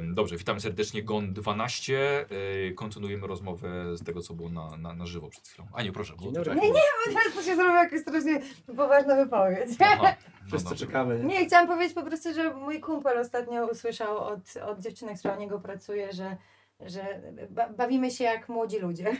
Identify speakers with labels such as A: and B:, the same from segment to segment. A: Em, Dobrze, witamy serdecznie GON 12. E, Kontynuujemy rozmowę z tego, co było na, na, na żywo przed chwilą. A nie, proszę, było
B: Dzień dobry.
A: to-
B: Nie,
C: Teraz to się zrobiło jakaś strasznie poważna wypowiedź.
A: Aha, no
B: Wszyscy
A: dobrze.
B: czekamy.
C: Nie, chciałam powiedzieć po prostu, że mój kumpel ostatnio usłyszał od, od dziewczyny, która u niego pracuje, że, że ba bawimy się jak młodzi ludzie.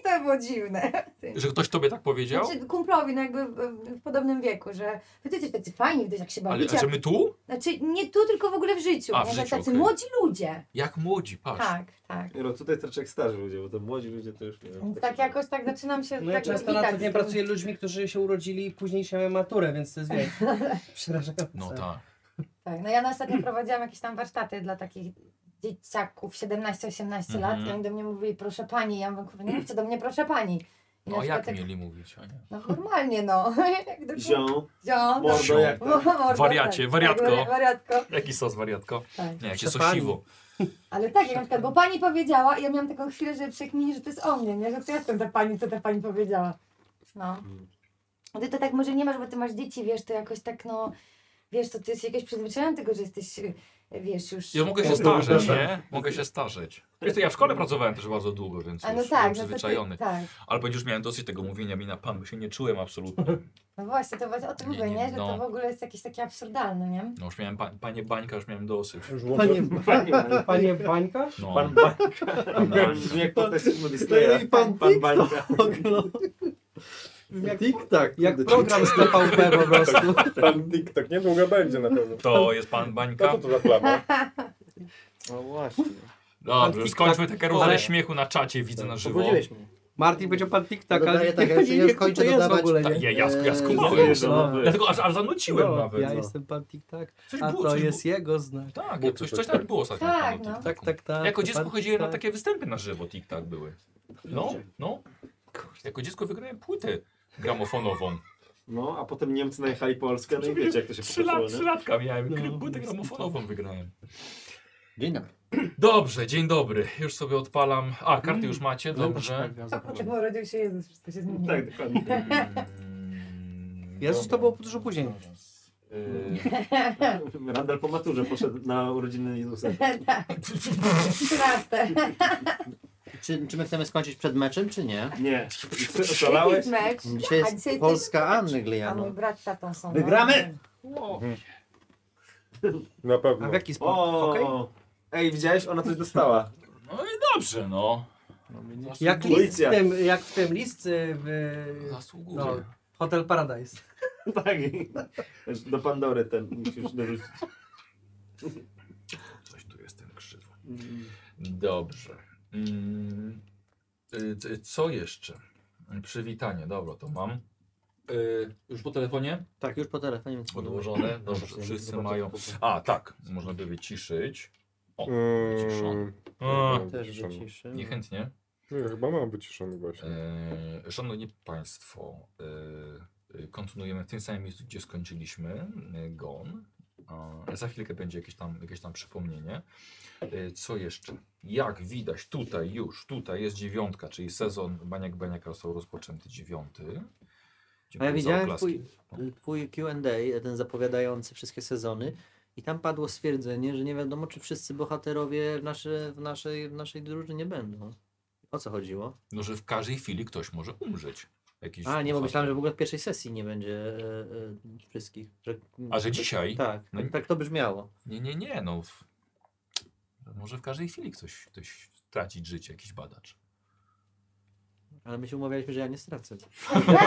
C: I to było dziwne.
A: Że ktoś tobie tak powiedział?
C: Znaczy, kumplowi no jakby w, w podobnym wieku, że wy jesteście tacy fajni, widać jak się
A: Ale
C: bawicie.
A: a że my tu?
C: Znaczy nie tu, tylko w ogóle w życiu.
A: A,
C: nie?
A: w
C: Że
A: życiu,
C: tacy
A: okej.
C: młodzi ludzie.
A: Jak młodzi, patrz.
C: Tak, tak.
B: Nie, No tutaj troszeczkę jak starzy ludzie, bo to młodzi ludzie to już nie wiem.
C: Więc tak jakoś tak zaczynam się
D: No ja
C: tak
D: często
C: rozwitać
D: na
C: z
D: co dzień
C: tym.
D: pracuję z ludźmi, którzy się urodzili i później się mają maturę, więc to jest wiesz, przerażające.
A: No tak.
C: Tak, no ja na
A: Mm.
C: ostatnio prowadziłam jakieś tam warsztaty dla takich dzieciaków 17-18 lat
A: Mhm.
C: i oni do mnie mówili, proszę pani, ja mówię, kurwa, nie mówcie do mnie, proszę pani. I
A: No
C: na
A: a jak
C: przykład tak,
A: mieli mówić? A nie.
C: No normalnie no. jak do
B: Zią,
C: Zią, no.
B: mordo, jak tam?
C: Mordo,
A: Wariacie,
C: tak,
A: wariatko.
C: Tak, wari- wariatko.
A: Jaki sos, wariatko?
C: Tak.
A: Nie, jakie
D: Przepadli.
A: sosiwo.
C: Ale tak, jak na przykład, bo pani powiedziała i ja miałam taką chwilę, że przekminie, że to jest o mnie, nie? Że to ja jestem ta pani, co ta pani powiedziała. No. A Ty to tak może nie masz, bo ty masz dzieci, wiesz, to jakoś tak no, wiesz, to ty jesteś jakoś przyzwyczajony do tego, że jesteś, y, wiesz, już...
A: Ja mogę się
B: Mordo,
A: starzeć,
B: tak.
A: nie? Mogę się starzeć. Wiesz co, ja w szkole pracowałem też bardzo długo, więc
C: A no
A: już
C: tak,
A: byłem
C: no to
A: przyzwyczajony.
C: ty, tak.
A: Ale już miałem dosyć tego mówienia mi na pan, bo się nie czułem absolutnie.
C: No właśnie, to właśnie o tym
A: Nie,
C: mówię,
A: nie,
C: nie? Że
A: no.
C: to w ogóle jest jakieś takie absurdalne, nie?
A: No już miałem, pa, panie Bańka, już miałem dosyć.
D: Panie,
B: Panie,
D: panie Bańka?
A: No.
B: Pan Bańka. Brzmi jak postać z filmu Disneya.
E: i pan
B: Pan
E: TikTok.
B: Bańka.
D: Jak,
E: TikTok.
D: tak, jak program z TVP po prostu.
F: Pan TikTok niedługo będzie na pewno.
A: To jest pan
F: No
A: Bańka.
F: co to za plama?
E: No właśnie.
A: Dobrze,
D: Pan
A: już
D: tik-
A: No, skończmy
D: tak-
A: te karuzele
D: ale-
A: śmiechu na czacie, widzę na żywo.
B: Pobudziłeś mnie.
D: Martin powiedział pan TikTok, ale
E: Dodaję
D: nie
E: tak, ja
D: nie
E: już- ja już
D: wiem, co
E: kończę
D: to jest
E: dodawać.
D: w ogóle,
A: Ja,
D: nie?
A: Tak, ja, ja, ja skumałem.
D: Dziękuję.
B: Pobudziłeś mnie.
A: Dlatego aż, aż zanuciłem
D: Eee, No,
A: nawet.
D: ja
A: no.
D: jestem pan TikTok,
A: Coś
D: a
A: było,
D: to
A: coś
D: jest jego znak.
A: było. Tak,
F: Było
A: coś,
F: coś,
A: coś
F: tak.
A: tak było ostatnio.
C: Tak,
A: na
C: no.
A: TikToku.
D: Tak, tak, tak.
A: Jako
D: to
A: dziecko
D: pan
A: chodziłem no na
D: TikTok.
A: takie występy na żywo, TikTok były. No, no. Jako dziecko wygrałem płytę gramofonową.
B: No, a potem Niemcy najechali Polskę, no i wiecie jak to się
A: Trzy lat,
B: potoczyło, nie?
A: trzylatka miałem.
D: No.
A: Płytę gramofonową wygrałem.
E: Dzień dobry.
A: Dobrze, dzień dobry. Już sobie odpalam. A, karty już macie,
D: Mm.
A: dobrze.
C: A potem urodził się Jezus, wszystko się zmieniło.
B: Tak, dokładnie.
A: Mm,
D: Jezus, to
A: dobra.
D: było dużo później. Eee,
A: Yy,
B: Randall po maturze poszedł na urodziny Jezusa.
C: Trzynaste.
E: Czy, czy my chcemy skończyć przed meczem, czy nie?
B: Nie. Ty Oszalałeś?
C: Jaki mecz?
E: Dzisiaj
C: No, A, dzisiaj
E: jest Polska Anny
C: A mój
E: Gliano.
C: brat z tatą są. no.
E: Wygramy!
F: Na
D: A
F: pewno.
D: w jaki sposób? Okej.
B: O. Ej, widziałeś? Ona coś dostała.
A: No i dobrze, no.
D: Jak
A: Zasługuje.
D: list w tym, jak w tym list y, w
A: Zasługuje.
D: no, Hotel Paradise.
B: Tak. Już Do Pandory ten musisz dorzucić.
A: Coś tu jest ten krzywo. Dobrze. Mm, y, c- co jeszcze? Przywitanie, dobra, to mam. Y, już po telefonie?
E: Tak, już po telefonie. więc-
A: Podłożone. Dobrze,
E: Zobaczę,
A: wszyscy
E: zobaczę,
A: mają.
E: zobaczę.
A: A, tak, można by wyciszyć.
F: Mm,
A: A,
F: mam
E: Też
F: wyciszony.
E: wyciszę.
A: niechętnie.
F: Eee, Nie, chyba mam wyciszony właśnie.
A: E, Szanowni Państwo, e, e, kontynuujemy w tym samym miejscu, gdzie skończyliśmy. e, Gon. A, Za chwilkę będzie jakieś tam, jakieś tam przypomnienie. E, Co jeszcze? Jak widać tutaj już, tutaj jest dziewiątka, czyli sezon Baniak Baniaka został rozpoczęty dziewiąty.
E: A
A: Dziękuję
E: ja
A: za
E: widziałem
A: oklaski.
E: twój, twój Q&A, jeden zapowiadający wszystkie sezony i tam padło stwierdzenie, że nie wiadomo czy wszyscy bohaterowie w, nasze, w, naszej, w naszej drużynie będą. O co chodziło?
A: No, że w każdej chwili ktoś może umrzeć. Jakiś
E: A, nie, bo
A: bohater.
E: myślałem, że w ogóle w pierwszej sesji nie będzie e, e, wszystkich. Że,
A: A że dzisiaj?
E: Tak,
A: No i-
E: tak to brzmiało.
A: Nie, nie, nie, no. W... Może w każdej chwili ktoś, ktoś tracić życie, jakiś badacz.
E: Ale my się umawialiśmy, że ja nie stracę.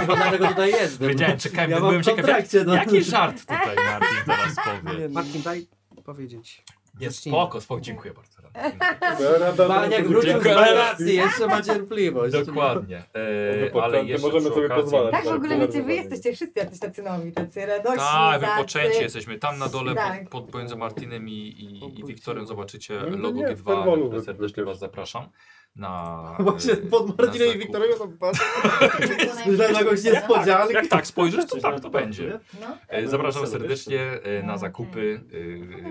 E: Dlatego tutaj jestem.
A: Wiedziałem, czekałem,
E: Ja mam
A: byłem
E: w
A: ciekaw, jak,
E: kontrakcie. No.
A: jaki żart tutaj Martin teraz powie.
E: Nie, no.
D: Martin, daj powiedzieć.
A: Nie,
D: Zacznijmy.
A: spoko, spoko, dziękuję bardzo.
E: Tak. Baniak wrócił z
A: Dziękuję.
E: relacji, jeszcze ma cierpliwość.
A: Dokładnie. E,
F: No,
A: ale
F: podczas-
A: jeszcze
F: możemy
A: przy
F: sobie
A: okazji-
F: pozwalać.
C: Tak w ogóle wiecie, wy
F: Zdenerwowani.
C: jesteście wszyscy jacyś tacy nowi, tacy radośni,
A: Tak,
C: tacy-
A: wypoczęci jesteśmy. Tam na dole
C: Tak.
A: pod, pod pomiędzy Martinem i, i, i Wiktorem zobaczycie
F: No, no
A: logo
F: nie, w
A: G2.
F: Perwolu
A: więc
F: wy-
A: Serdecznie
F: przecież.
A: Was zapraszam. Na,
E: Właśnie
A: e,
E: pod
A: na
E: Martinem i
A: zakup.
E: Wiktorem to patrzę.
C: Dla
E: Dla
C: kogoś jest
E: kogoś niespodzianki.
A: Jak tak spojrzysz, to tak to będzie.
C: No.
A: E, Zapraszam serdecznie e, na
C: No,
A: zakupy.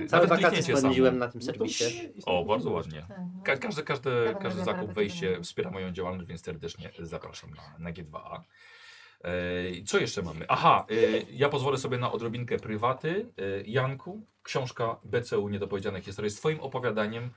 A: e,
E: Całe
A: Nawet
E: wakacje
A: kliknięcie samo.
E: spędziłem na tym
B: No to
E: serwisie.
A: O, bardzo ładnie.
C: Tak, no.
A: Ka każdy, każdy,
C: Dobra,
A: każdy
C: dobra,
A: zakup,
C: dobra,
A: wejście
C: dobra.
A: wspiera moją działalność, więc serdecznie zapraszam na, na G2A. y, E, co jeszcze mamy? Aha, e, ja pozwolę sobie na odrobinkę prywaty. E, Janku, książka BCU Niedopowiedziane Historie z twoim opowiadaniem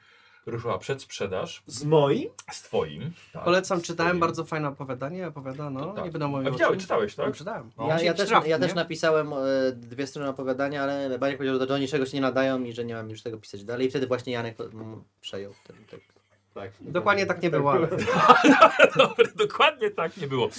A: ruszyła przed sprzedaż
B: Z moim?
A: z twoim. Tak,
D: Polecam,
A: z
D: czytałem,
A: twoim.
D: bardzo fajne opowiadanie, opowiadano,
A: tak.
D: nie będę
A: A
D: mówił
A: widziałeś,
D: o czym.
A: czytałeś, tak?
D: Czytałem.
A: No.
E: Ja, ja, też,
D: Traf,
E: ja też
D: nie?
E: napisałem e, dwie strony opowiadania, ale Baniek powiedział, że do niczego się nie nadają i że nie mam już tego pisać dalej. I wtedy właśnie Janek mm, przejął ten tekst.
B: Tak.
D: Dokładnie tak nie było. ale-
A: Dobra, dokładnie tak nie było.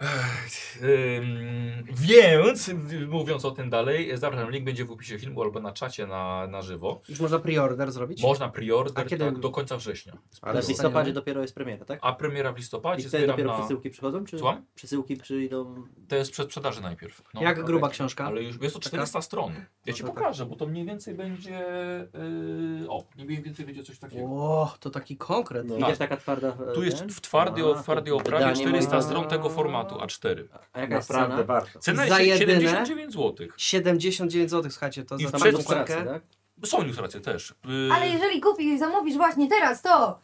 A: Ech, ym, więc, y, mówiąc o tym dalej, zapraszam, link będzie w opisie filmu albo na czacie na, na żywo.
D: Już można pre-order zrobić?
A: Można
D: A
A: pre-order
D: kiedy-
A: tak, do końca września.
E: Ale w
D: Dostaniemy?
E: listopadzie dopiero jest premiera, tak?
A: A premiera w
E: I
A: listopadzie
E: wtedy
A: zbieram
E: dopiero
A: na...
E: przesyłki przychodzą? Czy
A: Słucham?
E: przesyłki przyjdą?
A: To jest przed sprzedaży najpierw. No,
D: Jak
A: tak.
D: gruba książka?
A: Ale już jest to
D: Taka?
A: 400 stron. Ja ci
E: tak.
D: No to
A: pokażę, bo to mniej więcej będzie... Yy, o, mniej więcej będzie coś takiego.
D: O, to taki konkret.
B: No.
E: Idziesz taka twarda... e,
A: Tu jest
E: ten?
A: w twardy,
E: A,
A: w twardy
E: to
A: oprawie
E: wydanie ma-
A: 400 stron tego formatu A4.
E: A jaka jest
B: Naprawdę
E: cena?
B: warto.
A: Cena
D: Za
A: jest
D: jedyne?
A: 79 zł.
D: 79 zł, słuchajcie, to
A: I
D: za
A: w
D: taką
A: przed-
D: butelkę.
E: tak?
A: Są ilustracje też. Yy,
G: Ale jeżeli kupisz i zamówisz właśnie teraz to,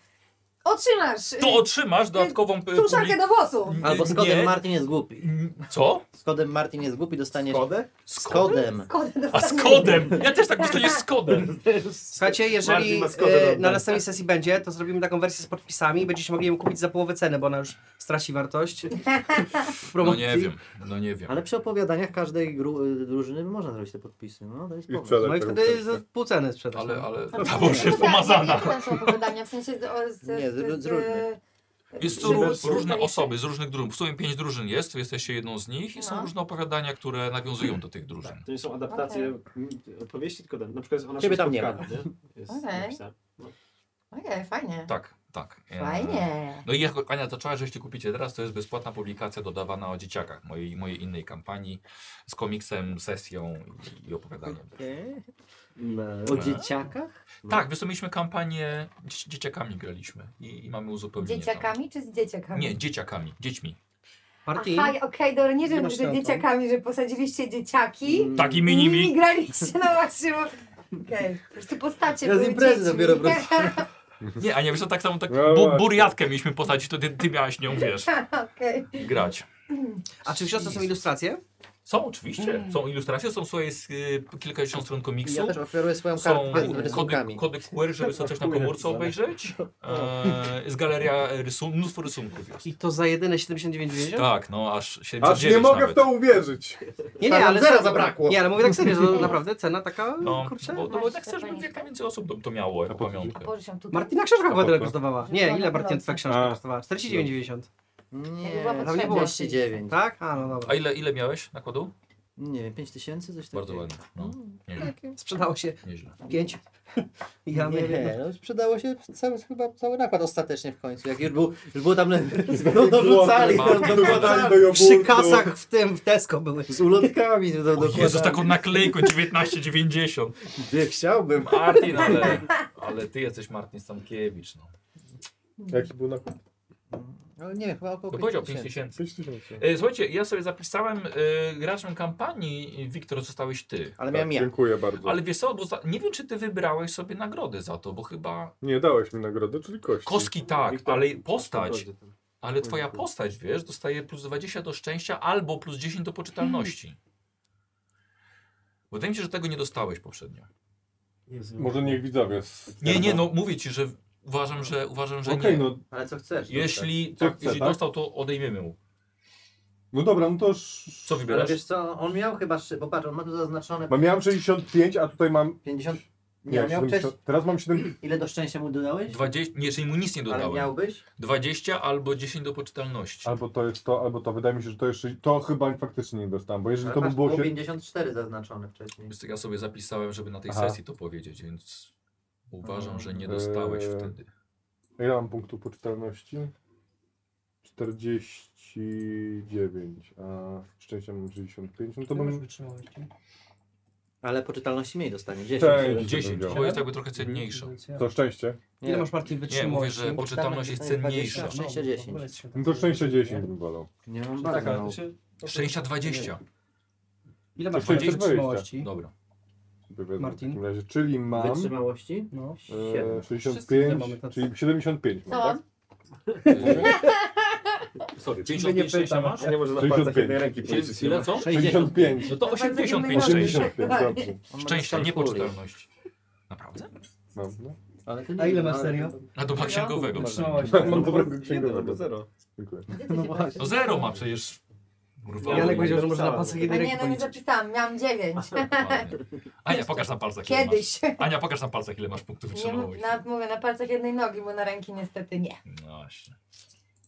G: otrzymasz y,
A: To otrzymasz dodatkową... p-
G: suszarkę do włosów.
A: publik-
E: Albo z
A: Nie.
E: kodem Martin jest głupi.
A: Co?
E: Z kodem Martin jest głupi dostaniesz...
B: Skodę?
A: Z
E: Z kodem.
G: Z kodem
A: A z
G: dostaniesz.
A: kodem! Ja też tak myślę, nie z kodem.
D: Słuchajcie, jeżeli
B: Marcin ma Skodę
D: e,
B: oddać.
D: na następnej sesji będzie, to zrobimy taką wersję z podpisami. Będziecie mogli ją kupić za połowę ceny, bo ona już straci wartość w
A: No
D: promocji.
A: nie wiem, no nie wiem.
E: Ale przy opowiadaniach każdej gru- y, drużyny można zrobić te podpisy. No, to jest
F: I
E: powód.
F: sprzedać.
D: No i
F: tę
D: wtedy
F: książkę.
D: za pół ceny no. sprzedać.
A: Ale, ale...
G: Tam
A: Ta
G: są-
A: boż jest
G: tam są-
A: pomazana.
G: Jakie tam są opowiadania? W sensie z, o, z,
E: Nie, z-
G: z,
E: z różnych.
A: Jest tu
G: żeby
A: ró-
G: słuchali-
A: różne osoby z różnych drużyn. W sumie pięć drużyn jest, wy jesteście jedną z nich i są
G: No.
A: różne opowiadania, które nawiązują do tych drużyn.
B: To nie są adaptacje m, opowieści, tylko ten- na przykład jest ona
E: Ciebie tam nie ma.
B: Jest
G: Okej.
B: napisane.
G: Okej, fajnie.
A: Tak, tak. E,
G: Fajnie.
A: No i jak Ania zaczęła, że jeśli kupicie teraz, to jest bezpłatna publikacja dodawana o dzieciakach mojej, mojej innej kampanii z komiksem, sesją i- i opowiadaniem.
E: Okej.
B: No.
E: O dzieciakach?
A: Tak, wiesz co, mieliśmy kampanię, dzieci- dzieciakami graliśmy i, i mamy uzupełnienie. tam.
G: Dzieciakami czy z dzieciakami?
A: Nie, dzieciakami, dziećmi.
D: Martin,
G: Aha, okej, dobra, nie
D: Nie
G: wiem,
D: masz
G: że
D: tematu.
G: dzieciakami, że posadziliście dzieciaki.
A: Tak, i
G: I
A: minimi.
G: graliście na właśnie. bo- Okej, po prostu postacie
E: Ja z
G: były
E: imprezy
G: dziećmi.
E: dopiero wróciłem.
A: Nie, Ania, wiesz co, tak samo tak
F: No
A: bu
F: właśnie.
A: burjatkę mieliśmy posadzić, to ty, ty miałaś nią, wiesz,
G: Tak. Okej.
A: grać.
D: a czy w książce są ilustracje?
A: Są oczywiście, są ilustracje, są swoje z, y, kilkadziesiąt stron komiksu.
E: Hmm. Ja też oferuję swoją
A: Są
E: kartę z
A: kody,
E: rysunkami.
A: kody QR, żeby sobie coś na komórce obejrzeć. E, jest galeria rysun mnóstwo rysunków jest.
D: I to za jedyne 79,90?
A: Tak, no aż
F: Aż
A: 79
F: nie mogę w
A: nawet.
F: to uwierzyć.
D: Nie, nie, Tak, ale...
E: Zera zabrakło.
D: Nie, ale mówię tak serio, że naprawdę cena taka,
A: No,
D: kurczę...
A: bo, no, bo tak chcesz, żeby jak najwięcej osób to- to miało jako
F: A po co?
A: pamiątkę.
G: Boże, tutaj.
D: Martina książka chyba tyle
F: Dobra.
D: kosztowała. Nie, ile Martin twoja książka
F: A.
D: kosztowała? 49,90.
E: Nie,
G: była
E: tam nie
G: potrzebna.
E: było 39.
D: Tak? A, no dobra.
A: A ile, ile miałeś nakładu?
E: Nie wiem, 5 tysięcy? Coś takiego.
A: Bardzo ładnie. No, nieźle,
D: Sprzedało się
F: Tak.
A: nieźle.
D: 5. Ja
E: nie,
D: nie wiem.
E: no, sprzedało się cały, chyba cały nakład ostatecznie w końcu. Jak już był, już było tam no, dorzucali,
A: Złoty,
E: no,
A: ma-
E: dokładali
F: Dokładali do jogurtu.
D: Przy kasach w tym, w Tesco były.
E: z ulotkami. Do,
A: O Jezus,
E: dokładali.
A: taką naklejką 1990.
E: Nie chciałbym.
A: Martin, ale, ale ty jesteś Martin Stankiewicz. No.
F: Jaki był nakład?
E: No, nie, chyba około
A: To powiedział
E: 5
A: 5
E: tysięcy.
A: tysięcy.
F: 5 tysięcy.
A: E, Słuchajcie, ja sobie zapisałem y, graczem kampanii, y, Wiktor, zostałeś ty.
E: Ale
F: Tak,
E: miałem ja.
F: Dziękuję bardzo.
A: Ale wiesz co, bo za, nie wiem czy ty wybrałeś sobie nagrodę za to, bo chyba
F: Nie dałeś mi nagrody, czyli kości.
A: koski tak,
B: Wiktor,
A: ale postać,
B: Kodzie tam.
A: ale twoja postać, wiesz, dostaje plus 20 do szczęścia albo plus 10 do poczytalności. Wydaje mi się, że tego nie dostałeś poprzednio.
B: Jezu.
F: Może niech widzowie. z-
A: Nie, nie, no mówię ci, że uważam, że uważam, że
F: Okej,
A: nie.
F: no,
E: Ale co chcesz?
A: Jeśli,
F: Co
A: tak,
F: chce,
A: jeśli
F: tak?
A: dostał, to odejmiemy mu.
F: no dobra, no to sz...
A: Co
E: Ale
A: wybierasz?
E: wiesz co, on miał chyba, szy- bo patrz, on ma tu zaznaczone
F: Bo miałem 65, a tutaj mam...
E: 50. Nie,
F: Nie,
E: miał
F: 70,
E: wcześniej.
F: Teraz mam 70.
E: Ile do szczęścia mu dodałeś?
A: 20, nie, czyli mu nic nie
E: Ale
A: dodałem.
E: miałbyś?
A: 20 albo 10 do poczytalności.
F: Albo to jest to, albo to. Wydaje mi się, że to jeszcze... To chyba faktycznie nie dostałem, bo jeżeli
E: Ale
F: to by
E: masz
F: było...
E: było
F: sie-
E: 54 zaznaczone wcześniej.
A: Więc tak Ja sobie zapisałem, żeby na tej
F: Aha.
A: sesji to powiedzieć, więc uważam,
E: Mhm.
A: że
D: Mm,
A: nie dostałeś
D: e,
F: Eee.
A: wtedy.
F: Ile mam punktów poczytalności? 49, a szczęścia mam 65, no to bym...
E: Ale poczytalności mniej dostanie. 10.
F: Szczęście bym
A: 10,
F: wziął.
A: bo jest tak- jakby trochę cenniejsza.
F: To szczęście?
D: Ile masz Martin
A: Nie, mówię, że
D: wytrzymałości?
A: poczytalność jest cenniejsza.
E: Szczęście 10.
F: No to szczęście 10 bym wolał.
E: Nie mam
D: Tak,
E: bardzo
D: ale
E: mało.
D: to się-
A: Szczęścia 20.
D: Ile masz
F: To
D: Martin
F: szczęście
D: wytrzymałości?
A: Dobra.
F: sobie wezmę
D: Martin?
F: W takim razie, czyli mam
E: Wytrzymałości?
D: No.
E: Siedem.
F: e,
D: Wszyscy
F: 65, tak?
D: mamy tacy.
F: czyli 75 mam,
G: Co?
F: tak?
A: Sorry,
D: Ciebie nie
A: 55 szczęścia
D: pytam.
A: masz?
B: Ja nie może na palcach
F: 65.
B: jednej ręki
A: Ile-
B: policzyć.
A: Ile co?
F: 65.
A: No to 85 szczęścia.
F: 85, dobrze.
E: On ma
A: Szczęścia, nie
E: dyskalkulię.
A: poczytalność. Naprawdę?
F: No, no.
E: Ale ty nie
D: A ile
E: wiem,
D: masz
E: ale-
D: serio?
A: A do księgowego.
D: Trzymałaś.
B: no,
F: Mam dobrego
B: Jeden albo
F: księgowego.
B: zero.
F: Dziękuję.
E: No właśnie.
A: To zero ma przecież. Urwało
D: Janek
A: mi.
D: powiedział, że można na
B: zapisałem.
D: palcach
G: No
D: jednej
G: nie,
D: ręki
G: no nie
D: policzyć.
G: zapisałam, miałam dziewięć.
A: Ładnie. Ania, pokaż na palcach ile masz.
G: Kiedyś.
A: Ania, pokaż na palcach ile masz punktów
G: Nie,
A: wytrzymałości.
G: na, mówię, na palcach jednej nogi, bo na ręki niestety nie.
A: No właśnie.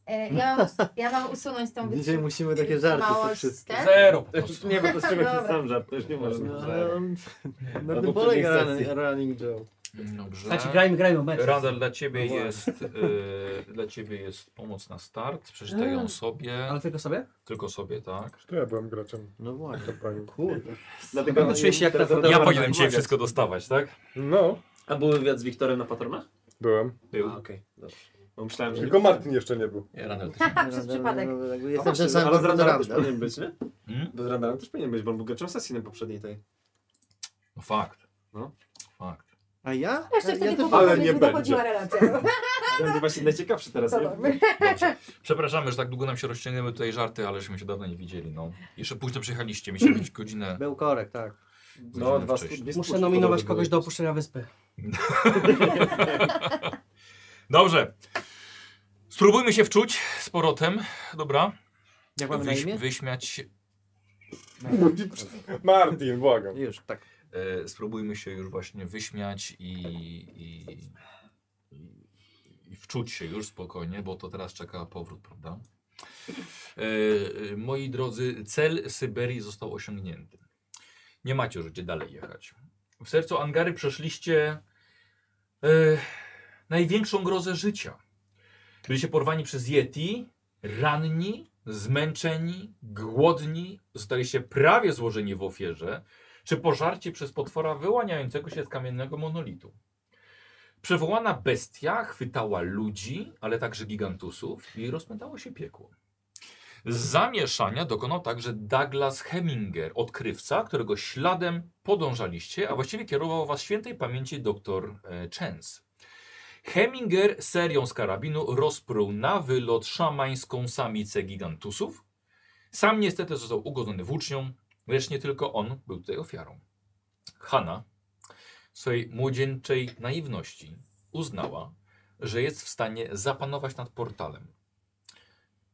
G: E, ja, mam, ja mam usunąć tą
E: Dzisiaj
G: wytrzymałą
E: musimy takie żarty sobie wszystkie.
A: Zero po
B: Już
A: prostu.
B: nie, bo to z czegoś
G: Dobra.
B: jest sam żart, to już nie
E: No,
B: można.
E: ale on- Na
B: poprzedniej
E: tym no, polega
B: sesji.
E: running, running joke.
A: Dobrze.
D: Znaczy, grajmy, grajmy o mecz.
A: Randall, dla ciebie
D: No
A: jest e, dla ciebie jest pomoc na start. Przeczytaj ją sobie.
D: Ale tylko sobie?
A: Tylko sobie, tak?
F: To ja byłem graczem
E: No właśnie.
F: kampanii.
D: Kurde.
B: Dlatego
D: No, czuję się jak
B: teraz
D: na-
B: zacząłem
A: Ja
D: Dobra,
A: powinienem
D: tak,
A: dzisiaj
D: mogę.
A: wszystko dostawać, tak?
F: No,
B: A był wywiad z Wiktorem na Patronach?
F: byłem.
A: Był.
B: A, okej, dobrze. Bo myślałem, że...
F: Tylko Martin jeszcze nie był.
A: Nie, Randall. ty-
E: No,
C: Tak,
G: Haha, przez przypadek.
E: Jakby
B: A
E: Jestem
B: właśnie,
E: ten
B: no,
E: sam
B: ale z
E: Gordon
B: Radarem też
E: Ramsay.
B: powinien być, nie?
A: Hmm?
B: Bo z Radarem też powinien być, bo on był graczem asesinem poprzedniej tej.
A: No fakt.
B: No.
A: Fakt.
E: A ja?
G: Jeszcze
E: ja, ja
G: wtedy
E: też-
G: po
B: ale
G: nie
B: nie
G: dochodziła relacja.
B: To będzie właśnie najciekawszy teraz,
G: Co
B: nie?
G: mamy?
A: Dobrze. Przepraszamy, że tak długo nam się rozciągnęły tutaj żarty, ale żeśmy się dawno nie widzieli. No. Jeszcze późno przyjechaliście, mieliśmy mieć godzinę.
E: Był korek, tak.
B: No, dwa
A: wcześniej.
B: stu- dwie
D: Muszę
B: stówki
D: nominować
B: podobno
D: kogoś do
B: były.
D: opuszczenia wyspy.
A: Dobrze. Spróbujmy się wczuć z powrotem. Dobra.
E: Jak mam na
A: Wyś-
E: imię?
A: wyśmiać.
F: Martin, błagam.
E: Już, tak.
A: E, spróbujmy się już właśnie wyśmiać i, i, i, i wczuć się już spokojnie, bo to teraz czeka powrót, prawda? E, e, moi drodzy, cel Syberii został osiągnięty. Nie macie już gdzie dalej jechać. W sercu Angary przeszliście e, największą grozę życia. Byliście porwani przez Yeti, ranni, zmęczeni, głodni, zostaliście prawie złożeni w ofierze, czy pożarci przez potwora wyłaniającego się z kamiennego monolitu. Przywołana bestia chwytała ludzi, ale także gigantusów i rozpętało się piekło. Zamieszania dokonał także Douglas Heminger, odkrywca, którego śladem podążaliście, a właściwie kierował was świętej pamięci dr e, Chance. Heminger serią z karabinu rozpruł na wylot szamańską samicę gigantusów. Sam niestety został ugodzony włócznią, Lecz nie tylko on był tutaj ofiarą. Hanna w swojej młodzieńczej naiwności uznała, że jest w stanie zapanować nad portalem.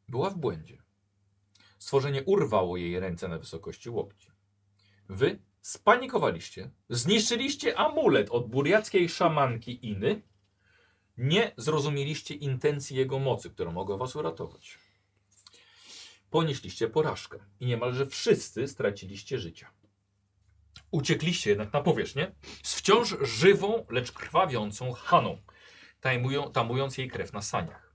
A: Była w błędzie. Stworzenie urwało jej ręce na wysokości łokci. Wy spanikowaliście, zniszczyliście amulet od buriackiej szamanki Iny. Nie zrozumieliście intencji jego mocy, która mogła was uratować ponieśliście porażkę i niemalże wszyscy straciliście życia. Uciekliście jednak na powierzchnię z wciąż żywą, lecz krwawiącą Haną, tajmują, tamując jej krew na saniach.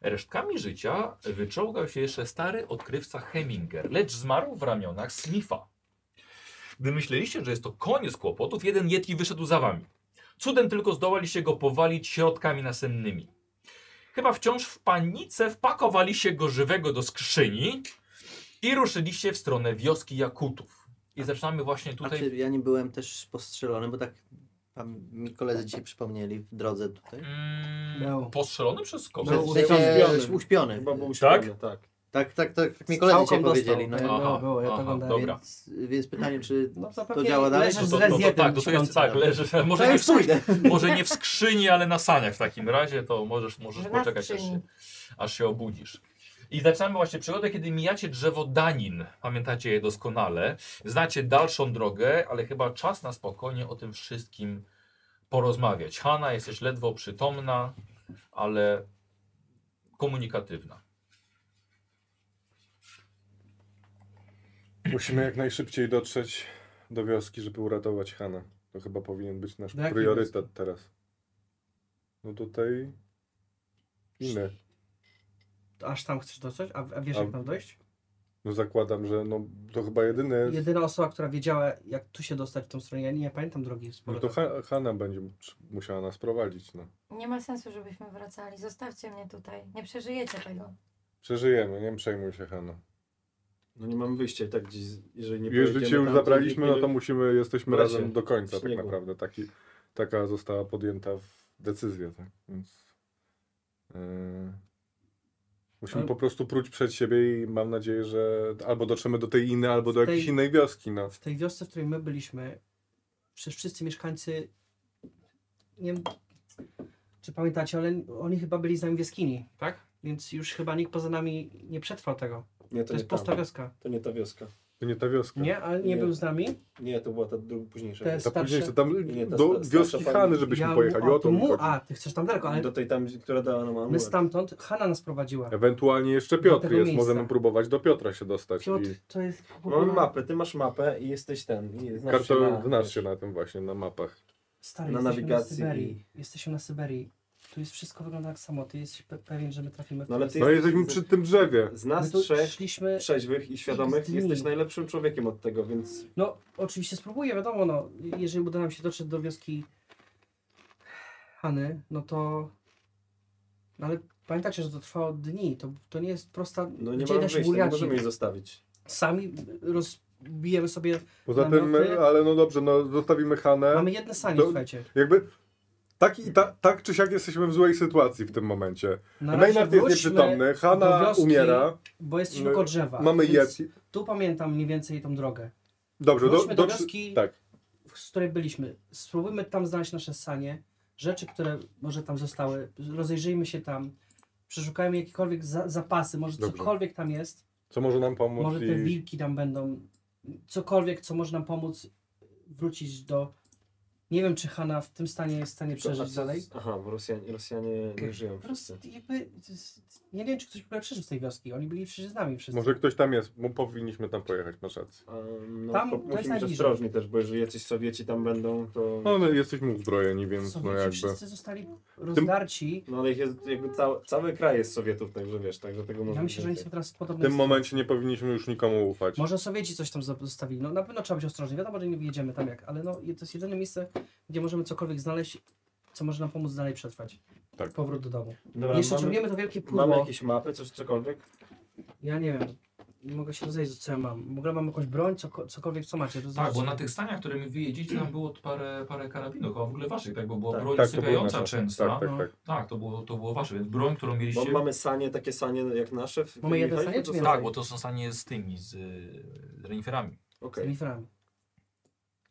A: Resztkami życia wyczołgał się jeszcze stary odkrywca Heminger, lecz zmarł w ramionach Slifa. Gdy myśleliście, że jest to koniec kłopotów, jeden Yeti wyszedł za wami. Cudem tylko zdołaliście go powalić środkami nasennymi. Chyba wciąż w panice wpakowaliście go żywego do skrzyni i ruszyliście w stronę wioski Jakutów. I zaczynamy właśnie
E: Tutaj...
A: tutaj.
E: Znaczy, ja nie byłem też postrzelony, bo tak tam mi koledzy dzisiaj przypomnieli w drodze tutaj.
A: Mm,
D: Był.
A: Postrzelony przez kogo?
E: Był
D: Był
E: uśpiony.
B: uśpiony.
E: uśpiony.
B: Chyba był
A: Tak?
B: uśpiony, tak.
E: Tak, tak, tak, tak mi koledzy dzisiaj
D: Strzałką dostał. No,
E: powiedzieli. No.
D: Było,
A: Aha,
D: było, ja to
A: aha,
D: oglądałem.
A: Dobra.
E: Więc, więc pytanie, czy...
D: No
E: To działa dalej?
D: Leżysz
A: No
D: z
A: to, no to
D: rezjetem
A: tak, no to jest
D: śpiącym.
A: tak, leżysz.
E: to
A: Może nie, w,
E: już pójdę.
A: może nie w skrzyni, ale na saniach w takim razie, to możesz, możesz
G: Że na
A: poczekać, aż
G: skrzyni.
A: się, aż się obudzisz. I zaczynamy właśnie przygodę, kiedy mijacie drzewo Danin. Pamiętacie je doskonale. Znacie dalszą drogę, ale chyba czas na spokojnie o tym wszystkim porozmawiać. Hanna, jesteś ledwo przytomna, ale komunikatywna.
F: Musimy jak najszybciej dotrzeć do wioski, żeby uratować Hanę. To chyba powinien być nasz
D: Do jakiej
F: priorytet teraz. No tutaj... Inne.
D: Aż tam chcesz dostać? A, a wiesz
F: A-
D: jak tam dojść?
F: No zakładam, że no to chyba jedyne...
D: Jedyna osoba, która wiedziała jak tu się dostać w tą stronę, ja nie pamiętam drogi z
F: No to
D: powrotem.
F: Ha- Hanna będzie mu- musiała nas prowadzić, no.
G: Nie ma sensu, żebyśmy wracali. Zostawcie mnie tutaj. Nie przeżyjecie tego.
F: Przeżyjemy, nie przejmuj się Hanna.
B: No nie mamy wyjścia i tak gdzieś, jeżeli nie
F: Jeżeli
B: pojedziemy
F: cię już
B: tam,
F: zabraliśmy,
B: nie
F: no to musimy, jesteśmy
B: w lesie,
F: razem do końca
B: w
F: tak
B: śniegu.
F: naprawdę. Taki, taka została podjęta w- decyzja, tak? Więc... Yy, e, Musimy po prostu próć przed siebie i mam nadzieję, że albo dotrzemy do tej innej, albo do
D: Tej-
F: jakiejś innej wioski. No.
D: W tej wiosce, w której my byliśmy, przecież wszyscy mieszkańcy, nie wiem, czy pamiętacie, ale oni chyba byli z nami w jaskini, tak? Więc już chyba nikt poza nami nie przetrwał tego.
B: Nie,
D: To
B: to,
D: jest
B: nie
D: pusta
B: ta,
D: wioska.
B: to nie ta wioska.
F: To Tak. nie ta wioska.
D: Nie, ale nie,
B: Nie.
D: był z nami.
B: Nie, to była ta druga późniejsza.
D: To
B: wioska.
F: Ta późniejsza,
D: Starsze-
F: tam
B: Nie, ta
F: do
B: sta- starsza
F: wioski
B: pani-
F: Hany, żebyśmy
D: Ja-
F: pojechali. O to mi
D: mu,
F: chodzi.
D: A, ty chcesz tam daleko, ale
B: Do tej tam, która dała nam
D: my
B: amulet.
D: stamtąd, Hanna nas prowadziła.
F: Ewentualnie jeszcze
D: Do
F: Piotr
D: tego
F: jest,
D: miejsca.
F: możemy próbować do Piotra się dostać.
D: Piotr,
F: I
D: to jest...
B: Mamy mapę, ty masz mapę i jesteś ten. i znasz
F: karto,
B: się znaczy na-
F: znasz się na tym właśnie, na mapach.
D: Stary,
B: na
D: jesteśmy
B: nawigacji
D: Na Syberii.
B: i-
D: Jesteśmy na Syberii. Tu jest wszystko wygląda tak samo. Ty jesteś pe pewien, że my trafimy w
B: No ale
D: to
B: ty
F: No
D: miejsce?
B: jesteś-
F: jesteśmy przy tym drzewie.
B: Z
D: My
B: nas
D: tu
B: trzech,
D: szliśmy...
B: trzeźwych i świadomych,
D: Ty-
B: jesteś najlepszym człowiekiem od tego, więc
D: No, oczywiście spróbuję, wiadomo, no. Jeżeli uda nam się dotrzeć do wioski Hany, no to... No ale pamiętacie, że to trwało dni. To, to nie jest prosta...
B: no nie
D: Gdzie
B: mamy
D: da się
B: wyjścia, nie
D: buriaci?
B: możemy jej zostawić.
D: Sami rozbijemy sobie...
F: Poza tym,
D: Namioty.
F: ale no dobrze, no zostawimy Hanę.
B: E,
D: Mamy jedne sanie,
F: To-
D: słuchajcie.
F: Jakby tak, i ta, tak czy siak jesteśmy w złej sytuacji w tym momencie.
D: Na
F: Maynard jest
D: wróćmy
F: nieprzytomny,
D: do
F: Hanna
D: wioski,
F: umiera,
D: Bo jesteśmy
F: My-
D: koło drzewa.
F: mamy
D: więc
F: jed.
D: Tu pamiętam mniej więcej tą drogę.
F: Dobrze, do,
D: Wróćmy do
F: do,
D: wioski.
F: Tak.
D: z której byliśmy. Spróbujmy tam znaleźć nasze sanie, rzeczy, które może tam zostały. Rozejrzyjmy się tam, przeszukajmy jakiekolwiek za zapasy, może
F: Dobrze.
D: cokolwiek tam jest.
F: Co może nam pomóc?
D: Może te
F: i...
D: wilki tam będą. Cokolwiek, co może nam pomóc wrócić do... Nie wiem, czy Hanna w tym stanie jest w stanie
B: Tylko- a
D: przeżyć
B: co-
D: dalej. Tak.
B: Aha, bo Rosjanie, Rosjanie nie żyją
D: Po prostu
B: wszyscy.
D: jakby... Ja nie wiem, czy ktoś w ogóle przeżył z tej wioski. Oni byli przecież z nami wszyscy.
F: Może ktoś tam jest, bo powinniśmy tam pojechać, masz rację.
B: A, No,
D: Tam
B: tam
D: to
B: to
D: jest
B: musimy być
D: najbliżej.
B: ostrożni też, bo jeżeli jacyś Sowieci tam będą, to...
F: No ale jesteśmy uzbrojeni, więc
D: Sowieci
F: no jakby...
D: wszyscy zostali rozdarci.
B: No ale ich jest, jakby cały, cały kraj jest Sowietów, także wiesz, także tego
D: Ja
B: może
D: myślę, że oni
B: więcej.
D: są teraz w
F: W
D: podobnej
F: tym
D: sytuacji.
F: momencie nie powinniśmy już nikomu ufać.
D: Może Sowieci coś tam zostawili. No na pewno trzeba być ostrożny. Wiadomo, że nie wyjedziemy tam jak, ale no to jest jedyne miejsce, gdzie możemy cokolwiek znaleźć, co może nam pomóc dalej przetrwać.
F: Tak.
D: Powrót do domu.
B: Dobra,
D: Jeszcze
B: mamy,
D: ciągniemy to wielkie pudło.
B: mamy jakieś mapy, coś, cokolwiek?
D: Ja nie wiem. Nie mogę się rozejrzeć, co ja mam. W ogóle mam jakąś broń, coko- cokolwiek, co macie.
A: Tak,
D: rozejrzeć
A: bo
D: się.
A: na tych staniach, które my wyjedziecie, tam było parę, parę karabinów, a w ogóle waszych, tak? Bo była
B: Tak,
A: broń
F: tak, to była
A: sypiająca
F: nasza.
A: często.
F: Tak,
A: Tak,
F: tak,
D: No.
F: tak.
A: to, było, to było wasze, więc broń, którą mieliście...
B: Bo mamy sanie, takie sanie jak nasze. w-
D: Mamy jedno
B: Michał,
D: sanie,
B: to
D: czy nie?
B: są-
A: Tak, bo to są stanie z tymi, z, y, z reniferami.
D: Z
B: Okej.
D: tymi frami.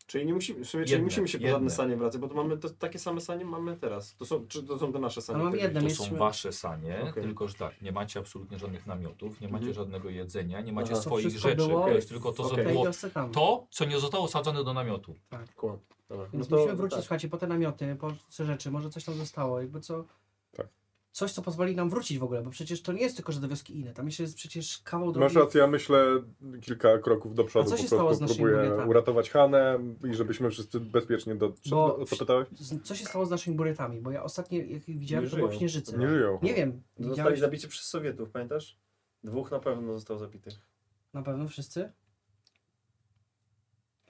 B: Czyli nie musimy, w sumie, czyli
A: Jedne,
B: nie musimy się po żadne
A: jedne.
B: sanie wracać, bo to mamy to, takie same sanie mamy teraz. To są, czy to są te nasze sanie?
D: Ale mamy
B: które-
D: No, jedne.
A: To są
D: mieliśmy-
A: wasze sanie,
B: Okej.
A: tylko że tak, nie macie absolutnie żadnych namiotów, nie macie
B: Mhm.
A: żadnego jedzenia, nie macie
B: Aha.
D: To
A: swoich
D: wszystko
A: rzeczy.
D: było-
A: To jest tylko to, co
B: Okej.
D: W tej
A: było.
D: wiosce tam.
A: To, co nie zostało sadzone do namiotu.
B: Kłam. Dobra.
D: Więc
B: No to-
D: musimy wrócić,
B: tak.
D: słuchajcie, po te namioty, po te rzeczy, może coś tam zostało, jakby co...
F: Tak.
D: Coś, co pozwoli nam wrócić w ogóle, bo przecież to nie jest tylko, że do wioski inne. Tam jeszcze jest przecież kawał drogi.
F: Masz rację, ja myślę kilka kroków do przodu,
D: A co się
F: po
D: stało z
F: prostu
D: naszymi
F: próbuję
D: burietami?
F: uratować Hanę i żebyśmy wszyscy bezpiecznie do... no,
D: Bo-
F: O co pytałeś?
D: Z- Co się stało z naszymi buretami? Bo ja ostatnio, jak ich widziałem,
B: Nie
D: to była
B: żyją.
D: śnieżyca.
F: Nie
D: Nie,
F: żyją.
D: wiem.
B: No Zostali
D: Widziałeś
B: zabici przez Sowietów, pamiętasz? Dwóch na pewno został zabitych.
D: na pewno wszyscy?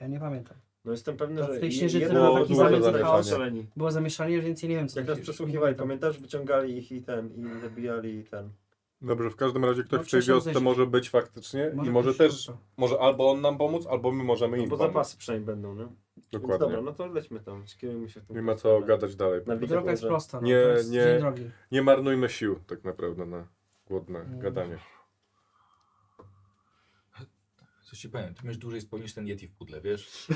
D: Ja nie pamiętam.
B: No jestem pewny,
D: To w
B: że
D: Tak, tej
B: je-
D: ścieżce
B: jeden
D: było
B: został
D: takie same
F: zamieszanie.
B: strzeleni.
D: Było zamieszanie, więc ja nie wiem, co
B: Jak
D: to
B: nas
D: się-
B: przesłuchiwali,
D: nie pamiętam.
B: pamiętasz? Wyciągali ich i ten, i zabijali i ten.
F: Dobrze, w każdym razie ktoś
D: No,
F: w tej
D: przecież on
F: wiosce
D: zejdzie.
F: może być faktycznie i może
D: ktoś
F: też,
D: rusza.
F: może albo on nam pomóc, albo my możemy
B: No
F: im
B: bo
F: pomóc.
B: zapasy przynajmniej będą, nie? Więc
F: Dokładnie.
B: dobra, no to lećmy tam, skierujmy się w tym.
F: Nie ma co gadać dalej.
D: Bo
B: Nawigacja
D: Droga jest
B: może-
D: prosta. No,
F: Nie,
D: nie, jest
F: nie.
D: Dzień drogi.
F: Nie marnujmy sił tak naprawdę na głodne
D: Mm.
F: gadanie.
A: Coś ci powiem, ty myś dłużej spełnisz ten Yeti w pudle, wiesz?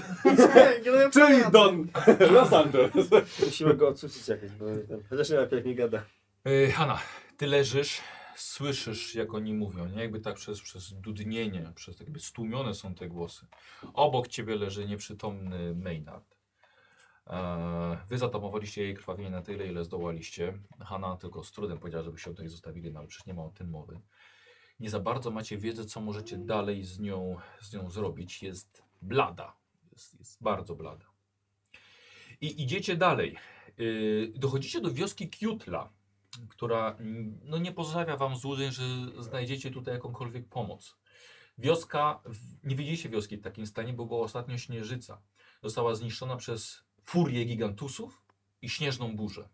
F: Czyli Don Los Angeles.
B: Musimy go odsucić jakoś, bo ten, chociaż nie lepiej jak nie gada.
A: Yy, Hanna, ty leżysz, słyszysz jak oni mówią, nie? Jakby tak przez, przez dudnienie, przez tak jakby stłumione są te głosy. Obok ciebie leży nieprzytomny Maynard. Eee, Wy zatamowaliście jej krwawienie na tyle, ile zdołaliście. Hanna tylko z trudem powiedziała, żebyście ją tutaj zostawili, no ale przecież nie ma o tym mowy. Nie za bardzo macie wiedzę, co możecie dalej z nią, z nią zrobić. Jest blada. Jest, jest bardzo blada. I idziecie dalej. Yy, dochodzicie do wioski Kiutla, która mm, no, nie pozostawia wam złudzeń, że znajdziecie tutaj jakąkolwiek pomoc. Wioska, w- nie widzieliście wioski w takim stanie, bo była ostatnio śnieżyca. Została zniszczona przez furię gigantusów i śnieżną burzę.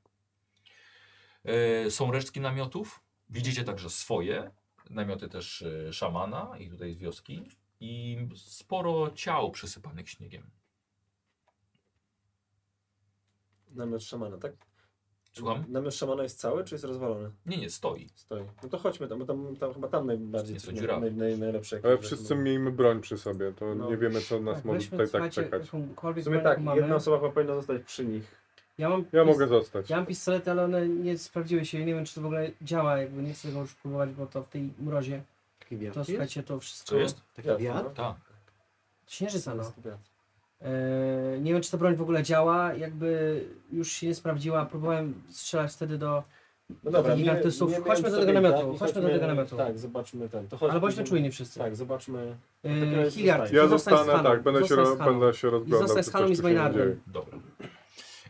A: E, Są resztki namiotów, widzicie także swoje, namioty też e, szamana i tutaj z wioski i sporo ciał przysypanych śniegiem.
B: Namiot szamana, tak?
A: Słucham?
B: Namiot szamana jest cały, czy jest rozwalony?
A: Nie, nie, stoi.
B: Stoi. No to chodźmy tam, bo tam, tam chyba tam najbardziej
A: Jest to dziura.
B: naj, naj, najlepsze.
F: Ale
B: jakieś
F: wszyscy
B: rzeczy.
F: miejmy broń przy sobie, to
B: No.
F: nie wiemy co nas
D: Tak,
F: może
D: weźmy,
F: tutaj tak
D: słuchajcie,
F: czekać.
D: jakąkolwiek
B: W sumie
D: broń,
B: tak,
D: jaką mamy.
B: jedna osoba chyba powinna zostać przy nich.
D: Ja mam
F: Ja
D: pis-
F: mogę zostać.
D: Ja mam pistolety, ale one nie sprawdziły się. Nie wiem, czy to w ogóle działa. Jakby nie chcę tego już próbować, bo to w tej mrozie.
E: Taki wiatr
D: To
E: jest?
D: słuchajcie, to wszystko.
A: Co jest?
E: Taki
B: Jasne,
E: wiatr?
B: no.
A: Tak.
D: Śnieżyca, no.
B: Jest wiatr.
D: Eee, nie wiem, czy ta broń w ogóle działa. Jakby już się nie sprawdziła. Próbowałem strzelać wtedy do.
B: No dobra,
D: Takich artystów.
B: miejmy
D: Chodźmy do
B: sobie
D: tego
B: tak,
D: namiotu,
B: i
D: chodźmy do tego namiotu.
B: Tak, zobaczmy ten. To chodźmy,
D: Ale bądźmy
B: idziemy-
D: czujni wszyscy.
B: Tak, zobaczmy. takim
D: Eee,
B: razie
D: Hilliard,
B: zostań.
F: Ja
D: ty zostań z
F: zostanę,
D: Haną,
F: tak, będę się,
D: zostań
F: ro,
D: z Haną.
F: będę się rozglądał.
D: zostań z
F: czy
D: Haną
F: coś
D: i z
F: tu się
D: Maynardem.
F: dzieje.
A: Dobra.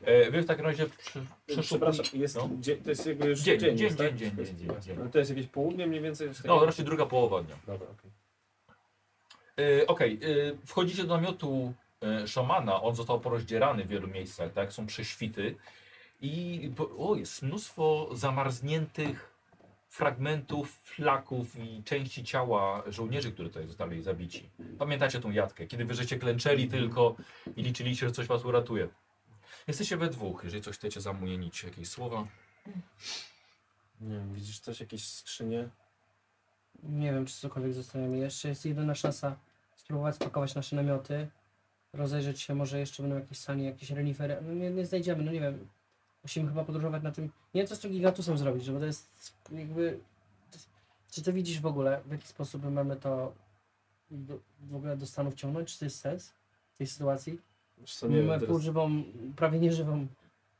A: E, wy w takim razie przy, przeszukuj...
B: Przepraszam, jest,
A: No.
B: dzie, to jest jakby już
A: Dzień, dzień,
B: jest,
A: dzień,
B: tak?
A: dzień,
B: Jest-
A: dzień, dzień.
B: No To jest jakieś południe mniej więcej? coś
A: No,
B: takiego?
A: raczej druga połowa dnia.
B: Dobra, okej.
A: E, Okej, e, wchodzicie do namiotu e, szamana. On został porozdzierany w wielu miejscach, tak? Są prześwity. I po- o, jest mnóstwo zamarzniętych fragmentów, flaków i części ciała żołnierzy, którzy tutaj zostali zabici. Pamiętacie tą jatkę, kiedy wy żeście klęczeli tylko i liczyliście, że coś was uratuje. Jesteście we dwóch, jeżeli coś chcecie zamunienić, jakieś słowa.
B: Nie wiem, widzisz coś, jakieś skrzynie?
D: Nie wiem, czy cokolwiek zostajemy. Jeszcze jest jedyna szansa spróbować spakować nasze namioty, rozejrzeć się, może jeszcze będą jakieś sanie, jakieś renifery. No nie, nie znajdziemy, no nie wiem. Musimy chyba podróżować na tym. Nie wiem, co z tym gigantusem zrobić, żeby to jest jakby. Czy ty widzisz w ogóle, w jaki sposób my mamy to do, w ogóle do stanu wciągnąć? Czy to jest sens w tej sytuacji?
B: Wiesz co, nie
D: Mamy
B: wiem, teraz...
D: półżywą, prawie nieżywą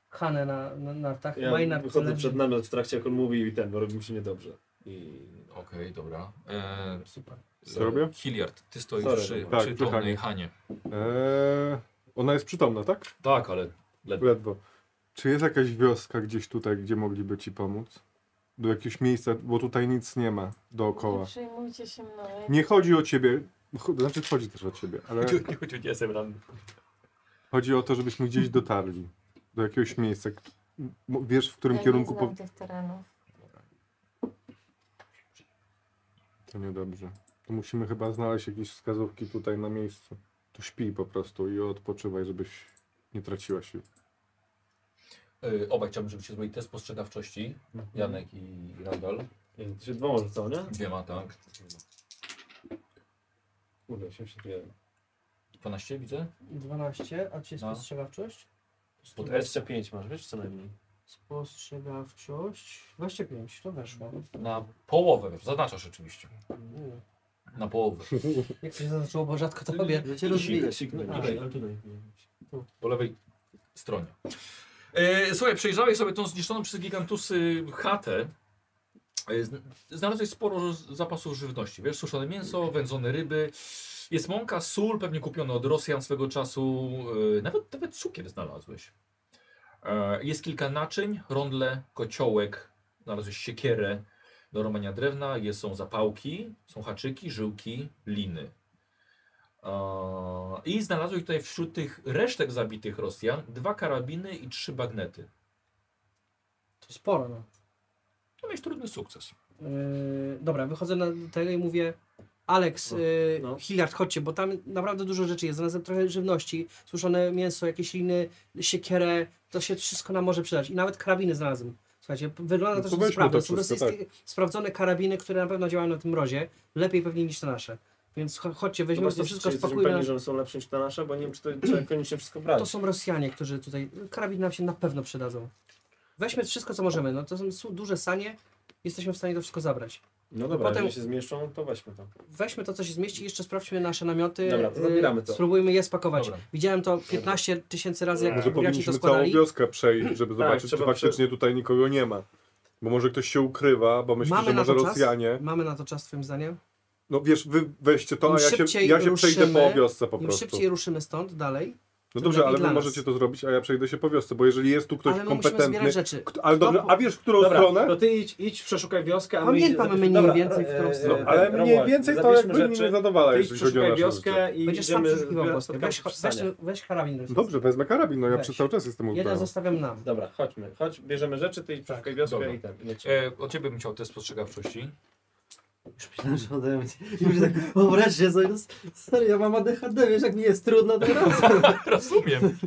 D: Hanę na, na nartach.
B: Ja
D: Majnar, co
B: wychodzę
D: leży-
B: przed namiot w trakcie, jak on mówi i ten, bo robi mi się niedobrze. I...
A: Okej, dobra. E,
D: Super.
F: Co robię?
A: Hilliard, ty stoisz
B: Sorry,
A: przy,
F: dobra.
A: przy
F: Tak, przy
A: tomnej
F: Hanie.
A: Hanie.
F: Eee, ona jest przytomna, tak?
A: Tak, ale ledwo.
F: Ledwo. Czy jest jakaś wioska gdzieś tutaj, gdzie mogliby ci pomóc? Do jakiegoś miejsca, bo tutaj nic nie ma
G: Nie
F: dookoła.
G: przejmujcie się mną. ja-
F: Nie chodzi o ciebie, cho- znaczy chodzi też o ciebie, ale
G: Znaczy-
A: Nie jestem ranny.
F: chodzi o to, żebyśmy gdzieś dotarli. Do jakiegoś miejsca. k- mo- Wiesz, w którym
G: ja
F: kierunku...
G: nie
F: Po...
G: znam tych terenów.
F: To niedobrze. To musimy chyba znaleźć jakieś wskazówki tutaj na miejscu. To śpij po prostu i odpoczywaj, żebyś nie traciła sił.
A: Y, Obaj chciałbym, żebyście zrobili test postrzegawczości. Janek i Randall.
B: I się dwoma rzucał, nie?
A: Dwiema, tak.
B: Kurde, 81.
A: 12 widzę?
D: 12, a czy jest
A: No.
D: spostrzegawczość?
A: Pod S
B: 25 masz, wiesz co najmniej.
D: Spostrzegawczość 25, to weszło.
A: na połowę. Zaznaczasz oczywiście.
D: Mm.
A: Na połowę.
D: Jak to się zaznaczyło, bo rzadko to robię.
E: Że cię rozwija.
A: A,
B: Tutaj, ale tutaj.
A: Po lewej stronie. E, słuchaj, przejrzałeś sobie tą zniszczoną przez gigantusy chatę. E, zn- Znalazłeś sporo z- zapasów żywności. Wiesz, suszone mięso, wędzone ryby. Jest mąka, sól, pewnie kupiony od Rosjan swego czasu. E, nawet, nawet cukier znalazłeś. E, jest kilka naczyń, rondle, kociołek. Znalazłeś siekierę do romania drewna. Jest, są zapałki, są haczyki, żyłki, liny. Eee, I znalazłeś tutaj wśród tych resztek zabitych Rosjan dwa karabiny i trzy bagnety.
D: To sporo, no.
A: To miałeś trudny sukces.
D: Yy, dobra, wychodzę na do tego i mówię Alex, yy,
B: No.
D: Hilliard, chodźcie, bo tam naprawdę dużo rzeczy jest. Znalazłem trochę żywności, suszone mięso, jakieś liny, siekierę. To się wszystko nam może przydać. I nawet karabiny znalazłem. Słuchajcie, wygląda to,
F: No to
D: że to
F: weźmy
D: sprawne.
F: to
D: Są
F: wszystko, tak.
D: rosyjskie sprawdzone karabiny, które na pewno działają na tym mrozie. Lepiej pewnie niż te nasze. Więc cho- chodźcie, weźmiemy to wszystko,
B: spokojnie.
D: spakujmy. na-
B: pewni, że one są lepsze niż te nasze, bo nie wiem, czy to trzeba koniecznie wszystko brać.
D: To są Rosjanie, którzy tutaj. Karabin nam się na pewno przydadzą. Weźmy wszystko, co możemy. No to są su- duże sanie. Jesteśmy w stanie to wszystko zabrać.
B: No dobra,
D: Potem-
B: jeżeli się zmieszczą, to weźmy to.
D: Weźmy to, co się zmieści, jeszcze sprawdźmy nasze namioty.
B: Dobra, to
D: y,
B: zabieramy to.
D: Spróbujmy je spakować.
A: Dobra.
D: Widziałem to 15 tysięcy razy, jak
F: Może
D: graci to Mm,
F: powinniśmy całą
D: składali.
F: wioskę przejść, żeby
B: Tak,
F: zobaczyć,
B: trzeba
F: czy faktycznie tutaj nikogo nie ma. Bo może ktoś się ukrywa, bo myśli,
D: Mamy
F: że
D: na
F: może
D: to czas?
F: Rosjanie.
D: Mamy na to czas, Twoim zdaniem?
F: No wiesz, wy weźcie to,
D: Im
F: a ja się,
D: szybciej
F: ja się przejdę
D: ruszymy,
F: po wiosce po
D: Im
F: prostu.
D: szybciej ruszymy stąd dalej,
F: No
D: tym
F: dobrze,
D: lepiej
F: ale wy
D: dla nas.
F: możecie to zrobić, a ja przejdę się po wiosce, bo jeżeli jest tu ktoś
D: ale my musimy
F: kompetentny...
D: zbierać rzeczy.
F: Kto- Ale dobrze, a wiesz w którą stronę?
B: to ty idź, idź, przeszukaj wioskę, a my
D: Pamiętamy
B: idziemy-
D: mniej
B: Dobra,
D: więcej, w którą
B: e,
D: stronę.
B: e,
F: No, Ale
B: ten,
F: mniej
B: Romuald,
F: więcej to jakby
B: zabierzmy
F: mnie nie zadowala,
B: Ty
F: jeżeli
B: idź,
F: chodzi o
B: przeszukaj
F: nasze życie.
B: wioskę i
D: Będziesz sam
B: idziemy...
D: przeszukiwał Polskę.
B: spotkamy
D: Weź,
B: się w
D: weź,
B: stanie.
D: weź karabin. rosyjski.
F: Dobrze, wezmę karabin, no ja
D: Weź.
F: przez cały czas jestem
D: Jeden
F: uzbrojony.
D: zostawiam nam.
B: Dobra, chodźmy, chodź, bierzemy rzeczy, ty idź, przeszukaj wioskę
A: dobra.
B: i ten. i lecimy.
A: E, od ciebie bym chciał test spostrzegawczości.
E: Już myślałem, że ode mnie. Już tak, o wreszcie, co jest? Sorry, ja mam ADHD, wiesz, jak mi jest trudno teraz.
A: Rozumiem.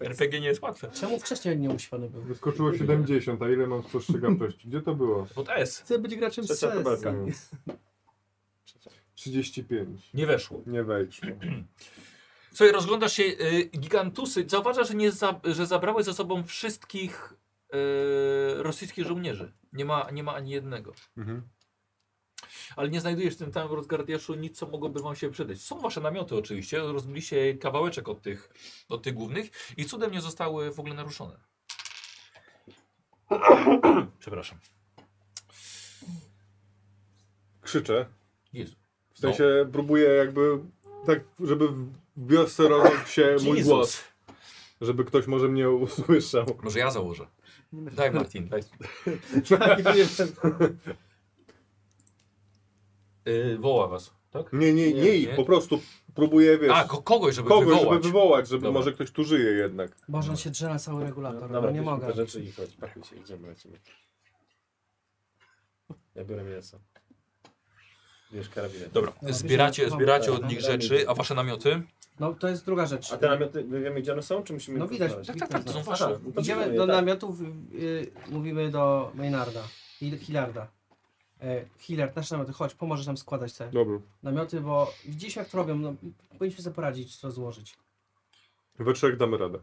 A: RPG nie jest łatwe.
D: Czemu wcześniej nie uświadomił?
F: Wyskoczyło 70, a ile mam spostrzegawczości? Gdzie to było?
A: Pod S.
D: Chcę być graczem z
B: Trzecia
D: CS.
B: tabelka.
A: Mm.
F: 35.
A: Nie weszło.
F: Nie wejdzie.
A: Słuchaj, rozglądasz się, y, gigantusy, zauważasz, że, nie za, że zabrały ze sobą wszystkich y, rosyjskich żołnierzy. Nie ma, nie ma ani jednego.
F: Mhm.
A: Ale nie znajdujesz w tym tam rozgardiaszu nic, co mogłoby wam się przydać. Są wasze namioty oczywiście, rozbiliście kawałeczek od tych, od tych głównych i cudem nie zostały w ogóle naruszone. Przepraszam.
F: Krzyczę.
A: Jezu.
F: W
A: No.
F: sensie próbuję jakby tak, żeby wioscerował się mój
A: Jezus.
F: głos. Żeby ktoś może mnie usłyszał.
A: No, Może ja założę. Daj Martin, daj.
F: Tak,
A: Y, woła was, tak?
F: Nie, nie, nie,
A: Nie,
F: ich,
A: nie.
F: po prostu próbuję, wiesz,
A: A, ko kogoś, żeby
F: kogoś,
A: wywołać.
F: żeby wywołać, żeby
A: Dobra.
F: może ktoś tu żyje jednak.
D: Boże, on się drze na cały regulator, no, nie
B: bierzmy
D: mogę.
B: Te rzeczy i chodź, pakuj się, idziemy, lecimy. Ja biorę mięso. Wiesz, karabinet.
A: Dobra,
D: No,
A: zbieracie,
D: bierzemy-
A: zbieracie
B: mamy,
A: od
B: tak,
A: nich
B: mamy
A: rzeczy,
B: namioty.
A: a wasze namioty?
D: No to jest druga rzecz.
B: A te namioty, my wiemy gdzie one są, czy musimy
D: No
B: ich
D: widać.
B: znaleźć?
A: Tak, tak, tak, to są
B: Aha,
A: wasze.
B: no to
D: Idziemy
B: bierzemy
D: do
B: je, tak.
D: namiotów, y, mówimy do Maynarda, Hil- Hillarda. Y, Hillard, nasze namioty, chodź, pomożesz nam składać te
F: Dobra.
D: namioty, bo widzieliśmy jak to robią, no, powinniśmy sobie poradzić, co złożyć.
F: We trzech damy radę.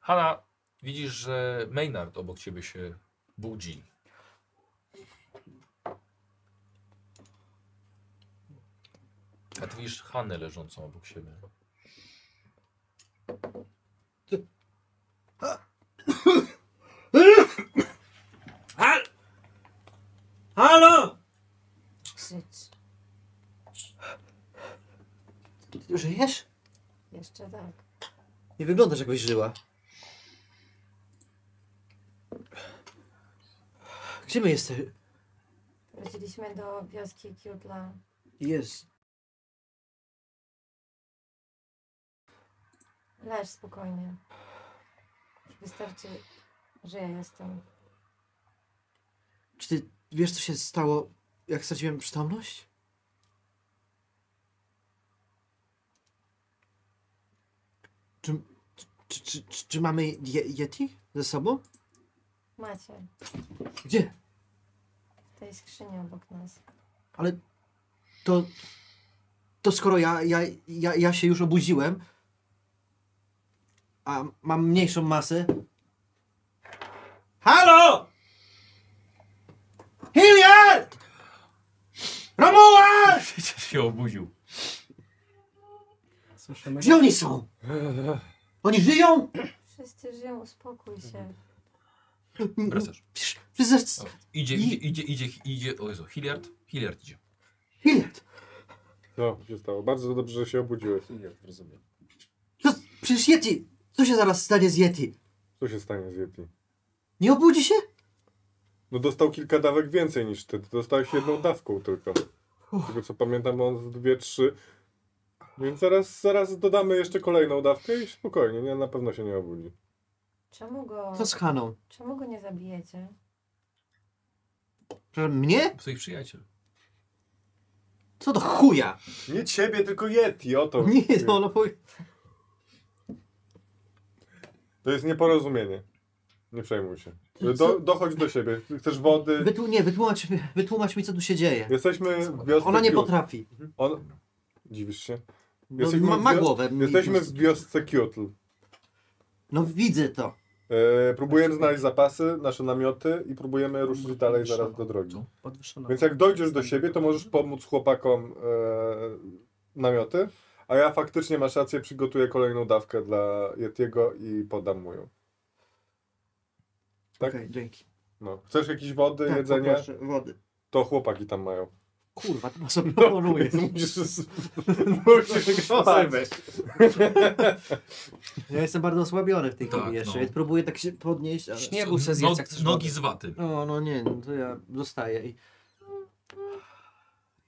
A: Hanna, widzisz, że Maynard obok ciebie się budzi. A ty widzisz Hannę leżącą obok siebie.
H: Hal! Halo!
G: Krzycz.
E: Ty żyjesz?
G: Jeszcze tak.
E: Nie wyglądasz jakbyś żyła. Gdzie my jesteśmy?
G: Wróciliśmy do wioski Kiutla.
E: Jest.
G: Leż spokojnie. Wystarczy, że ja jestem.
E: Czy ty wiesz, co się stało, jak straciłem przytomność? Czy, czy, czy, czy, czy mamy je, Yeti ze sobą?
G: Macie
E: Gdzie?
G: w tej skrzyni obok nas.
E: Ale to. To skoro ja, ja, ja, ja się już obudziłem, a mam mniejszą masę.
H: Halo!
E: Hilliard! Romuald!
A: się obudził.
D: Słyszymy?
E: Gdzie oni są? Oni żyją?
G: Wszyscy żyją, uspokój się.
A: Wracasz.
E: Przecież- przecież-
A: Dobra. Idzie, idzie, idzie, idzie, idzie, o Jezu, Hilliard, Hilliard idzie.
E: Hilliard!
F: No, się stało. Bardzo dobrze, że się obudziłeś.
B: Nie, rozumiem.
E: To, przecież Yeti! Co się zaraz stanie z Yeti?
F: Co się stanie z Yeti?
E: Nie obudzi się?
F: No dostał kilka dawek więcej niż ty. Ty dostałeś jedną dawką tylko. Z tego co pamiętam, on z dwie, trzy. Więc zaraz, zaraz dodamy jeszcze kolejną dawkę i spokojnie, nie, na pewno się nie obudzi.
G: Czemu go,
E: Co z Haną?
G: czemu go nie zabijecie?
E: Przepraszam, Mnie?
A: Twoich przyjaciel.
E: Co do chuja?
F: Nie ciebie, tylko Yeti, o to.
E: Nie, no ono powie...
F: To jest nieporozumienie. Nie przejmuj się.
E: Co?
F: Do, dochodź do siebie. Chcesz wody?
E: Wytłu... Nie, wytłumacz, mi- wytłumacz mi, co tu się dzieje.
F: Jesteśmy w wiosce
E: Ona nie
F: Kiut.
E: potrafi.
F: On... Dziwisz się?
E: No,
F: Jesteśmy
E: ma,
F: w
E: ma
F: wio-
E: głowę.
F: Jesteśmy w wiosce Kiotl.
E: No widzę to.
F: E, próbujemy znaleźć zapasy, nasze namioty i próbujemy ruszyć dalej zaraz do drogi.
D: Podwyższona.
F: No. Więc jak dojdziesz do siebie, to możesz pomóc chłopakom e, namioty, a ja faktycznie, masz rację, przygotuję kolejną dawkę dla Yetiego i podam mu ją. Tak?
E: Okej, dzięki.
F: No. Chcesz jakieś wody,
E: Tak,
F: jedzenie?
E: poproszę, wody.
F: To chłopaki tam mają.
E: Kurwa, to sobie połoruję.
F: No, Musisz, musisz spać.
E: Ja jestem bardzo osłabiony w tej
A: Tak,
E: chwili jeszcze,
A: no.
E: więc próbuję tak się podnieść, ale...
D: Śnie- Nie bój się zjeść,
A: No-
D: jak chcesz
A: Nogi
D: wody.
A: z waty.
E: No, no nie, no to ja zostaję i...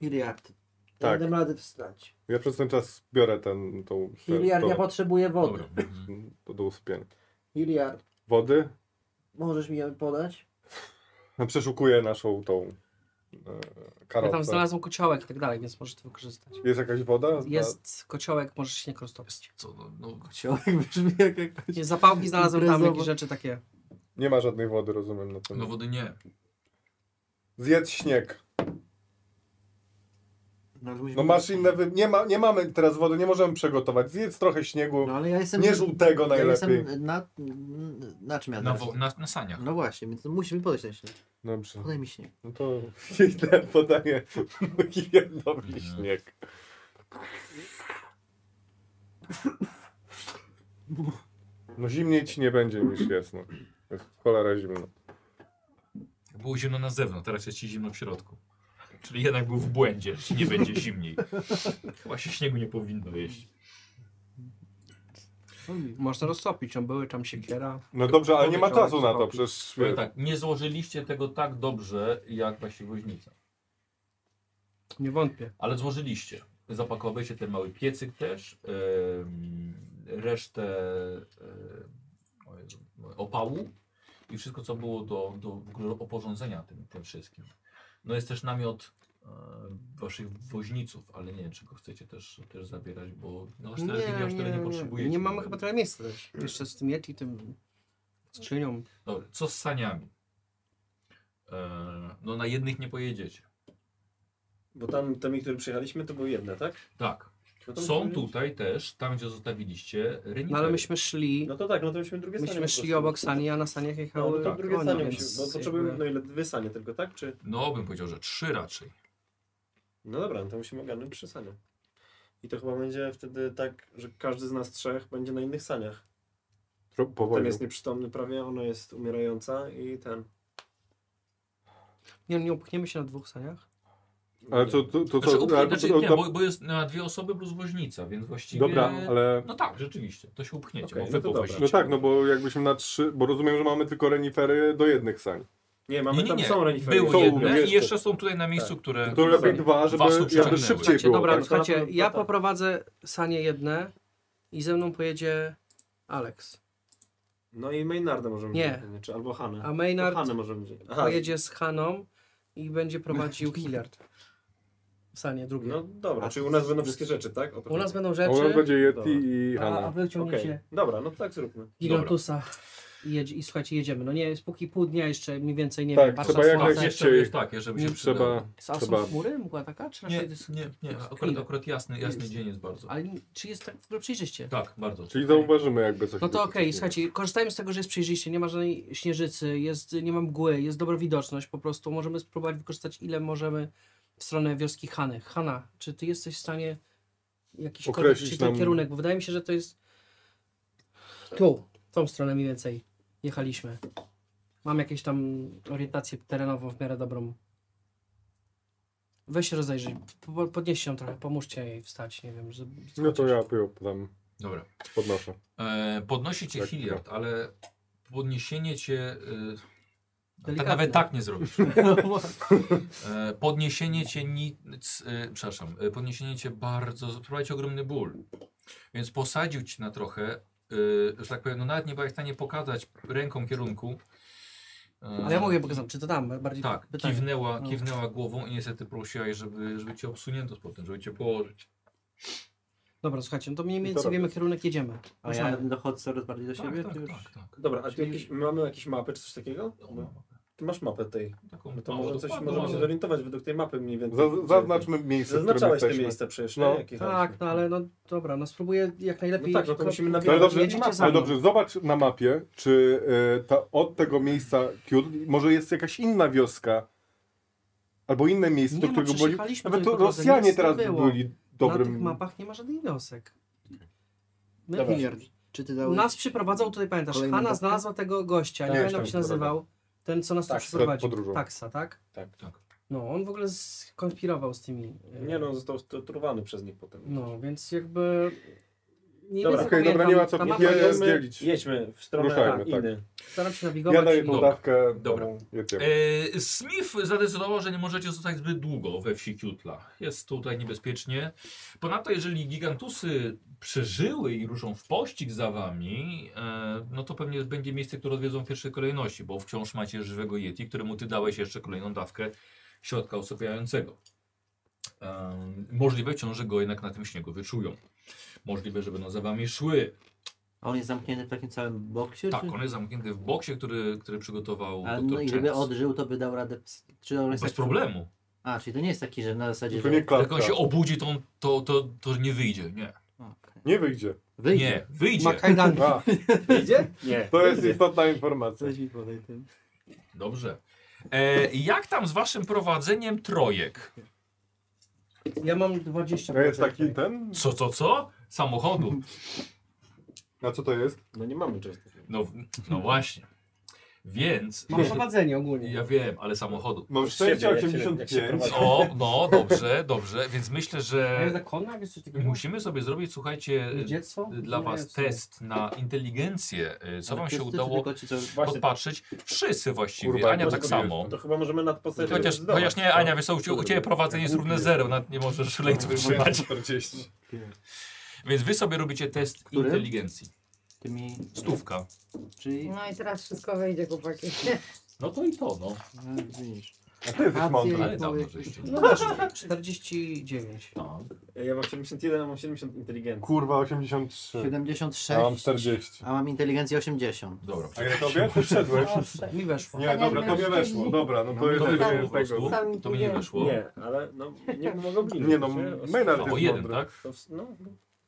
E: Hilliard.
F: Tak.
E: Tak. Dam radę wstać.
F: Ja przez ten czas biorę ten, tą...
E: Hilliard,
F: tą-
E: ja potrzebuję wody.
A: Dobra. mhm.
F: do, do usypiania.
E: Hilliard,
F: Wody?
E: możesz mi ją podać?
F: Przeszukuję naszą tą e, karotce.
D: Ja tam znalazłem kociołek i tak dalej, więc możesz to wykorzystać.
F: Jest jakaś woda? Zna-
D: Jest kociołek, możesz się nie
A: Jest
D: korzystać.
A: co, no, no,
E: Kociołek brzmi jak jakaś...
D: Nie, Zapałki znalazłem tam,
E: Imprezowo.
D: jakieś rzeczy takie.
F: Nie ma żadnej wody, rozumiem. Na tym.
A: no wody nie.
F: Zjedz śnieg.
E: No, ale musimy-
F: No masz inne... Wy... Nie, ma, nie mamy teraz wody, nie możemy przygotować. Zjedz trochę śniegu.
E: No ale ja jestem...
F: Nie żółtego
E: ja
F: najlepiej.
E: jestem na, na czym ja
A: Na,
E: teraz?
A: wo- na, na saniach.
E: No właśnie, więc musimy podejść na śnieg.
F: Dobrze.
E: Podaj mi śnieg.
F: No to idę podaję Giliandowi
A: Mhm.
F: śnieg. No zimniej ci nie będzie niż jest. No. Jest cholera zimno.
A: Było zimno na zewnątrz, teraz jest ci zimno w środku. Czyli jednak był w błędzie, czy nie będzie zimniej. Chyba się śniegu nie powinno jeść.
D: Można roztopić, tam były, tam siekiera.
F: No dobrze, ale nie ma czasu na to, przecież...
A: Powiem tak, nie złożyliście tego tak dobrze, jak właśnie woźnica.
D: Nie wątpię.
A: Ale złożyliście. Zapakowaliście ten mały piecyk też, em, resztę em, o Jezu, opału i wszystko, co było do, do w ogóle oporządzenia tym, tym wszystkim. No jest też namiot e, waszych woźniców, ale nie wiem, czy go chcecie też, też zabierać, bo no, aż tyle, nie, aż tyle nie, potrzebujecie.
D: nie mamy chyba tyle miejsca też. Jeszcze z tym Yeti, tym skrzynią.
A: Dobra, co z saniami? E, no na jednych nie pojedziecie.
B: Bo tam, tam, którym przyjechaliśmy, to były jedne, tak?
A: Tak.
B: No to
A: Są
B: myśmy-
A: tutaj też, tam gdzie zostawiliście renifery.
D: No ale myśmy szli,
B: No to tak, no to myśmy drugie sanie.
D: myśmy
B: po
D: szli
B: prostu.
D: obok sani, a na saniach
B: No,
D: jechały
B: no to
D: no,
B: drugie sanie
D: więc
B: musimy, bo
D: jakby-
B: potrzebujemy, no ile dwie sanie tylko, tak? Czy...
A: No bym powiedział, że trzy raczej.
B: No dobra, no to musimy ogarnąć trzy sanie. I to chyba będzie wtedy tak, że każdy z nas trzech będzie na innych saniach. Ten
F: Powoli.
B: jest nieprzytomny prawie, ona jest umierająca i ten...
D: Nie, nie upchniemy się na dwóch saniach?
F: Ale to, to, to
A: Znaczy,
F: co...
A: upchnie,
F: ale to-
A: znaczy,
F: to-
A: nie,
F: to-
A: bo, bo jest na dwie osoby plus woźnica, więc właściwie...
F: Dobra, ale...
A: No tak, rzeczywiście, to się upchniecie,
B: Okej,
A: bo wy
B: no to dobra.
A: powozicie.
F: No tak, no bo jakbyśmy na trzy... Bo rozumiem, że mamy tylko renifery do jednych sań.
B: Nie, mamy
A: nie, nie,
B: tam
A: nie.
B: są Tak. renifery.
A: Były
F: Są,
A: jedne
F: jeszcze.
A: i jeszcze są tutaj na miejscu, które...
F: To lepiej
B: Dobra.
F: dwa, żeby,
A: Dwa są
F: jakby
A: przeciągnęły.
F: szybciej
D: Słuchajcie,
F: było.
D: dobra,
F: tak?
D: słuchajcie,
B: To na pewno-
D: ja
B: to tak.
D: poprowadzę sanie jedne i ze mną pojedzie Alex.
B: No i Maynarda możemy
D: Nie.
B: wziąć, Czy albo Hanę.
D: A
B: To
D: Maynard
B: Hanę możemy wziąć. Aha,
D: pojedzie z Haną i będzie prowadził Hillard. Sanie drugie.
B: No dobra,
D: A
B: czyli
D: to-
B: u nas będą wszystkie rzeczy, tak? O to
D: U nas
B: chodzi.
D: będą
F: A U nas
D: rzeczy,
F: będzie Yeti
B: Dobra.
F: i
D: a, a
F: Hanna.
D: wy
B: Okej,
D: ciągniecie
B: dobra, no to tak zróbmy.
D: Gigantusa. I, jedzie, I słuchajcie, jedziemy. No nie, spóki pół dnia jeszcze mniej więcej, nie
F: Tak,
D: wiem,
F: trzeba
D: na
F: jak
A: Tak,
D: słońce.
F: najszybciej.
A: jeszcze jest takie, żeby się przydało.
F: Trzeba...
D: Są- są
F: trzeba-
D: chmury, mgła taka, czy
A: Nie,
D: raczej jest...
A: nie, nie, akurat,
D: chwilę.
A: akurat jasny, jasny
D: Jest.
A: dzień jest bardzo.
D: Ale czy jest tak w ogóle przejrzyście?
A: Tak, bardzo.
F: Czyli zauważymy jakby coś.
D: No to
F: takiego.
D: okej, słuchajcie, korzystajmy z tego, że jest przejrzyście, nie ma żadnej śnieżycy, jest, nie ma mgły, jest dobra widoczność, po prostu możemy spróbować wykorzystać ile możemy w stronę wioski Hany. Hanna, czy ty jesteś w stanie jakiś
F: Określić
D: czy ten
F: nam-
D: kierunek, bo wydaje mi się, że to jest tu, w tą stronę mniej więcej jechaliśmy. Mam jakieś tam orientację terenową w miarę dobrą. Weź się rozejrzyj, po- podnieście ją trochę, pomóżcie jej wstać, nie wiem. Żeby
F: No to ja ją tam
A: Dobra.
F: podnoszę.
A: E, podnosi cię
F: Tak,
A: Hilliard, ale podniesienie cię... E, tak
D: Delikatnie.
A: nawet tak nie zrobisz. E, podniesienie cię nic, e, przepraszam, e, podniesienie cię bardzo, sprawia ci ogromny ból. Więc posadził cię na trochę, e, że tak powiem, no nawet nie byłeś w stanie pokazać ręką kierunku. E,
D: Ale ja mogę pokazać, czy to dam, bardziej
A: Tak,
D: pytanie.
A: kiwnęła,
D: No.
A: kiwnęła głową i niestety prosiłaś, żeby, żeby cię obsunięto potem, żeby cię położyć.
D: Dobra, słuchajcie, no to mniej
F: to
D: więcej
F: robię.
D: wiemy kierunek jedziemy.
E: A ja dochodzę coraz bardziej do siebie.
A: tak,
E: to już-
A: tak, tak.
B: Dobra, a tu jakieś, mamy jakieś mapy czy coś takiego?
A: No,
B: Ty masz mapę tej.
A: taką
B: No to
A: mało
B: może coś
A: dokładną,
B: możemy się
A: ale-
B: zorientować według tej mapy mniej więcej.
F: Za- Zaznaczmy miejsce, w którym
B: Zaznaczałeś te
F: jesteśmy.
B: miejsca przecież,
F: No.
B: nie? Jakie
D: Tak,
B: chodzi.
D: no ale no dobra, no spróbuję jak najlepiej.
B: No tak, no to musimy
D: Tylko-
B: na-
F: Ale dobrze,
D: Jedziecie za
F: ale
D: mną.
F: dobrze, zobacz na mapie, czy e, ta, od tego miejsca Kiut, może jest jakaś inna wioska, albo inne miejsce,
D: Nie
F: do
D: no,
F: którego byli.
D: przejechaliśmy
F: Nawet
D: tutaj
F: to
D: po drodze,
F: Rosjanie
D: nic
F: teraz
D: nie
F: by
D: było.
F: byli
D: Na tych
F: dobrym.
D: mapach nie ma żadnych wiosek. My
B: Dobra.
E: Hilliard, tak. czy ty dałeś...
D: Nas przyprowadzał tutaj, pamiętasz,
E: Kolejną
D: Hanna
E: babkę?
D: znalazła tego gościa, nie
F: Tak,
D: pamiętam
F: tak,
D: jak się nazywał, ten co nas tu
B: Tak,
D: przyprowadził,
F: przed podróżą.
D: Taksa, tak?
B: Tak,
A: tak.
D: No, on w ogóle skonspirował z tymi... e,
B: Nie no, został torturowany przez nich potem.
D: No, więc jakby... Nie
B: Dobra,
D: wiem,
F: okej, dobra, nie ma co-
D: Tam
F: nie-
D: jest...
F: rozdzielić.
B: jedźmy w stronę
F: Ruszajmy, tak.
B: Iny.
D: Staram się
F: Ja
D: nawigować. No,
F: daję tą
A: Dobra.
F: dawkę.
A: Dobra.
F: tą- jedziemy.
A: E, Smith zadecydował, że nie możecie zostać zbyt długo we wsi Kiutla. Jest tutaj niebezpiecznie. Ponadto, jeżeli gigantusy przeżyły i ruszą w pościg za wami, e, no to pewnie będzie miejsce, które odwiedzą w pierwszej kolejności, bo wciąż macie żywego Yeti, któremu ty dałeś jeszcze kolejną dawkę środka osobiającego. Em, możliwe ciąże go jednak na tym śniegu wyczują. Możliwe, że będą za wami szły.
E: A on jest zamknięty w takim całym boksie?
A: Tak,
E: czy...
A: on jest zamknięty w boksie, który, który przygotował
E: Ale
A: doktor
E: no i żeby
A: Chance.
E: odżył, to by dał radę. ps- Czy on jest
A: Bez
E: taki-
A: problemu.
E: A, czyli to nie jest taki, że na zasadzie.
F: Tylko
E: że...
F: nie
A: Jak
F: klatka.
A: on się obudzi, to, on, to, to, to nie wyjdzie. Nie,
E: Okej.
F: Nie wyjdzie.
E: Wyjdzie.
A: nie wyjdzie.
D: Ma kajdanki.
F: A,
B: Idzie? Nie.
F: tak. to jest istotna informacja.
E: Coś mi podaj tym.
A: Dobrze. E, jak tam z waszym prowadzeniem trojek?
D: Ja mam 20
F: To jest taki ten?
A: Co, co, co? Samochodu.
F: A co to jest?
B: No nie mamy czegoś takiego.
A: No, no właśnie. Więc.
D: Mam prowadzenie ogólnie.
A: Ja wiem, ale samochodu.
F: Mam
B: Z siebie,
F: szczęście
B: jak się- jak się
F: 85.
B: prowadzi.
A: O, no dobrze, dobrze. Więc myślę,
D: A jest
A: że
D: zakonna? Jest coś takiego?
A: musimy sobie zrobić, słuchajcie,
D: Dziecko?
A: y, dla
D: Nie,
A: was
D: jest to-
A: test na inteligencję. E, Co
E: Ale
A: wam się
E: wszyscy, czy
A: udało
E: tylko ci, co-
B: Właśnie,
A: podpatrzeć? Wszyscy właściwie.
F: Kurwa,
A: Ania
F: to
A: tak
F: jest-
A: samo.
B: to chyba możemy nad postacią
A: Chociaż,
B: zdobyć,
A: chociaż
F: tak.
A: nie,
B: co?
A: Ania, wiesz co, u, u ciebie prowadzenie jest równe zero, nawet nie możesz lejcu wytrzymać.
F: 40.
A: Więc wy sobie robicie test
E: Który?
A: inteligencji.
E: Tymi...
A: Stówka.
E: Czyli...
G: No i teraz wszystko wyjdzie, chłopaki.
A: No to i to, no.
E: No, widzisz.
F: A ty jesteś
E: Rację.
F: mądry.
A: Ale dawno żeście.
D: No masz 49.
A: No.
B: Ja mam 71, a mam 70 inteligencji.
F: Kurwa, 83.
E: 76.
F: A mam 40.
E: A mam inteligencję 80.
A: Dobra.
F: A ja tobie? Ty wszedłeś.
D: Mi weszło.
F: Nie, dobra, tobie weszło. Dobra, no to
A: To
F: jest
A: mi
F: jeden
A: po
F: z tego.
A: prostu.
G: Sam
A: To mi nie
G: wiem.
A: weszło.
B: Nie, ale no nie mogą bliżej.
F: Nie no, Maynard
A: O
F: jest
A: jeden,
F: mądry.
A: tak?
B: To w- No,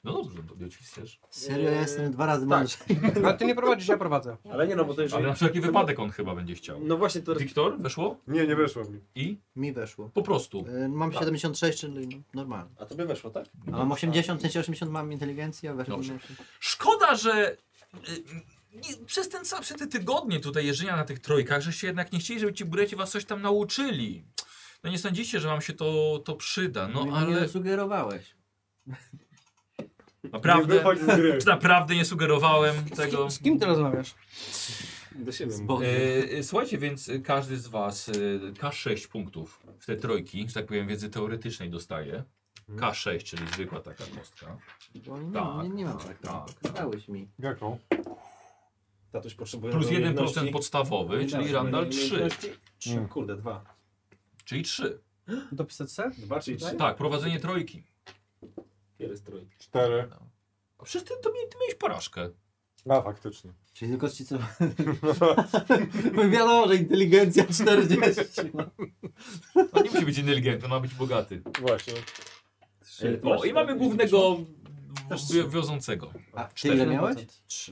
A: No dobrze, to ci chcesz.
E: Serio, ja jestem dwa razy
B: tak.
E: mądrzej.
D: Ale ty nie prowadzisz, ja prowadzę.
B: ale nie no, bo to jeżeli...
A: Ale na wszelki wypadek on chyba będzie chciał.
B: No właśnie, to
A: Wiktor, weszło?
F: Nie, nie weszło mi.
A: I?
E: Mi weszło.
A: Po prostu.
E: E, Mam
B: Tak.
E: 76, czyli no, normalnie.
B: A tobie weszło, tak?
E: A mam 80, w sensie 80 mam inteligencję, a weszło mi
A: Dobrze.
E: 80.
A: Szkoda, że y, nie, przez ten sam, przez te tygodnie tutaj jeżdżenia na tych trojkach, że się jednak nie chcieli, żeby ci bureci was coś tam nauczyli. No nie sądzicie, że wam się to, to przyda, no
E: Mi
A: ale
E: Nie sugerowałeś.
F: Nie
A: naprawdę,
F: wychodź z gry.
A: czy naprawdę nie sugerowałem
D: Z
A: tego.
D: kim, z kim ty rozmawiasz?
B: Do siebie.
E: Z Bogiem.
A: E, e, słuchajcie, więc e, każdy z was e, K6 punktów w te trojki, że tak powiem, wiedzy teoretycznej dostaje.
E: Mhm.
A: K6, czyli zwykła taka kostka.
E: Bo nie,
A: Tak,
E: nie, nie mam
A: tak,
E: tak,
A: tak.
E: Dałeś mi.
F: Jaką?
B: Tatuś potrzebuje
A: Plus
B: umiejętności.
A: 1% podstawowy, czyli
E: tak,
B: Umiejętności,
A: Randall 3,
B: umiejętności. Trzy, Mm. Kurde, dwa.
A: czyli 3.
D: Do pisace?
B: Dwa czyli trzy?
A: Tak, prowadzenie trojki.
B: Wiele strój.
F: Cztery.
A: A przecież ty, to mi- ty miałeś porażkę.
F: A, faktycznie.
E: Czyli tylko ci co... Bo wiadomo, że inteligencja 40. No.
A: On nie musi być inteligentny, ma być bogaty.
F: Właśnie.
A: O, i mamy głównego wi- wiedzącego.
E: A ty
A: Cztery.
E: ile miałeś?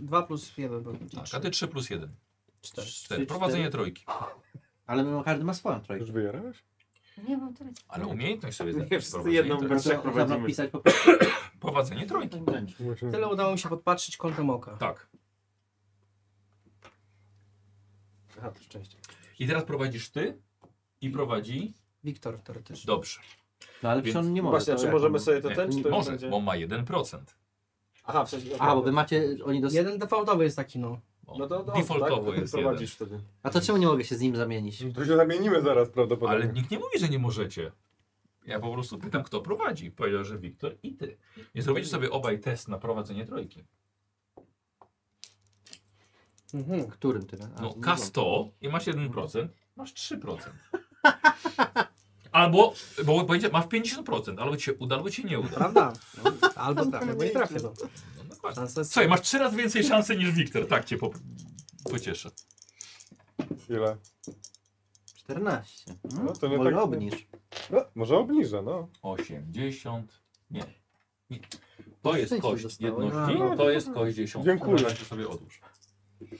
D: 2 plus 1 był.
A: Tak, a ty 3 plus 1. 4.
E: Trzy,
A: Prowadzenie
E: cztery.
A: trojki.
E: Ale my każdy ma swoją
F: Już
E: trójkę.
F: wyjarałeś?
G: Nie mam teraz.
A: Ale umiejętność sobie
B: Nie,
A: znaczy.
B: wszyscy
A: Prowadzenie
B: jedną
A: trojki.
B: bez- trzech
E: Trzeba
B: prowadzimy.
E: pisać po prostu.
A: Prowadzenie trojki.
F: Musimy-
D: Tyle udało mi się podpatrzyć kątem oka.
A: Tak.
B: Aha, to szczęście.
A: I teraz prowadzisz ty i prowadzi.
D: Wiktor teoretycznie.
A: Dobrze.
E: No ale przecież on nie może.
B: Właśnie,
E: to
B: czy
E: jak
B: możemy
E: on-
B: sobie to
A: Nie,
B: ten, czy to już
A: Może,
B: będzie?
A: bo ma 1%.
B: Aha, w sensie...
E: A, bo wy macie, oni dos...
D: Jeden defaultowy jest taki no.
A: Bo
B: No to, to
A: defaultowo
B: tak?
A: jest
B: Prowadzisz wtedy.
E: A to czemu nie mogę się z nim zamienić?
F: No To się zamienimy zaraz
A: jeden. Ale
F: prawdopodobnie.
A: nikt nie mówi, że nie możecie. Ja po prostu pytam, kto prowadzi. Powiedział, że Wiktor i ty. Więc robicie sobie obaj test na prowadzenie trojki.
D: Mhm.
E: Którym tyle? A,
A: No,
E: nie
A: K100 i masz 1%, masz 3%. Albo, bo będzie, masz 50%, albo ci się uda, albo ci nie uda.
D: Prawda?
E: No,
D: Albo trafię, bo nie trafię. No.
A: No, dokładnie.
D: Szansa jest...
A: Słuchaj, masz 3 razy więcej szansy niż Wiktor, tak cię po, pocieszę.
F: Ile?
E: wiem. 14.
F: No, to nie
E: Może
F: tak-
E: obniż.
F: Może obniżę, no.
A: 80, nie. nie. To jest
E: Szczęście
A: kość
E: dostałem.
A: jedności,
F: No, no,
A: to jest kość No, dziesiątka.
F: Dziękuję.
A: Weź sobie odłóż.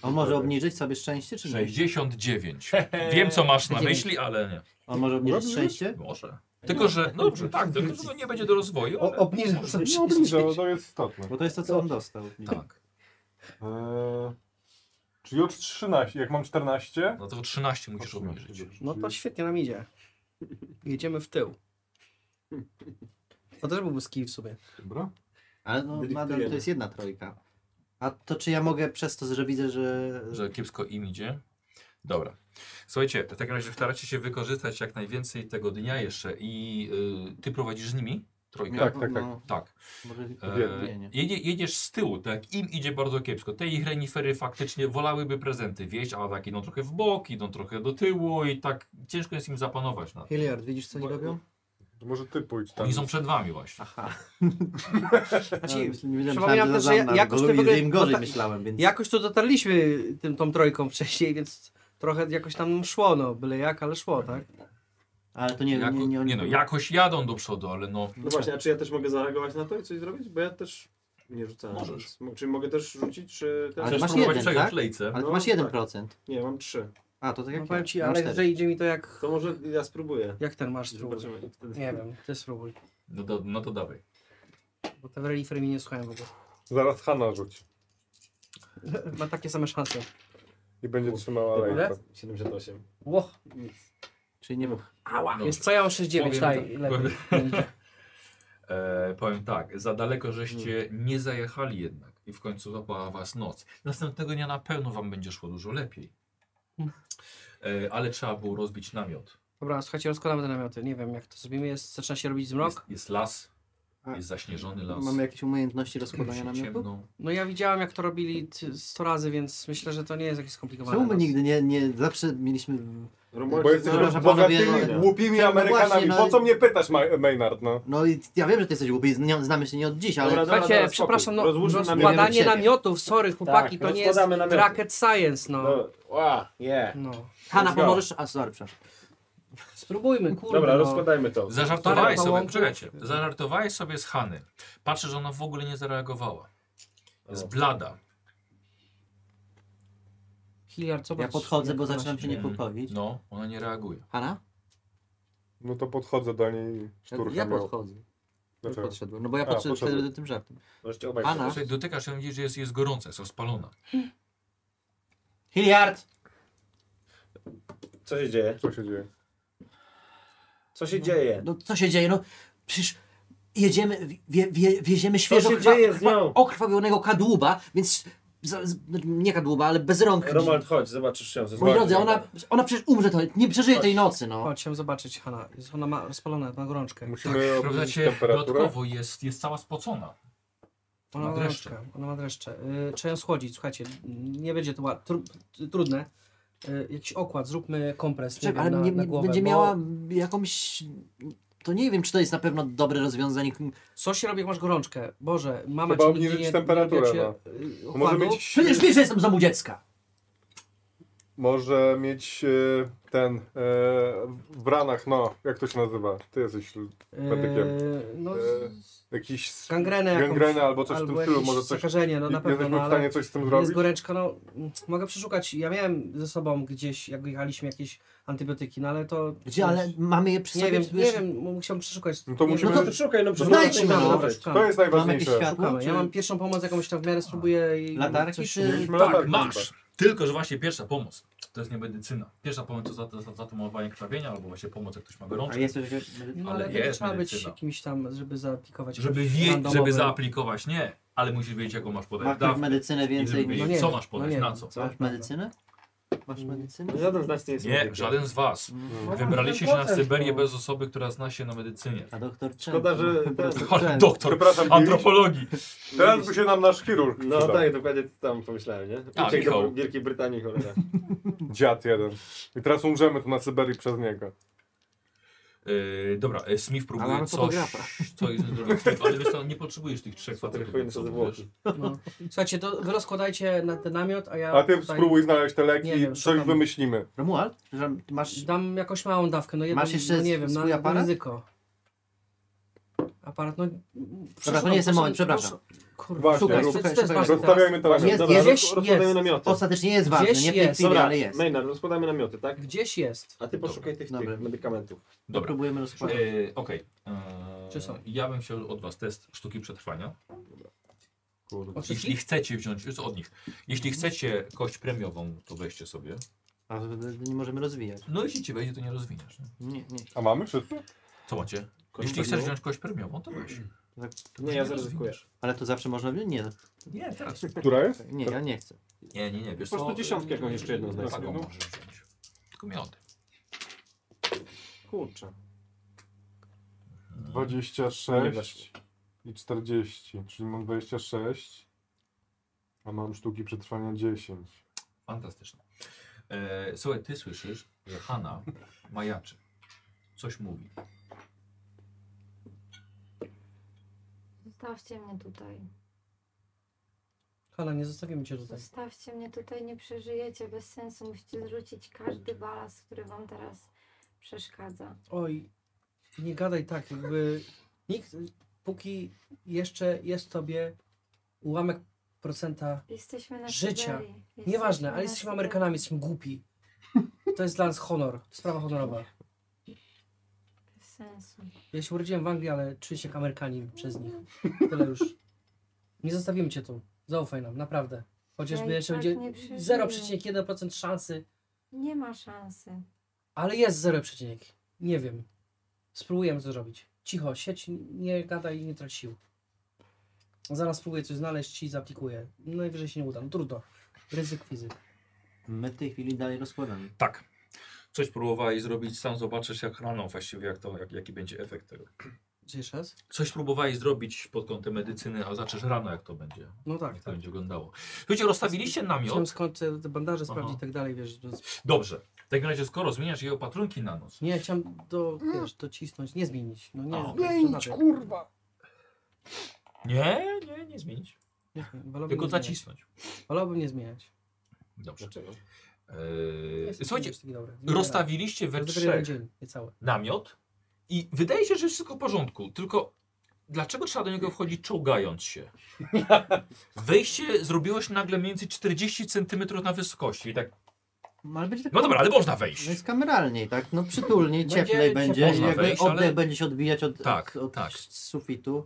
E: On może obniżyć sobie szczęście, czy nie?
A: 69. Wiem, co masz na myśli, ale nie.
E: On może obniżyć
F: Obniżyć?
E: szczęście?
A: Może. Tylko, że, no dobrze, tak, tylko, że to nie będzie do rozwoju,
D: O,
A: ale...
D: obniżam sobie
F: Nie No, obniżę, bo to jest istotne.
E: Bo to jest to, co on dostał.
A: Tak.
F: Eee, czyli od 13, jak mam 14,
A: No to 13 musisz obniżyć.
D: No
E: Hmm.
D: to świetnie nam idzie. Jedziemy w tył. To też byłby skill w sobie.
F: dobra.
E: Ale no, nadal
B: Dyryktujemy.
E: to jest jedna trójka. A to czy ja mogę przez to, że widzę, że...
A: że kiepsko im idzie. Dobra. Słuchajcie, w takim razie staracie się wykorzystać jak najwięcej tego dnia jeszcze i y, ty prowadzisz z nimi? E,
I: Trójka.
F: Tak, tak, tak.
E: No,
I: Tak.
E: może
F: Wiem.
E: nie, nie.
A: Jedzie, jedziesz z tyłu, tak? Im idzie bardzo kiepsko. Te ich renifery faktycznie wolałyby prezenty wieść, a tak idą trochę w bok, idą trochę do tyłu i tak ciężko jest im zapanować nad tym.
E: Hilliard, widzisz co oni
F: Bo-
E: robią?
F: Może ty pójdź tam.
A: Oni są przed wami właśnie.
E: Aha.
D: Znaczy,
E: nie
D: przypominam
E: wiedziałem, myślałem,
D: też, że
E: za Zanna,
D: jakoś
E: bo
D: ty w
E: lubi-
D: ogóle-
E: im
D: no
E: gorzej
D: tak-
E: myślałem, więc...
D: Jakoś tu dotarliśmy tym, tą trójką wcześniej, więc trochę jakoś tam szło, no byle jak, ale szło, tak?
E: Ale to nie,
A: Jako,
E: nie, nie,
A: nie no, jakoś jadą do przodu, ale no...
B: No właśnie, a czy ja też mogę zareagować na to i coś zrobić? Bo ja też nie rzucałem.
A: Możesz.
B: Więc mo- Czy mogę też rzucić, czy... Też?
E: Ale
A: Chcesz
E: masz
A: próbować
E: jeden,
A: przejąć
E: tak?
A: lejce.
E: Ale ty
B: No,
E: masz
B: tak.
E: 1%.
B: Nie, mam trzy.
E: A, to tak jak
D: No powiem ci,
E: ja. Mam
D: ale
E: cztery.
D: że idzie mi to jak...
B: To może ja spróbuję.
D: Jak ten masz spróbować?
B: Zobaczymy. Wtedy.
D: Nie wiem, ty spróbuj.
A: No, do, no to dawaj.
D: Bo te relifery mnie nie słuchają w ogóle.
F: Zaraz Hanna rzuci.
D: Ma takie same szanse.
F: I będzie trzymała
B: Ile?
F: lejce.
B: 78.
D: Ło,
E: Czyli nie
A: Ała! No,
D: jest co ja mam 6-9,
A: Powiem
D: daj,
A: tak.
D: lepiej.
A: E, powiem tak, za daleko żeście nie zajechali jednak i w końcu złapała was noc. Następnego dnia na pewno wam będzie szło dużo lepiej. E, ale trzeba było rozbić namiot.
D: Dobra, słuchajcie, rozkładamy te namioty, nie wiem jak to zrobimy, jest, zaczyna się robić
A: Jest,
D: zmrok.
A: jest las,
E: A-
A: jest zaśnieżony las.
E: Mamy jakieś umiejętności rozkładania
A: się
E: namiotów?
A: ciemno.
D: No ja widziałem jak to robili ty- 100 razy, więc myślę, że to nie jest jakieś skomplikowane.
E: Czemu my
D: No,
E: nigdy nie, nie, zawsze mieliśmy...
B: Romualdzie,
F: Bo jesteśmy
E: Dobra,
F: bogatymi,
E: panowie, no.
F: głupimi
E: No
F: Amerykanami.
E: właśnie, no
F: Po
E: i-
F: co mnie pytasz, Ma- Maynard, no?
E: No i ja wiem, że ty jesteś głupi, zna- znamy się nie od dziś, ale...
B: Dobra, dobra,
D: Słuchajcie,
B: dobra, spokój.
D: przepraszam, no
B: Rozłóżmy namioty.
D: rozkładanie
E: Siebie.
D: namiotów, sorry chłopaki,
B: Tak,
D: to nie jest
B: rozkładamy namioty.
D: rocket science, no.
B: No, ła, nie.
D: no.
E: Hanna,
B: Let's go.
E: pomożesz? A, sorry, przepraszam.
D: Spróbujmy, kurde,
B: Dobra,
D: no.
B: rozkładajmy to.
D: Parę
A: Zażartowałeś sobie,
D: pałąków.
A: czekajcie, zażartowałeś sobie z Hany. Patrzę, że ona w ogóle nie zareagowała. Jest blada.
D: Hilliard, zobacz.
E: Ja podchodzę,
D: jak
E: bo
D: ona
E: zaczynam się niepokoić.
A: No, ona nie reaguje.
E: Hanna?
F: No to podchodzę do niej i
E: Ja,
F: szturcham
E: ja
F: ją.
E: podchodzę. Już
F: Dlaczego?
E: podszedłem, no bo ja
F: tak. A,
E: podszedłem
F: podszedłem.
E: wtedy do tym żartem.
B: Możecie obaj
E: Ana.
A: Słuchaj, dotykasz ją, widzisz, że jest, jest gorąca, jest rozpalona.
E: Hilliard!
B: Co się dzieje?
F: Co się dzieje?
B: Co się dzieje?
E: No co się dzieje? No przecież jedziemy, wie, wie, wieziemy świeżo
B: się
E: krwa-
B: dzieje z
E: krwa-
B: nią?
E: okrwawionego kadłuba, więc z, z, no, nie kadłuba, ale bez rąk.
B: Romald, chodź, zobaczysz ją. zobaczysz.
E: no, Moi drodzy, ona, ona przecież umrze to, nie przeżyje tej nocy, no.
D: Chodź, chciałem zobaczyć, Hanna. Jest- Ona ma rozpalone, ma
A: Tak,
D: gorączkę.
F: Musimy obniżyć
A: Sprawdzacie,
F: temperaturę.
A: dodatkowo jest, jest cała spocona.
D: Ona
A: Ma
D: ma
A: dreszcze.
D: dreszcze. Ona ma dreszcze. Y, trzeba ją schłodzić, słuchajcie, nie będzie to ła- tru, trudne. Y, jakiś okład, zróbmy kompres, nie
E: Czekaj,
D: wiem,
E: ale
D: na,
E: nie,
D: na
E: nie,
D: głowę,
E: będzie
D: bo
E: miała jakąś... To nie wiem, czy to jest na pewno dobre rozwiązanie.
D: Co się robi, jak masz gorączkę? Boże, mama
F: Trzeba
D: ci
F: obniżyć
D: nigdy nie,
F: temperaturę, no.
D: nie robiła cię, y,
F: Może
D: okładu.
F: mieć,
E: Przecież wiesz, że jestem w domu dziecka.
F: może mieć e, ten e, w ranach, no, jak to się nazywa? Ty jesteś l- medykiem.
D: Y, no,
F: E, jakiś s-
D: gangrenę jakąś,
F: gangrenę albo coś w tym stylu,
D: jakieś
F: może coś.
D: zakażenie, no na pewno,
F: jesteśmy
D: no,
F: w
D: ale
F: stanie coś z tym
D: jest
F: zrobić?
D: goręczka, no mm, mogę przeszukać, ja miałem ze sobą gdzieś, jak jechaliśmy, jakieś antybiotyki, no ale to...
E: Gdzie, ale mamy je przy
D: Nie
E: sobie.
D: wiem, nie
E: wiesz,
D: wiem, musiałem przeszukać.
F: No to
D: Nie,
F: musimy-
B: No to szukaj, no przecież
E: Znajdźmy
B: ona tutaj
E: ją.
D: Dobra,
B: może być.
D: szukamy.
F: To jest
E: Mamy jakieś
F: najważniejsze.
E: światło?
D: Szukamy. Ja mam pierwszą pomoc jakąś tam w miarę spróbuję i...
E: Znaczy- Latarki,
D: coś-
E: czy-
F: Mieliśmy
A: Tak,
F: latarki
A: masz.
F: chyba.
A: Tylko, że właśnie pierwsza pomoc to jest nie medycyna. Pierwsza pomoc to zat- zat- zatumowanie krwawienia albo właśnie pomoc, jak ktoś ma
E: A
A: gorączkę.
E: jest coś jakiegoś...
D: No
A: Ale
D: ale,
A: jest
D: trzeba być
A: medycyna.
D: kimś tam, żeby zaaplikować.
A: Żeby
D: jakiś
A: wiedzieć,
D: randomowy-
A: żeby zaaplikować, nie. Ale musisz wiedzieć, jaką masz
E: Ma
A: podać
E: ktoś
A: dawkę.
E: medycynę
A: i
E: więcej
A: żeby
E: niż...
D: No
A: wiedzieć,
D: nie
A: co
D: wiem,
A: masz
D: no
A: podać,
D: nie
A: na
D: wiem.
A: co.
D: Co?
E: Masz medycynę? Masz medycynę?
B: Żaden z nas nie jest
A: Nie,
B: medykiem.
A: żaden z was.
F: No.
A: Wybraliście się na
E: no.
A: Syberię bez osoby, która zna się na medycynie.
E: A doktor Chen.
B: Szkoda, że... Teraz,
A: Ale doktor
F: Przepraszam, Antropolog.
A: antropologii.
F: Teraz by się nam nasz chirurg
B: No
F: przydał.
B: tak, dokładnie tam pomyślałem, nie?
A: A,
B: Uciekł
A: Michał.
B: do Wielkiej Brytanii, cholera.
F: Dziad jeden. I teraz umrzemy tu na Syberii przez niego.
A: Yy, dobra, e, Smith
E: Ale
A: próbuje
E: mamy
A: coś,
E: fotografa.
A: coś zrobić. Ale wiesz co, nie potrzebujesz tych trzech
B: Fotografujemy
A: facetów.
B: sobie
A: co
B: zwłoki.
A: wiesz.
D: No. Słuchajcie, to wy rozkładajcie na ten namiot, a ja.
F: A ty
D: tutaj
F: spróbuj znaleźć te leki,
D: Nie wiem,
F: coś
D: szukam.
F: wymyślimy.
E: Romuald, że masz...
D: Dam jakąś małą dawkę. No jedną,
E: Masz jeszcze
D: no, nie wiem, na,
E: swój
D: na
E: aparat?
D: ryzyko. Aparat, no.
E: to nie jest ten moment, przepraszam.
D: Kurwa,
F: Właśnie,
D: szukaj,
F: rób-
D: to,
E: szukaj,
D: to jest
E: szukaj.
D: ważne. teraz.
F: Rozstawiajmy te
E: Jest-
F: leki.
E: jest-
B: Dobra,
D: jest-
B: roz- rozkładajmy
D: jest.
B: namioty.
E: Ostatecznie nie jest ważne,
D: Gdzieś
E: nie w tej
D: jest.
E: chwili,
B: Dobra,
E: ale jest.
B: Maynard, rozkładamy namioty, tak?
D: Gdzieś jest.
B: A ty poszukaj tych,
E: Dobra.
B: tych medykamentów.
E: To
A: Dobra,
E: Próbujemy rozkładać.
A: Yy, Okej. Eee,
D: Czy są?
A: Ja bym chciał od was test sztuki przetrwania.
D: Od
A: Jeśli
D: wszystkich?
A: chcecie wziąć, jest od nich. Jeśli chcecie kość premiową, to weźcie sobie.
E: A nie możemy rozwijać.
A: No jeśli ci wejdzie, to nie rozwiniesz. Nie?
E: Nie, nie.
F: A mamy wszyscy?
A: Co macie?
B: Kość
A: Jeśli chcesz
B: premiową?
A: wziąć kość premiową, to weź.
B: No. Nie, ja zaryzykuję.
E: Ale to zawsze można... Nie,
A: Nie, teraz.
F: Która jest?
E: nie, ja nie chcę.
A: Nie, nie, nie. Wiesz,
B: Po prostu
A: co,
B: dziesiątkę jakąś jeszcze jedną znajdę.
A: Taką
B: No.
A: możesz wziąć. Tylko miody.
B: Kurczę. Nie
F: 26
B: weszło.
F: i 40, czyli mam 26, a mam sztuki przetrwania 10.
A: Fantastyczne. E, słuchaj, ty słyszysz, że Hanna majaczy. Coś mówi.
G: Zostawcie mnie tutaj.
D: Hala, nie zostawimy cię tutaj.
G: Zostawcie mnie tutaj, nie przeżyjecie. Bez sensu musicie zrzucić każdy balast, który wam teraz przeszkadza.
D: Oj, nie gadaj tak, jakby nikt, póki jeszcze jest w tobie ułamek procenta,
G: Jesteśmy na
D: Życia.
G: Syberii. Jesteśmy
D: nieważne,
G: na
D: ale jesteśmy
G: Syberii.
D: Amerykanami, jesteśmy głupi. To jest dla nas honor, sprawa honorowa.
G: Bez sensu.
D: Ja się urodziłem w Anglii, ale czuję się jak Amerykanin przez nich. Tyle już. Nie zostawimy cię tu, zaufaj nam, naprawdę. Chociażby
G: Ja i
D: jeszcze
G: tak
D: będzie
G: nie przeżyję.
D: 0,1% szansy,
G: Nie ma szansy.
D: ale jest 0, nie wiem. Spróbujemy to zrobić. Cicho, siedź, nie gadaj i nie trać sił. Zaraz spróbuję coś znaleźć i zaaplikuję. Najwyżej się nie uda. No trudno. Ryzyk fizyk.
E: My w tej chwili dalej rozkładamy.
A: Tak. Coś próbowałeś zrobić, sam zobaczysz jak rano właściwie, jak to, jak, jaki będzie efekt tego.
D: Czy jeszcze raz?
A: Coś próbowałeś zrobić pod kątem medycyny, a zobaczysz rano jak to będzie.
D: No tak.
A: Jak to będzie wyglądało. Słuchajcie, rozstawiliście
D: Chciałem
A: namiot.
D: skąd te te bandaże
A: Aha.
D: sprawdzić i tak dalej, wiesz. To...
A: Dobrze. W takim razie, skoro zmieniasz jej opatrunki na noc,
D: Nie, chciałem do, wiesz, docisnąć, nie zmienić. No
A: A,
D: nie,
A: okej.
D: zmienić, kurwa.
A: Nie, nie, nie zmienić.
D: Nie, wolałbym
A: Tylko
D: No nie zmieniać.
A: zacisnąć.
D: Wolałbym nie zmieniać.
A: Dobrze.
B: Dlaczego?
A: Eee,
D: Jest
A: słuchajcie,
D: taki dobry. Zmieniam
A: rozstawiliście
D: raz.
A: we
D: To jest tylko jeden
A: trzech
D: dzień, niecałe.
A: namiot i wydaje się, że jest wszystko w porządku, tylko dlaczego trzeba do niego wchodzić czołgając się? Wejście zrobiło się nagle mniej więcej 40 cm na wysokości. i Tak,
E: No, ale będzie tak
A: no dobra, ale można wejść.
E: No jest kameralniej, tak? No przytulniej,
D: Będzie
E: cieplej będzie.
D: ciepło.
E: i Jakby
A: Wejść, ale-
E: oddech będzie się odbijać od,
A: Tak,
E: od, od
A: tak.
E: sufitu.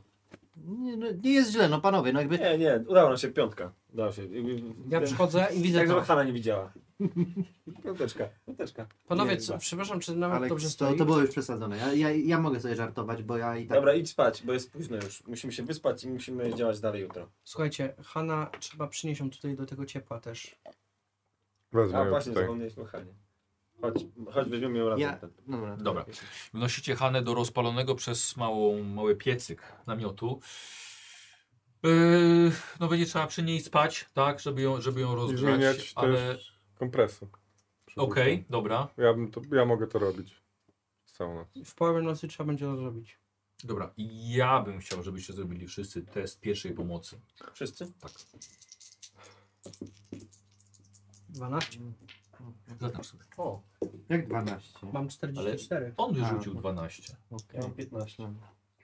E: Nie, no, nie jest źle, no panowie, no jakby...
B: Nie, nie, udało nam się piątka. Udało się. I- i-
D: Ja
B: ten-
D: przychodzę i widzę
B: Tak, żeby
D: to.
B: Hanna nie widziała. Piąteczka, piąteczka.
D: Panowie,
B: Nie,
D: co,
B: chyba.
D: przepraszam, czy nawet
E: Ale
D: no, dobrze
E: to,
D: stoi?
E: to było już przesadzone. Ja, ja, ja mogę sobie żartować, bo ja i tak...
B: Dobra, idź spać, bo jest późno już. Musimy się wyspać i musimy działać dalej jutro.
D: Słuchajcie, Hanna trzeba przynieść ją tutaj do tego ciepła też.
F: Wezmę
B: A
F: ją
B: właśnie,
F: tutaj.
B: zapomnieliśmy o Hanie. Chodź, chodź, weźmiemy ją razem.
E: Ja... Dobra. to
A: Dobra.
E: tak jest.
A: Wnosicie Hanę do rozpalonego przez małą, mały piecyk namiotu. Yy, no będzie trzeba przy niej spać, tak, żeby ją, żeby ją
F: I
A: rozgrzać,
F: zmieniać
A: ale
F: też kompresy.
A: okej, dobra.
F: Ja, bym to, ja mogę to robić. Całą noc.
D: W połowie nocy trzeba będzie to zrobić.
A: Dobra, I ja bym chciał, żebyście zrobili wszyscy test pierwszej pomocy.
B: Wszyscy?
D: 12?
A: Zaznacz sobie.
B: O,
E: Jak 12?
D: Mam 44.
A: On
E: A,
A: wyrzucił
E: no.
A: 12.
E: Okej.
B: ja mam 15.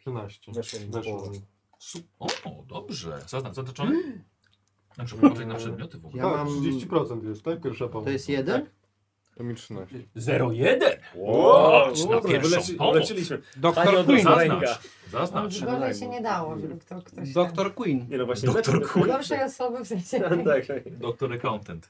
F: 13.
B: Weszło mi.
F: Weszło mi.
A: Su- O, dobrze. Zaznacz, zaznaczony? Na przykład na przedmioty w ogóle.
E: Mm. Ja mam...
F: 30% jest, tak? Pierwsza pomoc.
E: To jest jeden?
F: To mi 13.
A: 01!
B: Wow,
A: Patrz na pierwszą pomoc.
B: Uleczyliśmy.
D: Doktor
B: Panią
D: Queen.
B: Dozan-
A: Zaznacz. Zaznacz.
G: No, Gorzej się nie dało, żeby kto, ktoś...
D: Doktor Queen.
B: Nie no właśnie.
A: Doktor
B: leczy-
A: Kuj.
G: Gorszej osoby w sensie...
B: tak, tak.
A: Doktor accountant.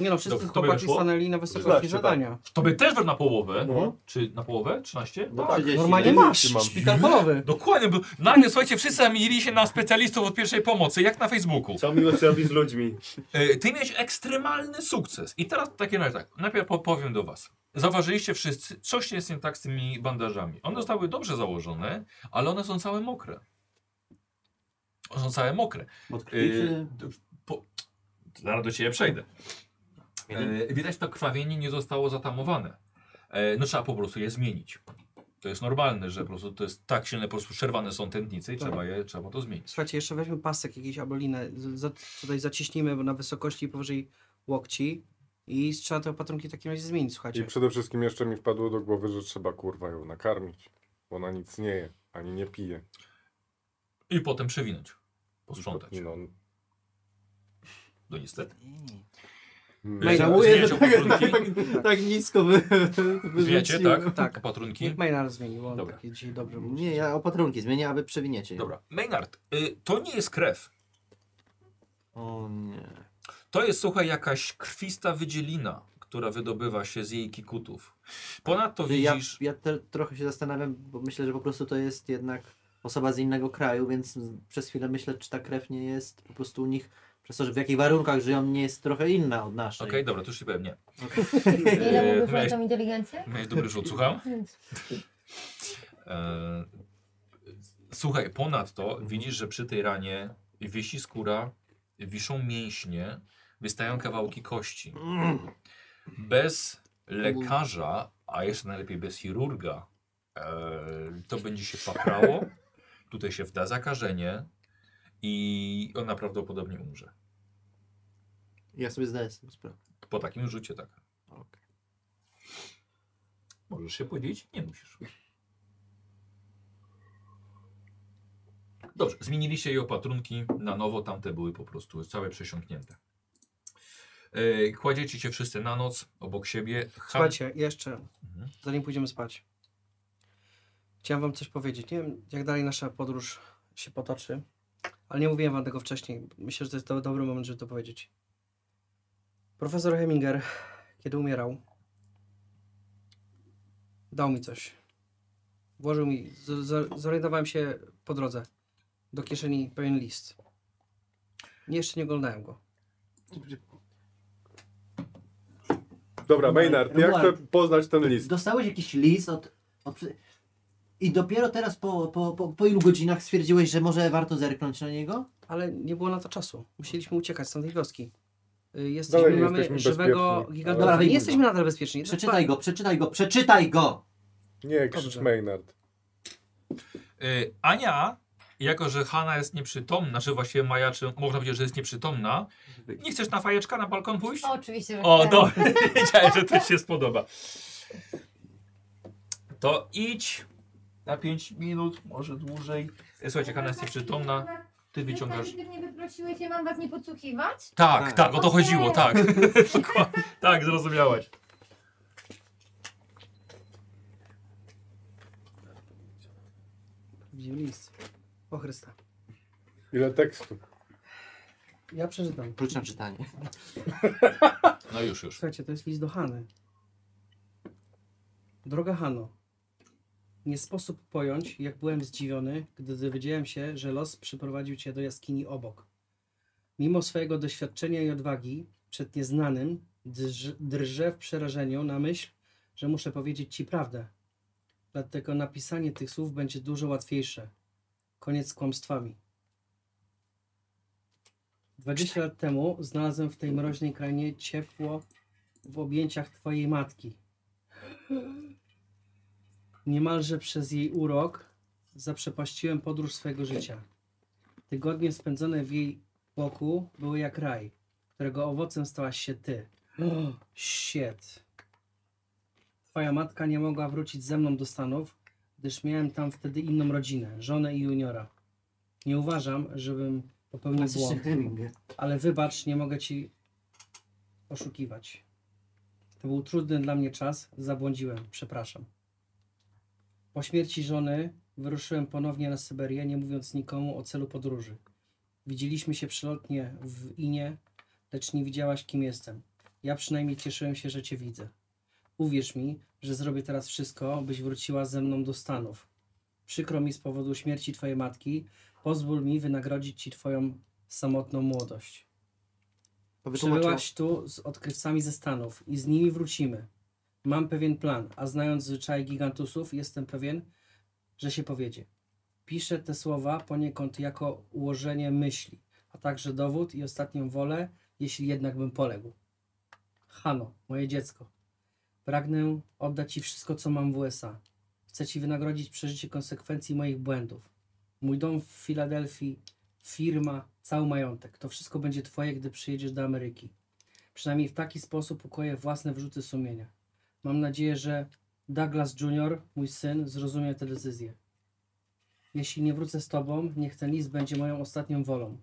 D: Nie no, wszyscy
A: Doktor Queen
D: chłopaki
A: wyszło?
D: stanęli na wysokości
B: Zobaczcie,
D: zadania.
A: Tobie też wam na połowę.
B: No.
A: Czy na połowę? 13?
E: No, tak. 30.
D: Normalnie
E: Jeden.
D: masz, szpital polowy.
A: Dokładnie, bo nagle słuchajcie, wszyscy zamienili się na specjalistów od pierwszej pomocy, jak na Facebooku.
B: Co miłość robi z ludźmi?
A: E, Ty miałeś ekstremalny sukces. I teraz takie razie tak, najpierw po- powiem do was. Zauważyliście wszyscy, coś jest nie tak z tymi bandażami. One zostały dobrze założone, ale one są całe mokre. One są całe mokre.
E: Od krwi,
A: Yy,
E: czy...
A: po, zaraz do ciebie przejdę. E, widać, to krwawienie nie zostało zatamowane. E, no trzeba po prostu je zmienić. To jest normalne, że po prostu to jest tak silne, po prostu przerwane są tętnice i
D: Tak.
A: trzeba, je, trzeba to zmienić.
D: Słuchajcie, jeszcze weźmy pasek jakiś albo linę. Z- Za, tutaj zaciśnijmy bo na wysokości powyżej łokci i trzeba te opatrunki w takim razie zmienić,
F: I
D: słuchajcie.
F: przede wszystkim jeszcze mi wpadło do głowy, że trzeba kurwa ją nakarmić. Bo ona nic nie je, ani nie pije.
A: I potem przewinąć. Posprzątać.
F: No,
A: No niestety.
F: mm.
D: Mej-
E: Żałuję, że tak,
A: Zmieniacie
E: tak, tak,
A: opatrunki?
E: tak nisko wy, wyrzuciłem.
A: Wiecie, tak?
D: Tak.
A: Opatrunki.
D: Niech Maynard zmienił, on
A: Dobra.
D: takie dzisiaj dobrze mówi.
E: Nie, ja opatrunki zmienię, a wy przewiniecie. je.
A: Dobra. Maynard, y, to nie jest krew.
E: O nie.
A: To jest, słuchaj, jakaś krwista wydzielina, która wydobywa się z jej kikutów. Ponadto
E: Ja,
A: widzisz...
E: ja te, trochę się zastanawiam, bo myślę, że po prostu to jest jednak osoba z innego kraju, więc przez chwilę myślę, czy ta krew nie jest po prostu u nich, przez to, że w jakich warunkach żyją, nie jest trochę inna od naszej.
A: Okej, dobra, to już ci powiem, nie.
G: Ile
A: Eee,
G: mówisz
A: miałeś,
G: o tą inteligencję?
A: miałeś dobry rzut, słucham? E, Słuchaj, ponadto widzisz, że przy tej ranie wisi skóra, wiszą mięśnie, wystają kawałki kości. Bez lekarza, a jeszcze najlepiej bez chirurga, e, to będzie się paprało. Tutaj się wda zakażenie i ona prawdopodobnie umrze.
E: Ja sobie zdaję z tego sprawę.
A: Po takim rzucie tak.
E: Okej.
A: Możesz się podzielić? Nie musisz. Dobrze, zmieniliście jej opatrunki na nowo, tamte były po prostu całe przesiąknięte. E, kładziecie się wszyscy na noc obok siebie. Ham-
D: Słuchajcie, jeszcze,
A: Mhm.
D: zanim pójdziemy spać. Chciałem wam coś powiedzieć. Nie wiem, jak dalej nasza podróż się potoczy, ale nie mówiłem wam tego wcześniej. Myślę, że to jest do, dobry moment, żeby to powiedzieć. Profesor Heminger, kiedy umierał, dał mi coś. Włożył mi, z, z, zorientowałem się po drodze do kieszeni pewien list. Nie, jeszcze nie oglądałem go.
F: Dobra, Maynard, ja chcę poznać ten list.
E: Dostałeś jakiś list od... od... I dopiero teraz po, po, po, po ilu godzinach stwierdziłeś, że może warto zerknąć na niego?
A: No
D: Ale nie było na to czasu. Musieliśmy uciekać z tamtej wioski. Y,
F: Dalej
D: Jesteśmy,
F: nie
D: mamy
F: jesteśmy
D: żywego
F: bezpieczni,
D: giganta.
E: ale-
D: Ale... Nie jesteśmy nadal bezpieczni. Tak,
A: tak.
E: Przeczytaj go, przeczytaj go, przeczytaj go!
F: Nie krzycz
D: Dobrze.
F: Maynard.
A: Y, Ania, jako że Hanna jest nieprzytomna, że właściwie majaczy, można powiedzieć, że jest nieprzytomna. Nie chcesz na fajeczka na balkon pójść?
G: No, Oczywiście, że
A: O,
G: chcę.
A: dobra, wiedziałem, że to się spodoba. To idź na 5 minut, może dłużej. Słuchajcie, Hanna jest nieprzytomna,
G: tak,
A: ty wyciągasz...
G: Nigdy mnie wyprosiłeś, ja mam was nie podsłuchiwać?
A: Tak, tak, o to chodziło, tak. Dokładnie, tak, zrozumiałaś.
D: Widział list. O Chrysta.
F: Ile tekstu?
D: Ja przeczytam.
E: Klucz na czytanie.
A: No już, już.
D: Słuchajcie, to jest list do Hany. Droga Hano, nie sposób pojąć, jak byłem zdziwiony, gdy dowiedziałem się, że los przyprowadził cię do jaskini obok. Mimo swojego doświadczenia i odwagi, przed nieznanym drż, drżę w przerażeniu na myśl, że muszę powiedzieć ci prawdę. Dlatego napisanie tych słów będzie dużo łatwiejsze. Koniec z kłamstwami. 20 lat temu znalazłem w tej mroźnej krainie ciepło w objęciach twojej matki. Niemalże przez jej urok zaprzepaściłem podróż swojego życia. Tygodnie spędzone w jej boku były jak raj, którego owocem stałaś się ty. Oh, shit. Twoja matka nie mogła wrócić ze mną do Stanów, gdyż miałem tam wtedy inną rodzinę, żonę i juniora. Nie uważam, żebym popełnił błąd. Ale wybacz, nie mogę ci oszukiwać. To był trudny dla mnie czas, zabłądziłem, przepraszam. Po śmierci żony wyruszyłem ponownie na Syberię, nie mówiąc nikomu o celu podróży. Widzieliśmy się przelotnie w Inie, lecz nie widziałaś, kim jestem. Ja przynajmniej cieszyłem się, że cię widzę. Uwierz mi, że zrobię teraz wszystko, byś wróciła ze mną do Stanów. Przykro mi z powodu śmierci twojej matki. Pozwól mi wynagrodzić ci twoją samotną młodość. Przybyłaś tu z odkrywcami ze Stanów i z nimi wrócimy. Mam pewien plan, a znając zwyczaje gigantusów, jestem pewien, że się powiedzie. Piszę te słowa poniekąd jako ułożenie myśli, a także dowód i ostatnią wolę, jeśli jednak bym poległ. Hano, moje dziecko, pragnę oddać Ci wszystko, co mam w USA. Chcę Ci wynagrodzić przeżycie konsekwencji moich błędów. Mój dom w Filadelfii firma, cały majątek. To wszystko będzie twoje, gdy przyjedziesz do Ameryki. Przynajmniej w taki sposób ukoję własne wyrzuty sumienia. Mam nadzieję, że Douglas Jr., mój syn, zrozumie tę decyzję. Jeśli nie wrócę z tobą, niech ten list będzie moją ostatnią wolą.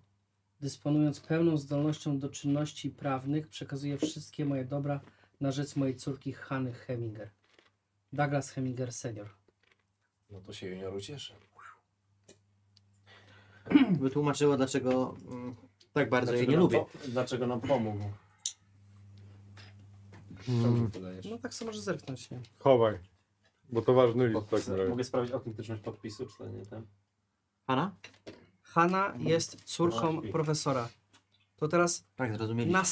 D: Dysponując pełną zdolnością do czynności prawnych, przekazuję wszystkie moje dobra na rzecz mojej córki Hany Heminger. Douglas Heminger senior.
B: No to się junior cieszy.
E: Wytłumaczyła, dlaczego mm, tak bardzo jej
B: Dlaczego
E: nie
B: nam
E: lubię.
B: po- Dlaczego nam pomógł? Co mi wydajesz?
D: No tak sobie może zerknąć, nie?
F: Chowaj. Bo to ważny list w takim razie.
B: Mogę sprawdzić autentyczność podpisu, czy to nie ten?
E: Hanna?
D: Hanna jest córką profesora. To teraz
E: Tak, zrozumieliśmy.
D: na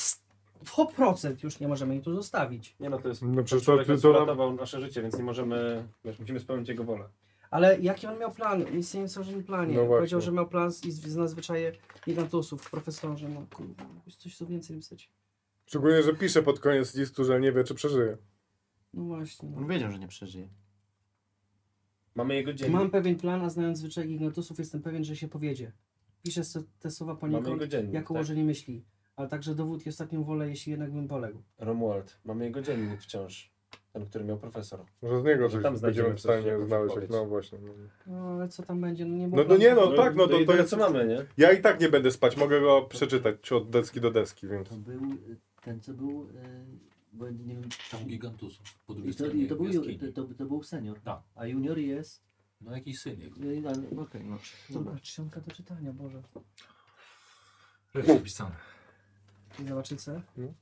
D: 100% już nie możemy jej tu zostawić.
B: Nie no, to jest
F: No przecież to,
B: człowiek,
F: to,
B: który
F: to,
B: uratował nasze życie, więc nie możemy, wiesz, musimy spełnić jego wolę.
D: Ale jaki on miał plan? Nic nie wiem o żadnym planie.
F: No właśnie.
D: Powiedział, że miał plan z, z z nadzwyczaje gigantosów, profesorze, no kurwa, mógłbyś coś tu więcej pisać.
F: Szczególnie, że pisze pod koniec listu, że nie wie, czy przeżyje.
D: No właśnie. No.
E: On wiedział, że nie przeżyje.
B: Mamy jego dzień.
D: Mam pewien plan, a znając zwyczaje gigantosów jestem pewien, że się powiedzie. Piszę so- te słowa
B: Mamy
D: poniekąd
B: jego dziennik.
D: jako
B: tak?
D: ułożenie myśli, ale także dowód i ostatnią wolę, jeśli jednak bym poległ.
B: Romuald. Mamy jego dziennik wciąż. Ten, który miał profesor.
F: Może z niego
B: Że
F: coś
B: tam
F: będziemy
B: znajdziemy
F: w
B: coś,
F: stanie
B: jakąś
F: znaleźć. Jak,
B: odpowiedź.
F: no właśnie. No.
D: No ale co tam będzie? No nie było
F: No to
D: planu.
F: nie no, tak, no to, to
B: jedyne,
F: jest...
B: co mamy, nie?
F: Ja i tak nie będę spać, mogę go przeczytać od deski do deski, więc...
E: To był y, ten, co był. y, Bo nie wiem.
H: Tam gigantusów. Po drugiej
E: I to,
H: stronie
E: i to, był, ju-
H: jaskini.
E: to, to, to był senior.
H: Tak.
E: A junior jest.
H: No jakiś synek.
E: y, ale- Okej, no.
D: Dobra, czcionka do czytania, Boże.
H: Jest napisane.
D: Zobaczycie?
F: No.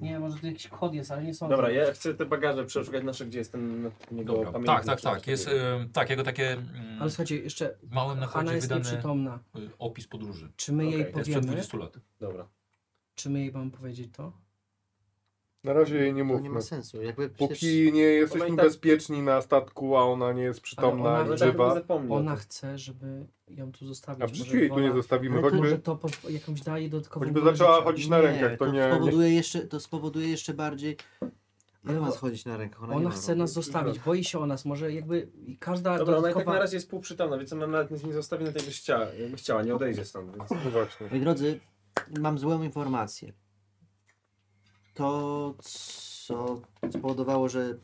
D: Nie, może to jakiś kod jest, ale nie są.
B: Dobra, ja chcę te bagaże przeszukać nasze, gdzie jest ten jego
H: Dobra.
B: pamiętnik.
H: Tak, tak,
B: czy coś
H: tak. Jest,
B: takiego.
H: em, tak, jego takie mm,
D: Ale słuchajcie, jeszcze
H: w małym
D: Hanna
H: nachodzie
D: jest
H: wydany
D: nieprzytomna.
H: y, opis podróży.
D: Czy my
B: Okej,
D: jej
B: jest
H: Jest sprzed
D: powiemy?
H: 20 lat.
B: Dobra.
D: Czy my jej mamy powiedzieć to?
F: Na razie jej nie
E: To nie
F: mówmy.
E: ma sensu. Jakby przecież...
F: Póki nie jesteśmy
B: Ona i tak-
F: bezpieczni na statku, a ona nie jest przytomna
D: Ale
B: Ale
D: ona-
F: ani
B: tak bym
F: żywa,
B: zapomniał.
D: Ona chce, żeby ją tu zostawić.
F: a przecież jej tu nie
D: wola-
F: zostawimy,
E: Ale to-
D: Może
F: choćby,
D: to po, jakąś daje dodatkową
F: choćby
D: wolę
F: zaczęła
D: życia.
F: chodzić na rękach, to nie...
E: To
F: nie...
E: spowoduje, Jeszcze, to spowoduje jeszcze bardziej. Nie
D: Ale
E: ma
D: o-
E: schodzić na rękach. No Ona, nie
D: Ona
E: ma
D: chce nas zostawić, boi się o nas, może jakby i każda
B: Dobra, ona i tak
D: dodatkowa-
B: na razie jest półprzytomna, więc ona nawet nic nie zostawi na tej jakby chciała, jakby chciała, nie odejdzie stąd, więc...
F: No właśnie.
E: Moi drodzy, mam złą informację. To, co spowodowało, że,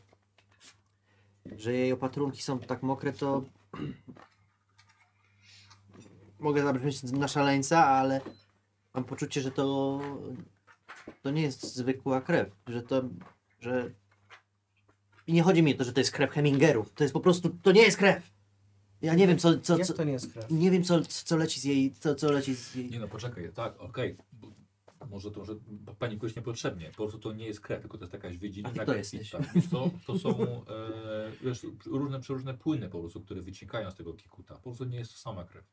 E: że jej opatrunki są tak mokre, to mogę zabrzmieć na szaleńca, ale mam poczucie, że to, to nie jest zwykła krew, że to, że i nie chodzi mi o to, że to jest krew Hemingerów, to jest po prostu, to nie jest krew. Ja nie wiem, co, co,
D: Jak
E: co
D: to nie jest krew?
E: nie wiem, co, co leci z jej, co, co leci z jej
H: Nie no, poczekaj, tak, okej. bo- Może to, że p- pani kogoś niepotrzebnie. Po prostu to nie jest krew, tylko to jest jakaś
E: A
H: wydzina.
E: ty kto
H: taka-
E: jesteś?
H: Tak, wiesz co, to są e, wiesz, różne, przeróżne płyny po prostu, które wyciekają z tego kikuta. Po prostu nie jest to sama krew.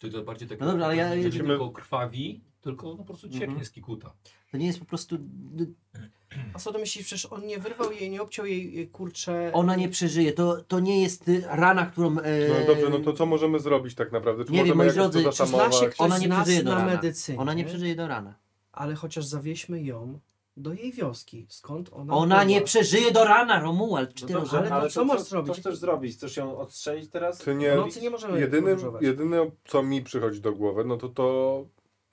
H: To to bardziej tak,
E: No dobrze, ale ja-
H: nie
E: jedziemy-
H: tylko krwawi, tylko no, po prostu cieknie
E: Mhm.
H: z kikuta.
E: To nie jest po prostu.
D: A co to myślisz? Przecież on nie wyrwał jej, nie obciął jej y, kurcze.
E: Ona nie przeżyje. To, to nie jest y, rana, którą. E...
F: No dobrze, no to co możemy zrobić tak naprawdę? Czy
E: Nie wiem,
F: możemy
E: moi
F: jakoś
E: drodzy,
F: to
E: czy
F: zahamować?
D: Zna się ktoś
E: Ona nie
D: z nas
E: przeżyje do
D: na
E: rana.
D: medycynie.
E: Ona nie przeżyje do rana.
D: Ale chociaż zawieźmy ją do jej wioski, skąd ona.
E: Ona
D: była.
E: nie przeżyje do rana, Romuald. Czy ty
B: No dobrze,
E: rozumiesz?
D: ale to co
B: to,
D: możesz
B: co,
D: zrobić?
B: Co chcesz zrobić? Chcesz ją odstrzelić teraz?
F: Czy
D: W
F: nie...
D: nocy nie możemy
F: Jedynym,
D: podróżować.
F: jedyne, co mi przychodzi do głowy, no to to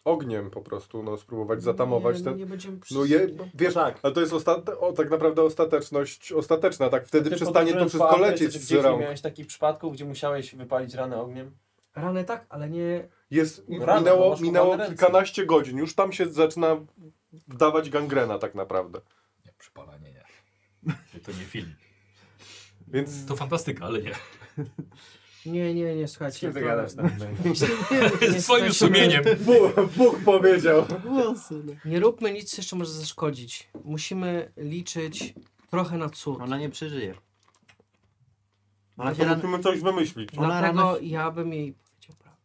F: ogniem po prostu, no spróbować zatamować
D: nie,
F: ten...
D: Nie będziemy przy...
F: No je, wiesz,
B: No tak.
F: ale to jest ostate, o, tak naprawdę ostateczność, ostateczna, tak wtedy
B: Ty
F: przestanie to
B: podróżując
F: wszystko
B: po Afryce,
F: lecieć
B: czy
F: z
B: gdzieś nie
F: rąk.
B: miałeś takich przypadków, gdzie musiałeś wypalić ranę ogniem?
D: Rany tak, ale nie.
F: Jest,
B: No rano, bo
F: minęło
B: masz
F: minęło
B: urwane ręce.
F: kilkanaście godzin, już tam się zaczyna dawać gangrena tak naprawdę.
H: Nie, przypalanie nie. To nie film.
F: Więc
H: To fantastyka, ale nie.
D: Nie, nie, nie, słuchajcie.
B: Z kim ty
D: to-
B: gadasz
F: tak.
B: tam? no.
D: nie
H: Z swoim
D: jesteśmy-
H: sumieniem.
B: Bóg, Bóg powiedział.
D: Nie róbmy nic, co jeszcze może zaszkodzić. Musimy liczyć trochę na cud.
E: Ona nie przeżyje. Ona
F: no
E: się
F: to
E: ran...
F: musimy coś wymyślić.
E: Ona
D: Dlatego
E: rano-
D: ja bym jej powiedział prawdę.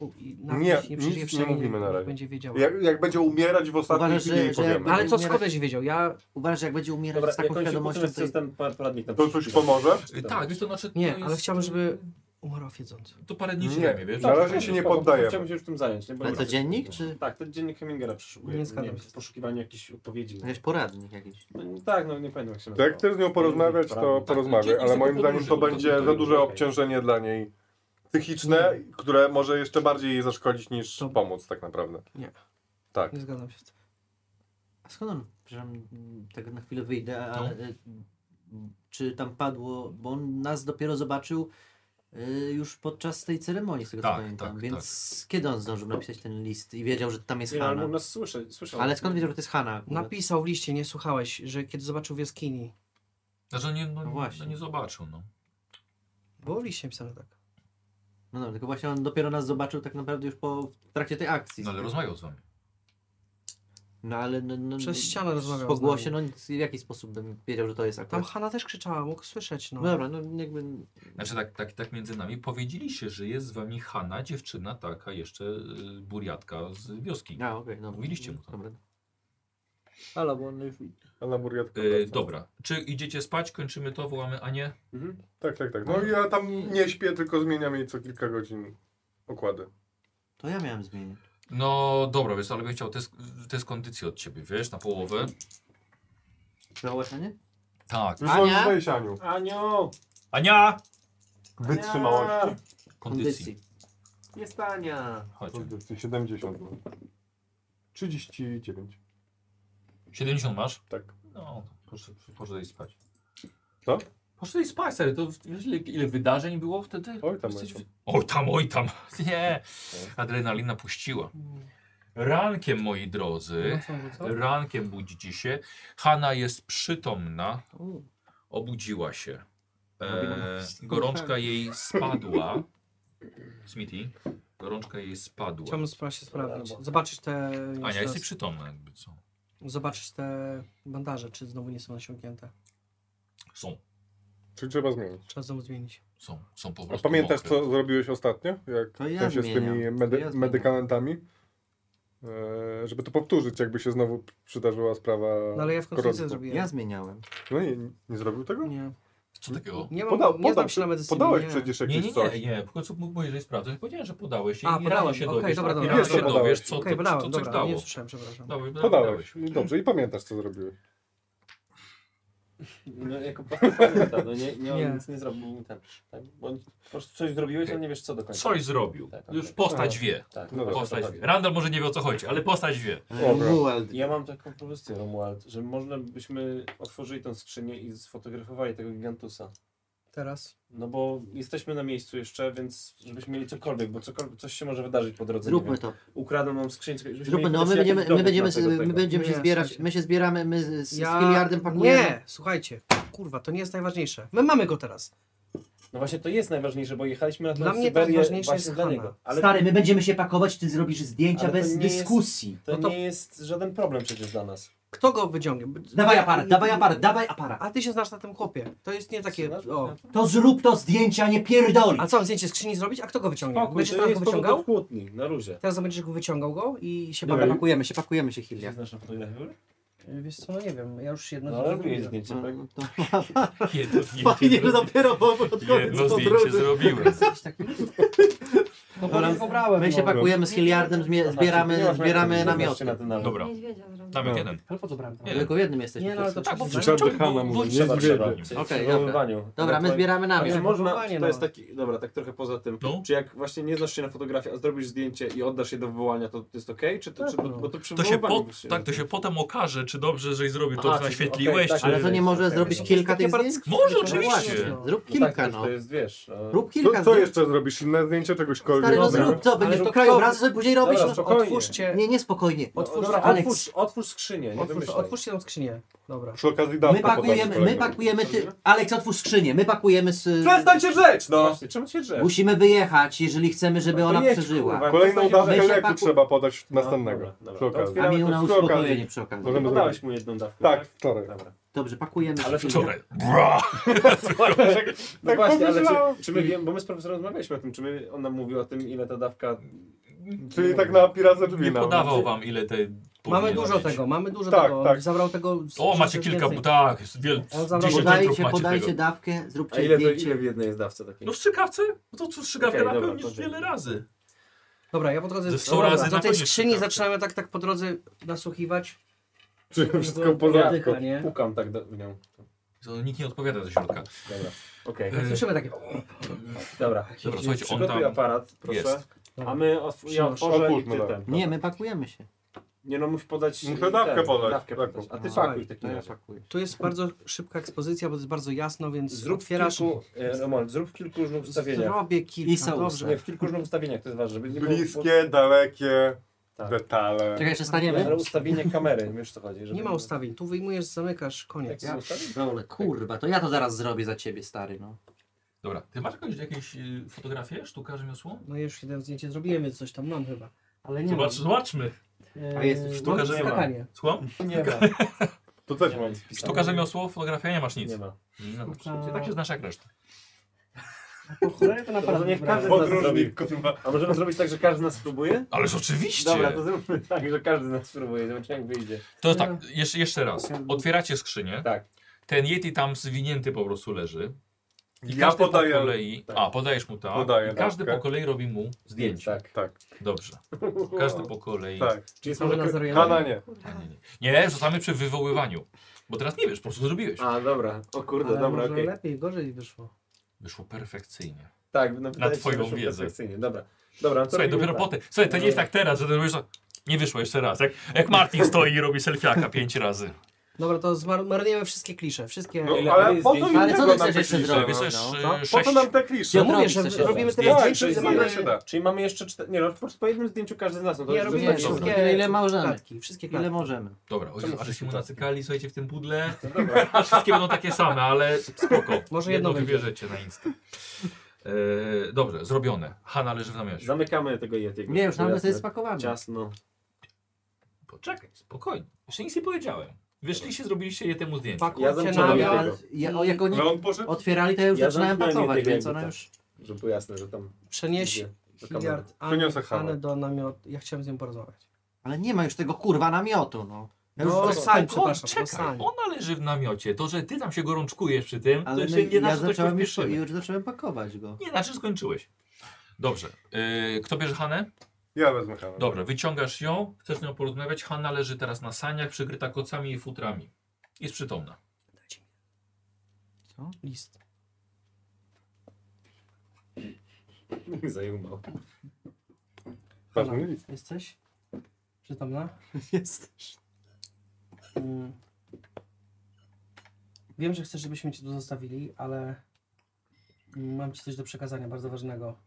D: Bo i nawet
F: Nie,
D: jeśli
F: nic
D: przeżyje,
F: nie
D: przynajmniej
F: mówimy na razie.
D: Będzie wiedziała. No
F: Jak, jak będzie umierać w ostatniej
E: Uważasz,
F: chwili,
E: że-
F: jej
E: że-
F: powiemy.
D: Ale co
E: Nie-
D: skąd będzie wiedział? Ja
E: Uważasz, jak będzie umierać
B: Dobra,
E: z taką
B: jakąś
E: świadomością.
B: uczymy,
E: To...
B: co jest ten pa- poradnik na
F: To coś
B: przyszłość.
F: pomoże?
H: Y, Tak, wiesz to znaczy... to
D: Nie,
H: jest-
D: ale chciałbym, żeby umarła wiedząc.
H: To parę dni
F: Nie,
H: przynajmniej, wiesz?
F: na
H: że-
F: razie się nie
B: Spoko,
F: poddaję.
B: Chciałbym się już tym zająć. Nie? Bo
E: Ale
B: nie-
E: to dziennik, czy
B: Tak, to dziennik Hemingera przeszukuje.
D: Nie
B: Nie
D: zgadzam
B: wiem,
D: się.
B: w poszukiwaniu jakichś odpowiedzi.
E: jakiś poradnik jakiś?
B: No, tak, no nie pamiętam jak się
F: To jak chcesz z nią porozmawiać,
A: Tak.
F: to porozmawiaj, ale moim zdaniem to będzie za duże obciężenie dla niej psychiczne, które może jeszcze bardziej jej zaszkodzić niż
D: To-
F: pomóc tak naprawdę.
D: Nie.
F: Tak.
D: Nie zgadzam się z tym.
E: A skąd on? Przepraszam, tak na chwilę wyjdę, ale y, czy tam padło, bo on nas dopiero zobaczył y, już podczas tej ceremonii, z tego
H: Tak,
E: co pamiętam.
H: tak,
E: Więc kiedy on zdążył napisać ten list i wiedział, że tam jest
B: Nie, ale
E: Hanna?
B: mógł nas słyszeć. słyszał.
E: Ale skąd wiedział, że to jest Hanna? akurat?
D: Napisał w liście, nie słuchałeś, że kiedy zobaczył w jaskini.
H: Znaczy nie, no,
E: No właśnie.
H: właśnie. nie zobaczył, no.
D: Było w liście napisane tak.
E: No dobra, tylko właśnie on dopiero nas zobaczył tak naprawdę już po w trakcie tej akcji.
H: No ale rozmawiał z wami.
E: No ale... No, no,
D: Przez ścianę rozmawiał
E: Po
D: z nami.
E: głosie, no nic- w jaki sposób bym wiedział, że to Tak jest
D: Tam
E: akurat...
D: Hanna też krzyczała, mógł słyszeć, no.
E: No dobra, no jakby...
H: Znaczy tak, tak, tak między nami powiedzieliście, że jest z wami Hanna, dziewczyna taka jeszcze y, buriatka z wioski.
E: A, okej, no.
H: Mówiliście mu to.
E: Dobra. Ale bo on już...
F: A na tak burgatkę.
A: E,
F: wracam.
A: dobra. Czy idziecie spać, kończymy to, wołamy Anię?
F: Tak, tak, tak. No
D: Mhm.
F: i ja tam nie śpię, tylko zmieniam jej co kilka godzin okłady.
E: To ja miałem zmienić.
A: No dobra, wiesz, ale bym chciał test, test kondycji od ciebie, wiesz, na połowę.
E: Przełożenie?
A: Tak.
F: Już
E: Ania?
F: Ania? Już Sianiu.
J: Anio!
A: Ania!
F: Wytrzymałości.
A: Kondycji.
B: Nie stania.
A: Chodź.
F: Kondycji 70. mam. 39.
A: 70 masz?
F: Tak.
A: No, to proszę, proszę iść spać.
F: Co?
A: Proszę iść spać, stary, to w- wiesz ile, ile wydarzeń było wtedy?
F: Oj tam,
A: Jesteś
F: oj
A: w- Oj tam, oj tam. Nie, adrenalina puściła.
F: Mm.
A: Rankiem, moi
F: No.
D: No
A: drodzy, rankiem budzicie się. Hanna jest przytomna, obudziła się. E, gorączka jej spadła. Smithy, gorączka jej spadła.
D: Chciałbym spra- się sprawdzić. Zobaczyć te.
A: Ania,
D: jeszcze
A: jesteś
D: raz.
A: przytomna jakby co?
D: Zobaczyć te bandaże, czy znowu nie są nasiąknięte.
A: Są,
F: Czy trzeba zmienić?
D: Trzeba znowu zmienić.
A: są, są po
F: A
A: prostu
F: pamiętasz,
A: mokre.
F: co zrobiłeś ostatnio? Jak
E: To ja
F: tam się z
E: zmieniam.
F: tymi
E: To
F: medy
E: ja zmieniam.
F: medykamentami? E, żeby to powtórzyć, jakby się znowu przydarzyła sprawa.
D: No ale ja w końcu
F: koronki.
D: nie zrobiłem.
E: Ja zmieniałem.
F: No i nie zrobił tego?
D: Nie.
A: Co takiego?
D: Nie, mam,
F: Poda-
D: nie znam
F: podał-
D: się na medycynie.
F: Podałeś
D: nie.
F: przecież
A: Nie,
F: jakieś
A: nie,
F: coś.
A: nie, nie. W końcu mógł- mówiłeś, że sprawdzałeś, powiedziałem, że podałeś się
D: A,
A: i rano
D: podałem.
A: się
D: Okej,
A: dowiesz. tak,
D: dobra, dobra.
A: I rano
F: Jeszcze
A: się
F: podałeś.
A: dowiesz, co,
E: No,
D: Okej,
A: to, co,
D: podałem,
A: co,
D: dobra, nie
A: dało.
D: słyszałem, przepraszam.
A: Dobra, dobra,
F: Podałeś.
A: dałeś.
F: I dobrze, i pamiętasz, co zrobiłeś.
B: No jako pacjenta, no nie, nie, on
D: Nie.
B: nic nie zrobił. Tak, tak? Bo po prostu coś zrobiłeś, a nie wiesz co do końca.
A: Coś zrobił.
B: Tak,
A: Już
B: okej.
A: postać wie.
B: Tak,
F: No
B: o to
A: Postać
B: chodzi.
A: wie. Randall może nie wie o co chodzi, ale postać wie.
F: Dobra.
E: Romuald.
B: Ja mam taką propozycję, Romuald, że można byśmy otworzyli tą skrzynię i sfotografowali tego gigantusa.
D: Teraz.
B: No bo jesteśmy na miejscu jeszcze, więc żebyśmy mieli cokolwiek, bo cokolwiek, coś się może wydarzyć po drodze. nie
E: Zróbmy
B: wiem.
E: to.
B: Ukradną nam skrzynię. żebyśmy
E: Zróbmy,
B: mieli
E: no
B: chociaż
E: my
B: jakiś
E: będziemy, my
B: dowód
E: będziemy,
B: na tego-
E: my
B: tego.
E: będziemy się
D: Nie,
E: zbierać,
D: słuchajcie.
E: my się zbieramy, my z, z
D: Ja-
E: Hilliardem pakujemy.
D: Nie, słuchajcie. Kurwa, to nie jest najważniejsze. My mamy go teraz.
B: No właśnie to jest najważniejsze, bo jechaliśmy na
D: Dla
B: tą
D: mnie
B: Syberię
D: najważniejsze
B: właśnie
D: jest
B: dla
D: Hanna.
B: niego. Ale
E: Stary, my będziemy się pakować, ty zrobisz zdjęcia
B: Ale to
E: bez
B: nie jest-
E: dyskusji.
B: to,
D: no to-
B: nie jest żaden problem przecież dla nas.
D: Kto go wyciągnie?
E: Dawaj aparat, dawaj aparat, dawaj aparat.
D: A ty się znasz na tym chłopie. To jest nie takie.
B: Znasz?
D: O.
E: To zrób to zdjęcia, nie pierdoli.
D: A co, zdjęcie skrzyni zrobić? A kto go wyciągnie?
B: Spokój,
D: Będziesz
B: to
D: teraz go
B: jest powód do
D: wyciągał?
B: kłótni, na luzie.
D: Teraz będziesz go wyciągał go i się
E: Dobra,
D: bawił.
E: pakujemy się, pakujemy się
B: Ty się
E: Hilliard.
B: znasz na fotografii?
D: Wiesz co, no nie wiem, ja już jedno
B: No ale robiłeś zdjęcie,
E: No,
B: tak?
E: no to...
A: Jedno
E: Fajnie, że
A: zdjęcie,
E: dopiero po pod koniec
A: jedno no zdjęcie
E: podróży.
A: zrobiłem.
D: No
E: Dobra,
D: bo obrałem.
E: My się
D: no.
E: pakujemy z Hilliardem, zmie-
B: Znaczy, nie
E: zbieramy,
B: masz
E: zbieramy
B: ręki, nie znasz
E: namioty.
B: się na ten namiot.
A: No, Dobra.
G: Niedźwiedzia zrobił.
A: Tam
F: No.
A: jeden.
D: Ale po co brałem tam?
A: Nie.
E: Tylko jednym jesteśmy.
D: Nie, no ale to
E: wszyscy.
A: Tak, bo
D: Trzeba
A: wciąż
F: Hanna mówi, nie
A: trzeba
F: zwiedzie.
A: trzeba.
B: Przecież
E: Okej,
B: w
E: dobra.
B: wychowywaniu.
E: Dobra, my
B: Ewentualnie-
E: zbieramy
B: Ale
E: namiot.
D: Dobrze.
J: Można,
D: Normalnie,
J: to jest
D: no.
J: taki, dobra, tak trochę poza tym.
A: No.
J: Czy jak właśnie nie znasz się na fotografii, a zrobisz zdjęcie i oddasz je do wywołania, to jest okej? Czy to,
D: Tak,
J: czy, bo,
D: no.
J: bo to przy
A: To się
J: wywoływaniu
A: po,
J: byś
A: tak, to się potem okaże, czy dobrze, żeś zrobił to,
J: Aha,
A: co
J: czyli-
A: naświetliłeś,
B: okej, tak,
E: Ale
A: czy...
E: to nie może zrobić kilka tych
D: Takie
E: zdjęć?
A: Może,
E: No
A: oczywiście.
E: właśnie, Zrób
B: No tak,
E: kilka,
B: to
E: no.
B: To jest, wiesz... e,
E: Rób
F: Co,
E: kilka
F: co
E: zdjęć.
F: jeszcze zrobisz? Inne zdjęcie czegośkolwiek?
E: Stary, no
F: Dobra.
E: zrób to,
D: Ale
E: będziesz
D: to
E: tu
D: kto-
E: krajobrazy sobie później robisz.
B: Dobra,
E: no.
B: spokojnie.
D: Otwórzcie,
E: Nie, nie, spokojnie.
B: No,
D: Otwórz-
B: dobra,
E: Aleks.
B: otwórz, otwórz skrzynię, nie
D: otwórz,
B: wymyślaj.
D: otwórzcie tą skrzynię. Dobra.
F: Przy okazji
E: My
F: dawka
E: pakujemy, my
F: kolejną.
E: pakujemy, ty... Aleks, otwórz skrzynię, my pakujemy z...
J: Przestań się rzeć, no!
B: Właśnie, czemu się drzesz?
E: Musimy wyjechać, jeżeli chcemy, żeby
J: No to
E: ona
J: jedź,
E: przeżyła.
J: kurwa.
F: Kolejną
J: Weź
F: dawkę
E: się
F: leku
E: pakuj.
F: trzeba podać
B: No,
F: następnego.
B: dobra, dobra.
F: Przy
B: To
F: okazji.
E: A mi
B: Otwieramy
E: na
B: to
E: uspokojenie przy okazji.
F: Możemy
B: Podałeś
F: zrobić.
B: mu jedną dawkę,
F: Tak, wczoraj.
B: Dobra.
E: Dobrze, pakujemy.
B: Ale
E: skrzynię.
A: Wczoraj. Bra!
B: No właśnie, ale
F: pomyślałem.
B: czy, czy my wiemy, bo my z profesorem rozmawialiśmy o tym, czy my, on nam mówił o tym, ile ta dawka...
F: Czyli tak na pirazę drzwi
A: Nie
F: nam.
A: podawał wam, ile tej...
D: Mamy
A: powinien
D: dużo
A: mieć.
D: tego, mamy dużo
F: Tak,
D: tego.
F: tak.
D: Zabrał tego. z-
A: O, macie
D: z-
A: kilka,
D: więcej.
A: tak, jest wiel...
D: On zabrał-
A: 10 metrów
E: Podajcie,
A: macie
E: podajcie
A: tego.
E: dawkę,
J: A
E: zróbcie
J: ile, to,
E: zdjęcie.
J: ile w jednej jest dawce takiej?
A: No w strzykawce? No to co strzykawkę
J: Okej,
A: okay,
J: dobra,
A: napełnisz
J: to-
A: wiele razy.
D: Dobra, ja po drodze
A: Ze sto
D: dobra,
A: razy
D: do
A: na
D: tej
A: koniec
D: skrzyni
A: szukam.
D: zaczynamy tak, tak po drodze nasłuchiwać.
F: Czy wszystko w
D: Ja-
F: porządku?
D: Dycha, nie?
B: Pukam tak do, w nią.
A: To Nikt nie odpowiada ze środka.
B: Dobra, okej.
A: E,
D: Słyszymy takie.
B: Dobra,
A: Dobra, słuchajcie, on
B: przygotuj
A: tam
B: aparat, proszę.
A: jest.
B: A my otw- ja
D: Przynoszę.
B: otworzę i
F: Otwórzmy,
B: ty
F: tak.
B: ten.
E: Nie, my pakujemy się.
B: Nie no, musisz podać...
F: Muszę
B: e,
F: dawkę
B: ten,
F: podać.
B: Dawkę
F: Tak.
B: podać. A ty
E: No.
B: pakuj w takim
E: No ja
B: razie.
E: pakuję.
D: Tu jest bardzo szybka ekspozycja, bo jest bardzo jasno, więc
B: Zrób
D: otwierasz.
B: kilku, e, Roman, zrób w kilku różnych ustawieniach.
D: Zrobię kilka.
E: I są
D: dobrze.
B: Nie, w kilku różnych ustawieniach, to jest ważne. żeby nie było-
F: Bliskie, dalekie
B: Tak.
F: detale.
E: Czekaj, jeszcze
B: Ale
E: staniemy?
B: ustawienie kamery, wiesz co chodzi. żeby-
D: Nie ma ustawień. Tu wyjmujesz, zamykasz,
B: Jak
D: koniec.
B: są ustawienia?
E: Dole, kurwa, to ja to zaraz zrobię za ciebie, stary, no.
A: Dobra, ty masz jakąś, jakieś y, fotografię, sztuka rzemiosło?
D: No już jedno zdjęcie zrobiłem, więc coś tam mam chyba. Ale nie
A: Zobacz, zobaczmy.
D: mam.
E: A jest sztuka,
D: mam
A: że nie
D: skakanie.
A: Słucham?
B: Nie ma.
F: To też
B: Nie
F: mam.
B: ma nic wpisane.
A: Sztuka rzemiosło, fotografia, nie masz nic.
B: Nie ma.
A: Nie, no,
D: Sztuka-
A: tak się znasz jak reszta.
D: Chodzenie to na
B: To może niech każdy z nas zrobi.
F: Podróżnik, kurwa.
B: A możemy zrobić tak, że każdy z nas spróbuje?
A: Ależ oczywiście!
B: Dobra, to zróbmy tak, że każdy z nas spróbuje, zobaczymy jak wyjdzie.
A: To tak, jeszcze, jeszcze raz. Otwieracie skrzynię.
B: Tak.
A: Ten Yeti tam zwinięty po prostu leży. I
F: Ja
A: każdy
F: podaję.
A: po kolei.
B: tak.
A: A, podajesz mu tak.
F: Podaję
A: I każdy
F: dawkę.
A: po kolei robi mu zdjęcie.
B: Tak.
F: Tak,
A: Dobrze. Każdy po kolei.
F: tak.
B: Czyli jest
D: Może
B: może...
D: nas zorientuje.
F: Hanna nie.
A: Nie, nie, nie. nie, rzucamy przy wywoływaniu. Bo teraz nie wiesz, po prostu zrobiłeś.
B: A, dobra. O kurde,
D: Ale
B: dobra,
D: może
B: okej.
D: lepiej, gorzej wyszło.
A: Wyszło perfekcyjnie.
B: Tak, no, wydaje się,
A: twoją
B: że wyszło
A: wiedzę.
B: perfekcyjnie. Dobra. Dobra, to
A: Słuchaj,
B: robimy
A: dopiero
B: tak.
A: potem. Słuchaj, to nie jest tak teraz, że ty robisz. Nie wyszło jeszcze raz. Jak, jak Martin stoi i robi selfiaka pięć razy.
D: Dobra, to zmar- marnujemy wszystkie klisze, wszystkie...
F: No,
K: Ile
F: ale
K: jest
F: po co
K: zdjęć?
F: mi
E: Ale co
F: tego
E: ty
F: nam
E: chcesz
F: te
E: jeszcze
F: klisze?
E: zrobić?
A: Więc to jest
E: no?
A: e,
F: Po co
A: sześć.
F: nam te klisze?
D: Ja
E: No.
D: mówię, że
E: Robisz coś
D: robimy
E: jeszcze.
D: tyle
F: Tak,
D: zdjęć,
F: sześć
D: że
F: zdjęć
D: mamy...
F: się da.
B: Czyli mamy jeszcze cztery... Nie, no, po prostu po jednym zdjęciu każdy z nas. No to
D: Ja
B: już
D: robię
B: wystarczy.
D: jeszcze.
B: Dobra.
E: Ile, ile możemy.
D: Klatki, wszystkie
E: Ile
D: klatki.
E: możemy.
A: Dobra, o Jezu, ale się mu
B: wszystkie
A: nacykali, słuchajcie, w tym pudle.
B: No dobra.
A: Znaczy, Wszystkie będą takie same, ale spoko.
D: Może
A: jedno
D: jedno będzie.
A: wybierzecie na Insta. E, dobrze, zrobione. Hanna leży w namiocie.
B: Zamykamy tego Yetiego.
E: Nie, już nam
B: Jasne.
E: jest spakowane.
B: Ciasno.
A: Poczekaj, spokojnie. Jeszcze nic nie powiedziałem. Wyszliście, zrobiliście je temu zdjęcie.
B: Ja
D: Pakujcie
B: zamknąłem
E: Ale
D: namiot.
B: Robię tego.
E: ja, o, jak oni
F: No on poszedł.
E: otwierali, to ja już
B: Ja
E: zaczynałem
B: zamknąłem
E: pakować,
B: jednego
E: więc ona
B: tak.
E: już...
B: Żeby było jasne, że tam...
D: Przenieś
B: idzie do kamery.
D: Hilliard Anę,
F: Przyniosę
D: Anę
F: Hanę.
D: do namiotu. Ja chciałem z nią porozmawiać.
E: Ale nie ma już tego kurwa namiotu, no. Ja już
D: No,
E: no,
D: sam,
A: on,
D: przepraszam,
A: czekaj,
D: sam.
A: ona leży w namiocie. To, że ty tam się gorączkujesz przy tym,
E: ale
A: to
E: no,
A: się nie
E: ja
A: znaczy, że coś
E: zacząłem już,
A: pośpieszymy.
E: już zacząłem pakować go.
A: Nie, znaczy skończyłeś. Dobrze. E, kto bierze Hanę?
F: Ja wezmę Hanę.
A: Dobra, wyciągasz ją, chcesz z nią porozmawiać. Hanna leży teraz na saniach, przykryta kocami i futrami. Jest przytomna.
E: Co?
D: List.
B: Zajumał.
F: Ważny list.
D: Jesteś? Przytomna?
E: Jest.
D: Mm. Wiem, że chcesz, żebyśmy cię tu zostawili, ale mam ci coś do przekazania bardzo ważnego.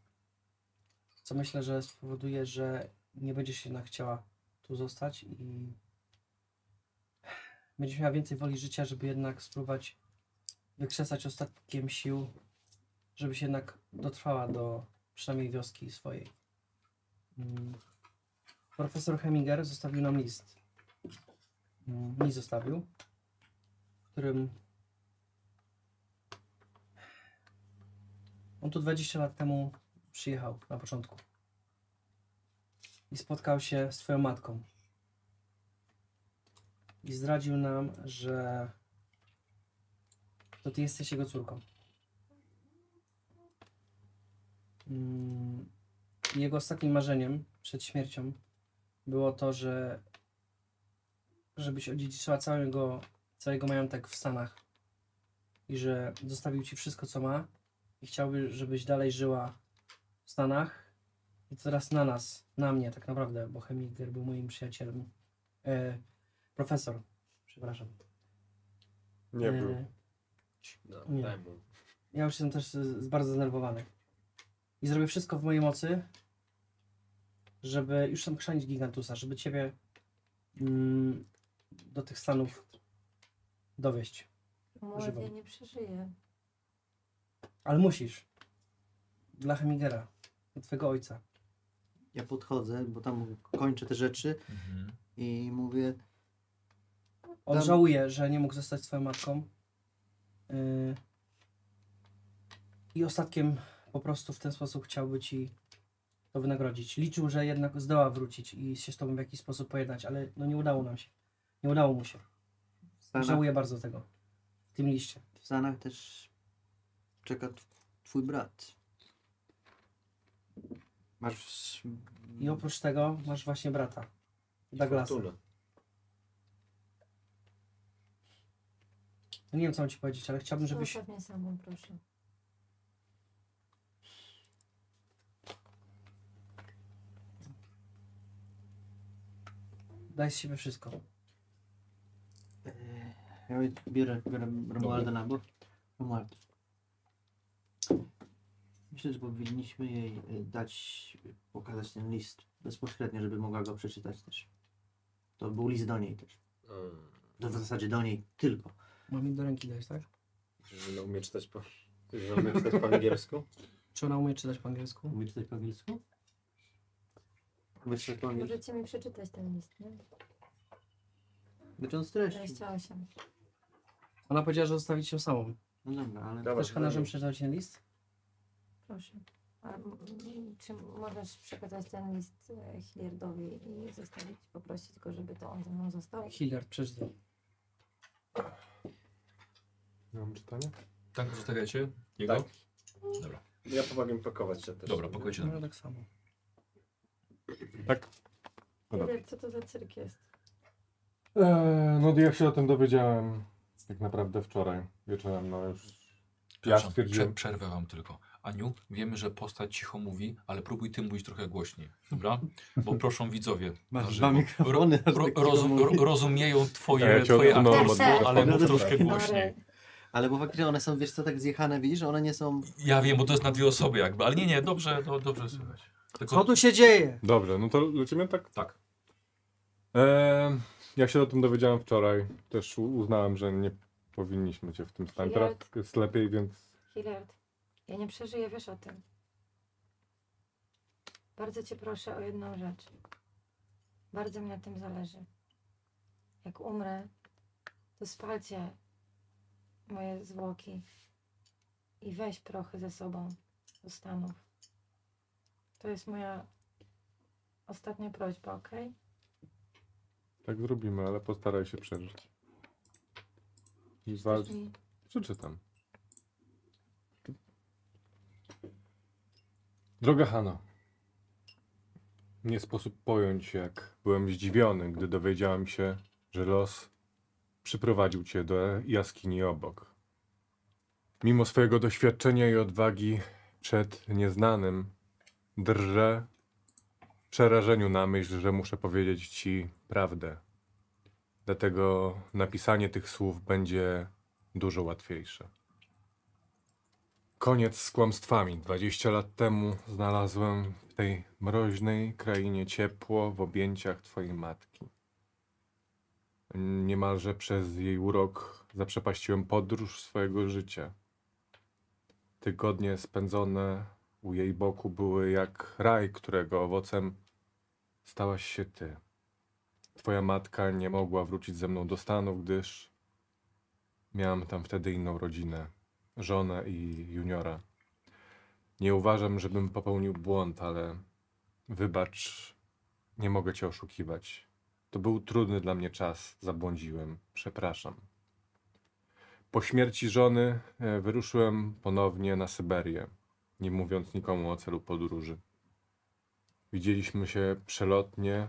D: Co myślę, że spowoduje, że nie będziesz się jednak chciała tu zostać i będziesz miała więcej woli życia, żeby jednak spróbować wykrzesać ostatkiem sił, żebyś jednak dotrwała do przynajmniej wioski swojej. Mm. Profesor Heminger zostawił nam list mm, mi zostawił, w którym on tu 20 lat temu przyjechał na początku i spotkał się z twoją matką i zdradził nam, że to ty jesteś jego córką. Mm, i Jego ostatnim marzeniem przed śmiercią było to, że żebyś odziedziczyła całego, całego majątek w Stanach i że zostawił ci wszystko, co ma i chciałby, żebyś dalej żyła w Stanach i to teraz na nas, na mnie tak naprawdę, bo Heminger był moim przyjacielem. E, profesor, przepraszam.
F: Nie
D: E,
F: był.
B: No,
D: Nie.
B: daj mu.
D: Ja już jestem też y, bardzo zdenerwowany. I zrobię wszystko w mojej mocy, żeby już tam chrzanić gigantusa, żeby ciebie mm, do tych Stanów dowieść.
G: Młodzie nie przeżyje.
D: Ale musisz. Dla Hemingera. Dla twojego ojca.
E: Ja podchodzę, bo tam kończę te rzeczy
A: Mhm.
E: i mówię,
D: On
E: Tam-
D: żałuje, że nie mógł zostać swoją matką. Y, I ostatkiem po prostu w ten sposób chciałby ci to wynagrodzić. Liczył, że jednak zdoła wrócić i się z tobą w jakiś sposób pojednać, ale no nie udało nam się. Nie udało mu się.
E: w Stanach,
D: Żałuję bardzo tego. W tym liście.
E: w Stanach też czeka tw- twój brat. Masz...
D: I oprócz tego masz właśnie brata. Douglasa.
B: Fortuna.
D: No Nie wiem, co mam ci powiedzieć, ale chciałbym, żebyś
G: Zostaw mnie samą, proszę.
D: daj z siebie wszystko.
E: e, Ja biorę, biorę Romualdę na bok. Romuald. Myślę, że powinniśmy jej y, dać, y, pokazać ten list bezpośrednio, żeby mogła go przeczytać też. To był list do niej też.
B: Mm,
E: To w zasadzie do niej tylko.
D: Mam jej do ręki dać, tak?
B: Że ona umie czytać po... Że umie czytać po angielsku?
D: Czy ona umie czytać po angielsku?
E: Mówię czytać po angielsku? Mówię czytać po angielsku.
G: Możecie mi przeczytać ten list, nie?
E: Znaczy on streści.
G: 28.
D: Ona powiedziała, że zostawić ją samą.
E: No dobra, ale...
B: Dobra,
D: Chcesz, Hanna, żebym przeczytał ci ten list?
G: Proszę. A, m- m- czy możesz przekazać ten list e, Hilliardowi i zostawić, poprosić go, żeby to on ze mną został?
D: Hilliard, przeczytaj.
F: Nie mam czytania?
H: Tak, zostawiacie jego?
B: Tak.
H: Dobra,
B: Ja pomagam pakować się też.
H: dobra, pakujcie
D: No
H: nam.
D: tak samo.
F: Tak.
G: Hilliard, co to za cyrk jest?
F: Eee, no ja się o tym dowiedziałem tak naprawdę wczoraj wieczorem, no już ja
H: Przepraszam, prze-
F: stwierdziłem.
H: przerwę wam tylko. Aniu, wiemy, że postać cicho mówi, ale próbuj ty mówić trochę głośniej, dobra? Bo proszą widzowie. na
E: Masz
H: żywo.
E: dwa mikrofony, aż
H: Ro,
E: tak cicho
H: rozum,
E: mówi.
H: ro, rozumieją twoje,
F: Ja cię
H: twoje
F: odsunąłem
G: od
H: aktorstwo,
A: tak.
G: biura.
H: ale mów
E: Dobra.
H: troszkę głośniej.
G: Sorry.
E: Ale bo faktycznie one są, wiesz co, tak zjechane, widzisz, one nie są...
H: Ja wiem, bo to jest na dwie osoby jakby, ale nie, nie, dobrze, do, dobrze słychać.
D: Co
H: Tylko,
D: tu się dzieje?
F: Dobrze, no to lecimy tak?
H: tak.
F: Eee, ja się o tym dowiedziałem wczoraj. Też u- uznałem, że nie powinniśmy cię w tym stanie. Teraz
G: Jak?
F: jest lepiej, więc
G: Hilliard, ja nie przeżyję, wiesz o tym. Bardzo cię proszę o jedną rzecz. Bardzo mi na tym zależy. Jak umrę, to spalcie moje zwłoki i weź prochy ze sobą do Stanów. To jest moja ostatnia prośba, ok?
F: tak zrobimy, ale postaraj się przeżyć. I
G: Chcesz
F: walcz.
G: mi-
F: Przeczytam. Droga Hano, nie sposób pojąć, jak byłem zdziwiony, gdy dowiedziałem się, że los przyprowadził cię do jaskini obok. Mimo swojego doświadczenia i odwagi przed nieznanym, drżę w przerażeniu na myśl, że muszę powiedzieć ci prawdę. Dlatego napisanie tych słów będzie dużo łatwiejsze. Koniec z kłamstwami. 20 lat temu znalazłem w tej mroźnej krainie ciepło w objęciach twojej matki. Niemalże przez jej urok zaprzepaściłem podróż swojego życia. Tygodnie spędzone u jej boku były jak raj, którego owocem stałaś się ty. Twoja matka nie mogła wrócić ze mną do Stanów, gdyż Miałem tam wtedy inną rodzinę, żonę i juniora. Nie uważam, żebym popełnił błąd, ale wybacz, nie mogę cię oszukiwać. To był trudny dla mnie czas, zabłądziłem, przepraszam. Po śmierci żony e, wyruszyłem ponownie na Syberię, nie mówiąc nikomu o celu podróży. Widzieliśmy się przelotnie,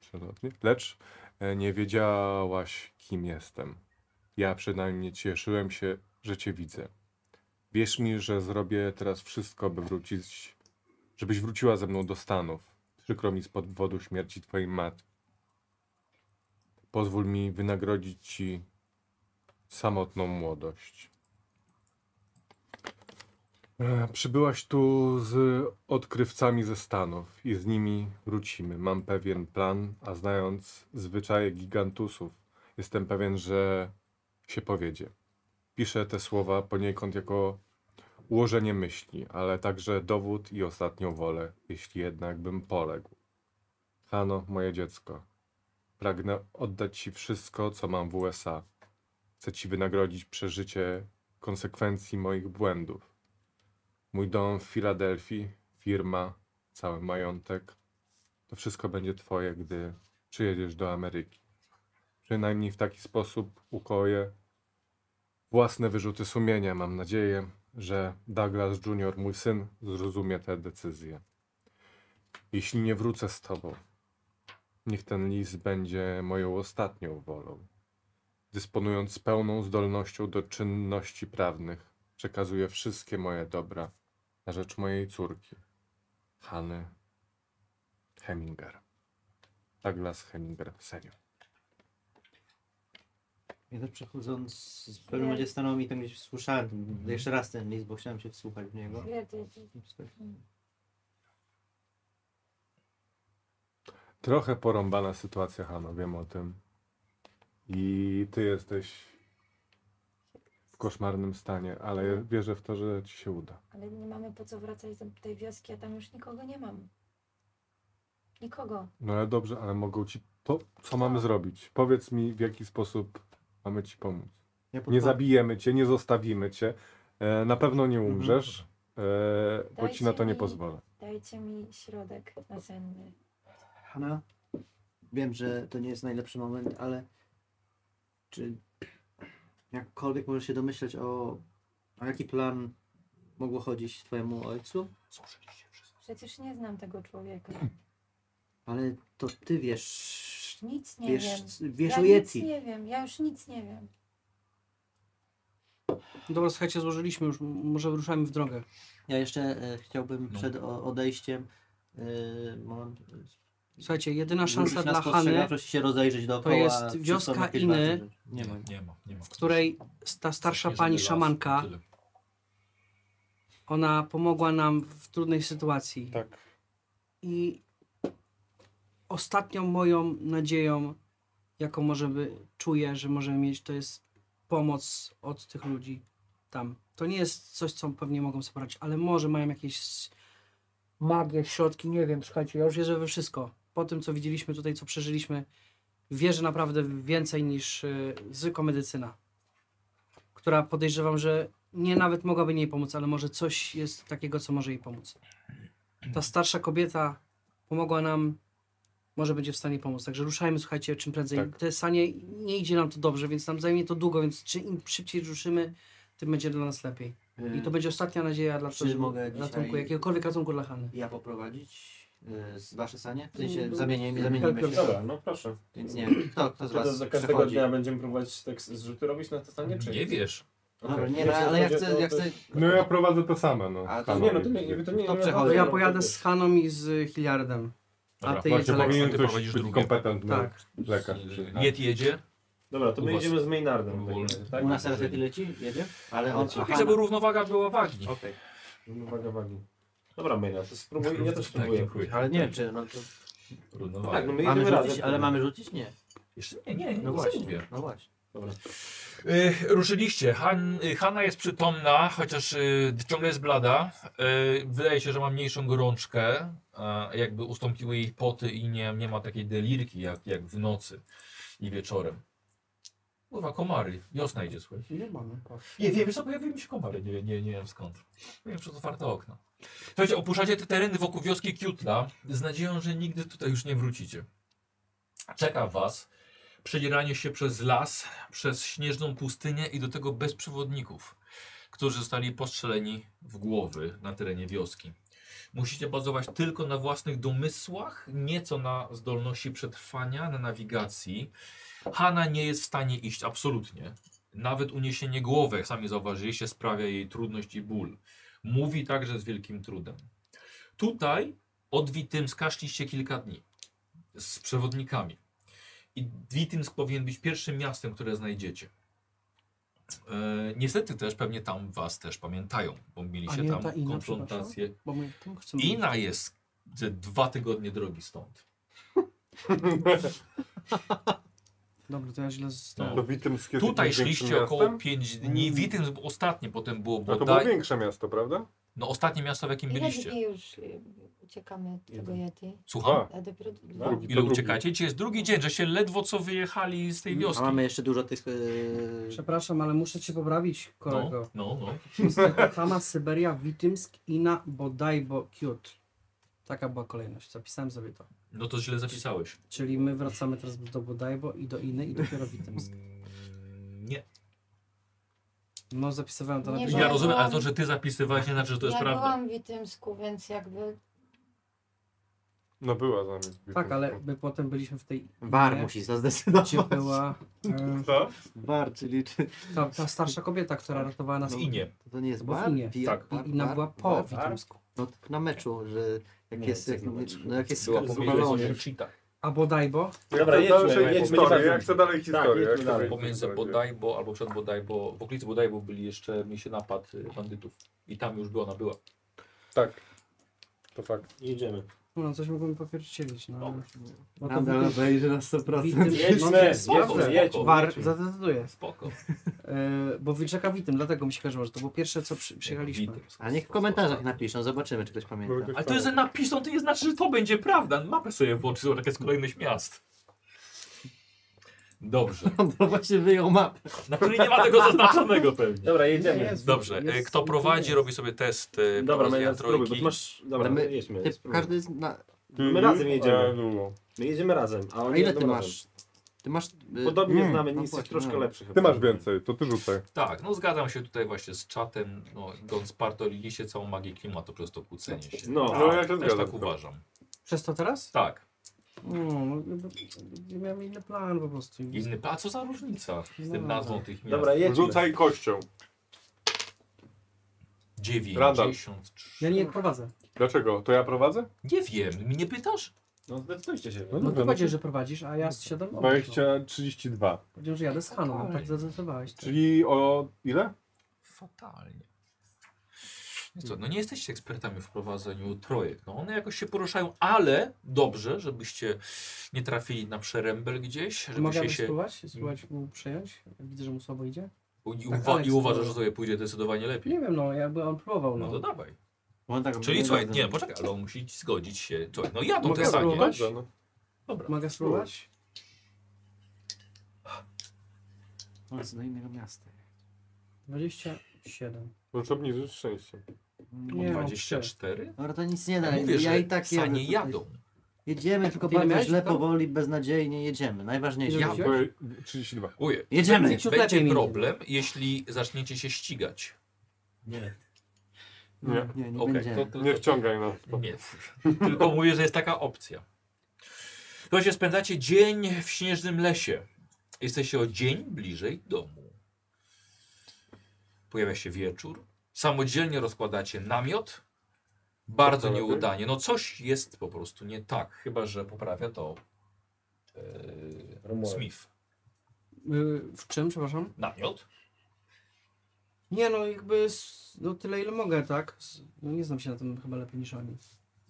F: przelotnie, lecz E, Nie wiedziałaś, kim jestem. Ja przynajmniej cieszyłem się, że cię widzę. Wierz mi, że zrobię teraz wszystko, by wrócić, żebyś wróciła ze mną do Stanów. Przykro mi z powodu śmierci twojej matki. Pozwól mi wynagrodzić ci samotną młodość. E, Przybyłaś tu z odkrywcami ze Stanów i z nimi wrócimy. Mam pewien plan, a znając zwyczaje gigantusów, jestem pewien, że się powiedzie. Piszę te słowa poniekąd jako ułożenie myśli, ale także dowód i ostatnią wolę, jeśli jednak bym poległ. Hano, moje dziecko, pragnę oddać ci wszystko, co mam w USA. Chcę ci wynagrodzić przeżycie konsekwencji moich błędów. Mój dom w Filadelfii, firma, cały majątek. To wszystko będzie twoje, gdy przyjedziesz do Ameryki. Przynajmniej w taki sposób ukoję własne wyrzuty sumienia. Mam nadzieję, że Douglas Jr., mój syn, zrozumie tę decyzję. Jeśli nie wrócę z tobą, niech ten list będzie moją ostatnią wolą. Dysponując pełną zdolnością do czynności prawnych, przekazuję wszystkie moje dobra na rzecz mojej córki, Hany Heminger. Douglas Heminger, senior.
E: Ja też przechodząc, w pewnym momencie stanął mi tam gdzieś słyszałem jeszcze raz ten list, bo chciałem się wsłuchać w niego.
G: Hilliard, ja-
F: Trochę porąbana sytuacja, Hano, wiem o tym. I ty jesteś w koszmarnym stanie, ale ja wierzę w to, że ci się uda.
G: Ale nie mamy po co wracać do tej wioski, ja tam już nikogo nie mam. Nikogo.
F: No ale dobrze, ale mogą ci... To, co mamy zrobić? Powiedz mi, w jaki sposób mamy ci pomóc.
E: Ja
F: Nie
E: podcho-
F: zabijemy cię, nie zostawimy cię. E, na pewno nie umrzesz, e, bo ci
G: Dajcie
F: na to nie
G: mi-
F: pozwolę.
G: Dajcie mi środek nasenny.
E: Hanna, wiem, że to nie jest najlepszy moment, ale czy jakkolwiek możesz się domyśleć o, o jaki plan mogło chodzić twojemu ojcu?
G: Przecież nie znam tego człowieka.
E: Ale to ty wiesz,
G: Nic nie
E: wiesz,
G: wiem.
E: wiesz
G: ja
E: o
G: nic
E: Yeti.
G: nie wiem, ja już nic nie wiem.
D: Dobra, słuchajcie, złożyliśmy już, m- może ruszamy w drogę.
E: Ja jeszcze e, chciałbym
A: No.
E: przed o, odejściem y, moment,
D: Słuchajcie, jedyna szansa
E: rzucić na
D: dla Hany,
E: spostrzegawczość i się rozejrzeć dookoła.
D: jest
E: czy są
D: wioska
E: jakieś
D: Iny,
E: ważne rzeczy. Nie ma.
A: Nie ma, nie ma.
D: w której s- ta starsza pani szamanka,
A: Tyle.
D: ona pomogła nam w trudnej sytuacji.
F: Tak.
D: I ostatnią moją nadzieją, jaką może by, czuję, że możemy mieć, to jest pomoc od tych ludzi tam. To nie jest coś, co pewnie mogą sobie poradzić, ale może mają jakieś s- magie, środki, nie wiem, słuchajcie, ja już wierzę we wszystko. Po tym, co widzieliśmy tutaj, co przeżyliśmy, wierzę naprawdę w więcej niż y, zwykła medycyna, która podejrzewam, że nie nawet mogłaby jej pomóc, ale może coś jest takiego, co może jej pomóc. Ta starsza kobieta pomogła nam, może będzie w stanie pomóc. Także ruszajmy, słuchajcie, czym prędzej.
F: Tak.
D: Te sanie, nie idzie nam to dobrze, więc nam zajmie to długo, więc czy im szybciej ruszymy, tym będzie dla nas lepiej. I
E: E,
D: to będzie ostatnia nadzieja dla
E: Y, Czy
D: tego
E: mogę dzisiaj-
D: ratunku, jakiegokolwiek ratunku dla Hany.
E: Ja poprowadzić y, z wasze sanie? W sensie zamienimy, zamienimy się.
B: Mm, Dobra, no proszę.
E: Więc nie wiem, kto, kto z
B: Czy to
E: was
B: za każdego
E: przechodzi.
B: dnia będziemy próbować tekst zrzuty robić na to stanie, czy
A: Nie wiesz.
E: Dobra,
B: Okej.
E: nie, no,
B: Jeśli
E: ale ja
B: chodzi
E: chcę,
B: o
E: ja
B: to-
E: chcę...
F: No ja prowadzę to samo, no.
E: A to
F: Halo,
B: Nie, no to nie, to nie...
E: To
B: nie-
E: przechodzę.
D: To ja
E: No,
D: pojadę z Haną i z Hiliardem. A
A: Dobra,
D: ty jedź
F: Właśnie
D: Aleksa.
F: powinien
A: ty
F: ktoś
A: prowadzisz
F: być
A: drugie.
F: kompetentny
E: No.
D: Tak.
F: lekarz.
A: Niet jedzie.
B: Dobra, to
A: U
B: my
A: was.
B: jedziemy z Maynardem. tak?
A: Wolny.
B: Tak?
E: U nas teraz jaki leci? Jedzie? Ale on...
A: Lepiej, żeby równowaga była wagi.
E: Okej.
B: Uwaga, wagi. Dobra, Maynard, to spróbuj, ja
A: Tak,
H: Tak,
B: też spróbuję.
E: Ale nie wiem, czy... No to...
A: Równowaga.
B: Tak, no tak. my jedziemy
E: Mamy
B: razem.
E: rzucić, ale mamy rzucić? Nie.
A: Jeszcze nie, nie,
E: No
A: nie
E: właśnie,
A: właśnie.
E: no właśnie.
A: Y, ruszyliście. Han, y, Hanna jest przytomna, chociaż y, ciągle jest blada. Y, wydaje się, że ma mniejszą gorączkę. A jakby ustąpiły jej poty i nie, nie ma takiej delirki jak, jak w nocy i wieczorem. Kurwa, komary. Wiosna idzie, słuchaj.
D: Nie no, mamy.
A: Nie wiem, wiesz co, pojawiły mi się komary, nie, nie, nie wiem skąd. Nie wiem, przez otwarte okna. Słuchajcie, opuszczacie te tereny wokół wioski Kiutla z nadzieją, że nigdy tutaj już nie wrócicie. Czeka was przedzieranie się przez las, przez śnieżną pustynię i do tego bez przewodników, którzy zostali postrzeleni w głowy na terenie wioski. Musicie bazować tylko na własnych domysłach, nieco na zdolności przetrwania, na nawigacji. Hanna nie jest w stanie iść absolutnie. Nawet uniesienie głowy, jak sami zauważyliście, sprawia jej trudność i ból. Mówi także z wielkim trudem. Tutaj od Witymska szliście kilka dni z przewodnikami. I Witymsk powinien być pierwszym miastem, które znajdziecie. E, niestety też pewnie tam was też pamiętają, bo
D: A
A: mieliście
D: nie
A: tam
D: ta inna,
A: konfrontację.
D: Bo my tam chcemy.
A: Ina jest ze dwa tygodnie drogi stąd.
D: Dobra, No. to ja źle zostałem.
F: To Witemskie jest
A: No. Tutaj
F: jakimś większym
A: szliście około
F: miastem?
A: 5 dni. Witym ostatnie potem było
F: No to było
A: bodaj.
F: większe miasto, prawda?
A: No ostatnie miasto, w jakim
G: Ile
A: byliście.
G: tak. dni już y, uciekamy od tego Yeti?
A: Słucham?
G: A dopiero
F: No.
G: dwa dni.
A: Ile
F: To drugi.
A: uciekacie? Czy jest drugi dzień, że się ledwo co wyjechali z tej
E: A
A: wioski?
E: mamy jeszcze dużo tych... y,
D: Przepraszam, ale muszę cię poprawić,
A: No,
D: kolego.
A: no, no.
D: Jest Hama, Syberia, Witymsk, Ina, Bodajbo, Kiut. Taka była kolejność, zapisałem sobie to.
A: No to źle zapisałeś.
D: Czyli my wracamy teraz do Bodajbo i do Iny i dopiero Witymsk.
A: Mm, Nie.
D: No zapisywałem to na
G: Nie,
D: tym-
G: bo
A: Ja rozumiem, ale to, że ty zapisywałeś, nie znaczy, że to jest
G: ja
A: prawda.
G: byłam w Witymsku, więc jakby
F: No była z nami.
D: Tak, ale my potem byliśmy w tej
E: Bar
D: Nie.
E: musi
D: gdzie
E: zadecydować.
D: była e,
F: Co?
E: Bar, czyli czy...
D: ta, ta starsza kobieta, która ratowała nas
A: Z Inie.
E: To nie jest
D: Bo w
E: bar?
D: Inie.
E: Pi-
A: Tak.
E: bar,
D: I No, Ina
E: bar,
D: była po
E: bar.
D: Witemsku.
E: No to na meczu, że jak
B: Nie,
E: jest,
B: jak
E: jak,
B: na meczu.
E: no, jak jest
A: Była pomiędzy
E: skalony.
A: Cheetah.
D: A Bodajbo?
B: Dobra,
F: ja chcę
B: jedźmy,
F: dalej
B: jedźmy,
F: historię,
B: nieważne.
F: ja chcę dalej historię.
B: jedźmy dalej.
A: Pomiędzy Bodajbo albo przed Bodajbo, w okolicy Bodajbo byli jeszcze, mieli się napad y, bandytów. I tam już była, ona była.
F: Tak. To fakt.
B: Jedziemy.
D: No coś mogłem popierdzielić, no. ale- Bo to
E: Nadal
D: Witem-
E: wejdzie na 100%.
D: Witem-
B: Jedźmy,
D: no,
B: jedźmy, jedźmy.
D: War zadecyduje.
A: Spoko.
D: E, bo wyczeka Witem, dlatego mi się kojarzyło, że to było pierwsze, co przy, przyjechaliśmy.
A: Witek.
E: A niech w komentarzach napiszą, zobaczymy, czy ktoś pamięta.
A: Ale to jest że napisą, to nie znaczy, że to będzie prawda. Mapę sobie włączy, zobacz, jaka jest kolejność miast. Dobrze.
E: To właśnie wyjął mapę.
A: Na której nie ma tego zaznaczonego pewnie.
B: Dobra, jedziemy.
D: Nie, jest-
A: Dobrze, e,
D: jest-
A: kto prowadzić
D: jest.
A: robi sobie test e,
B: Dobra, no
A: prowadzenia
B: ja spróbuję, bo ty
A: trójki.
B: masz... Dobra,
E: Ale my-
B: jedźmy.
E: Ty,
B: spróbuj.
E: każdy z na...
B: My razem jedziemy.
F: A, długo.
B: My jedziemy razem, a
E: A
B: oni
E: ile
B: jadą
E: ty
B: razem.
E: masz? Ty masz... y,
B: no Podobnie
E: mm,
B: znamy
E: no
B: nic,
E: właśnie,
B: troszkę
E: no.
B: lepszy chyba.
F: Hmm. Ty masz więcej, to ty rzucaj.
A: Tak, no zgadzam się tutaj właśnie z czatem. No, Gon spartoliliście całą magię klimatu przez to kłócenie się.
B: No,
A: tak,
F: no ja się
A: też
F: zgadzam.
A: tak uważam.
D: Przez to teraz?
A: Tak.
D: No, no, nie miałem inny plan po prostu.
A: Inny, a co za różnica z tym
D: No.
A: nazwą tych miast?
B: Dobra, jedźmy.
F: Rzucaj kością.
A: 93.
D: Ja nie prowadzę. No,
F: Dlaczego? To ja prowadzę?
A: Nie wiem, mnie pytasz?
B: No zdecydujcie się.
D: No ty powiedziałeś, że prowadzisz, a ja siadam
F: No,
D: obok.
F: 20, 32.
D: Powiedziałem, że jadę z Haną, tak zadecydowałeś. Tak.
F: Czyli o ile?
A: Fatalnie. No Co,
D: Mhm.
A: no nie jesteście ekspertami w prowadzeniu trojek. No one jakoś się poruszają, ale dobrze, żebyście nie trafili na przerębel gdzieś, żebyście
D: Mogę
A: się
D: spróbować? Spróbować mu przejąć? Widzę, że mu słabo idzie.
A: I,
D: Tak,
A: uwa
D: Aleks,
A: I uważasz,
D: to-
A: że sobie pójdzie zdecydowanie lepiej.
D: Nie wiem, no jakby on próbował,
A: No
D: no.
A: to dawaj.
E: Bo on tak
A: Czyli
E: robi
A: słuchaj,
E: razem.
A: nie, poczekaj, ale on musi zgodzić się. Słuchaj, no jadą
D: Mogę
A: te sanie.
D: spróbować?
F: Dobrze, no.
A: Dobra.
D: Mogę spróbować?
E: On jest do innego miasta.
D: 27.
F: Możesz No obniżyć szczęście.
D: Nie, no,
A: 24?
E: Dobra, No to nic nie da.
A: No Mówię,
E: ja
A: że
E: i tak jadę
A: sanie
E: tutaj.
A: jadą.
E: Jedziemy, tylko
D: Ile
E: bardzo
D: miałeś
E: źle,
D: tam?
E: powoli, beznadziejnie jedziemy. Najważniejsze.
D: Ile
A: Ja-
D: rzuciłeś?
F: Bo- 32.
A: Uje,
E: Jedziemy!
D: Ciut lepiej mi
A: będzie
D: idzie.
A: problem, jeśli zaczniecie się ścigać.
F: Nie.
E: Nie, nie
A: Okej,
E: będziemy.
A: to- to-
F: Nie
A: to-
F: wciągaj nas. w to.
A: Nie, tylko mówię, że jest taka opcja. Słuchajcie, spędzacie dzień w śnieżnym lesie. Jesteście o dzień bliżej domu. Pojawia się wieczór. Samodzielnie rozkładacie namiot. Bardzo
F: Trochę lepiej.
A: nieudanie. No coś jest po prostu nie tak, chyba że poprawia to
B: No,
A: yy, Smith.
D: Y, W czym, przepraszam?
A: Namiot?
D: Nie no, jakby s- no tyle ile mogę, tak? S- No nie znam się na tym chyba lepiej niż oni.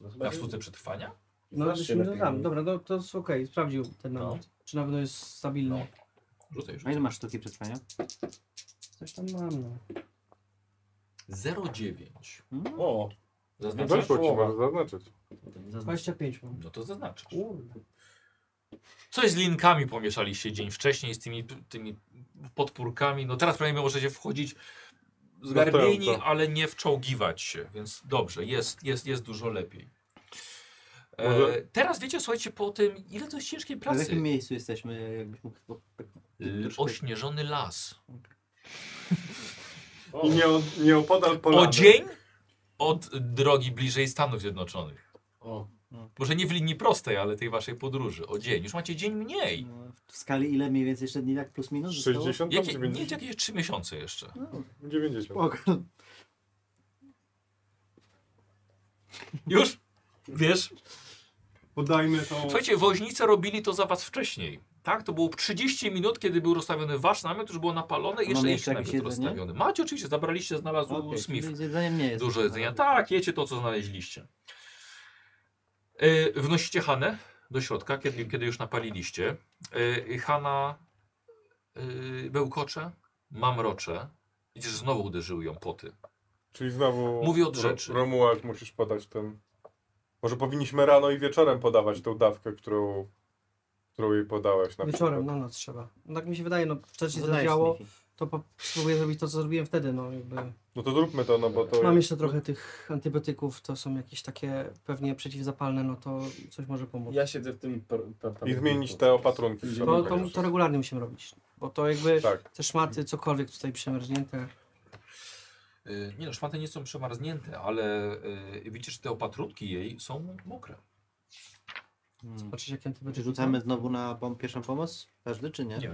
B: No,
A: Na sztuce przetrwania?
D: No
B: Znasz
D: ale
B: się
D: się
B: lepiej.
D: dodam. Dobra, no, to jest okej, sprawdził ten namiot. Czy na pewno jest stabilny?
A: No. Rzucaj,
E: A ile
A: rzucaj.
E: masz sztuki przetrwania?
D: Coś tam mam, no.
A: 0,9.
E: Hmm?
B: O,
F: Nie
A: Zaznaczasz?
F: weszło ci, może zaznaczyć.
D: 25 mam.
A: No to zaznaczasz.
D: Kurde.
A: Coś z linkami pomieszaliście dzień wcześniej, z tymi, tymi podpórkami. No teraz przynajmniej możecie wchodzić zgarbieni,
F: Wystająco.
A: ale nie wczołgiwać się, więc dobrze, jest, jest, jest dużo lepiej. E,
F: Może-
A: teraz wiecie, słuchajcie, po tym, ile to jest ciężkiej
E: A W
A: pracy.
E: jakim miejscu jesteśmy? Jakbyś mógł... tak, bo-
A: L- Ośnieżony las.
F: I nie, o- nie opodal polany.
A: O dzień od drogi bliżej Stanów Zjednoczonych.
B: O.
A: Może nie w linii prostej, ale tej waszej podróży. O dzień. Już macie dzień mniej.
E: No, W skali ile mniej więcej jeszcze dni tak plus minus zostało?
F: 60 tam
A: Jakie, nie,
F: 90.
A: jakieś trzy miesiące jeszcze.
E: No,
F: 90.
E: spoko.
A: Już? Wiesz?
F: Podajmy tą...
A: Słuchajcie, woźnicy robili to za was wcześniej. Tak, to było 30 minut, kiedy był rozstawiony wasz namiot, już było napalone i
E: A
A: jeszcze
E: mamy
A: ich
E: jeszcze jakieś
A: namiot
E: jedzenie?
A: rozstawiony. Macie oczywiście, zabraliście, znalazł
E: Okej,
A: Smith
E: czyli Z jedzeniem nie jest.
A: dużo jedzenia. Tak, jecie to, co znaleźliście. Yy, wnosicie Hanę do środka, kiedy, kiedy już napaliliście. Yy, Hanna yy, bełkocze, mamrocze. Widzisz, że znowu uderzyły ją poty.
F: Czyli znowu...
A: Mówi od
F: Ro-
A: rzeczy.
F: Romuald, musisz podać ten... Może powinniśmy rano i wieczorem podawać tą dawkę, którą, którą jej podałeś na
D: Wieczorem,
F: przykład.
D: na noc trzeba. No tak mi się wydaje, no wcześniej
E: No
D: no,
E: daj,
D: zadziałało,
E: Smithy.
D: to po, spróbuję zrobić to, co zrobiłem wtedy, no jakby.
F: No to zróbmy to, no bo to...
D: Mam jeszcze trochę tych antybiotyków, to są jakieś takie pewnie przeciwzapalne, no to coś może pomóc.
B: ja siedzę w tym... par- par- par-
F: I zmienić te opatrunki. w
D: To,
F: środku
D: to, to
F: jeszcze.
D: regularnie musimy robić, bo to jakby
F: Tak.
D: te szmaty, cokolwiek tutaj przemarznięte.
A: Yy, nie no, szmaty nie są przemarznięte, ale yy, widzisz, że te opatrutki jej są mokre.
E: Hmm.
D: Zobaczysz, jakie
E: Czy
D: antybiotyki.
E: rzucamy znowu na pom- pierwszą pomoc? Każdy czy nie?
A: Nie.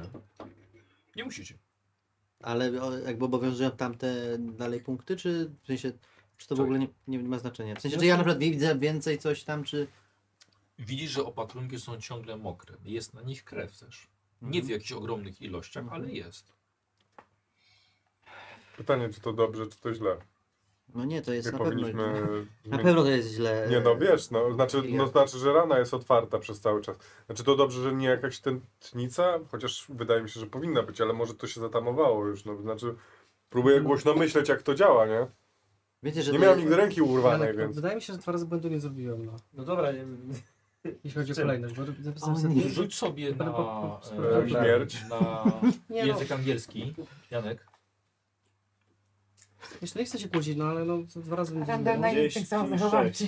A: Nie musicie.
E: Ale o, jakby obowiązują tamte dalej punkty, czy w sensie, czy to w
A: Co?
E: ogóle nie, nie ma znaczenia? W sensie, czy ja na przykład widzę więcej coś tam, czy...
A: Widzisz, że opatrunki są ciągle mokre. Jest na nich krew też. Nie
E: Mhm.
A: w jakichś ogromnych ilościach,
E: Mhm.
A: ale jest.
F: Pytanie, czy to dobrze, czy to źle.
E: No nie, to jest
F: Nie
E: na pewno...
F: powinniśmy...
E: Na pewno to jest źle.
F: Nie no wiesz, no znaczy,
E: Ja-
F: no, znaczy, że rana jest otwarta przez cały czas. Znaczy to dobrze, że nie jakaś tętnica, chociaż wydaje mi się, że powinna być, ale może to się zatamowało już. No, znaczy próbuję głośno myśleć, jak to działa, nie?
E: Wiecie, No. że
F: Nie
E: to
F: miałem
E: jest-
F: nigdy ręki
D: Ale
F: urwanej,
D: to-
F: więc
D: Wydaje mi się, że dwa razy błędu nie zrobiłem, no.
B: No dobra, nie...
D: Jeśli chodzi o
L: Czym?
D: kolejność, bo zapisałem
E: O
D: sobie...
E: nie.
A: Rzuć sobie na,
D: No, po- po-
A: e,
F: na śmierć.
A: na
D: Nie no,
A: język angielski. Janek.
D: jeszcze nie chcę się kłócić, no ale no to dwa razy...
C: Random na instynkt samozachowawczy.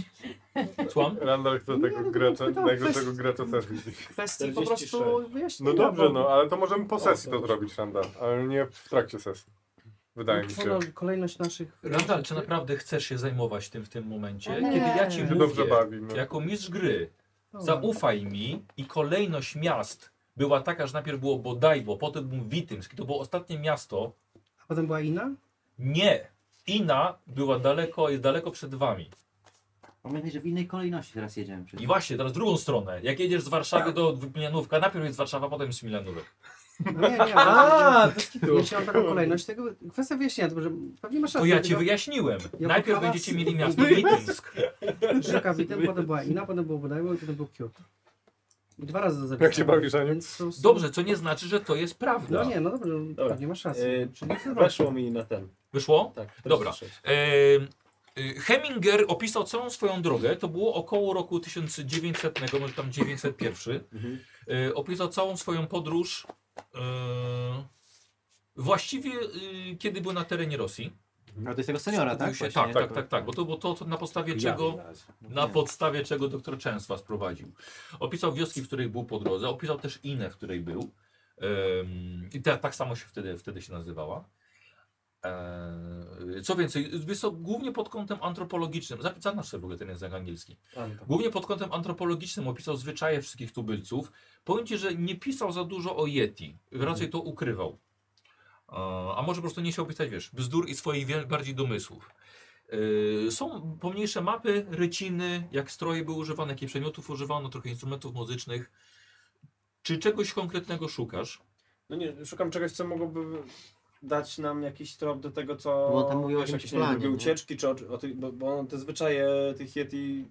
A: Słucham?
F: Randall chce tego gracza, najgorszego gracza sesji.
D: Kwestii po prostu
L: 46.
D: wyjaśnienia.
F: No dobrze,
D: bo-
F: no, ale to możemy po
D: O,
F: sesji to
D: dobrze.
F: zrobić, Randall, ale nie w trakcie sesji.
A: No
F: Wydaje Tak, mi się.
D: Ono- Kolejność naszych...
A: Randall, czy naprawdę chcesz się zajmować tym w tym momencie?
C: Nie.
A: Kiedy ja ci
D: Się
F: Się
A: mówię,
F: dobrze bawimy.
A: jako mistrz gry,
D: No,
A: Zaufaj mi i kolejność miast była taka, że najpierw było Bodajbo, potem był Witymsk. i To było ostatnie miasto.
D: A potem była inna?
A: Nie! Ina była daleko, jest daleko przed wami.
E: Pamiętaj, że w innej kolejności teraz jedziemy.
A: I
E: Przecież.
A: właśnie, teraz drugą stronę. Jak jedziesz z Warszawy do Milanówka, najpierw jest Warszawa, potem jest Milanówek.
D: No nie, nie.
B: A,
D: Ja chciałam taką kolejność tego. Kwestia wyjaśnienia, tylko że pewnie masz
A: To
D: rację.
A: ja ci
D: tylko
A: wyjaśniłem.
D: Ja
A: Najpierw
D: poprawiam-
A: będziecie mieli miasto Witymsk.
D: Rzeka Witem, potem była Ina, potem było Bodajło i potem był Kyoto. I dwa razy to zapisałem.
F: Jak się bawisz, Aniu?
D: Więc są- są-
A: Dobrze, co nie znaczy, że to jest
D: No
A: prawda.
D: nie, no dobrze,
L: Dobra.
D: pewnie masz rację.
F: E,
L: Yy,
D: Czyli to
L: Weszło mi na ten.
A: Wyszło?
L: Tak, teraz
A: Dobra.
L: słyszę.
A: Em, y, Heminger opisał całą swoją drogę, to było około roku 1900, może tam 901.
L: Mhm.
A: E, opisał całą swoją podróż e, właściwie e, kiedy był na terenie Rosji.
E: Ale to jest tego seniora, tak?
A: Skupił się,
E: Właśnie,
A: tak,
E: nie?
A: tak, tak, tak, bo to było to, co- na podstawie czego na podstawie czego doktor Częswa sprowadził. Opisał wioski, w których był po drodze, opisał też inne, w której był. Em, I ta, tak samo się wtedy, wtedy się nazywała. E, Co więcej, wiesz co, głównie pod kątem antropologicznym, Zap- zanasz sobie w ogóle ten język angielski. Głównie pod kątem antropologicznym opisał zwyczaje wszystkich tubylców. Powiem ci, że nie pisał za dużo o Yeti, raczej to ukrywał. E, A może po prostu nie chciał pisać, wiesz, bzdur i swoich wie- bardziej domysłów. Yy, Są pomniejsze mapy, ryciny, jak stroje były używane, jakie przedmiotów używano, trochę instrumentów muzycznych. Czy czegoś konkretnego szukasz?
B: No nie, szukam czegoś, co mogłoby dać nam jakiś trop do tego, co...
E: Bo on tam mówił o
B: wiesz, jakieś,
E: jakimś
B: nie wiem,
E: planie, nie?
B: Drugie ucieczki, czy o, o tych, bo, bo on te zwyczaje tych Yeti...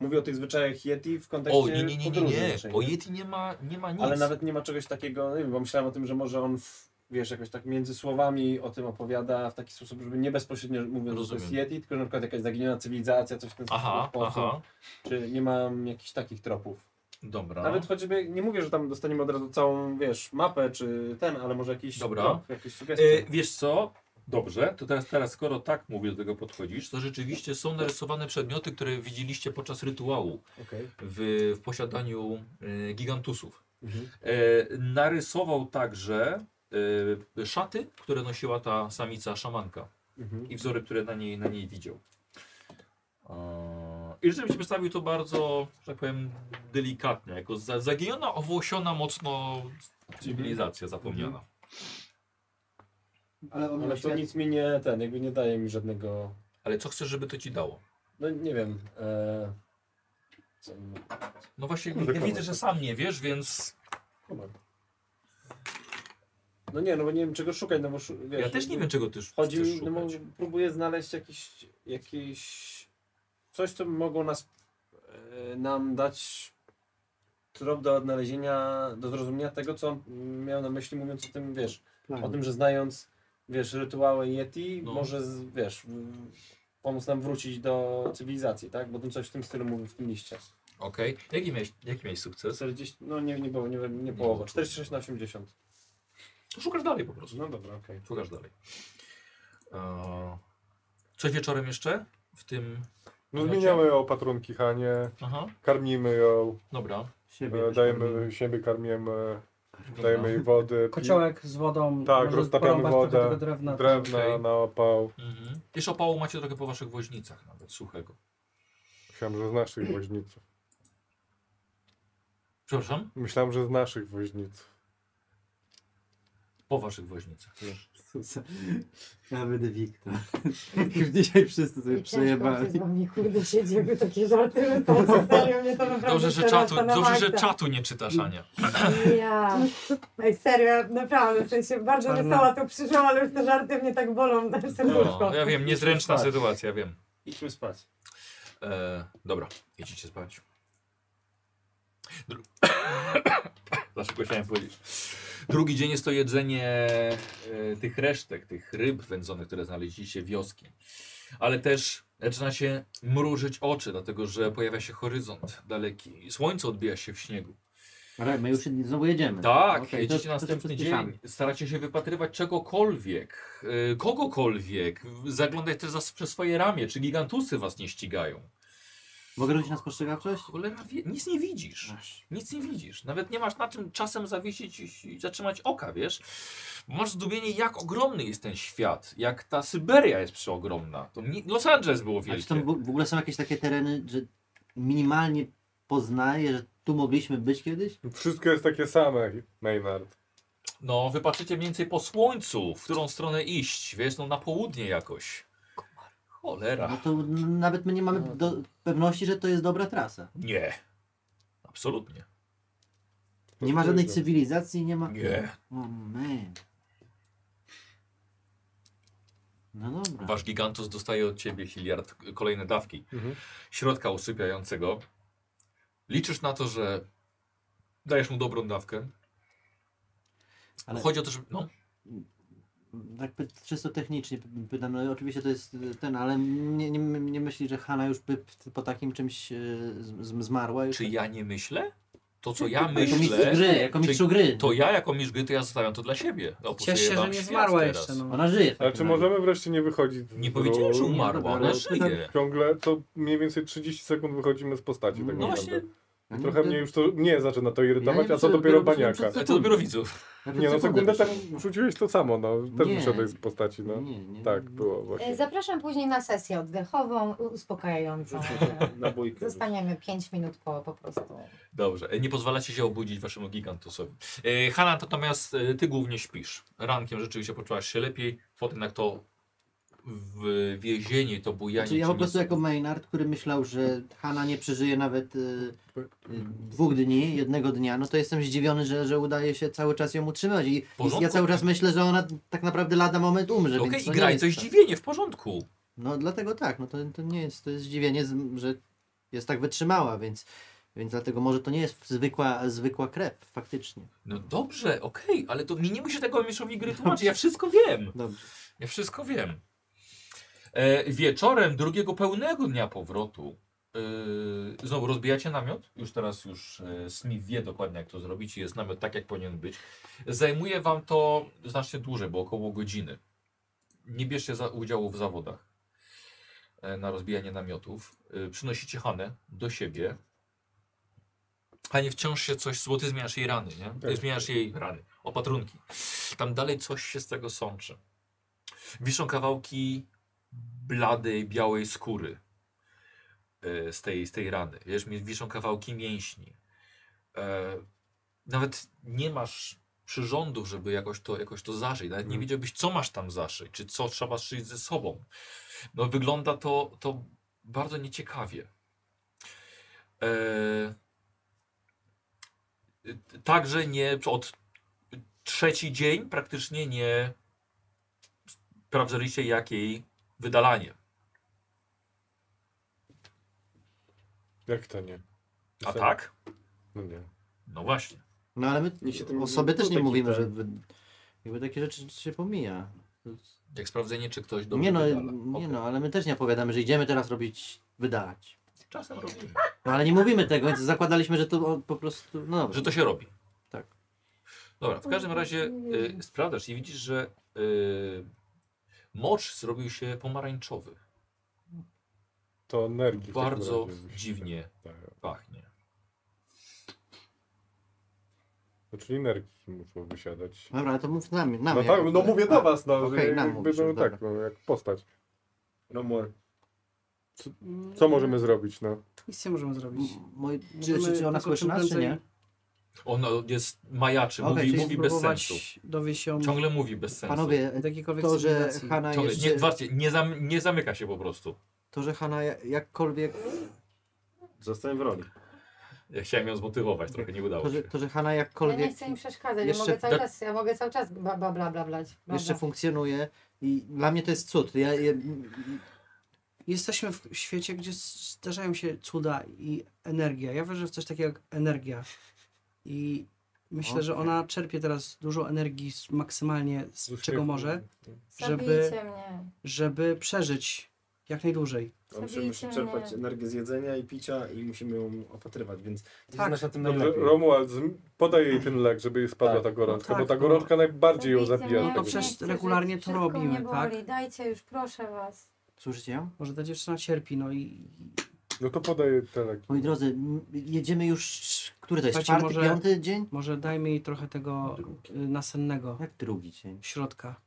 B: Mówi o tych zwyczajach Yeti w kontekście
A: O, nie, nie, nie, nie,
B: podróży
A: nie.
B: naszej,
A: O Yeti nie ma, nie ma nic.
B: Ale nawet nie ma czegoś takiego, no nie wiem, bo myślałem o tym, że może on, w, wiesz, jakoś tak między słowami o tym opowiada w taki sposób, żeby nie bezpośrednio mówiąc, że to jest
A: Rozumiem.
B: Yeti, tylko na przykład jakaś zaginiona cywilizacja, coś w ten
A: Aha,
B: sposób.
A: aha.
B: Czy nie mam jakichś takich tropów.
A: Dobra.
B: Nawet choćby, nie mówię, że tam dostaniemy od razu całą, wiesz, mapę czy ten, ale może jakiś
A: Dobra.
B: trop, jakieś sugestie.
A: E, wiesz co? Dobrze, to teraz, teraz skoro tak mówię, do tego podchodzisz, to rzeczywiście są narysowane przedmioty, które widzieliście podczas rytuału
B: Okej.
A: w, w posiadaniu e, gigantusów.
B: Mhm.
A: E, narysował także e, szaty, które nosiła ta samica szamanka
B: Mhm.
A: i wzory, które na niej, na niej widział. E, I rzeczywiście przedstawił to bardzo, że tak powiem, delikatnie, jako za, zaginiona, owłosiona mocno cywilizacja zapomniana.
E: Ale on
B: Ale to nic mi nie, ten, jakby nie daje mi żadnego,
A: Ale co chcesz, żeby to ci dało?
B: no nie wiem, e, co,
A: No właśnie,
F: Kurde,
A: ja
F: komar.
A: widzę, że sam nie wiesz, więc
B: no nie, no bo nie wiem czego szukać, no bo, szu- wiesz,
A: ja też nie wiem, czego ty
B: Chodzi
A: chcesz
B: mi, no,
A: szukać.
B: może próbuję znaleźć jakiś, jakiś coś, co mogło nas, e, nam dać trop do odnalezienia, do zrozumienia tego, co on miał na myśli mówiąc o tym, wiesz,
E: Tak.
B: o tym, że znając, wiesz, rytuały Yeti,
A: No.
B: może, z, wiesz, w- pomóc nam wrócić do cywilizacji, tak? Bo on coś w tym stylu mówił w tym liście.
A: Okej, jaki, miałeś, jaki miałeś sukces?
B: 40, no nie, nie było, nie, nie połowa, 46 na 80.
A: To Szukasz dalej po prostu.
B: No dobra, okej.
A: Szukasz dalej. E, Coś wieczorem jeszcze? W tym...
F: No zmieniamy opatrunki Hanie,
A: Aha,
F: karmimy ją,
A: dobra.
E: Siebie
F: e,
E: też
F: dajemy
E: powinien.
F: siebie karmimy,
A: dobra.
F: dajemy jej wody, pi-
D: Kociołek z wodą.
F: Tak,
D: może
F: roztapiamy
D: porąbać trochę
F: wodę,
D: Tego drewna.
F: drewna
A: Okej.
F: na opał.
A: Mhm. Jeszcze opału macie trochę po waszych woźnicach nawet, suchego.
F: Myślałem, że z naszych woźniców.
A: Przepraszam?
F: Myślałem, że z naszych woźniców.
A: Po waszych woźnicach.
E: Ja będę Wiktor. Już dzisiaj wszyscy sobie
C: I ciężko się
E: przejebali.
C: z wami, kurde, siedzi, jakby takie żarty wychodzą. Serio, mnie to naprawdę
A: Dobrze, że
C: przerasta
A: czatu,
C: na
A: dobrze, że
C: maksa.
A: czatu nie czytasz, Ania.
B: No.
C: Ja. Ej, serio, naprawdę, w sensie bardzo
D: Czarna.
C: wesoła to przyszło, ale już te żarty mnie tak bolą na serduszko.
A: No, ja wiem, niezręczna sytuacja, wiem.
B: Idźmy spać.
A: E, dobra, idźcie spać. Dru... Za szybko chciałem powiedzieć. Drugi dzień jest to jedzenie e, tych resztek, tych ryb wędzonych, które znaleźliście wioski. Ale też Zaczynacie mrużyć oczy, dlatego że pojawia się horyzont daleki. Słońce odbija się w śniegu.
E: Ale my już znowu jedziemy.
A: Tak,
E: Okej, to-
A: jedziecie
E: to
A: następny
E: przyspieszamy.
A: dzień. Staracie się wypatrywać czegokolwiek, y, kogokolwiek. Zaglądać też za, przez swoje ramię, czy gigantusy was nie ścigają.
E: Mogę rzucić na spostrzegawczość?
A: Cholera wie, nic nie widzisz. Nic nie widzisz. Nawet nie masz na czym czasem zawiesić i i zatrzymać oka, wiesz? Bo Masz zdumienie, jak ogromny jest ten świat. Jak ta Syberia jest przeogromna. To ni- Los Angeles było
E: A czy
A: wielkie.
E: tam w w ogóle są jakieś takie tereny, że minimalnie poznaję, że tu mogliśmy być kiedyś?
F: Wszystko jest takie same, Maynard.
A: No, wypatrzycie mniej więcej po słońcu, w którą stronę iść, wiesz? No, na południe jakoś. Cholera.
E: No to n- nawet my nie mamy
A: No.
E: do pewności, że to jest dobra trasa.
A: Nie. Absolutnie.
E: Nie ma żadnej cywilizacji, nie ma...
A: Nie.
E: O man. No dobra.
A: Wasz gigantus dostaje od ciebie Hilliard kolejne dawki
E: Mhm.
A: środka usypiającego. Liczysz na to, że dajesz mu dobrą dawkę.
E: Ale-
A: Chodzi o to, że. No,
E: Tak py- czysto technicznie py- pytam, no oczywiście to jest y, ten, ale nie, nie, nie myśli, że Hanna już by p- po takim czymś y, z- z- zmarła? Już
A: czy ja nie myślę? To, co ja
E: Jako mistrz
A: myślę,
E: gry, jako
A: czy-
E: mistrz gry.
A: to ja jako mistrz gry, to ja zostawiam to dla siebie. No, Opisuję
D: Cieszę się, że
A: wam
D: nie
A: świat
D: zmarła
A: teraz.
D: jeszcze. No.
E: Ona żyje. w
F: Ale
E: takim
F: czy
E: razie.
F: możemy wreszcie nie wychodzić z
A: Nie powiedziałem, że
F: ról?
A: umarła,
E: dobra, no
A: ona
E: ale
F: pytam-
A: żyje.
F: Ciągle to mniej więcej 30 sekund wychodzimy z postaci. Tak
E: No
A: No
F: naprawdę.
A: właśnie,
E: Ja nie-
F: Trochę
E: to-
F: mnie już to nie zaczyna to
E: Ja
F: irytować,
E: nie
F: a co
E: wiem,
F: dopiero
E: dopiero
F: baniaka.
E: przed-
A: ale to dopiero widzów.
E: ja przed
F: Nie no,
E: sekundą
F: sekundę tam
E: myślałem.
F: rzuciłeś to samo, no. Też
E: Nie.
F: wyszedłeś z postaci, no.
E: Nie, nie.
F: Tak, było właśnie.
C: E, Zapraszam później na sesję oddechową, u- uspokajającą. E,
G: Na bójkę.
C: Zostaniemy 5 minut po, po prostu.
A: Dobrze, e, nie pozwalacie się obudzić waszemu gigantusowi. E, Hanna, natomiast e, ty głównie śpisz. Rankiem rzeczywiście poczułaś się lepiej, potem jak to w więzienie, to bujanie.
E: Znaczy, ja
A: cię
E: po prostu
A: nie-
E: jako Maynard, który myślał, że Hanna nie przeżyje nawet y, y, dwóch dni, jednego dnia, no to jestem zdziwiony, że, że udaje się cały czas ją utrzymać i, i ja
A: porządku.
E: cały czas myślę, że ona tak naprawdę lada moment umrze,
A: No Okej,
E: więc to
A: i
E: nie
A: graj
E: jest
A: to jest
E: tak.
A: zdziwienie, w porządku.
E: No dlatego tak, no to, to nie jest, to jest zdziwienie, z- że jest tak wytrzymała, więc, więc dlatego może to nie jest zwykła, zwykła krew, faktycznie.
A: No dobrze, okej, ale to mi nie musi tego mistrzowi gry tłumaczyć, ja wszystko wiem.
E: Dobrze.
A: Ja wszystko wiem. E, wieczorem drugiego pełnego dnia powrotu e, znowu rozbijacie namiot. Już teraz już e, Smith wie dokładnie jak to zrobić i jest namiot tak jak powinien być. Zajmuje wam to znacznie dłużej, bo około godziny. Nie bierzcie za udziału w zawodach e, na rozbijanie namiotów. E, przynosicie Hanę do siebie. Hanie wciąż się coś, bo ty zmieniasz jej rany, nie? Ty
F: Tak.
A: zmieniasz jej rany, opatrunki. Tam dalej coś się z tego sączy. Wiszą kawałki bladej, białej skóry e, z tej, z tej rany. Wiesz, mi- wiszą kawałki mięśni. E, Nawet nie masz przyrządów, żeby jakoś to, jakoś to zaszyć. Nawet nie
F: Mhm.
A: wiedziałbyś, co masz tam zaszyć, czy co trzeba szyć ze sobą. No wygląda to, to bardzo nieciekawie. E, t- Także nie od trzeci dzień praktycznie nie sprawdzaliście jak jej wydalanie.
F: Jak to nie?
A: A
F: Sen-
A: tak?
F: No nie.
A: No właśnie.
E: No ale my
B: Nie się tym
E: o sobie
B: nie
E: też nie
B: był
E: mówimy,
B: taki
E: że wy- jakby takie rzeczy się pomija.
A: Jak sprawdzenie, czy ktoś dobrze
E: Nie no,
A: wydala.
E: nie
A: Okej.
E: no, ale my też nie opowiadamy, że idziemy teraz robić, wydalać.
A: Czasem robimy.
E: No ale nie mówimy tego, więc zakładaliśmy, że to o, po prostu, no dobra.
A: Że to się robi.
E: Tak.
A: Dobra, w każdym razie y, sprawdzasz i widzisz, że y, mocz zrobił się pomarańczowy.
F: To energii. w takim
A: Bardzo
F: razie.
A: dziwnie
F: Tak.
A: pachnie.
F: No, czyli energii muszą wysiadać.
E: Dobra, ale to mów nam, No, nam
F: No
E: jak-
F: tak, no mówię do was, no.
E: Okej,
F: że
E: nam
F: jakby,
E: mówisz,
F: no
E: dobra.
F: tak, no, jak postać.
B: No more.
F: Co możemy zrobić, no?
D: Mm, Nic nie możemy zrobić.
E: M- moi- Czy,
D: Możemy
E: czy, czy ona
D: tylko
E: słyszy
D: czym
E: nas, czy
D: prędzej
E: nie?
A: Ono jest majaczy,
E: Okej,
A: mówi,
E: czyli
A: mówi bez
D: Próbować
A: sensu.
D: dowieść ją
A: Ciągle mówi bez sensu.
E: Panowie,
D: od jakiejkolwiek
E: to, że
D: cywilizacji.
E: Hanna
A: Ciągle,
E: jeszcze...
A: nie, zobaczcie, nie, zam, nie zamyka się po prostu.
E: To, że Hanna ja- jakkolwiek,
B: Zostałem w roli.
A: Ja chciałem ją zmotywować, trochę nie udało
E: to, że,
A: się.
E: to, że Hanna
C: Ja nie
E: jakkolwiek
C: chcę im przeszkadzać, ja
E: jeszcze
C: mogę cały
A: da-
C: czas, ja mogę cały czas bla bla bla bla blać. bla,
E: jeszcze
C: bla.
E: funkcjonuje i dla mnie to jest cud. Ja, ja,
D: Jesteśmy w świecie, gdzie zdarzają się cuda i energia. Ja wierzę w coś takiego jak energia. I myślę, że
E: Okej.
D: ona czerpie teraz dużo energii z, maksymalnie z czego może, żeby,
C: Zabijcie mnie.
D: żeby przeżyć Jak najdłużej.
B: On musi-
G: Zabijcie
B: musi
G: mnie.
B: czerpać energię z jedzenia i picia i musimy ją opatrywać, więc ty
D: Tak.
B: znasz na tym
E: No
F: Dobrze,
B: najlepiej.
F: Romuald, zm- podaj jej ten lek, żeby jej spadła
B: Tak.
F: ta gorączka,
D: No
F: bo
D: tak,
F: ta
D: no.
F: gorączka najbardziej ją zabija.
D: No
F: z
D: to
F: tego.
D: przecież
G: Chcę żyć,
D: regularnie to
G: wszystko
D: robimy,
G: mnie
D: tak?
G: boli. Dajcie już, proszę was.
E: Słyszycie ją?
D: Może ta dziewczyna cierpi, no i
F: No to podaj jej ten lek.
E: Moi drodzy, m- jedziemy już, który to jest,
D: Słuchajcie,
E: czwarty,
D: może-
E: piąty dzień?
D: może dajmy jej trochę tego y, nasennego
E: Jak drugi dzień?
D: środka,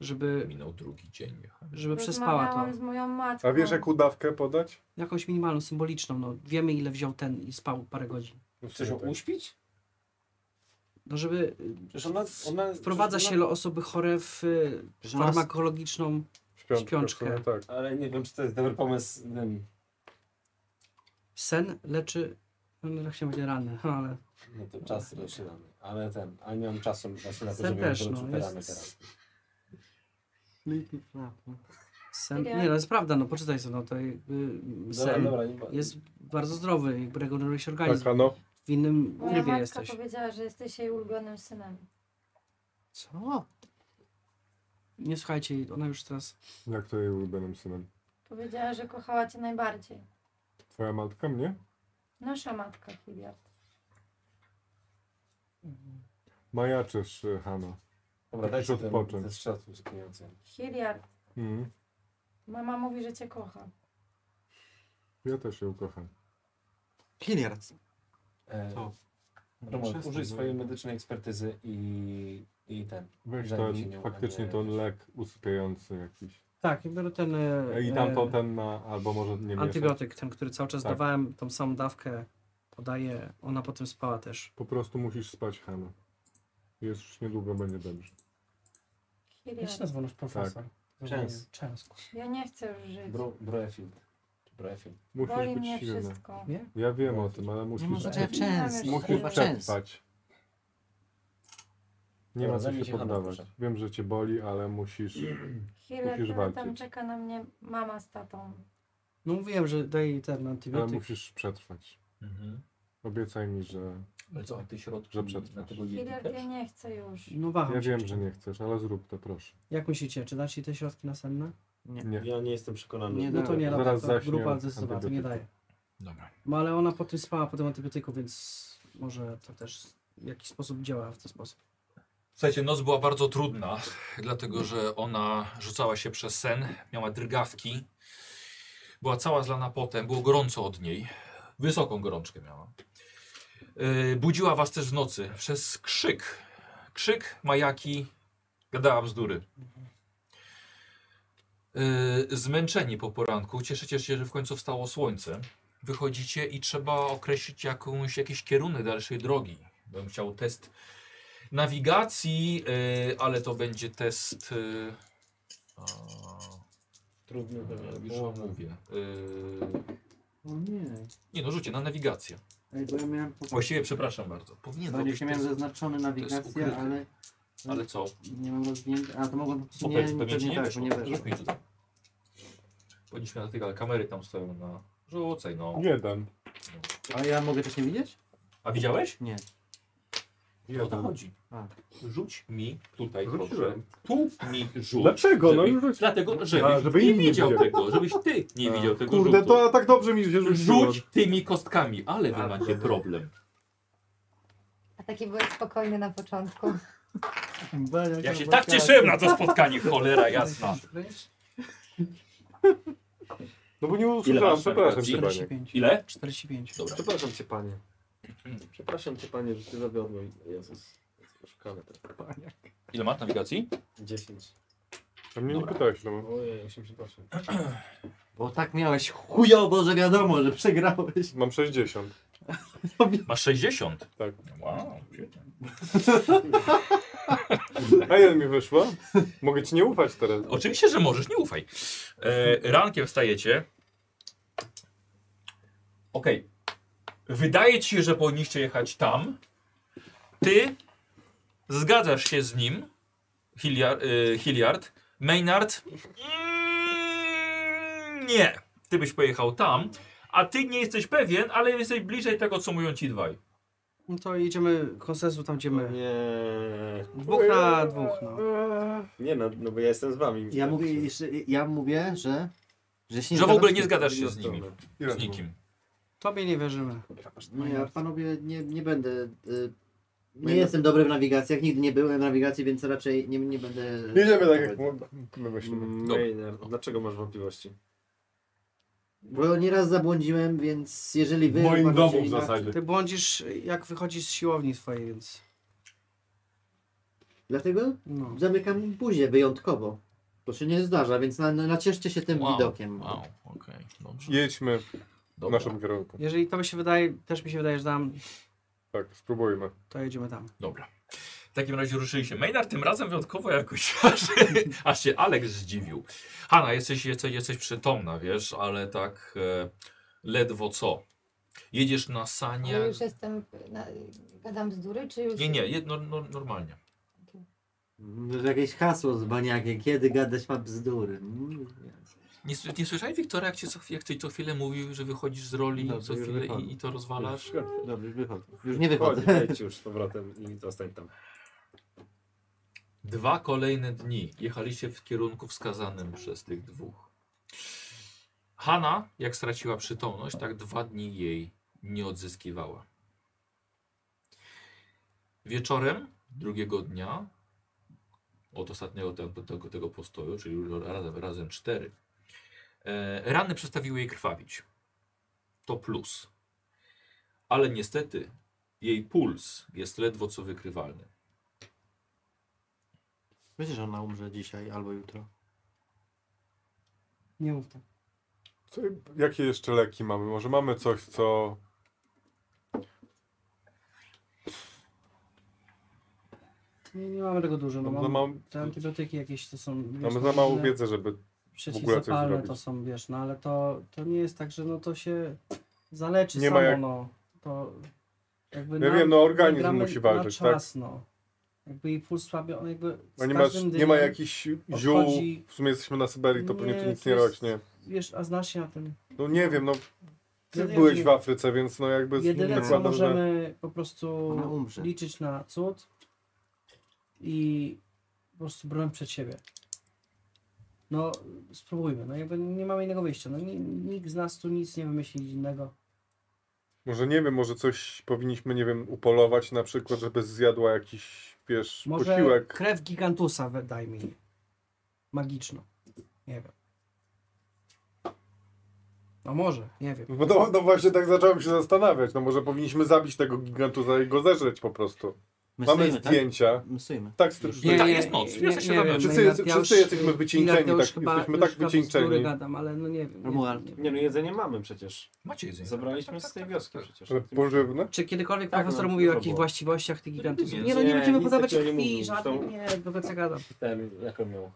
D: żeby,
M: Minął drugi dzień. jechałem.
D: żeby przespała to.
G: Rozmawiałam z moją matką.
F: A wiesz jaką dawkę podać?
D: Jakąś minimalną, symboliczną, no wiemy ile wziął ten i spał parę godzin.
F: No
B: Chcesz ją
F: tak.
B: uśpić?
D: No żeby
B: Przecież ona, ona,
D: wprowadza
B: przecież
D: się do osoby chore w y,
E: Że ona-
D: farmakologiczną,
F: Śpiączkę.
D: Śpiączkę.
F: w sumie Tak.
B: ona, Ale nie wiem, czy to jest dobry pomysł. Nie wiem.
D: sen leczy, no chciałem będzie rany, no, ale
B: No to czas zaczynamy. Ale ten, a nie mam czasu właśnie na to,
D: Sen
B: żeby
D: też,
B: wrócić
D: no,
B: teraz.
D: jest-
B: teraz.
D: sen,
G: Serio?
D: nie no jest prawda, no poczytaj sobie, no to jakby
B: Dobra,
D: sen
B: dobra, Tak, nie ma-
D: jest bardzo zdrowy, jakby regeneruje się organizm,
F: Taka no.
D: w innym
G: Moja
D: trybie
G: matka
D: jesteś.
G: powiedziała, że jesteś jej ulubionym synem.
E: Co?
D: Nie słuchajcie, jej, ona już teraz,
F: Jak to jej ulubionym synem?
G: Powiedziała, że kochała cię najbardziej.
F: Twoja matka mnie?
G: Nasza matka, Hilliard.
F: Majaczysz, y, Hanna.
B: Dobra, dajcie
F: Musisz
B: ten,
F: odpocząć.
B: ten strzał uzupełniający.
G: Hilliard,
F: Mhm.
G: mama mówi, że cię kocha.
F: Ja też ją kocham.
E: Hilliard.
B: E,
E: Co?
B: Roman,
E: Przestań,
B: użyj
E: no.
B: swojej medycznej ekspertyzy i, i ten.
F: Weź
B: Zajmij się
F: ten,
B: nią,
F: faktycznie
B: a nie-
F: ten lek usypiający jakiś.
D: tak, ja biorę ten e,
F: I tamto
D: e,
F: ten na, albo może nie mieszać.
D: antybiotyk, ten, który cały czas
F: Tak.
D: dawałem, tą samą dawkę podaję, ona potem spała też.
F: Po prostu musisz spać, Hanna. Jest już niedługo, będzie dobrze.
D: Jak się
G: Hilliard,
D: nazywa nasz profesor?
F: Tak.
B: Częs.
D: Częs.
G: ja nie chcę już żyć.
B: Bro, broefield. Broefield.
F: Musisz
G: Boli
F: być
G: mnie
F: silny.
G: wszystko.
F: Ja wiem o tym, ale
E: Nie ma
F: musisz,
E: znaczenia częst.
F: musisz
E: Kurwa, częst.
F: przetrwać. Nie ma
B: Dobra,
F: co
B: zajmij
F: się
B: się Hanną,
F: poddawać.
B: proszę.
F: Wiem, że cię boli, ale musisz...
G: Hilliard,
F: Musisz
G: ale tam
F: walczyć.
G: czeka na mnie mama z tatą.
D: No mówiłem, że daję jej ten
F: Ale
D: antybiotyk.
F: musisz przetrwać.
A: Mhm.
F: Obiecaj mi, że...
A: Ale co, a ty środki
F: Że przetrwasz.
A: na tego jedi
G: Hilliard, ja
A: też?
G: nie chcę już.
D: No waham
F: Ja
D: się.
F: wiem, że nie chcesz, ale zrób to, proszę.
D: Jak myślicie, czy dać jej te środki nasenne?
F: Nie.
B: Ja nie jestem przekonany.
E: Nie,
D: No to nie, no
F: Zaraz
D: to
F: zaśnie
D: grupa zdecydowana, to nie
F: antybiotyki.
D: daje.
A: Dobra.
D: No ale ona potem spała po tym antybiotyku, więc może to też w jakiś sposób działa w ten sposób.
A: Słuchajcie, noc była bardzo trudna, dlatego że ona rzucała się przez sen, miała drgawki, była cała zlana potem, było gorąco od niej, wysoką gorączkę miała. Yy, budziła was też w nocy przez krzyk, krzyk, majaki, gadała bzdury. Yy, zmęczeni po poranku, cieszycie się, że w końcu wstało słońce. Wychodzicie i trzeba określić jakąś, jakiś kierunek dalszej drogi. Bym chciał test nawigacji, y, ale to będzie test. Yy, a,
B: Trudny
A: e,
B: pewnie.
A: już wam mówię. Y,
E: O nie.
A: nie no, rzucie na nawigację.
E: Ej, bo ja miałem... po-
A: Właściwie przepraszam bardzo. Powinien zrobić
E: Właśnie miałem
A: test,
E: zaznaczony nawigację,
A: ukryte.
E: ale
A: ale co?
E: nie mam rozwinięte. A to mogłem po prostu
A: Bo
E: nie,
A: pewnie-
E: nie,
A: pewnie ci
E: pewnie
A: nie
E: tak, bo
A: weszło.
E: nie weszło.
A: Rzuć mi tutaj. Powinniśmy na tych, ale kamery tam stoją na. Rzucaj no.
F: Nie dam.
E: A ja mogę też nie widzieć?
A: A widziałeś?
E: Nie.
A: O to chodzi.
E: A.
A: Rzuć mi tutaj
F: Rzuciłem.
A: proszę. Tu mi rzuć.
F: Dlaczego? No
A: Żeby,
F: już rzuć.
A: Dlatego,
F: A,
A: żebyś
F: żeby
A: nie
F: inni
A: widział
F: widzieli.
A: tego, żebyś ty nie widział tego
F: Kurde,
A: rzutu.
F: to a tak dobrze mi się rzuciło.
A: Rzuć tymi kostkami, ale wy
F: A,
A: macie problem.
G: A taki byłeś spokojny na początku.
A: Ja się tak cieszyłem na to spotkanie, cholera jasna.
F: No bo nie usłyszałem,
A: masz
F: przepraszam cię,
A: narracji?
F: panie.
A: Ile?
D: 45.
A: Dobra.
B: Przepraszam cię, panie. Mhm. Przepraszam cię, panie, że cię zawiodłem. Jezus. Szukamy trochę.
A: Ile masz nawigacji?
B: 10.
F: A mnie nie
A: Dobra.
F: pytałeś, no.
B: Ojej, 88.
E: Bo tak miałeś chujowo, że wiadomo, że przegrałeś.
F: Mam 60.
A: Masz 60.
F: Tak.
A: Wow.
F: A jeden mi wyszło. Mogę ci nie ufać teraz.
A: Oczywiście, że możesz, nie ufaj. E, rankiem wstajecie. Okej. Wydaje ci się, że powinniście jechać tam. Ty zgadzasz się z nim, Hilliard. E, Hilliard. Maynard. Mm, nie. Ty byś pojechał tam, a ty nie jesteś pewien, ale jesteś bliżej tego, co mówią ci dwaj.
D: No to jedziemy konsensu tam, gdzie
F: No
D: my.
B: Nie.
D: No Dwóch na dwóch, no.
B: Nie no, no bo ja jestem z wami.
E: Ja mówię, jeszcze, ja mówię, że Że, się
A: Że w
E: zgadzam
A: ogóle
E: z
A: nie
E: tym.
A: zgadzasz się z nimi.
F: Ile
A: Z
F: no, to
A: nikim.
D: Tobie nie wierzymy.
F: No
E: Nie, No ja panowie nie, nie będę. y, Nie
F: Nie
E: jestem dobry w nawigacjach, nigdy nie byłem w nawigacji, więc raczej nie, nie będę.
F: było? Jedziemy tak jak my myślimy.
B: Mainer, dlaczego masz wątpliwości?
E: Bo nieraz zabłądziłem, więc jeżeli
F: W
E: wy.
F: moim
E: uważacie
F: domu w
E: inaczej-
F: zasadzie.
D: Ty błądzisz jak wychodzisz z siłowni swojej, więc
E: Dlatego
D: no.
E: zamykam buzię wyjątkowo. To się nie zdarza, więc na, na, nacieszcie się tym
A: Wow,
E: widokiem.
A: Wow, okej, dobrze.
F: Jedźmy w
A: Dobra,
F: naszym kierunku.
D: Jeżeli tobie się wydaje, też mi się wydaje, że tam,
F: Tak, spróbujmy.
D: to jedziemy tam.
A: dobra. W takim razie ruszyli się. Maynard tym razem wyjątkowo jakoś, aż, aż się Alex zdziwił. Hanna, jesteś, jesteś, jesteś przytomna, wiesz, ale tak e, ledwo co. Jedziesz na sanie.
G: Ale już jestem, na, gadam bzdury, czy już...
A: Nie, nie, jed, no, no, normalnie.
E: Może Jakieś hasło z baniakiem, kiedy gadać ma bzdury. Mm.
A: Nie, s- nie słyszałeś, Wiktora, jak, cię co, jak ty co chwilę mówił, że wychodzisz z roli
E: Dobrze,
A: co
E: już
A: chwilę
E: wychodzę.
A: i, i to rozwalasz?
E: Dobrze, już wychodzę. Już nie
B: Chodź,
E: wychodzę.
B: wejdź już z powrotem i zostań tam.
A: Dwa kolejne dni jechaliście w kierunku wskazanym przez tych dwóch. Hanna, jak straciła przytomność, tak dwa dni jej nie odzyskiwała. Wieczorem drugiego dnia, od ostatniego tego, tego, tego postoju, czyli już razem, razem cztery, e, rany przestawiły jej krwawić. To plus. Ale niestety jej puls jest ledwo co wykrywalny.
E: Myślę, że ona umrze dzisiaj albo jutro.
D: Nie mów tak.
F: Co, jakie jeszcze leki mamy? Może mamy coś, co...
D: Nie, nie mamy tego dużo. No,
F: Mam za,
D: mam,
F: mało,
D: te antybiotyki jakieś to są. wiesz,
F: mamy za
D: tam
F: mało
D: różne
F: wiedzy, żeby...
D: Przeciwzapalne to
F: zrobić.
D: są, wiesz, no ale to, to nie jest tak, że no to się zaleczy
F: Nie ma
D: samo,
F: jak-
D: no. To jakby
F: Ja
D: na-
F: wiem, no
D: my
F: organizm
D: gramy
F: musi walczyć,
D: na
F: tak?
D: czas, no. Jakby jej puls słabie, on jakby z
F: No nie, masz,
D: każdym
F: nie
D: dniem,
F: ma jakichś ziół,
D: odchodzi-
F: w sumie jesteśmy na Syberii, to pewnie
D: Nie,
F: tu nic
D: to
F: nie
D: jest-
F: rośnie.
D: Wiesz, a znasz się na tym.
F: No nie wiem, no ty
D: Jedyne-
F: byłeś w Afryce, więc no jakby z-
D: Jedyne co
F: zakładam, że...
D: możemy po prostu
E: Ona umrze.
D: liczyć na cud i po prostu broń przed siebie. No spróbujmy, no jakby nie mamy innego wyjścia. No, ni- nikt z nas tu nic nie wymyśli innego.
F: Może nie wiem, może coś powinniśmy, nie wiem, upolować na przykład, żeby zjadła jakiś, wiesz,
D: Może
F: posiłek.
D: krew gigantusa we- daj mi. Magiczną. Nie wiem. No może, nie wiem.
F: No, no, no właśnie tak zacząłem się zastanawiać, no może powinniśmy zabić tego gigantuza i go zeżreć po prostu. Mamy
E: Myślimy, tak?
F: zdjęcia.
E: Myślimy.
F: Tak, z tym,
E: Już
A: tak, jest moc, ja się dam.
D: wiem,
F: Wszyscy
D: Maynard,
F: jest-
D: ja
F: wszyscy
D: już-
F: jesteśmy
D: Maynard,
F: wycieńczeni,
D: ja już
F: tak, jesteśmy tak
D: już chyba
F: wycieńczeni.
D: bzdury gadam, ale no nie wiem. nie-
E: Romuald.
D: nie
B: Nie
D: wiem.
B: no, jedzenie mamy przecież.
A: Macie jedzenie.
H: Tak,
B: Zabraliśmy
G: Tak,
B: z tej wioski przecież.
F: Ale pożywne?
D: Czy kiedykolwiek
B: Tak,
D: profesor
B: no,
D: mówił o
B: to
D: jakichś
B: było.
D: właściwościach tych gigantów?
A: Nie,
D: Nie, no nie
B: nie,
D: będziemy
B: nic
D: podawać
B: takiego nie
D: krwi,
B: mówił,
D: żadnych,
B: to-
D: nie, do końca gadam.
B: Ten, jak on miał?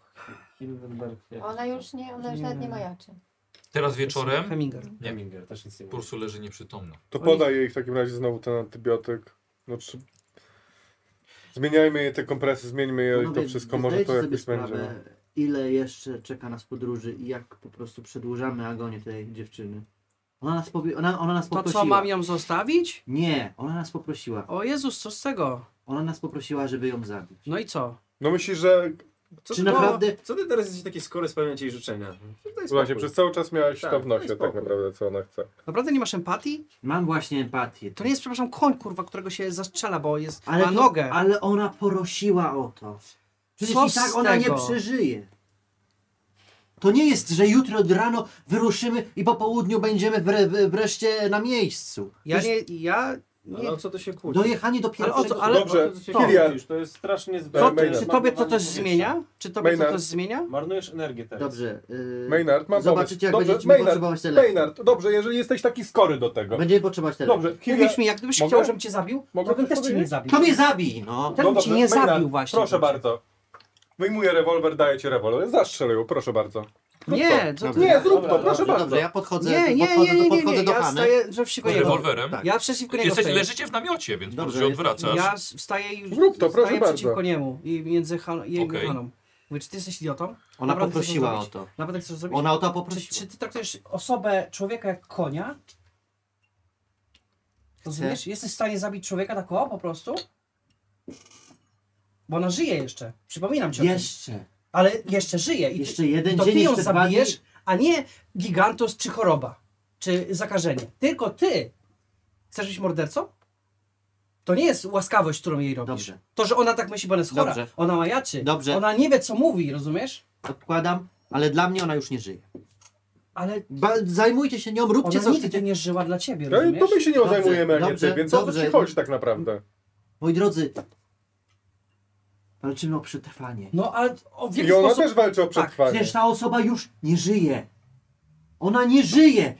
B: Hildenberg. jak-
G: Ona już nie, ona już
D: Nie.
G: nawet nie ma jaczy.
A: Teraz wieczorem
D: Heminger.
B: Heminger, też nic nie
A: po
B: mówił.
A: prostu leży nieprzytomna.
F: To podaj jej w takim razie znowu ten antybiotyk. No, czy... Zmieniajmy jej te kompresy, zmieńmy je i to
E: Panowie,
F: wszystko
E: wy
F: może
E: zdajecie
F: to
E: sobie
F: jakoś będzie.
E: sprawę,
F: no.
E: Ile jeszcze czeka nas podróży i jak po prostu przedłużamy agonię tej dziewczyny. Ona nas, powie, ona, ona nas
D: To
E: poprosiła.
D: co, mam ją zostawić?
E: Nie, ona nas poprosiła.
D: O Jezus, co z tego?
E: Ona nas poprosiła, żeby ją zabić.
D: No i co?
F: No myślisz, że
B: Co
E: Czy
B: ty-
E: naprawdę-
B: Co ty teraz jesteś taki skory spełniać jej życzenia? Daj
F: właśnie
B: spokój.
F: przez cały czas miałaś
B: Tak,
F: to
B: daj
F: w nosie tak
B: spokój.
F: naprawdę, co ona chce.
D: Naprawdę nie masz empatii?
E: Mam właśnie empatię.
D: To nie jest, przepraszam, koń, kurwa, którego się zastrzela, bo jest
E: ale
D: ma
E: to-
D: nogę.
E: Ale ona porosiła o to. Przecież
D: Co
E: i tak
D: z
E: ona nie
D: tego?
E: przeżyje. To nie jest, że jutro od rano wyruszymy i po południu będziemy wre, w- wreszcie na miejscu.
D: Ja
E: Już
D: nie, ja...
B: Ale o No, co to się kłóci?
E: Dojechanie do
D: Ale o
E: pierwszego...
D: co, ale
F: Dobrze,
B: To się
D: to,
F: Kilian.
B: kłócisz, To jest strasznie
D: co,
F: Maynard.
B: zbędne.
D: czy tobie to coś zmienia? Czy tobie to
F: Maynard.
D: coś zmienia?
B: Marnujesz energię teraz.
E: Dobrze. Yy,
F: Maynard, mam
E: Zobaczycie, jak
F: pomysł.
E: będziecie
F: Dobrze, Maynard,
E: potrzebować telefonu.
F: Maynard, dobrze, jeżeli jesteś taki skory do tego.
E: Będziemy potrzebować telefonu.
F: Dobrze, Kilia,
D: Mówisz mi, jak gdybyś
F: Mogę?
D: chciał, żebym cię zabił,
F: Mogę
D: to bym
F: coś
D: też cię nie
F: powiedzieć?
D: zabił.
E: To mnie zabij, no.
D: Ten
F: no
D: cię nie
F: Maynard,
D: zabił właśnie.
F: Proszę bardzo. Wyjmuję rewolwer, daję ci rewolwer. Zastrzelę ją, proszę bardzo. Zrób
D: Nie, co ty?
E: Dobra.
F: Nie, zrób
B: Dobra,
F: to,
B: dobra,
F: proszę
E: Dobrze,
F: bardzo.
E: dobrze, ja podchodzę,
D: Nie, nie, nie,
E: podchodzę,
D: nie, nie,
E: podchodzę
D: nie.
E: do
D: ja
E: Hany.
D: staję przeciwko
A: Z
D: niego.
A: rewolwerem.
E: Tak.
D: Ja przeciwko niego
A: Jesteś,
D: staję.
A: leżycie w namiocie, więc Dobrze,
E: Dobrze,
A: się
E: jestem-
A: odwracasz.
D: Ja s- wstaję i
F: Zrób to, proszę
D: staję
F: bardzo.
D: przeciwko niemu i między Han- jej
A: Okej.
D: i Haną. Mówię, czy ty jesteś idiotą?
E: Ona
D: Naprawdę chcesz
E: poprosiła o
D: zrobić?
E: to.
D: Naprawdę chcesz zrobić?
E: Ona o to
D: Czy,
E: poprosiła.
D: czy ty traktujesz osobę, człowieka jak konia? Rozumiesz? Jesteś w stanie zabić człowieka tak o po prostu? Bo ona żyje jeszcze. Przypominam ci o tym.
E: Jeszcze.
D: Ale jeszcze żyje. I ty,
E: Jeszcze jeden
D: to
E: dzień,
D: ty ją
E: jeszcze dwa dni.
D: zabijesz, a nie gigantos czy choroba, czy zakażenie. Tylko ty chcesz być mordercą? To nie jest łaskawość, którą jej robisz.
E: Dobrze.
D: To, że ona tak myśli, bo ona jest chora,
E: Dobrze.
D: ona majaczy,
E: Dobrze.
D: ona nie wie, co mówi, rozumiesz?
E: Odkładam, ale dla mnie ona już nie żyje.
D: Ale
E: Ba zajmujcie się nią, róbcie
D: ona
E: co
D: nigdy
E: chcecie.
D: nie żyła dla ciebie,
F: No i
D: rozumiesz?
F: to my się nią
E: Dobrze,
F: zajmujemy, a nie
E: dobrze,
F: ty, więc o co
E: dobrze.
F: ci chodzi tak naprawdę?
E: Moi drodzy, walczymy o przetrwanie.
D: No, ale o w jaki
F: I ona
D: sposób...
F: też walczy o
D: Tak,
F: przetrwanie.
E: Przecież ta osoba już nie żyje. Ona nie żyje.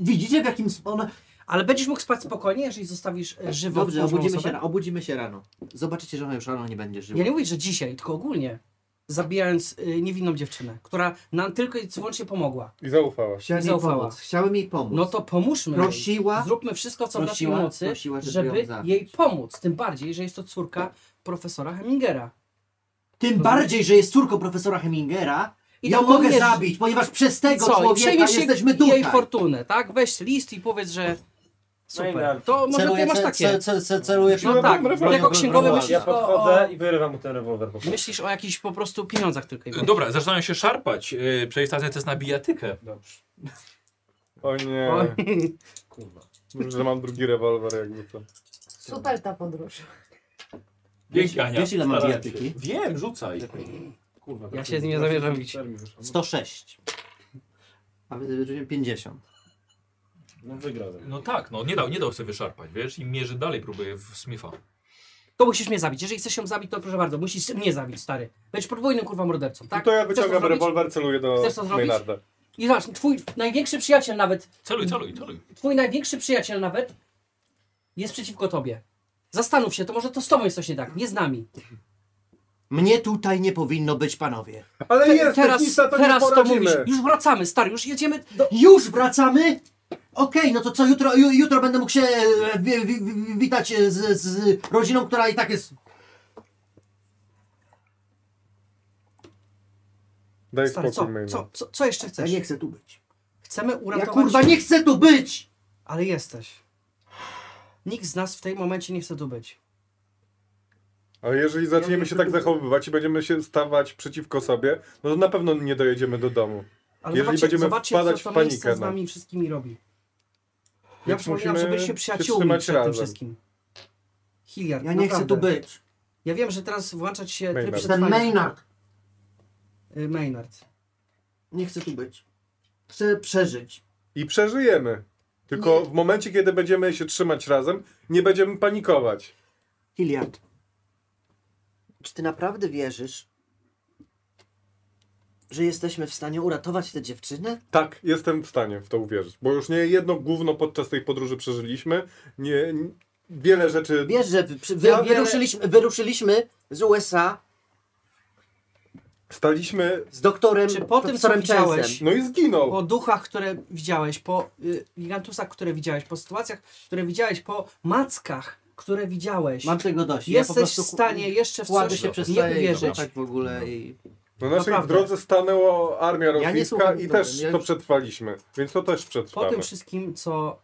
E: Widzicie w jakim... sp- Ona...
D: Ale będziesz mógł spać spokojnie, jeżeli zostawisz e, żywą
E: Dobrze,
D: odporną
E: obudzimy się,
D: osobę?
E: ra- obudzimy się rano. Zobaczycie, że ona już rano nie będzie żyła.
D: Ja nie mówię, że dzisiaj, tylko ogólnie. Zabijając y, niewinną dziewczynę, która nam tylko i wyłącznie pomogła.
F: I zaufała.
E: Chciałem jej
D: zaufała.
E: pomóc. Chciałem jej pomóc.
D: No to pomóżmy. jej.
E: Prosiła.
D: Zróbmy wszystko, co w naszej
E: Prosiła-
D: mocy,
E: prosiła, żeby
D: żeby
E: ją zabić.
D: jej pomóc. Tym bardziej, że jest to córka profesora Hemingera.
E: Tym bardziej, że jest córką profesora Hemingera.
D: I
E: ja
D: tak
E: mogę
D: umiesz-
E: zabić, ponieważ przez tego
D: Co? I
E: człowieka
D: przejmiesz się
E: jesteśmy tutaj.
D: jej fortunę, tak? Weź list i powiedz,
F: No
D: że super.
B: Maynard.
D: To może ty masz
E: ce-
D: takie.
E: ce- ce- ce- celuję
D: No
E: przed-
D: tak,
F: broń,
D: bo jako
E: broń,
D: księgowy
E: broń.
D: myślisz
B: Ja
D: o,
B: podchodzę
D: o,
B: i wyrywam mu ten rewolwer po prostu.
D: myślisz o jakichś po prostu pieniądzach tylko i wyłącznie.
H: E, Dobra, zaczynają się szarpać. Yy, Przejstację test na bijatykę.
B: Dobrze.
F: O nie,
B: Kurwa.
F: że mam drugi rewolwer jakby to.
G: Super ta podróż.
H: Dzięki, Ania.
E: Wiesz ile mam
H: Starałem się.
E: bijatyki?
H: Wiem, rzucaj.
B: Kurwa.
D: Ja się z nim nie zamierzam bić.
E: 106. A wy wyrzuciłem 50.
B: No wygrał. ze mną.
H: No tak, no nie dał, nie dał sobie wyszarpać, wiesz? I mierzy dalej, próbuje w Smitha.
D: To musisz mnie zabić. Jeżeli chcesz ją zabić, to proszę bardzo, musisz mnie zabić, stary. Będziesz podwójnym kurwa mordercą,
F: No
D: tak?
F: to ja
D: Chcesz
F: wyciągam
D: zrobić?
F: rewolwer, celuję do
D: Chcesz to zrobić?
F: Maynarda.
D: I zobacz, twój największy przyjaciel nawet,
H: Celuj, celuj, celuj.
D: twój największy przyjaciel nawet jest przeciwko tobie. Zastanów się, to może to z tobą jest coś nie tak, nie z nami.
E: Mnie tutaj nie powinno być, panowie.
F: Ale
D: Te-
F: jest,
D: teraz
F: technista, to
D: teraz
F: nie
D: to
F: poradzimy.
D: mówisz. Już wracamy, stary, już jedziemy do...
E: Już wracamy? Okej, no to co, jutro, ju, jutro będę mógł się e, wi, wi, wi, witać e, z, z rodziną, która i tak jest...
F: Daj
D: Stary, co,
F: spokój Maynard.
D: co, co, co jeszcze
E: Ja
D: chcesz?
E: nie chcę tu być.
D: Chcemy
E: Ja
D: uratować...
E: kurwa nie chcę tu być!
D: Ale jesteś. Nikt z nas w tej momencie nie chce tu być.
F: Ale jeżeli zaczniemy się tak zachowywać i będziemy się stawać przeciwko sobie, no to na pewno nie dojedziemy do domu.
D: Ale
F: Jeżeli
D: zobaczcie,
F: będziemy
D: zobaczcie
F: wpadać
D: co
F: w
D: to miejsce
F: panikę,
D: z
F: no.
D: nami wszystkimi robi. Ja
F: Więc
D: przypominam,
F: musimy
D: żebyście
F: się
D: przyjaciółmi
F: trzymać
D: przed tym
F: razem.
D: wszystkim. Hilliard,
E: Ja nie
D: naprawdę.
E: chcę tu być.
D: Ja wiem, że teraz włączać się tryb
F: Maynard.
E: Ten
D: przetrwania.
E: Maynard.
D: Y, Maynard.
E: Nie chcę tu być. Chcę przeżyć.
F: I przeżyjemy. Tylko w momencie, kiedy będziemy się trzymać razem, nie będziemy panikować.
E: Hilliard. Czy ty naprawdę wierzysz, że jesteśmy w stanie uratować tę dziewczynę?
F: Tak, jestem w stanie w to uwierzyć, bo już nie jedno gówno podczas tej podróży przeżyliśmy. Nie, nie- wiele rzeczy.
E: Wiesz, że wy, przy- wy,
D: Ja wiele-
E: wyruszyliśmy, wyruszyliśmy z USA
F: Staliśmy.
E: z doktorem
D: Czy po tym, co
E: profesorem Chancem.
D: widziałeś,
F: No i
D: po
F: zginął.
D: duchach, które widziałeś, po y, gigantusach, które widziałeś, po sytuacjach, które widziałeś, po mackach, które widziałeś,
E: Mam tego dość. ja po
D: jesteś
E: prostu
D: w stanie jeszcze w
E: kładę
D: coś
E: się przez
D: nie uwierzyć.
E: tak w ogóle i...
F: Na naszej
D: naprawdę.
F: drodze stanęła armia
E: nie
F: rosyjska
E: słucham
F: i
E: tego,
F: też
E: ja
F: to
E: już-
F: przetrwaliśmy. Więc to też
D: Po
F: przetrwamy.
D: tym wszystkim, co...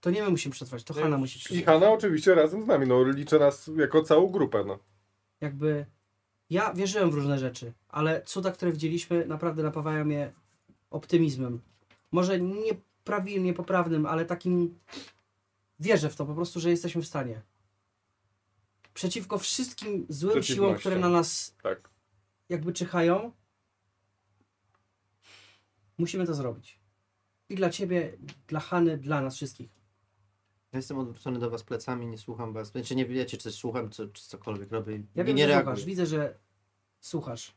D: To nie my musimy przetrwać, to Hanna musi
F: I
D: przetrwać.
F: Hanna oczywiście razem z nami. No liczę nas jako całą grupę. No.
D: Jakby... Ja wierzyłem w różne rzeczy, ale cuda, które widzieliśmy, naprawdę napawają mnie optymizmem. Może nie prawie niepoprawnym, ale takim... Wierzę w to po prostu, że jesteśmy w stanie. Przeciwko wszystkim złym siłom, które na
F: Przeciwnościom.
D: nas
F: Tak.
D: jakby czyhają, musimy to zrobić. I dla ciebie, dla Hany, dla nas wszystkich.
E: Ja jestem odwrócony do was plecami, nie słucham was. Znaczy nie wiecie, czy coś słucham, czy, czy cokolwiek robię.
D: Ja
E: nie,
D: wiem,
E: nie
D: że
E: reaguję.
D: słuchasz, widzę, że słuchasz.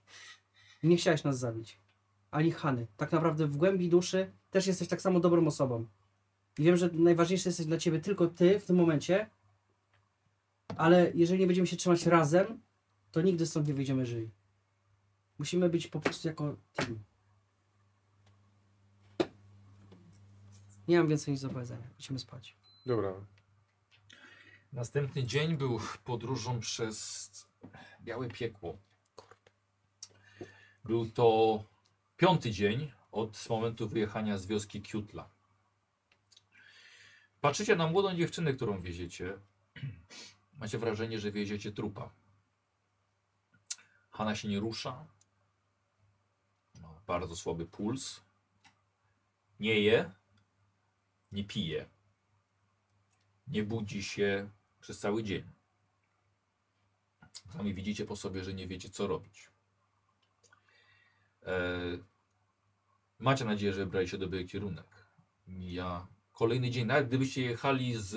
D: Nie chciałeś nas zabić. Ani Hany. Tak naprawdę w głębi duszy też jesteś tak samo dobrą osobą. I wiem, że najważniejszy jesteś dla ciebie tylko ty w tym momencie, ale jeżeli nie będziemy się trzymać razem, to nigdy stąd nie wyjdziemy żyli. Musimy być po prostu jako team. Nie mam więcej nic do powiedzenia. Idziemy spać.
F: Dobra.
H: Następny dzień był podróżą przez Białe Piekło. Był to piąty dzień od momentu wyjechania z wioski Kiutla. Patrzycie na młodą dziewczynę, którą wieziecie. Macie wrażenie, że wieziecie trupa. Hanna się nie rusza. Ma bardzo słaby puls.
A: Nie je, nie pije, nie budzi się przez cały dzień. Sami widzicie po sobie, że nie wiecie, co robić. E, macie nadzieję, że wybraliście dobry kierunek. Mija kolejny dzień. Nawet gdybyście jechali z,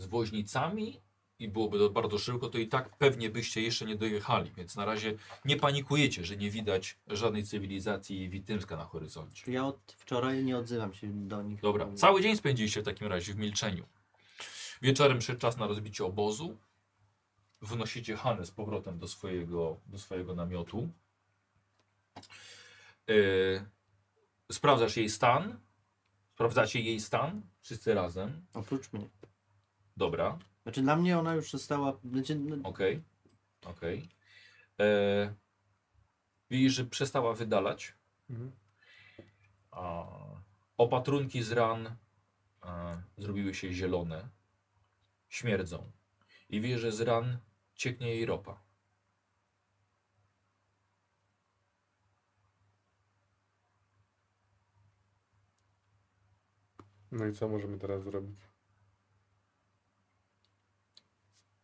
A: z woźnicami i byłoby to bardzo szybko, to i tak pewnie byście jeszcze nie dojechali. Więc na razie nie panikujecie, że nie widać żadnej cywilizacji Witymska na horyzoncie.
E: Ja od wczoraj nie odzywam się do nich.
A: Dobra, cały dzień spędziliście w takim razie w milczeniu. Wieczorem przyszedł czas na rozbicie obozu. Wynosicie Hanę z powrotem do swojego, do swojego namiotu. Yy, sprawdzasz jej stan. Sprawdzacie jej stan wszyscy razem.
E: Oprócz mnie.
A: Dobra,
E: Znaczy dla mnie ona już została. Znaczy, no,
A: okej. Okej. E, Widzisz, że przestała wydalać.
F: Mhm.
A: A, opatrunki z ran e, zrobiły się zielone. Śmierdzą. I widzisz, że z ran cieknie jej ropa.
F: No i co możemy teraz zrobić?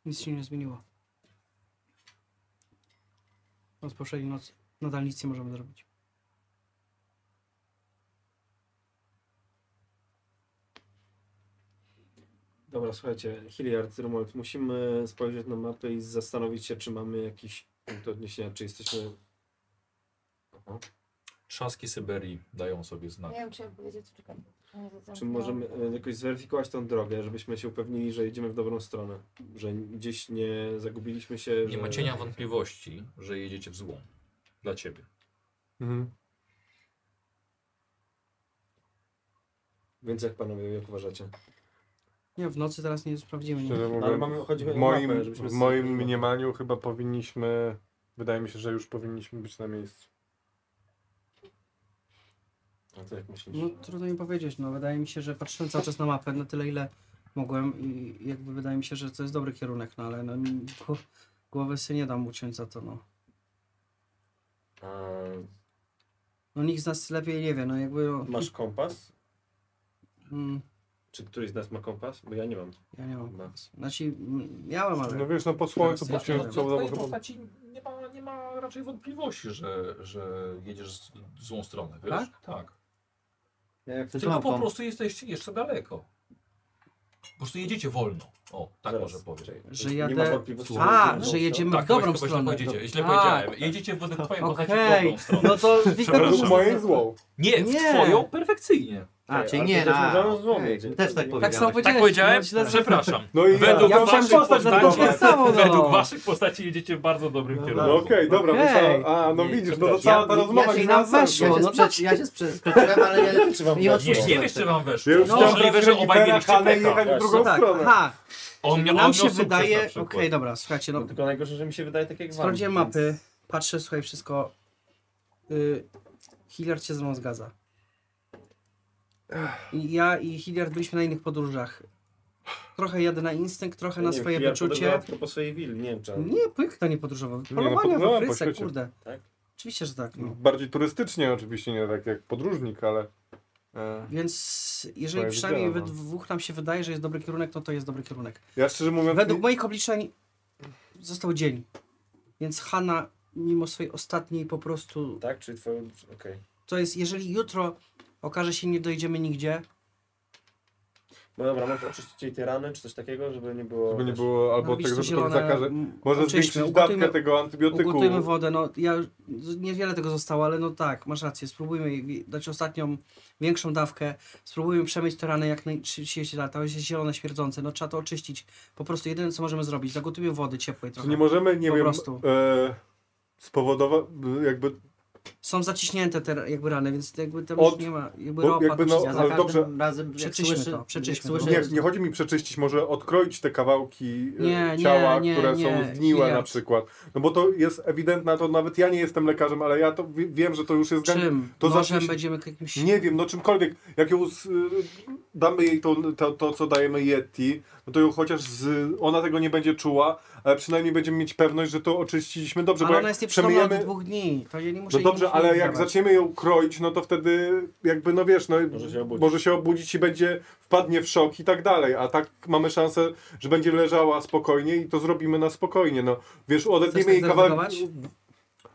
D: Nic się nie zmieniło. Od poprzedniej nocy. Nadal nic nie możemy zrobić.
B: Dobra, słuchajcie, Hilliard, Romuald, musimy spojrzeć na mapę i zastanowić się, czy mamy jakiś punkt odniesienia, czy jesteśmy... Aha.
A: Trzaski Syberii dają sobie znak.
G: Nie wiem, czy ja powiedzieć, czekaj. Nie zadzwoniłam.
B: Czy możemy e, jakoś zweryfikować tą drogę, żebyśmy się upewnili, że idziemy w dobrą stronę? Że gdzieś nie zagubiliśmy się,
A: Nie
B: że...
A: ma cienia wątpliwości, że jedziecie w złą. Dla ciebie.
F: Mhm.
B: Więc jak panowie, jak uważacie?
D: Nie, w nocy teraz nie sprawdzimy. Nie.
F: Szczerze
B: Ale
F: mówiąc,
B: mamy, chodzi o
F: w moim,
B: mapę, żebyśmy...
F: w moim mniemaniu chyba powinniśmy, wydaje mi się, że już powinniśmy być na miejscu.
B: A to jak myślisz?
D: No trudno mi powiedzieć, no wydaje mi się, że patrzyłem cały czas na mapę na tyle ile mogłem i jakby wydaje mi się, że to jest dobry kierunek, no ale no, n- gło- głowy sobie nie dam uciąć za to, no.
B: A,
D: No nikt z nas lepiej nie wie, no jakby... No,
B: masz kompas?
D: mm,
B: Czy któryś z nas ma kompas? Bo ja nie mam.
D: ja nie mam.
B: Chyba.
D: Znaczy, m, miałem,
F: No
D: ale...
F: wiesz, no po słońcu,
D: Teraz
F: po
D: ja- ja-
F: księżycu,
A: Twojej
F: no, chyba...
A: postaci nie ma, nie ma raczej wątpliwości, że, że jedziesz z w złą stronę, wiesz?
D: Tak?
A: Tak.
E: ja jak
A: Tylko po prostu jesteście jeszcze daleko. Po prostu jedziecie wolno. O, tak
B: Zaraz,
A: może powiem.
B: czekaj.
D: Że
B: Nie
D: jadę-
B: ma wątpliwości,
D: A,
B: jedziemy w
D: że
B: dobrą
D: jedziemy
A: Tak,
D: w dobrą
A: chyba źle
D: stronę.
A: powiedziałem, źle
D: Tak.
A: powiedziałem. Jedziecie w twoim postaci w
D: Okej.
A: dobrą stronę.
D: No to Wiktor
F: Według
D: już-
F: mojej złą.
A: Nie, w
D: Nie.
A: twoją perfekcyjnie.
E: A,
B: Ale
E: czyli
B: to
E: nie,
B: też
E: na.
B: możemy
E: okej,
B: złożyć.
E: też tak
D: Tak
E: powiedziałeś.
D: samo powiedziałeś.
A: Tak powiedziałem?
D: no, źle-
A: Przepraszam.
B: Tak
F: No i
A: Według
D: Ja chciałem
A: waszych
D: postać na
A: postaci,
D: tak samo, no.
A: według waszych postaci jedziecie w bardzo dobrym
E: No
F: No
A: kierunku.
F: okej, dobra,
D: Okej.
F: myślałem, a no
A: Nie,
F: widzisz, no to
A: przepraszam.
F: cała ta rozmowa
D: się
F: nie
D: nam
F: ma sensu.
D: weszło.
E: Ja się,
D: No
E: sprze- tak, ja się sprze- skręciłem, ale ja nie
A: Nie,
E: odczułem.
A: nie wiesz, czy wam weszło.
F: Ja już chciałem
A: No. Możliwe,
F: brać
A: że obaj
F: Rivera,
A: mieliście
F: Hanę i
A: pecha.
F: jechać w drugą
D: No tak,
F: stronę.
D: aha,
A: On miał, on miał
D: nam się
A: sukces
D: wydaje...
A: na
D: Okej,
A: przykład.
D: dobra, słuchajcie, no
B: No, tylko najgorsze, że mi się wydaje tak jak wam.
D: Sprawdziłem
B: więc-
D: mapy, patrzę, słuchaj, wszystko. Y, Hilliard się ze mną zgadza. I ja i Hilliard byliśmy na innych podróżach. Trochę jadę na instynkt,
B: Ja
D: trochę na
B: nie wiem,
D: swoje
B: ja
D: wyczucie.
B: podróżowałem Tylko po swojej willi, nie wiem czy...
D: Nie, pyk to nie podróżował.
F: no,
D: Polowania w
F: podróżowałem po
D: Afryce,
F: świecie.
D: kurde.
B: Tak?
D: Oczywiście, że tak. No.
F: Bardziej turystycznie oczywiście, nie tak jak podróżnik, ale... e,
D: Więc jeżeli
F: Moje
D: przynajmniej we
F: widziałem, no.
D: dwóch nam się wydaje, że jest dobry kierunek, no to jest dobry kierunek.
F: Ja szczerze mówiąc...
D: Według moich obliczeń został dzień. Więc Hanna, mimo swojej ostatniej po prostu
B: Tak, czyli twoją... Okej.
D: To jest, jeżeli jutro okaże się, nie dojdziemy nigdzie,
B: No dobra, może oczyścić jej te rany, czy coś takiego, żeby nie było...
F: Żeby nie było, albo
D: no widzisz,
F: tego,
D: to
F: tak, że to
D: zielone,
F: zakaże...
D: m,
F: Może
D: oczyśćmy,
F: zwiększyć
D: ugotujmy-
F: dawkę tego antybiotyku.
D: Ugotujmy wodę, no ja niewiele tego zostało, ale no tak, masz rację, spróbujmy jej wi- dać ostatnią, większą dawkę, spróbujmy przemyć te rany jak najszybciej się da, to jest zielone, śmierdzące, no trzeba to oczyścić, po prostu jedyne co możemy zrobić, zagotujmy wody ciepłej
F: Czy
D: trochę,
F: Znaczy, nie możemy, nie
D: Po
F: wiem,
D: prostu.
F: e, spowodować, jakby,
D: są zaciśnięte te jakby rany, więc jakby tam
F: Od-
D: już nie ma, jakby
F: bo
D: ropa,
F: jakby
D: jakby
F: no-
E: Ja
F: ale
E: za każdym
F: dobrze.
E: razem jak
D: Przeczyśmy
E: słyszę,
D: to,
E: jak
D: przeczyśmy
E: słyszę,
D: to.
F: nie,
E: że-
F: nie chodzi mi przeczyścić, może odkroić te kawałki e,
D: Nie, nie,
F: ciała,
D: nie,
F: które
D: nie,
F: są zgniłe na
D: Hilliard.
F: przykład. No bo to jest ewidentna, to nawet ja nie jestem lekarzem, ale ja to wi- wiem, że to już jest... gan-
D: czym,
F: to
D: to nożem
F: zaciśnij-
D: będziemy jakimś...
F: Nie wiem, no czymkolwiek, jak ją z, y, damy jej to, to, to, co dajemy Yeti, no to ją chociaż z, ona tego nie będzie czuła, ale przynajmniej będziemy mieć pewność, że to oczyściliśmy dobrze, bo
D: Ale
F: jak
D: ona jest nieprzytomna
F: przemyjemy...
D: od dwóch dni. To ja nie muszę
F: No
D: jej
F: dobrze,
D: nic nie
F: ale jak
D: oddawać.
F: zaczniemy ją kroić, no to wtedy jakby, no wiesz, no
B: Może się obudzić.
F: może się obudzić i będzie, wpadnie w szok i tak dalej, a tak mamy szansę, że będzie leżała spokojnie i to zrobimy na spokojnie, no. Wiesz,
D: Chcesz
F: odetniemy
D: tak
F: jej kawałek...
D: zareagować?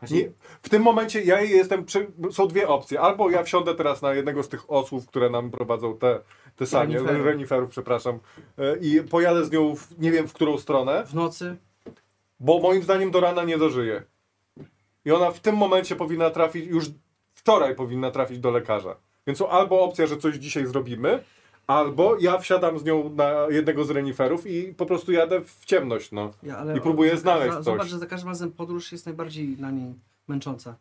F: Nie, Znaczy, w tym momencie ja jej jestem, przy... są dwie opcje, albo ja wsiądę teraz na jednego z tych osłów, które nam prowadzą te, te sanie,
D: Reniferów.
F: reniferów, przepraszam, e, i pojadę z nią, w, nie wiem w którą stronę,
D: W nocy.
F: bo moim zdaniem do rana nie dożyje. I ona w tym momencie powinna trafić, już wczoraj powinna trafić do lekarza. Więc są albo opcja, że coś dzisiaj zrobimy, albo ja wsiadam z nią na jednego z reniferów i po prostu jadę w ciemność, no.
D: Ja, ale
F: I próbuję
D: za-
F: znaleźć
D: za-
F: coś.
D: Zobacz, że za każdym razem podróż jest najbardziej dla niej męcząca.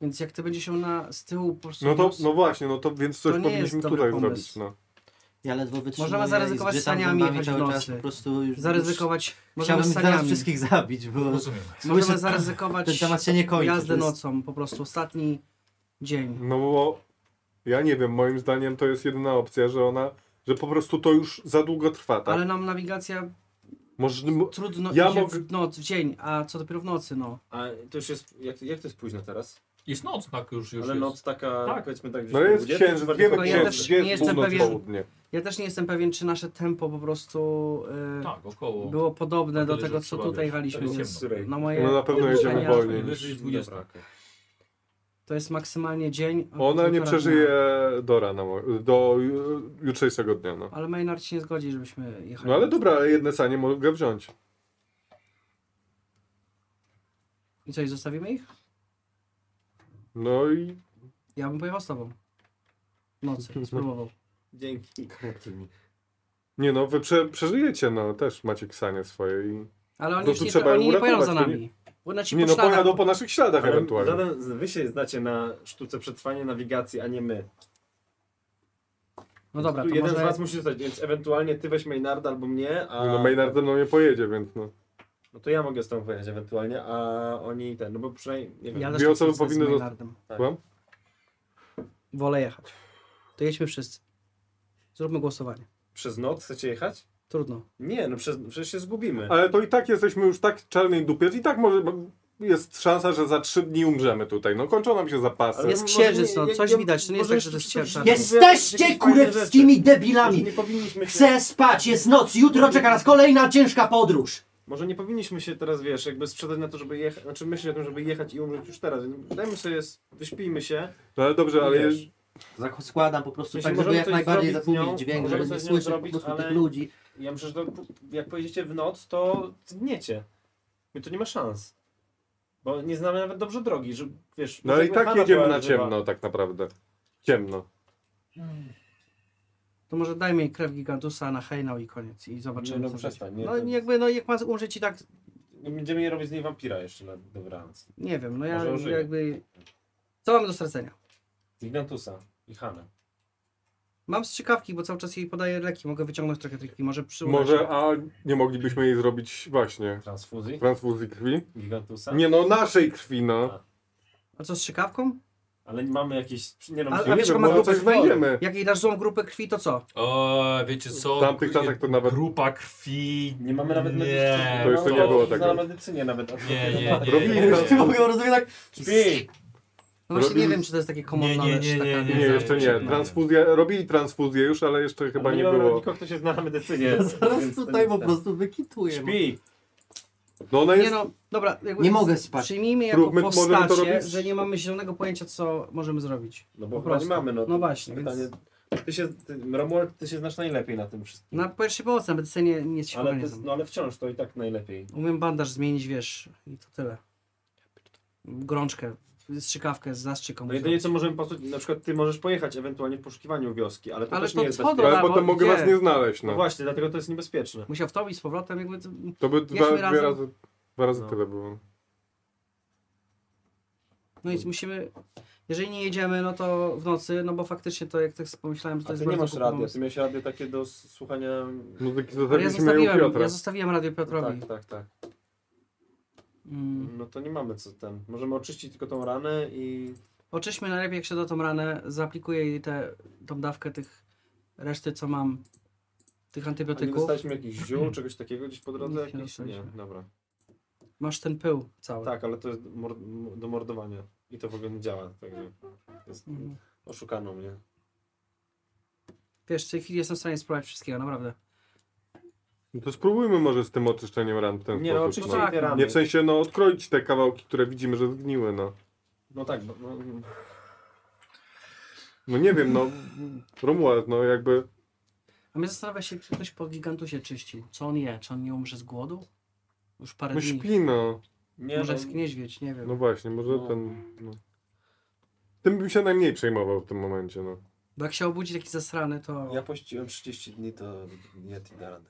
D: Więc jak ty będziesz się na z tyłu po prostu
F: No to,
D: wiózł-
F: no właśnie, no to więc coś
D: To nie jest
F: powinniśmy
D: dobry
F: tutaj
D: pomysł.
F: zrobić, no.
E: Ja ledwo wytrzymuję.
D: Możemy zaryzykować
E: i zgrzytam
D: saniami
E: zębami
D: jechać w
E: cały
D: nocy.
E: czas, po prostu już,
D: zaryzykować,
E: Już
D: możemy
E: chciałbym
D: z
E: teraz
D: saniami.
E: wszystkich zabić, bo
A: Rozumiem.
D: Możemy
E: Słyszę-
D: zaryzykować
E: ten temat się nie kończy,
D: jazdę
E: to jest-
D: nocą, po prostu ostatni dzień.
F: No bo ja nie wiem, moim zdaniem to jest jedyna opcja, że ona, że po prostu to już za długo trwa, tak?
D: Ale nam nawigacja
F: Może,
D: trudno
F: Ja
D: idzie
F: mogę-
D: w noc, w dzień, a co dopiero w nocy, no.
B: A to już jest, jak, jak to jest późno teraz?
A: Jest noc, tak już, już
B: Ale
A: jest.
B: noc taka,
A: Tak.
B: powiedzmy tak, gdzieś
F: no jest
B: 20,
F: księżyc,
B: bardziej
F: wiemy
D: Ja
B: po-
F: księżyc,
D: też
F: gdzie
D: nie
F: jest
D: jestem
F: północ,
D: pewien-
F: południe.
D: Ja też nie jestem pewien, czy nasze tempo po prostu y,
A: Tak, około.
D: było podobne
A: Tyle,
D: do
A: że
D: tego, co
A: trzeba,
D: tutaj
A: wiesz,
D: jechaliśmy.
A: to
D: Więc
A: jest ciemno.
D: na moje
F: No na pewno
D: wyobrażenia
F: jedziemy wolniej.
A: Wyżej 20.
B: Dobra, okej.
D: To jest maksymalnie dzień. a
F: Ona nie
D: półtora
F: przeżyje
D: dnia.
F: do rana, mo- do ju- jutrzejszego dnia, no.
D: Ale Maynard się nie zgodzi, żebyśmy jechali.
F: No ale dobra, jedne sanie mogę wziąć.
D: I coś, zostawimy ich?
F: No i
D: Ja bym pojechał z tobą. W Nocy, spróbował.
B: Dzięki.
F: nie no, wy prze, przeżyjecie, no, też macie sanie swoje i...
D: Ale oni,
F: No
D: już
F: to
D: nie,
F: trzeba
D: oni
F: ją
D: nie pojadą za
F: uratować, to nie-
D: nami. Bo na ci
F: Nie
D: po
F: no,
D: śladach-
F: pojadą po naszych śladach
B: Ale
F: Tak, ewentualnie.
B: żaden, z- wy się znacie na sztuce przetrwania nawigacji, a nie my.
D: No dobra, to
B: tu jeden
D: może...
B: z was musi zostać, więc ewentualnie ty weź Maynarda albo mnie, a...
F: No Maynard ze mną nie pojedzie, więc no.
B: No to ja mogę z tą wyjechać ewentualnie, a oni ten, no bo przynajmniej, nie wiem.
D: Ja
F: Dwie
D: też nie chcę
F: osoby
D: zostać z
F: powinny zosta-
D: Maynardem.
F: Słucham?
D: Wolę jechać. To jedźmy wszyscy. Zróbmy głosowanie.
B: Przez noc chcecie jechać?
D: Trudno.
B: Nie, no przez, przecież się zgubimy.
F: Ale to i tak jesteśmy już tak w czarnej dupie, i tak może jest szansa, że za trzy dni umrzemy tutaj. No kończą nam się zapasy.
B: Ale
D: jest
B: może
D: księżyc,
B: nie-
D: no,
B: jak-
D: coś
B: ja-
D: widać, to nie jest
B: może
D: tak, że to
B: już
D: jest
B: coś-
D: księżyc.
B: Jakieś
E: Jesteście
B: fajne
E: kurewskimi
B: Może
E: debilami!
B: nie powinniśmy się...
E: Chcę spać, jest noc, jutro czeka nas kolejna ciężka podróż!
B: Może nie powinniśmy się teraz, wiesz, jakby sprzedać na to, żeby jechać, znaczy myśleć o tym, żeby jechać i umrzeć już teraz. Dajmy sobie, s- wyśpijmy się.
F: No ale dobrze, ale
B: Wiesz.
F: jest,
E: Zak- Składam po prostu
B: Jeśli
E: tak, żeby
B: możemy
E: jak
B: coś
E: najbardziej
B: zrobić z nią,
E: zatłumić dźwięk,
B: możemy
E: żeby
B: coś
E: nie
B: z nią
E: słyszeć
B: zrobić,
E: po prostu
B: ale-
E: tych ludzi.
B: Ja myślę, że to, jak pojedziecie w noc, to dniecie. My to nie ma szans. Bo nie znamy nawet dobrze drogi, że wiesz...
F: no
B: może
F: ale i
B: jakby
F: tak
B: Hanna
F: jedziemy
B: była
F: na
B: żywa.
F: ciemno tak naprawdę. Ciemno.
D: To może dajmy jej krew gigantusa na hejnał i koniec. I zobaczymy.
B: Nie, no
D: co
B: przestań,
D: będzie.
B: nie,
D: no
B: to-
D: jakby, no jak ma umrzeć i tak,
B: Będziemy je robić z niej wampira jeszcze na dobranoc.
D: nie wiem, no ja
B: Może ożyje.
D: jakby... Co mamy do stracenia?
B: Z Ignatusem i Hanem.
D: Mam strzykawki, bo cały czas jej podaję leki, mogę wyciągnąć trochę triki, może przy
F: Może, a nie moglibyśmy jej zrobić właśnie
B: Transfuzji?
F: transfuzji krwi?
B: Gigantusa?
F: Nie no, naszej krwi no.
D: A co z strzykawką?
B: Ale nie mamy jakieś... Nie no,
D: A-
B: musimy-
D: a
F: Nie
D: wiesz,
F: wiem,
D: ma
F: może
D: grupę
F: coś
D: krwi?
F: znajdziemy.
D: Jak jej dasz złą grupę krwi, to co?
A: O, wiecie co?
F: W tamtych czasach to nawet...
A: Grupa krwi.
B: Nie mamy nawet
A: nie,
B: medycyny.
F: To jeszcze nie
B: No,
F: było
B: na
F: tego.
B: medycynie nawet.
A: Nie, nie, nie.
F: Robili
A: nie,
F: transfuzję.
E: Mogę rozumieć tak...
B: Śpi!
D: No właśnie
F: Robili-
D: nie wiem, czy to jest takie common
A: Nie, nie,
D: knowledge,
A: nie, nie,
D: taka
F: Nie,
A: nie,
D: wiedza.
F: jeszcze nie. Transfuzję, robili transfuzję już, ale jeszcze chyba
B: Ale
F: nie
B: nie No, mamy nawet
F: było.
B: nikogo, kto się zna na medycynie.
E: Zaraz
B: więc to
E: tutaj
B: nie
E: po
B: ten.
E: prostu wykituję.
B: Śpi!
F: No ona
D: Nie
F: jest...
D: no, dobra. Jakby
E: Nie mogę spać.
D: Przyjmijmy jako
F: Róbmy- możemy to
D: postacie,
F: robić?
D: że nie mamy zielonego pojęcia, co możemy zrobić.
B: No
D: Po
B: bo chyba nie
D: prostu.
B: mamy, no.
D: No właśnie,
B: Pytanie...
D: więc-
B: Ty się, ty, Romuald, ty się znasz najlepiej na tym wszystkim.
D: Na pierwszej pomocy, na medycynie nie No jest się
B: ale,
D: ale
B: to jest, no, ale wciąż to i tak najlepiej.
D: Umiem bandaż zmienić, wiesz, i to tyle. Gorączkę, strzykawkę, zastrzyką.
B: No jedynie co możemy posłuchać, na przykład ty możesz pojechać ewentualnie w poszukiwaniu wioski, ale to
D: Ale
B: też
D: to
B: nie jest
D: co
B: bezpieczne.
D: do-
F: Ale
D: bo-
F: potem mogę
D: nie.
F: was nie znaleźć
B: No
F: no.
B: właśnie, dlatego to jest niebezpieczne.
D: Musiał w to i z powrotem, jakby... to-
F: To by dwa,
D: Jedźmy
F: dwie
D: razem.
F: razy... Dwa razy
B: No.
F: tyle było.
D: No i musimy... Jeżeli nie jedziemy, no to w nocy, no bo faktycznie to, jak tak sobie pomyślałem, że to
B: A
D: jest
B: ty nie
D: bardzo
B: masz
D: głupi
B: radia,
D: pomysł.
B: ty miałeś radio takie do s- słuchania...
F: Muzyki
D: Ale ja
F: zostawiliśmy ją
D: zostawiłem,
F: Piotra.
D: ja zostawiłem radio Piotrowi.
B: Tak, tak, tak.
D: Mm.
B: No to nie mamy co ten. Możemy oczyścić tylko tą ranę i...
D: Oczyśmy najlepiej, jak się da tą ranę, zaaplikuję jej tę tą dawkę tych reszty, co mam
B: A
D: tych
B: nie
D: antybiotyków.
B: dostaliśmy jakichś ziół, czegoś takiego gdzieś po drodze?
D: Nic nie
B: Jakieś? Nie,
D: dostaliśmy.
B: dobra.
D: Masz ten pył cały.
B: Tak, ale to jest mord- m- do mordowania. I to w ogóle nie działa. Także jest...
D: Mhm.
B: Oszukano mnie.
D: Wiesz, w tej chwili jestem w stanie spróbować wszystkiego, naprawdę.
F: No to spróbujmy może z tym oczyszczeniem ran w ten
B: Nie, no
F: sposób.
B: oczywiście
F: no.
D: tak,
B: nie
F: Nie w sensie, no odkroić te kawałki, które widzimy, że zgniły, no.
B: No tak, bo, no,
F: No nie wiem, no. Romuald, no jakby.
D: A mnie zastanawia się, czy ktoś po gigantusie czyścił. Co on je? Czy on nie umrze z głodu? Już parę
F: No
D: dni.
F: śpi, no.
B: nie
D: Może
B: no,
D: jest niedźwiedź, nie wiem.
F: No właśnie, może
B: No.
F: ten. No. Tym bym się najmniej przejmował w tym momencie, no.
D: Bo jak się obudzi taki zasrany, to...
B: ja pościłem 30 dni, to nie ty da radę.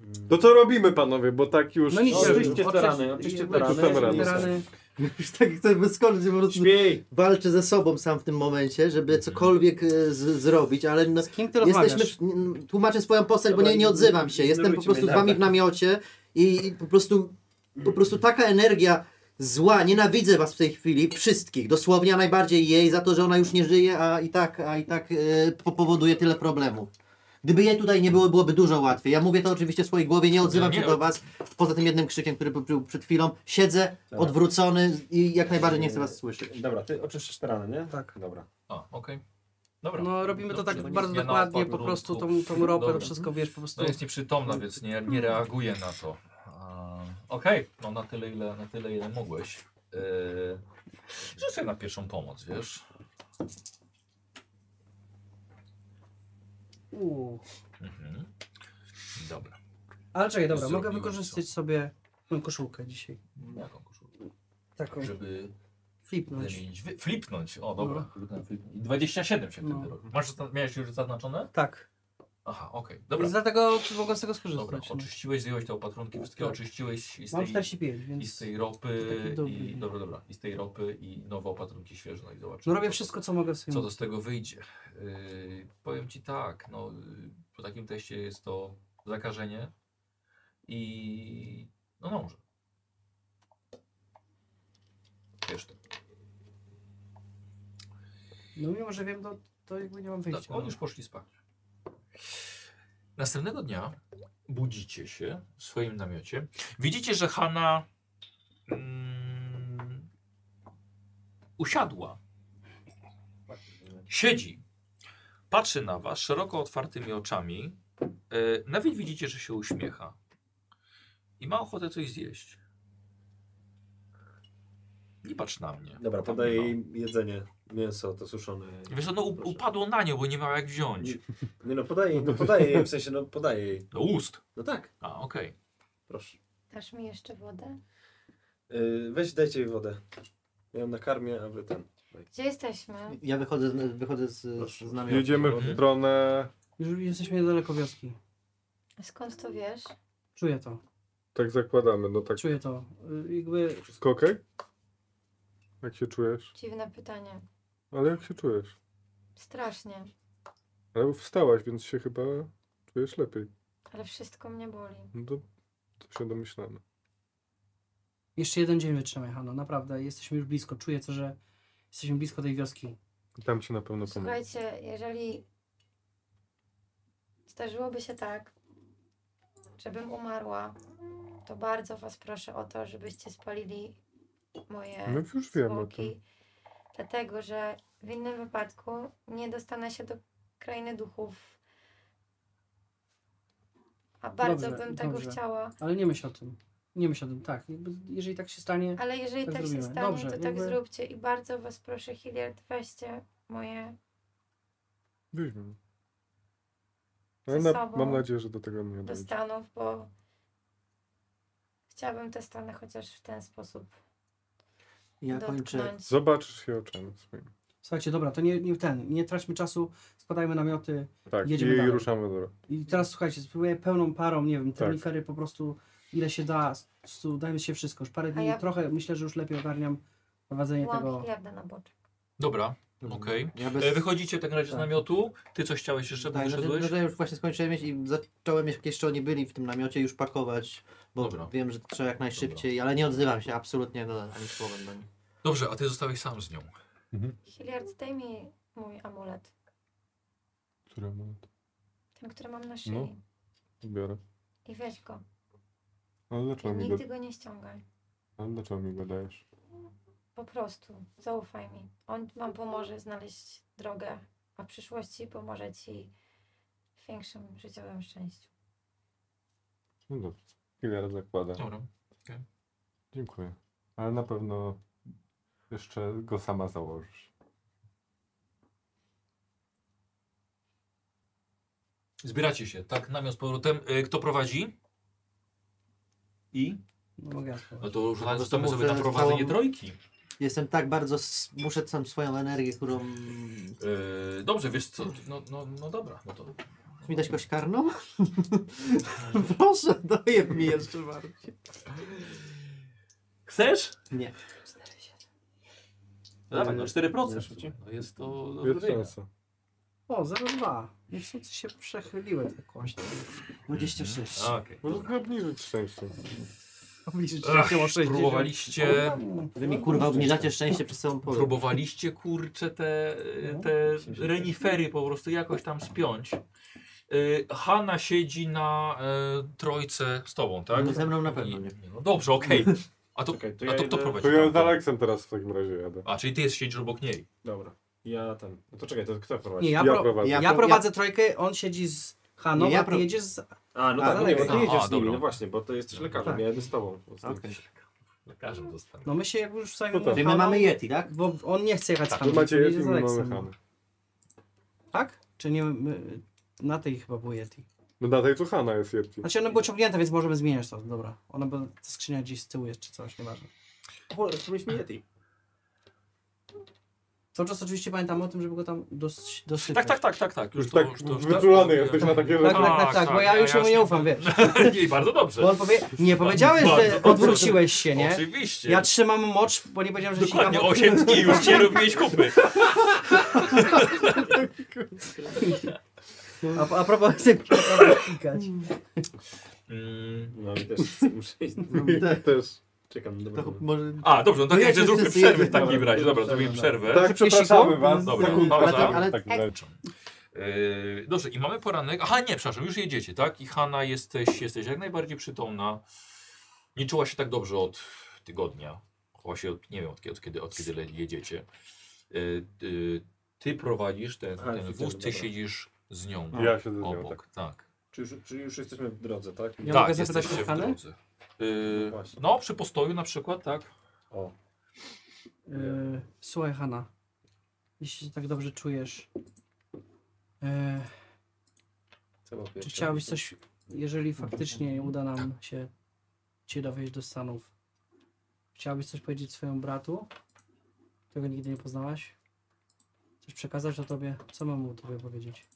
B: Mm.
F: To co robimy, panowie, bo tak już.
D: Hmm. No nic,
B: No,
D: nie
B: oczywiście
D: robił.
B: te
D: Oczyś-
B: rany, oczywiście te
D: jakby-
B: rany,
F: Te
D: jakby
F: rany.
D: rany.
E: Już tak chcę wyskoczyć, po prostu
B: Śmiej!
E: walczy ze sobą sam w tym momencie, żeby cokolwiek e, z, zrobić, ale no,
D: Z kim ty rozmawiasz?
E: jesteśmy, w- n- tłumaczę swoją postać, bo
B: Dobra,
E: nie, nie
B: nie-
E: odzywam się,
B: nie
E: jestem po
B: ignorujcie
E: prostu z
B: mnie,
E: wami w
B: dobra.
E: namiocie i, i po prostu, po prostu taka energia zła, nienawidzę was w tej chwili, wszystkich, dosłownie, a najbardziej jej za to, że ona już nie żyje, a i tak, a i tak e, po- powoduje tyle problemów. Gdyby jej tutaj nie było, byłoby dużo łatwiej. Ja mówię to oczywiście w swojej głowie, nie odzywam
A: Nie,
E: się do was, poza tym jednym krzykiem, który był przed chwilą. Siedzę
B: Tak. Eee,
E: odwrócony i jak najbardziej nie chcę was słyszeć.
B: Dobra, ty oczyszczasz te rany, nie?
D: Tak.
B: Dobra.
A: A, okej. Dobra.
D: No robimy to
A: Dobrze,
D: tak bardzo
A: ja na
D: dokładnie, po
A: odpadł
D: prostu
A: ruchu.
D: tą, tą
A: no,
D: ropę,
A: Dobra.
D: to Mm. wszystko wiesz, po prostu...
A: No jest nieprzytomna, więc nie, nie reaguje na to. A, Okej, no na tyle ile, na tyle ile mogłeś. Yy, Rzuć sobie na pierwszą pomoc, wiesz?
D: Uuu.
A: Mhm. Dobra.
D: Ale czekaj, dobra, mogę
A: Zrobiłem
D: wykorzystać sobie tą koszulkę dzisiaj.
A: Jaką koszulkę?
D: Taką,
A: Żeby
D: flipnąć.
A: wymienić, wy, flipnąć. O, dobra. Wygląda flip- 27 się
D: No.
A: wtedy robi. Masz, zazna- miałeś już zaznaczone?
D: Tak,
A: Aha, okej.
D: Dobra.
A: Dobra.
D: więc dlatego mogę z tego
A: Dobra,
D: skorzystać. no.
A: oczyściłeś, zjąłeś te opatrunki, wszystkie
D: Tak.
A: oczyściłeś i z
D: Mam
A: tej
D: 45,
A: I z
D: więc...
A: tej
D: To taki
A: ropy
D: dobry
A: i
D: dzień.
A: dobra, dobra, i z tej ropy i nowe opatrunki świeże, no i zobaczymy.
D: No robię wszystko, co mogę w
A: Co
D: swoim...
A: to z tego wyjdzie? Yy, powiem ci tak, no yy, po takim teście jest to zakażenie i no dobrze. Wiesz to.
D: No mimo, że wiem, to, to jakby nie mam
A: Tak,
D: wyjścia. no.
A: oni już poszli spać. Następnego dnia budzicie się w swoim namiocie. Widzicie, że Hanna mm, usiadła. Siedzi. Patrzy na was szeroko otwartymi oczami. E, nawet widzicie, że się uśmiecha. I ma ochotę coś zjeść. Nie patrz na mnie.
B: Dobra, no. podaję jej jedzenie. Mięso to suszone.
A: Wiesz, co, no u-
B: Proszę.
A: upadło na nią, bo nie miała jak wziąć.
B: Nie no, podaję jej, no podaję jej, w sensie, no podaję jej.
A: Do ust.
B: No tak,
A: A, okej.
B: proszę.
G: Dasz mi jeszcze wodę?
B: Yy, weź, dajcie jej wodę. Ja ją nakarmię, a wy ten.
G: Gdzie jesteśmy?
E: Ja wychodzę, z- wychodzę z,
B: Proszę.
E: z namiotu.
F: Jedziemy w
A: Mhm.
F: stronę
D: Już jesteśmy niedaleko wioski.
G: Skąd to wiesz?
D: Czuję to,
F: Tak zakładamy, no tak.
D: czuję to. Y, Jakby
F: Wszystko okej? Jak się czujesz?
G: Dziwne pytanie.
F: Ale jak się czujesz?
G: Strasznie,
F: Ale wstałaś, więc się chyba czujesz lepiej.
G: ale wszystko mnie boli.
F: No to, to się domyślamy.
D: jeszcze jeden dzień wytrzymaj, Hano, naprawdę. Jesteśmy już blisko, czuję to, że jesteśmy blisko tej wioski.
F: Tam ci na pewno pomogę.
G: Słuchajcie, jeżeli zdarzyłoby się tak, żebym umarła, to bardzo was proszę o to, żebyście spalili moje
F: No już wiem o tym.
G: zwłoki, dlatego że w innym wypadku nie dostanę się do krainy duchów. A bardzo
D: Dobrze,
G: bym tego
D: dobrze.
G: chciała.
D: Ale nie myśl o tym. Nie myśl o tym, tak. Jakby, jeżeli tak się stanie,
G: Ale jeżeli
D: Tak
G: tak, się
D: zrobimy.
G: stanie,
D: Dobrze,
G: to tak
D: jakby-
G: zróbcie. I bardzo was proszę, Hilliard, weźcie moje.
F: Weźmy.
G: Ze
F: Ale na,
G: sobą.
F: mam nadzieję, że do tego nie
G: do
F: dojdzie.
G: Stanów, bo chciałabym te Stany chociaż w ten sposób
E: Ja kończę.
G: dotknąć.
F: Zobaczysz się oczami swoimi.
D: słuchajcie, dobra, to nie, nie ten, nie traćmy czasu, składajmy namioty.
F: Tak,
D: Jedziemy
F: i
D: dalej.
F: ruszamy do...
D: I teraz słuchajcie, spróbuję pełną parą, nie wiem,
F: Tak.
D: termikery po prostu ile się da, s- s- dajmy się wszystko. Już parę dni,
G: ja-
D: trochę myślę, że już lepiej ogarniam prowadzenie
G: Byłam
D: tego.
G: Hilliarda na boczek.
A: Dobra, okej.
E: Ja bez...
A: E, Wychodzicie w takim razie z
E: Tak.
A: namiotu. Ty coś chciałeś jeszcze, bo
E: Tak, że,
A: wyszedłeś?
E: że- że już właśnie skończyłem mieć i zacząłem, jak jeszcze oni byli w tym namiocie, już pakować, bo
A: Dobra.
E: wiem, że trzeba jak najszybciej, ale nie odzywam się absolutnie do, ani słowem no do nich.
A: Dobrze,
F: Mhm.
A: a ty zostałeś sam z nią.
G: Hilliard, zdejmij mój amulet.
F: Który amulet?
G: Ten, który mam na szyi.
F: No. Biorę.
G: I weź go.
F: Ale
G: I
F: dlaczego mi go,
G: nigdy go nie ściągaj.
F: ale dlaczego mi go dajesz?
G: Po prostu. Zaufaj mi. On wam pomoże znaleźć drogę, a w przyszłości pomoże ci w większym życiowym szczęściu.
F: No dobrze. Chwilę zakłada.
A: Dobra.
F: Dziękuję. Ale na pewno jeszcze go sama założysz.
A: Zbieracie się, tak? Namiot z powrotem. E, kto prowadzi? I?
D: No mogę ja
A: No
D: spróbować.
A: to już
E: to
A: zostawmy
E: mów,
A: sobie na
E: że
A: prowadzenie
E: całą-
A: trojki.
E: Jestem tak bardzo, s- muszę tam swoją energię, którą...
A: E, dobrze, wiesz co? No, no, no dobra. No to...
E: Chcesz mi dać kość karną? Proszę, daję mi jeszcze bardziej.
A: Chcesz?
E: Nie.
A: No dawaj, no 4%.
B: Zeszło
A: No jest to do
F: Jest
A: zrobienia.
F: szansa.
D: O, 0,2. Niechcący się przechyliłem tak kości.
E: 26.
A: A, Okej.
F: Możesz go obniżyć szczęście.
D: Obliczyć
A: Ach,
D: się o 60.
A: Próbowaliście,
E: Wy mi kurwa obniżacie szczęście przez całą połowę.
A: próbowaliście kurczę te, e,
D: No,
A: te
D: tak.
A: renifery po prostu jakoś tam spiąć. Y, Hanna siedzi na y, trojce z tobą, tak?
E: No, ze mną na pewno
A: I-
E: nie.
A: No dobrze, okej. A to,
B: Okej, to
A: a
B: ja
A: to kto
B: idę-
A: prowadzi?
F: To ja z Aleksem teraz w takim razie jadę.
A: A, czyli ty jest siedzisz obok niej.
B: Dobra. Ja ten. No to czekaj, to kto prowadzi?
D: Nie, ja,
F: Ja
D: pro...
F: prowadzę.
D: ja,
E: pro-
D: prowadzę trojkę, on siedzi z Haną,
E: Nie, ja
D: a ty
E: pro-
D: jedziesz z...
B: A, no
E: A,
B: tak, no nie, bo
E: okej.
B: ty jedziesz
A: A,
B: z nimi,
A: dobra.
B: no właśnie, bo to jesteś lekarzem,
D: Tak.
B: ja jadę z tobą. po prostu.
E: Okej.
A: Lekarzem zostanie.
D: No my się jak już sami...
F: No tak.
E: Czyli my mamy Yeti, tak?
D: Bo on nie chce jechać z
F: Wy
D: Haną,
F: macie
D: to jedzie
F: Yeti,
D: z
F: my mamy
D: Aleksem.
F: Hany.
D: Tak? Czy nie... My... Na tej chyba było Yeti.
F: No na tej co Hana jest Yeti.
D: Znaczy ona była ciągnięta, więc możemy zmieniać to, dobra. Ona była, ta skrzynia gdzieś z tyłu jest, czy coś, nieważne.
B: O, mieliśmy Yeti.
D: Cały czas oczywiście pamiętamy o tym, żeby go tam dos- dosypać.
A: Tak, tak, tak, tak, tak. Już
F: Już
A: to,
F: tak
A: już to, już to,
F: wyczulony jesteś na takie
D: Tak,
F: rzeczy.
D: tak, tak, tak, bo ja już mu nie ufam, wiesz.
A: I bardzo dobrze.
D: Bo on powie, nie powiedziałeś, że
A: Bardzo
D: odwróciłeś się, nie?
A: Oczywiście.
D: Ja trzymam mocz, bo nie powiedziałem, że
A: Dokładnie
D: się
A: 8 dni już nie robiłeś kupy.
D: A, a propos chcę klikać.
A: Mm.
B: No i też muszę iść.
F: Tak. Też.
B: Czekam, dobra.
E: No, To może...
A: A, dobrze, no tak
E: No
A: jak
E: ja się
A: zróbmy
E: wszyscy
A: przerwę w
E: jedziemy.
A: takim razie. Dobra,
B: Dobra,
A: zrobimy
B: dobra.
A: przerwę.
F: Tak, przepraszamy was.
A: Dobra,
F: Za kulturę.
A: ale-
F: Tak,
E: ale-
F: tak,
G: tak.
F: tak.
A: Yy, dobrze, i mamy poranek. Aha, nie, przepraszam, już jedziecie, tak? I Hanna, jesteś, jesteś jak najbardziej przytomna. Nie czuła się tak dobrze od tygodnia. Chyba się, od, nie wiem, od kiedy, od kiedy, od kiedy le- jedziecie. Yy, yy, ty prowadzisz ten,
B: Aha,
A: ten
B: widzę,
A: wóz, ty
B: dobra.
A: siedzisz z nią
F: Ja się zrozumiałem.
A: obok.
F: Tak.
A: Tak,
B: Czy już, czy już jesteśmy w drodze, tak?
D: Ja
A: tak
D: mogę zapytać
A: jesteście
D: o
A: w
D: Hannę?
A: drodze. Yy,
B: Właśnie.
A: no, przy postoju na przykład, tak?
B: O.
D: Yy, słuchaj, Hanna. Jeśli się tak dobrze czujesz, yy,
B: co było
D: czy
B: pierwsze?
D: chciałabyś coś, jeżeli faktycznie nie uda nam się cię dowieść do Stanów, chciałabyś coś powiedzieć swojemu bratu, którego nigdy nie poznałaś? Coś przekazać o tobie? Co mam mu o tobie powiedzieć?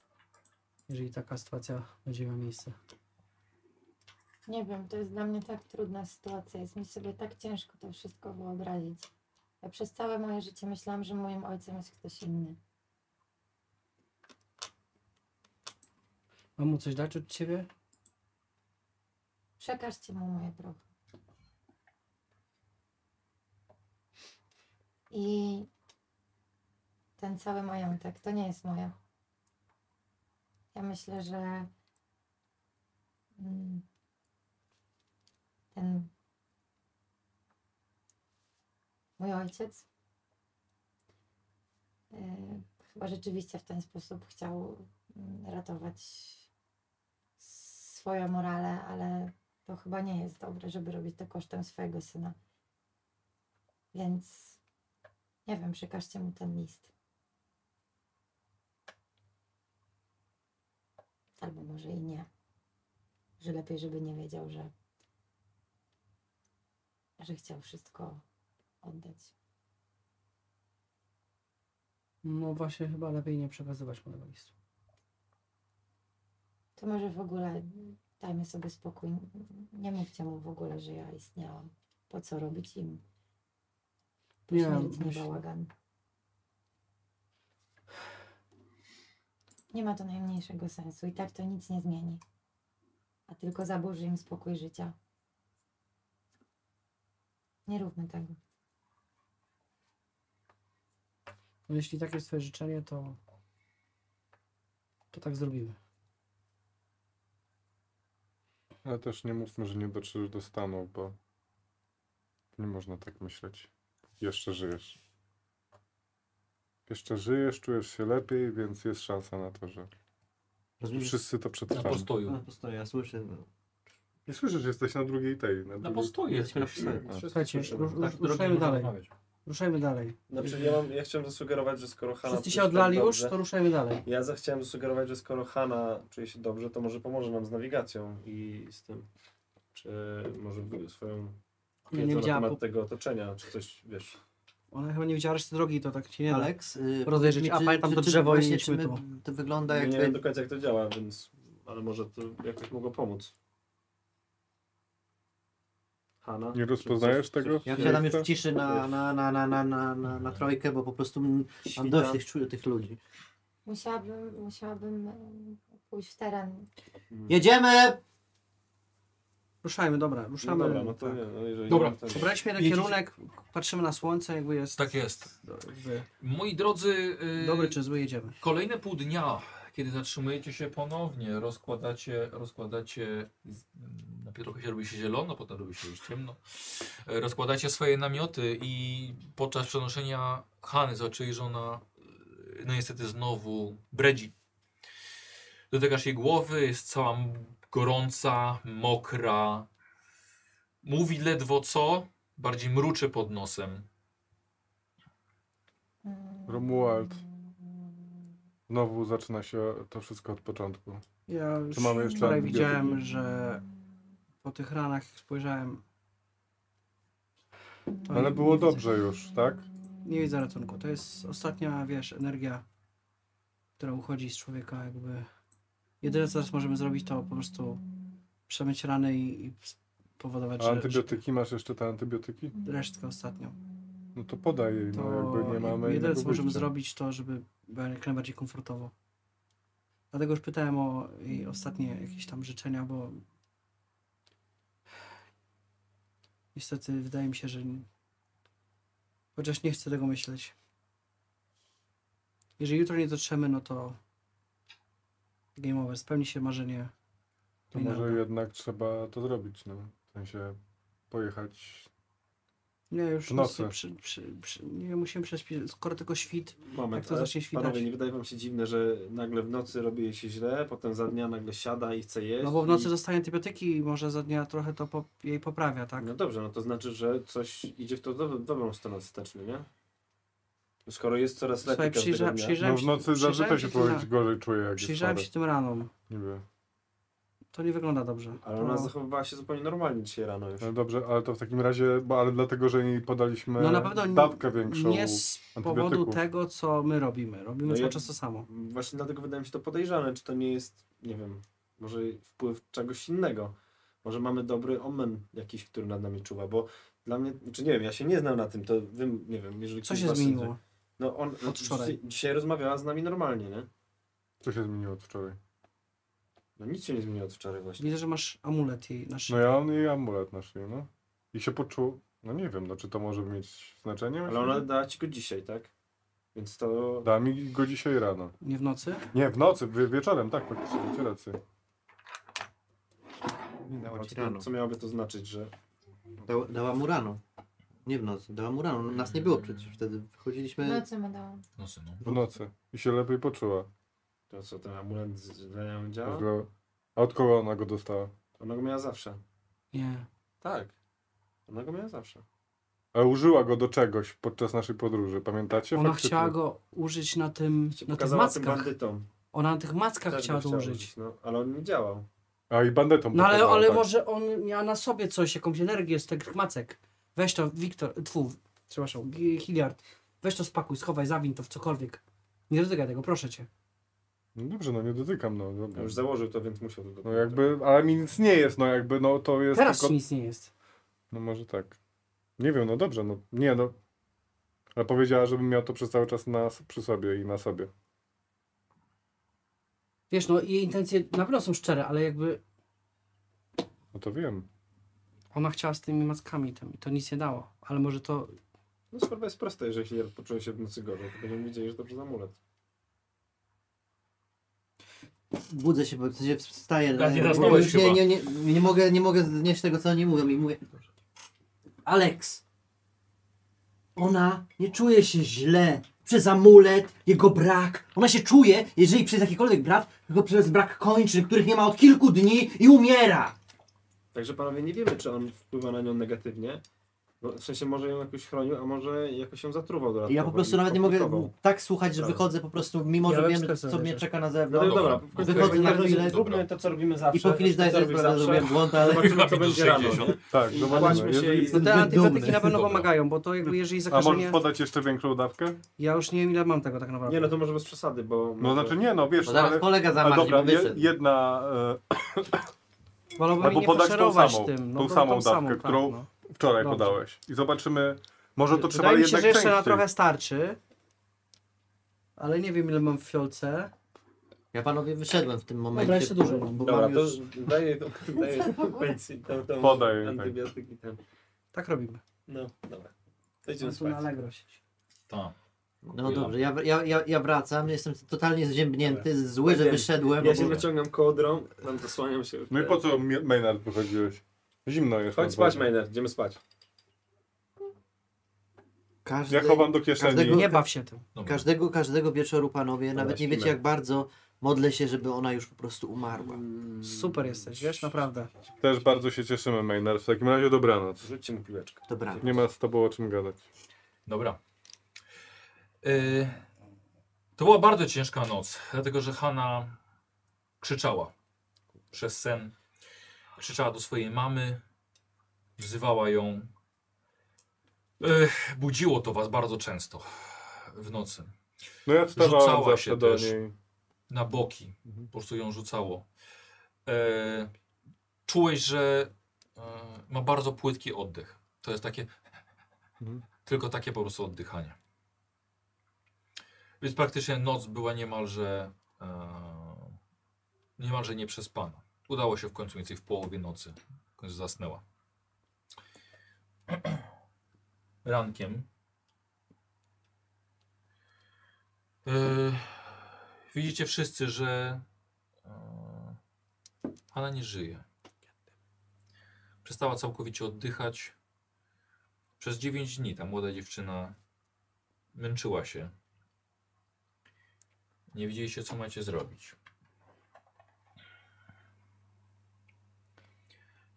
D: Jeżeli taka sytuacja będzie miała miejsce.
G: Nie wiem, to jest dla mnie tak trudna sytuacja. Jest mi sobie tak ciężko to wszystko wyobrazić. Ja przez całe moje życie myślałam, że moim ojcem jest ktoś inny.
D: Mam mu coś dać od ciebie?
G: Przekażcie mu moje drogi. I ten cały majątek to nie jest moje. Ja myślę, że mm, ten mój ojciec y, chyba rzeczywiście w ten sposób chciał mm, ratować swoją morale, ale to chyba nie jest dobre, żeby robić to kosztem swojego syna. Więc nie wiem, przekażcie mu ten list. Albo może i nie. Że lepiej, żeby nie wiedział, że, że chciał wszystko oddać.
D: No właśnie, chyba lepiej nie przekazywać mojego listu.
G: To może w ogóle dajmy sobie spokój. Nie mówcie mu w ogóle, że ja istniałam. Po co robić im
D: Nie,
G: Śmierć, nie
D: myślę-
G: bałagan. Nie ma to najmniejszego sensu i tak to nic nie zmieni. A tylko zaburzy im spokój życia. Nie róbmy tego.
D: No jeśli takie jest twoje życzenie, to to tak zrobimy.
F: Ale też nie mówmy, że nie dotrzesz do Stanów, bo nie można tak myśleć. Jeszcze żyjesz. Jeszcze żyjesz, czujesz się lepiej, więc jest szansa na to, że
E: Rozumiesz?
F: wszyscy to
A: Na
F: przetrwamy.
A: postoju.
E: No, to stoję, ja słyszę. No.
F: Nie słyszysz, że jesteś na drugiej tej. Na
A: Na
F: drugiej...
A: postoju jesteśmy na
F: Wszyscy-
A: postoju.
F: a,
D: Słuchajcie,
F: słyszymy.
D: rusz,
H: Tak,
D: rusz,
H: drogi,
D: ruszajmy
H: można
D: dalej.
H: rozmawiać.
D: Ruszajmy dalej.
B: Znaczy ja, mam, ja chciałem zasugerować, że skoro Hanna...
D: Wszyscy
B: czuje
D: się odlali już,
B: tak dobrze-
D: to ruszajmy dalej.
B: Ja za- chciałem zasugerować, że skoro Hanna czuje się dobrze, to może pomoże nam z nawigacją i z tym. Czy może w- swoją
D: Nie,
B: wiedzę
D: nie
B: na
D: widziała,
B: temat
D: po-
B: tego otoczenia, czy coś, wiesz.
D: ona chyba nie widziała reszty drogi, to tak się nie da.
E: Aleks, y,
D: Rozejrzeć,
E: powiedz
D: a
E: mi,
D: pamiętam to
E: czy
D: drzewo i
E: właśnie,
D: jedźmy
E: czy my- To
D: No,
E: wygląda
B: nie
E: jak...
B: wiem do końca jak to działa, więc... Ale może to jakoś mogło pomóc. Hanna?
F: Nie rozpoznajesz
B: Czy coś-
F: tego?
B: coś-
E: Ja
F: Nie
E: wsiadam już
F: chcę?
E: w ciszy na, na, na, na, na, na, na, na trojkę, bo po prostu m- mam dość tych, czu- tych ludzi.
G: Musiałabym, musiałabym em, pójść w teren.
B: Hmm.
E: Jedziemy!
D: Ruszajmy, dobra,
B: No
D: ruszamy.
B: dobra, no to
D: tak.
B: nie, no jeżeli
A: Dobra,
B: nie, to nie.
D: Wybraliśmy jeden
A: Jedziecie-
D: kierunek, patrzymy na słońce, jakby jest
H: Tak jest.
D: jakby
H: Moi drodzy,
A: e,
H: y,
D: dobry czy zły, jedziemy.
H: kolejne pół dnia, kiedy zatrzymujecie się ponownie, rozkładacie, rozkładacie, z- mm, najpierw trochę się robi się zielono, potem robi się już ciemno, E, rozkładacie swoje namioty i podczas przenoszenia Hany zobaczyli, że ona y, no niestety znowu bredzi. Dotykasz jej głowy, jest cała m- gorąca, mokra, mówi ledwo co, bardziej mruczy pod nosem.
G: Mm.
F: Romuald. Znowu zaczyna się to wszystko od początku.
D: Ja już
F: Czy mamy jeszcze
D: wczoraj
F: antybiotyki?
D: widziałem, że po tych ranach jak spojrzałem, to
F: Ale
D: nie-
F: było
D: nie widzę-
F: dobrze już, tak?
D: Nie widzę ratunku. To jest ostatnia, wiesz, energia, która uchodzi z człowieka jakby. Jedyne, co teraz możemy zrobić, to po prostu przemyć rany i, i powodować,
F: A
D: że
F: antybiotyki, masz jeszcze te antybiotyki?
D: że resztkę ostatnią.
F: No to podaj jej,
D: To
F: no jakby nie mamy
D: jedyne,
F: innego
D: co możemy
F: wyjścia.
D: zrobić, to żeby była jak najbardziej komfortowo. Dlatego już pytałem o jej ostatnie jakieś tam życzenia, bo niestety wydaje mi się, że chociaż nie chcę tego myśleć. Jeżeli jutro nie dotrzemy, no to game over, spełni się marzenie.
F: To
D: Reynalda.
F: może jednak trzeba to zrobić, no. W sensie pojechać.
D: Nie, już
F: W nocy.
D: nie Przy, przy, przy, nie musimy prześpić, skoro tylko świt,
B: Moment,
D: jak Tak to
B: ale
D: zacznie świtać.
B: Panowie, nie wydaje wam się dziwne, że nagle w nocy robi jej się źle, potem za dnia nagle siada i chce jeść?
D: No bo w nocy
B: i...
D: dostaje antybiotyki i może za dnia trochę to po, jej poprawia, tak?
B: No dobrze, no to znaczy, że coś idzie w to do, dobrą stronę ostatecznie, nie? No Skoro jest coraz lepiej
D: Słuchaj,
B: każdego
D: przyjrza,
B: dnia.
F: No
D: przyjrzałem,
F: w nocy
D: przyjrzałem
F: zażyta się
D: tym ra-
F: powiedzieć gorzej czuje jak jest
D: Przyjrzałem
F: chory.
D: się tym ranom.
F: Niby.
D: To nie wygląda dobrze.
B: Ale ona
D: To-
B: zachowywała się zupełnie normalnie dzisiaj rano już.
F: No dobrze, ale to w takim razie, bo ale dlatego, że jej podaliśmy
D: No na pewno n-
F: dawkę większą.
D: nie z powodu
F: antybiotyków.
D: tego, co my robimy. Robimy
B: No ja-
D: cały czas to samo.
B: Właśnie dlatego wydaje mi się to podejrzane, czy to nie jest, nie wiem, może wpływ czegoś innego. Może mamy dobry omen jakiś, który nad nami czuwa, bo dla mnie, czy nie wiem, ja się nie znam na tym, to wy, nie wiem, jeżeli
D: Co
B: ktoś
D: się
B: was-
D: zmieniło?
B: No on no,
D: wczoraj.
B: dzisiaj- dzisiaj rozmawiała z nami normalnie, nie?
F: Co się zmieniło od wczoraj?
B: No nic się nie zmieniło od wczoraj właśnie.
D: Widzę, że masz amulet jej na
F: No
D: szyi.
F: ja mam jej amulet na szyi, no. I się poczuł. No nie wiem, no czy to może mieć znaczenie?
B: Ale
F: myślę?
B: ona dała ci go dzisiaj, tak? Więc to...
F: Da mi go dzisiaj rano.
D: Nie w nocy?
F: Nie, w nocy, wie, wieczorem, tak, faktycznie, macie rację.
E: Nie dała
B: no, Co,
E: ci rano.
B: co miałoby to znaczyć, że...
E: Dała, dała mu rano. Nie w nocy, dała mu rano. Nas nie było przecież wtedy. Wychodziliśmy...
G: No co mi dałam?
H: No synu.
F: W nocy. I się lepiej poczuła.
B: To co, ten amulet z- z- dla niej działa?
F: Że- A od kogo ona go dostała?
B: Ona go miała zawsze.
D: Nie.
B: Tak. Ona go miała zawsze.
F: Ale użyła go do czegoś podczas naszej podróży, pamiętacie?
D: Ona
F: Faktycznie.
D: chciała go użyć na tym,
B: Się
D: na tych
B: pokazała tym
D: mackach.
B: bandytom.
D: Ona na tych mackach
B: Też
D: Tak chciała
B: go
D: to
B: chciała
D: użyć.
B: No, ale on nie działał.
F: A i bandetom
D: No ale,
F: pokazała,
D: ale
F: tak.
D: może on miał na sobie coś, jakąś energię z tych macek. Weź to, Wiktor, tfu, przepraszam, Gi- Hilliard. Weź to spakuj, schowaj, zawin to w cokolwiek. Nie dotykaj tego, proszę cię.
F: No dobrze, no nie dotykam, no
B: Ja
F: dobra.
B: już założył to, więc musiał to
F: No jakby, ale mi nic nie jest, no jakby, no to jest
D: Teraz
F: tylko...
D: nic nie jest.
F: No może tak. Nie wiem, no dobrze, no nie, no. Ale powiedziała, żebym miał to przez cały czas na, przy sobie i na sobie.
D: Wiesz, no jej intencje na pewno są szczere, ale jakby
F: No to wiem.
D: ona chciała z tymi mackami tam i to nic nie dało. Ale może to,
B: No sprawa jest prosta, jeżeli Hilliard poczuje się w nocy gorzej, to będziemy wiedzieli, że to przez amulet.
E: budzę się, bo w sensie wstaję. no,
H: Tak, nie
E: bo
H: zasnąłeś
E: już nie,
H: chyba.
E: nie, nie, nie, mogę, nie mogę znieść tego, co oni mówią i mówię Alex, ona nie czuje się źle przez amulet, jego brak. Ona się czuje, jeżeli przez jakikolwiek brak, tylko przez brak kończyn, których nie ma od kilku dni i umiera.
C: Także panowie nie wiemy, czy on wpływa na nią negatywnie. Bo w sensie może ją jakoś chronił, a może jakoś ją zatruwał dodatkowo.
E: Ja po prostu
C: i
E: nawet nie mogę
C: komplikował.
E: tak słuchać, że
C: Dobra.
E: wychodzę po prostu, mimo
D: Ja
E: że
D: lepsze
E: wiem,
D: sobie
E: co mnie
D: życzę.
E: czeka na
C: No
E: zewnątrz.
C: to dobra,
A: Dobra.
E: Wychodzę na
A: Dobra.
E: chwilę
A: Dobra.
B: Zróbmy to, co robimy zawsze.
E: i po chwili
B: to, co
E: zdaję sobie
B: robisz
E: sprawę, że
B: zawsze.
E: zrobiłem błąd, ale
C: Zobaczymy, co
H: Minus
C: będzie rano.
H: 60.
C: nie?
F: Tak,
C: I
F: zobaczymy.
C: znaleźliśmy się
F: Jeżeli...
C: i-
D: No te
E: Dumny.
D: antybiotyki na pewno
H: Dobra.
D: pomagają, bo to jakby jeżeli
F: A możesz
D: zakażenie...
F: podać jeszcze większą dawkę?
D: Ja już nie wiem ile mam tego tak naprawdę.
C: Nie no, to może bez przesady, bo...
F: No znaczy nie, no wiesz,
E: bo zaraz
F: ale...
E: kolega
F: Ale
E: zamarznie,
F: dobra,
E: bo
F: je,
E: wyszedł.
F: jedna... E,
D: Wolałbym
F: Albo
D: nie
F: podać tą
D: faszerować
F: samą-
D: tym.
F: tą
D: to-
F: samą
D: tą
F: dawkę, którą-
D: no.
F: wczoraj
D: Dobrze.
F: podałeś. I zobaczymy... Może to
D: Wydaje
F: trzeba
D: mi się,
F: jednak
D: że jeszcze
F: częściej.
D: na trochę starczy. Ale nie wiem ile mam w fiolce.
E: Ja panowie wyszedłem w tym momencie.
D: jeszcze dużo
E: bo
D: mam.
E: mam
B: Dobra, to
E: już...
B: daję tą daję tą pensję, tą, tą
F: Podaj, tak.
B: antybiotyk i ten.
D: Tak robimy.
B: No, dobra. To
D: Mam
B: Idziemy
D: tu na
B: spać.
D: Allegro sieć.
H: Tak.
E: No dobrze, ja, ja, ja, ja wracam, jestem totalnie zziębnięty, zły, że
C: Wiem.
E: wyszedłem.
C: Ja się naciągam kołdrą, tam zasłaniam się.
F: No i po co Mi- Maynard wychodziłeś? Zimno jest. na
C: Chodź spać,
F: dworze.
C: Maynard, idziemy spać.
E: Każdy,
F: Ja chowam do kieszeni.
E: każdego-
D: Nie baw się tym.
E: każdego, każdego wieczoru panowie, nawet nie
F: śpimy.
E: wiecie jak bardzo modlę się, żeby ona już po prostu umarła.
D: Super jesteś, wiesz, naprawdę.
F: Też bardzo się cieszymy, Maynard. W takim razie dobranoc.
C: Rzućcie mu piłeczkę.
E: Dobra.
F: Nie ma z tobą o czym gadać.
H: Dobra. Y, to była bardzo ciężka noc, dlatego że Hanna krzyczała przez sen. Krzyczała do swojej mamy, wzywała ją. Ech, budziło to was bardzo często w nocy.
F: No ja wstawałem
H: Rzucała
F: zawsze
H: się
F: do
H: też.
F: niej.
H: na boki. Po prostu ją rzucało. E, czułeś, że e, ma bardzo płytki oddech. To jest takie. Tylko takie po prostu oddychanie. Więc praktycznie noc była niemalże. E, niemalże nieprzespana. Udało się w końcu mniej więcej w połowie nocy. W końcu zasnęła. Rankiem. E, Widzicie wszyscy, że e, Hanna nie żyje. Przestała całkowicie oddychać. Przez 9 dni ta młoda dziewczyna męczyła się. Nie wiedzieliście, co macie zrobić.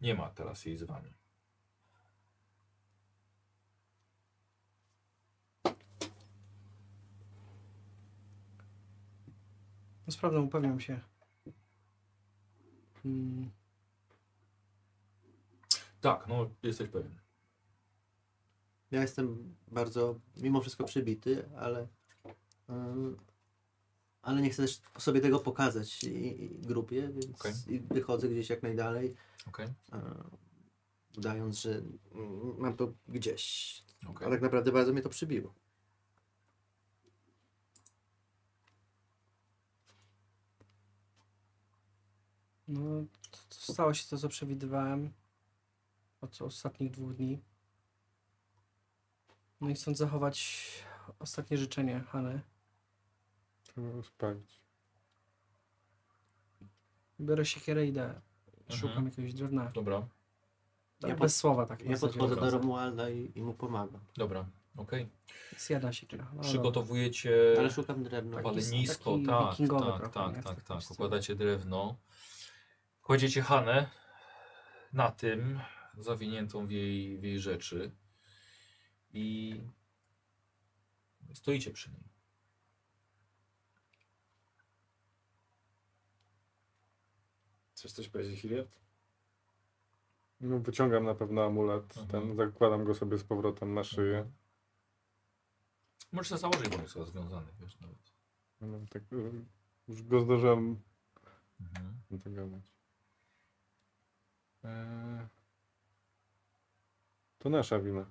H: Nie ma teraz jej z wami.
D: No sprawdzam, upewniam się. Mm,
H: Tak, no jesteś pewien.
E: Ja jestem bardzo, mimo wszystko przybity, ale... ym, ale nie chcę też sobie tego pokazać i, i grupie, więc
H: Okej.
E: i wychodzę gdzieś jak najdalej,
H: Okej.
E: yy, udając, że mm, mam to gdzieś.
H: okej.
E: A tak naprawdę bardzo mnie to przybiło.
D: No, to, to stało się to, co przewidywałem od ostatnich dwóch dni. No i chcąc zachować ostatnie życzenie Hany,
F: Trzeba Spalić.
D: biorę siekierę i idę. Szukam
H: Mhm.
D: jakiegoś drewna.
H: Dobra,
D: Ja
E: Ja
D: bez
E: pod-
D: słowa tak. na
E: Ja
D: zasadzie
E: podchodzę do
D: wchodzę.
E: Romualda i, i mu pomagam.
H: dobra, okej.
D: Zjada siekiera. No, dobra.
H: Przygotowujecie.
E: Ale szukam drewna.
D: Taki-
H: Palenisko,
D: Tak, taki
H: tak,
D: wikingowy
H: tak,
D: trochę,
H: tak,
D: nie?
H: tak,
D: Taki
H: tak.
D: styl.
H: Układacie drewno. Kładziecie Hanę na tym, zawiniętą w jej, w jej rzeczy i stoicie przy niej.
C: Chcesz coś powiedzieć, Hilliard?
F: No, wyciągam na pewno amulet.
H: Mhm.
F: Ten, zakładam go sobie z powrotem na szyję.
H: Możesz sobie założyć, bo jest rozwiązany, wiesz nawet.
C: Mhm.
F: No, tak, y, już go zdążyłem
H: Mhm.
F: dogadać. Eee, To nasza wina.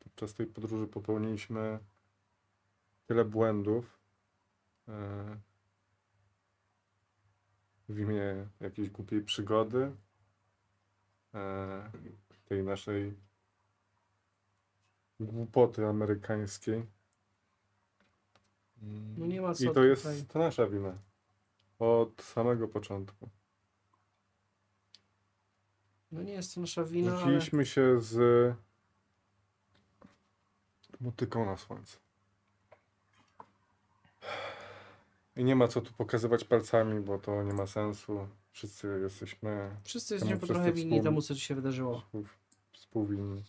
F: Podczas tej podróży popełniliśmy tyle błędów eee, w imię jakiejś głupiej przygody, eee, tej naszej głupoty amerykańskiej.
D: No nie ma co
F: I to jest
D: tutaj.
F: to nasza wina. Od samego początku.
D: No nie jest to nasza wina, ale...
F: Rzuciliśmy się z motyką na słońce. I nie ma co tu pokazywać palcami, bo to nie ma sensu. Wszyscy jesteśmy
D: Wszyscy
F: No,
D: jesteśmy po
F: wszyscy
D: trochę winni
F: wspólnie.
D: temu, co ci się wydarzyło.
F: współ- współwinni.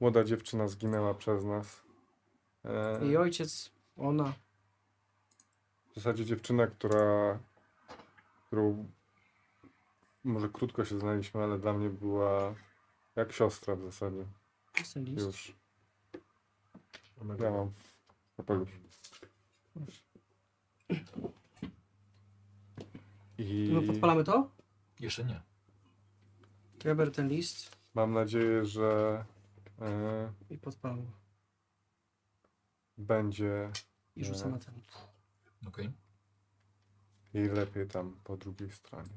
F: Młoda dziewczyna zginęła przez nas. E,
D: Jej ojciec, ona,
F: W zasadzie dziewczyna, która, którą może krótko się znaliśmy, ale dla mnie była jak siostra w zasadzie.
D: jest ten list.
F: Już. Ja mam w kapeluszu. I
D: No podpalamy to?
H: Jeszcze nie.
D: To ja biorę ten list
F: mam nadzieję, że e,
D: i podpalam.
F: będzie
D: I rzucam
F: Nie.
D: na ten.
H: Okej.
F: jej lepiej tam po drugiej stronie.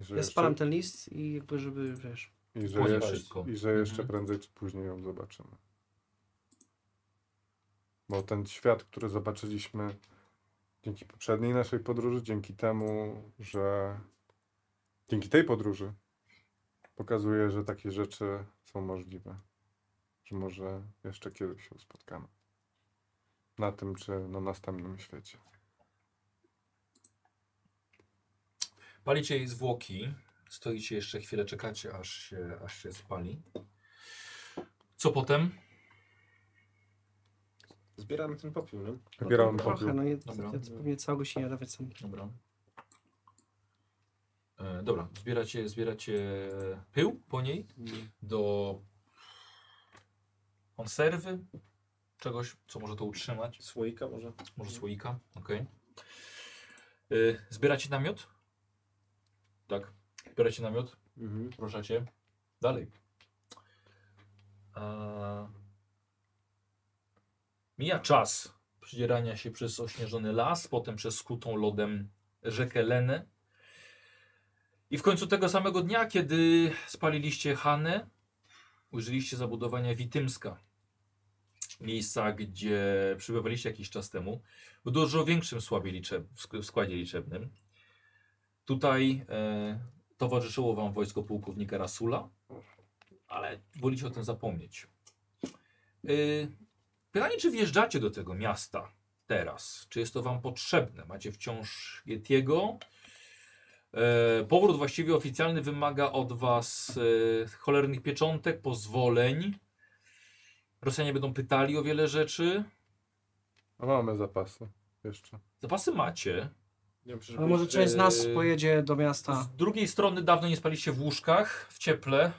F: I że
D: Ja
F: jeszcze-
D: spalam ten list i jakby, żeby, wiesz...
F: I że,
H: Płonie
F: jeszcze,
H: wszystko.
F: I że jeszcze
H: Mhm.
F: prędzej czy później ją zobaczymy. Bo ten świat, który zobaczyliśmy dzięki poprzedniej naszej podróży, dzięki temu, że dzięki tej podróży pokazuje, że takie rzeczy są możliwe. Że może jeszcze kiedyś się spotkamy. Na tym czy na następnym świecie.
H: Palicie jej zwłoki. Stoicie jeszcze chwilę, czekacie, aż się, aż się spali. Co potem?
C: Zbieramy ten popiół, no?
D: no
F: Zabierałem
D: to Trochę,
F: popiół.
D: no nie,
H: Dobra.
D: ja to pewnie całego się nie dawać sam.
H: Dobra. E, dobra, zbieracie, zbieracie pył po niej do konserwy, czegoś, co może to utrzymać,
C: Słoika może?
H: może słoika, okej. E, Zbieracie namiot? Tak, zbieracie namiot,
C: Mhm.
H: ruszacie dalej. E, mija czas przedzierania się przez ośnieżony las, potem przez skutą lodem rzekę Lenę. I w końcu tego samego dnia, kiedy spaliliście Hanę, użyliście zabudowania Witymska. Miejsca, gdzie przybywaliście jakiś czas temu, w dużo większym sławie liczeb, w sk- w składzie liczebnym. Tutaj e, towarzyszyło wam wojsko pułkownika Rasula, ale wolicie o tym zapomnieć. Y, pytanie, czy wjeżdżacie do tego miasta teraz? Czy jest to wam potrzebne? Macie wciąż Yetiego? E, powrót właściwie oficjalny wymaga od was e, cholernych pieczątek, pozwoleń. Rosjanie będą pytali o wiele rzeczy.
F: A No mamy zapasy jeszcze.
H: Zapasy macie.
C: Nie, przecież
D: Ale może część z nas
H: Yy,
D: pojedzie do miasta.
H: Z drugiej strony dawno nie spaliście w łóżkach, w cieple.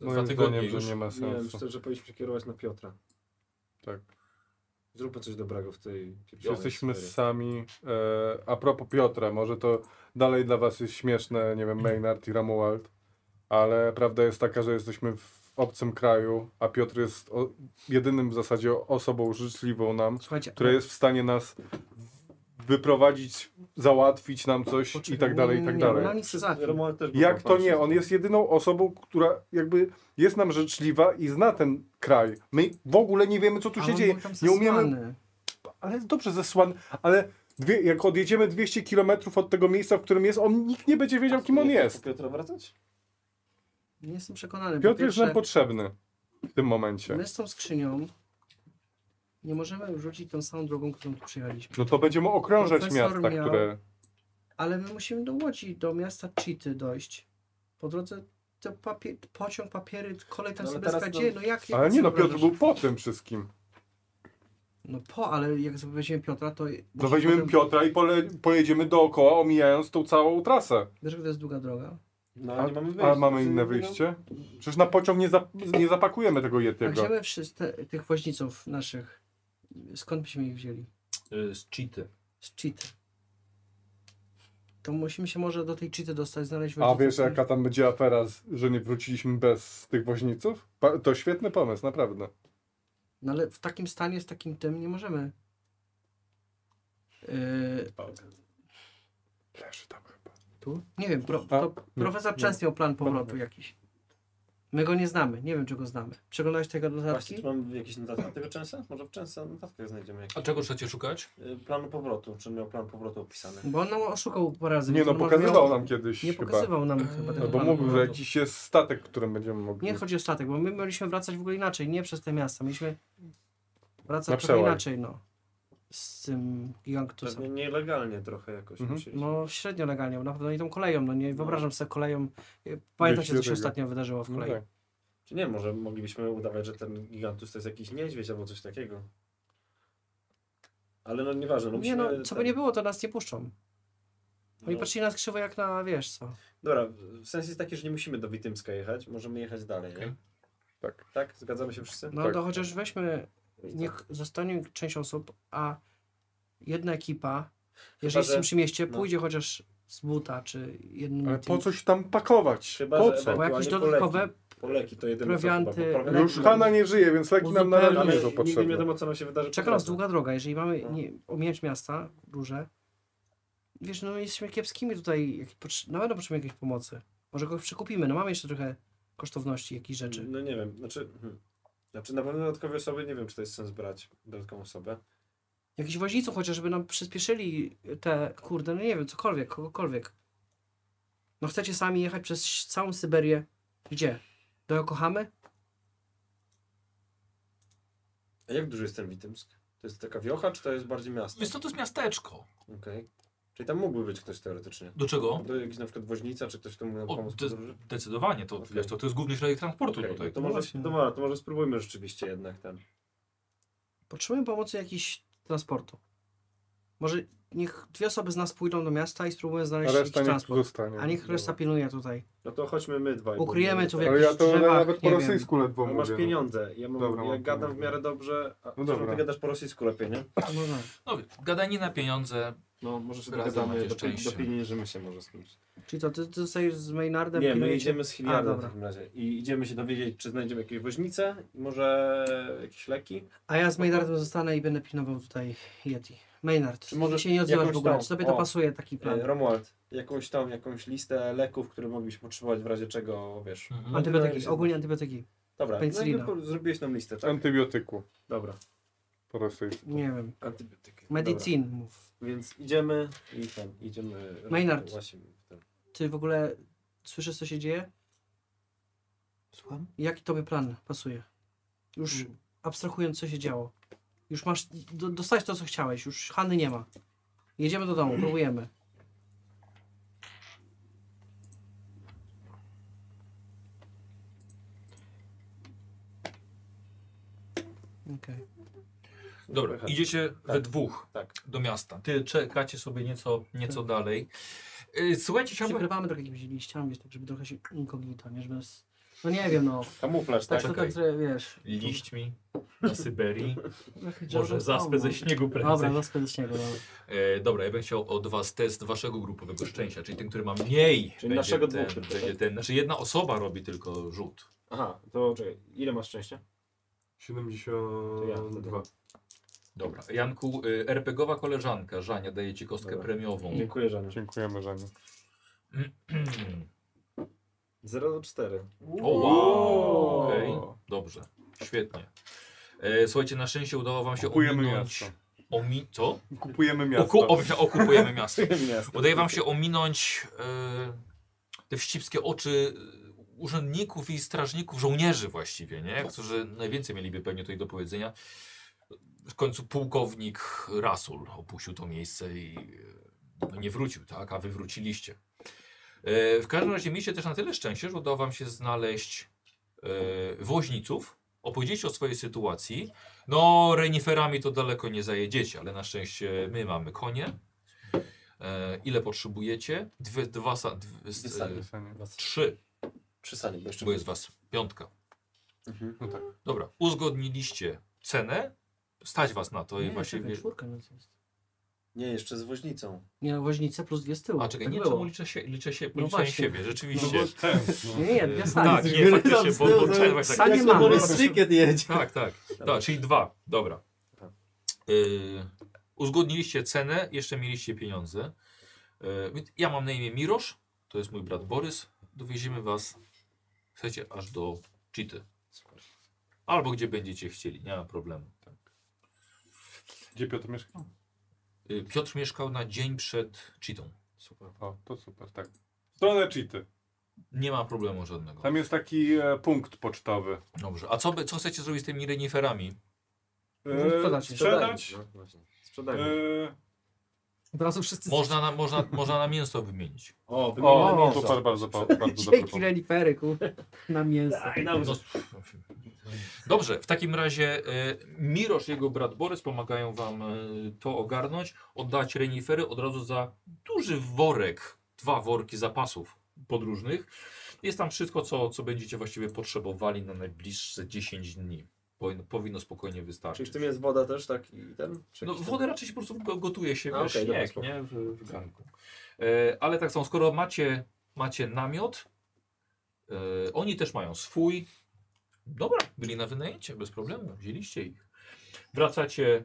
H: Dwa
F: Moim
H: tygodnie
F: zdaniem, że
H: już.
F: nie ma
C: Nie,
F: sensu.
C: myślę, że powinniśmy kierować na Piotra.
F: Tak.
C: Zróbmy coś dobrego w tej pieprzonej
F: Jesteśmy
C: sferie.
F: sami. E, a propos Piotra, może to dalej dla was jest śmieszne, nie wiem, Maynard i Ramuald, ale prawda jest taka, że jesteśmy w obcym kraju, a Piotr jest o, jedynym w zasadzie osobą życzliwą nam,
D: Słuchajcie,
F: która jest w stanie nas wyprowadzić, załatwić nam coś
D: poczekaj,
F: i tak
D: nie,
F: dalej,
D: nie,
F: i tak
D: e, nie,
F: dalej.
D: ona nic nie załatwi.
C: Romuald też był
F: Jak to
C: chłopakiem.
F: nie? On jest jedyną osobą, która jakby jest nam życzliwa i zna ten kraj. My w ogóle nie wiemy, co tu
D: A
F: się
D: on
F: dzieje.
D: był tam
F: Nie umiemy
D: zesłany.
F: ale dobrze zesłany, ale dwie, jak odjedziemy 200 km od tego miejsca, w którym jest, on nikt nie będzie wiedział, kim on
C: Nie chcesz
F: jest.
C: po Piotra wracać?
D: Nie jestem przekonany. Po
F: Piotr jest
D: pierwsze,
F: nam potrzebny w tym momencie.
D: My z tą skrzynią nie możemy rzucić tą samą drogą, którą tu przyjechaliśmy.
F: No to będziemy okrążać
D: Profesor
F: miasta,
D: miał-
F: które...
D: Ale my musimy do Łodzi, do miasta Cheaty dojść. Po drodze to papie- pociąg, papiery, kolej tam
C: No, ale
D: sobie
C: teraz
D: skadzieje.
C: to-
D: No jak, jak
F: Ale nie no,
D: sobie
F: Piotr był po tym wszystkim.
D: No po, ale jak sobie weźmiemy Piotra, to...
F: No weźmiemy Piotra i pole, pojedziemy dookoła, omijając tą całą trasę.
D: Wiesz, że to jest długa droga?
C: No,
F: A,
C: ale nie mamy
F: a
C: wyjścia.
F: mamy inne
C: No,
F: wyjście? Przecież na pociąg nie, zap, nie zapakujemy tego
D: A
F: Yetiego.
D: gdzie my wszyscy, tych woźniców naszych, skąd byśmy ich wzięli?
H: Y, Z cheaty.
D: Z Cheaty. To musimy się może do tej Cheaty dostać, znaleźć
F: A
D: woźniców,
F: wiesz,
D: którzy-
F: jaka tam będzie afera, z- że nie wróciliśmy bez tych woźniców? Pa- To świetny pomysł, naprawdę.
D: No ale w takim stanie, z takim tym nie możemy. Yy,
F: Leży tam chyba.
D: tu? Nie wiem, pro,
F: A,
D: to
F: nie,
D: profesor
F: nie.
D: Częst miał plan powrotu jakiś. My go nie znamy, nie wiem czy go znamy. Przeglądałeś tego
B: Właśnie,
D: notatki?
B: czy mam jakieś notatki na tego Częsa? Może w Częsa notatkach znajdziemy
H: A
B: jakieś.
H: czego chcecie szukać?
B: Y, Planu powrotu, czy miał plan powrotu opisany?
F: Mhm.
D: Bo on nam oszukał parę razy.
F: Nie
D: więc
F: no,
D: on może
F: pokazywał
D: miał-
F: nam kiedyś
D: Nie
F: chyba.
D: pokazywał nam chyba tego
F: No bo
D: planu
F: mówił, że
D: powrotu.
F: jakiś jest statek, którym będziemy mogli.
D: Nie chodzi o statek, bo my mieliśmy wracać w ogóle inaczej, nie przez te miasta. Mieliśmy
F: Na
D: wracać trochę
F: przełaj.
D: inaczej, no. Z tym gigantusem.
B: Pewnie nielegalnie trochę jakoś
F: Mhm.
B: musieliśmy.
D: No średnio legalnie, bo na pewno nie tą koleją, no nie wyobrażam sobie koleją. Pamiętacie,
F: do
D: co się
F: tego.
D: ostatnio wydarzyło w
F: No
D: kolei.
F: tak.
B: Czy nie, może moglibyśmy udawać, że ten gigantus to jest jakiś niedźwiedź albo coś takiego. Ale no nieważne, no
D: Nie
B: musimy...
D: no, co
B: ten-
D: by
F: tak.
D: nie było, to nas nie puszczą. Oni
B: no.
D: patrzyli nas krzywo jak na, wiesz co.
B: Dobra, w- sens jest taki, że nie musimy do Witymska jechać, możemy jechać dalej, nie?
F: Tak.
B: Tak? Zgadzamy się wszyscy?
D: No
F: Tak.
D: to chociaż weźmy, niech zostanie część osób, a jedna ekipa, jeżeli
B: że-
D: z tym przymieście,
B: no.
D: pójdzie chociaż z buta, czy jednym
F: Ale po
D: tym-
F: coś tam pakować?
B: Chyba,
F: po
B: że
F: co?
D: Bo jakieś
B: Ewentualnie
D: dodatkowe,
B: Poleki to jedyne
D: Prowianty-
B: co
D: No,
B: chyba, bo prowianty-
F: Już Hanna nie żyje, więc leki nam na razie
B: Ale
D: Uzupełnić.
F: nie są
B: nigdy nie
F: potrzebne.
B: wiadomo, co nam się wydarzy. po
D: czeka nas
B: drodze.
D: długa droga, jeżeli mamy
B: No.
D: nie, omijać miasta, duże, wiesz, no jesteśmy kiepskimi tutaj, jak, potrz- na pewno potrzebujemy jakiejś pomocy. Może kogoś przekupimy, no mamy jeszcze trochę kosztowności, jakichś
F: Mm.
D: rzeczy.
B: No nie wiem, znaczy... Hmm. Znaczy na pewno dodatkowe osoby, nie wiem, czy to jest sens brać dodatkową osobę.
D: Jakichś woźniców chociażby nam przyspieszyli te, kurde, no nie wiem, cokolwiek, kogokolwiek. No chcecie sami jechać przez całą Syberię. Gdzie? Do Yokohamy?
B: A jak duży jest ten Witymsk? To jest taka wiocha, czy to jest bardziej miasto?
H: Więc to, to jest miasteczko.
B: Okej. Czyli tam mógłby być ktoś teoretycznie.
H: Do czego?
B: Do jakiś na przykład woźnica, czy ktoś, kto mógł nam
H: No. O,
B: pomóc w
H: to jest-
B: podróży?
H: Zdecydowanie, to,
B: Okej.
H: wiesz, to, to jest główny środek transportu
B: Okej,
H: tutaj.
B: no to może,
D: właśnie.
B: dobra, to może spróbujmy rzeczywiście jednak ten.
D: Potrzebujemy pomocy jakiejś transportu. Może niech dwie osoby z nas pójdą do miasta i spróbują
F: A
D: znaleźć jakiś
F: reszta niech
D: transport.
F: zostanie.
D: A niech reszta pilnuje tutaj.
B: No to chodźmy my dwaj.
D: Ukryjemy
B: bo-
D: tu w
F: Ale ja
D: jakichś
F: to
D: drzewach,
F: nawet po
D: nie wiem.
F: rosyjsku ledwo
B: Ale
F: mówię.
B: masz
F: no.
B: pieniądze. Ja, mam,
F: Dobra,
B: ja
F: mam
B: gadam w
F: pieniądze.
B: miarę dobrze. A no
F: dobra.
B: Ty gadasz po rosyjsku lepiej, nie?
D: No tak.
H: No, gadanina, pieniądze.
B: No, może sobie
H: Razem
B: dogadamy,
H: macie
B: dopi-
H: szczęście.
B: dopilnieżymy się może z kimś.
D: Czyli to ty, ty zostajesz z Maynardem,
B: Nie, my
D: pilnujecie-
B: idziemy z
D: A,
B: Hilliardem w
D: dobra.
B: takim razie. I idziemy się dowiedzieć, czy znajdziemy jakieś woźnice, i może jakieś leki.
D: A ja z Maynardem zostanę i będę pilnował tutaj Yeti. Maynard,
B: Czy
D: czy
B: może
D: może się nie odzywasz
B: jakąś
D: w ogóle,
B: tą-
D: czy tobie
B: o.
D: to pasuje taki plan?
B: E, Romuald, jakąś tam, jakąś listę leków, które moglibyśmy potrzebować w razie czego, wiesz.
H: Mhm.
D: Antybiotyki, ogólnie antybiotyki.
B: Dobra, no i
D: Penicillina.
B: po- zrobiłeś nam listę, tak?
F: Antybiotyku
B: Dobra,
F: po rosyjsku.
D: Nie wiem.
B: antybiotyki.
D: Medicine mów.
B: Dobra. Więc idziemy i tam, idziemy.
D: Maynard.
B: Właśnie w ten.
D: Ty w ogóle słyszysz co się dzieje?
E: Słucham?
D: Jaki tobie plan pasuje? Już abstrahując, co się działo. Już masz, do, dostałeś to, co chciałeś. Już Hanny nie ma. Jedziemy do domu, próbujemy. Okej.
H: Dobra,
B: Wychodzi.
H: idziecie we
B: Tak.
H: dwóch
B: Tak. Mhm.
H: do miasta. Ty czekacie sobie nieco, nieco dalej. Y, Słuchajcie, chciałbym...
D: Przykrywamy trochę jakimiś liściami, wiesz, tak, żeby trochę się inkognito, nie? Żeby... s- No nie wiem, no.
B: Kamuflaż, tak?
D: Tak, to tak, trochę, wiesz.
H: Liśćmi
B: Mhm.
H: na Syberii. Może
D: Żeby-
H: zaspę ze śniegu prędzej.
D: Dobra, zaspę ze śniegu, no. dobra.
H: E, dobra, ja bym chciał od was test waszego grupowego szczęścia, czyli ten, który ma mniej.
B: Czyli naszego
H: ten,
B: dwóch tylko,
H: będzie
B: tak?
H: ten. Znaczy jedna osoba robi tylko rzut.
B: Aha, to czekaj, ile masz szczęścia? To ja wtedy.
C: Mm,
F: 72.
H: Dobra. Janku, y, RPGowa koleżanka, Żania, daje ci kostkę
B: Dobra.
H: premiową. Hmm.
B: Dziękuję, Żanie.
F: Dziękujemy, Żanie.
B: 0 do 4.
H: o, wow. Okej, dobrze. Świetnie. E, słuchajcie, na szczęście udało wam się
F: Kupujemy
H: ominąć...
F: miasto.
H: Omi... Co?
F: Kupujemy miasto.
H: Oku... O, okupujemy miasto.
B: Miasto.
H: Udaje wam się ominąć e, te wścibskie oczy e, urzędników i strażników, żołnierzy właściwie, nie? Którzy najwięcej mieliby pewnie tutaj do powiedzenia. W końcu pułkownik Rasul opuścił to miejsce i e, no nie wrócił, tak? A wy wróciliście. E, w każdym razie mieliście też na tyle szczęście, że udało wam się znaleźć e, woźniców. Opowiedzieliście o swojej sytuacji. No, reniferami to daleko nie zajedziecie, ale na szczęście my mamy konie. E, ile potrzebujecie? Dwie, dwa, sa, dwie, s-
B: Wysady.
H: e,
F: no.
H: trzy,
B: Przysali, bo jeszcze.
H: bo jest was piątka.
B: Mhm.
F: No tak.
H: Dobra, uzgodniliście cenę, stać was na to
D: Nie,
H: i właśnie...
D: czekaj,
H: Wie...
D: czwórka nas jest.
B: Nie, jeszcze z woźnicą.
D: Nie, no, woźnice plus dwie z tyłu.
H: A czekaj,
D: Tak
H: nie,
D: było. No
H: czemu liczę się, liczę się, policzę
D: właśnie.
H: siebie, rzeczywiście.
F: No bo ten,
D: Nie,
F: no.
D: nie, dwie
H: E,
D: sali.
H: tak, nie, faktycznie, bo, bo,
E: Sali
H: bo
D: A
H: tak,
D: nie
E: Jak
D: ma.
E: to Borys Stricket jedzie.
H: tak, tak, tak, czyli dwa, dobra.
F: Tak.
H: Y, uzgodniliście cenę, jeszcze mieliście pieniądze. Y, ja mam na imię Mirosz, to jest mój brat Borys, dowieziemy was Słuchajcie, aż do Cheaty. Albo gdzie będziecie chcieli, nie ma problemu.
F: Tak. Gdzie Piotr mieszka?
H: Y, Piotr mieszkał na dzień przed Cheatą.
C: Super.
F: O, to super, tak. W Stronę Cheaty.
H: Nie ma problemu żadnego.
F: Tam jest taki e, punkt pocztowy.
H: Dobrze, a co, by- co chcecie zrobić z tymi reniferami?
D: No,
F: E,
D: Sprzedać.
F: Sprzedać.
C: No, właśnie. Sprzedajmy.
F: E,
D: Od razu wszyscy...
H: Można na, można, można na mięso wymienić.
C: O,
H: No,
C: wymieniamy
F: o,
C: mięso.
F: super, bardzo, bardzo, bardzo dobry
D: Dzięki
F: pomysł.
D: renifery, kurde. Na mięso.
H: No, Dobrze, w takim razie e, Mirosz i jego brat Borys pomagają wam e, to ogarnąć, oddać renifery od razu za duży worek, dwa worki zapasów podróżnych. Jest tam wszystko, co, co będziecie właściwie potrzebowali na najbliższe 10 dni. Powinno, powinno spokojnie
C: Czyli
H: wystarczyć.
C: w tym jest woda też, tak? I ten? Czy
H: No,
C: jakiś
H: wodę raczej się po prostu go- gotuje się
C: A,
H: we
C: No, okej, dobra,
H: śnieg,
C: spoko.
H: nie? W, w garnku. E, ale tak samo, skoro macie, macie namiot, e, oni też mają swój. Dobra, byli na wynajęcie, bez problemu, wzięliście ich. Wracacie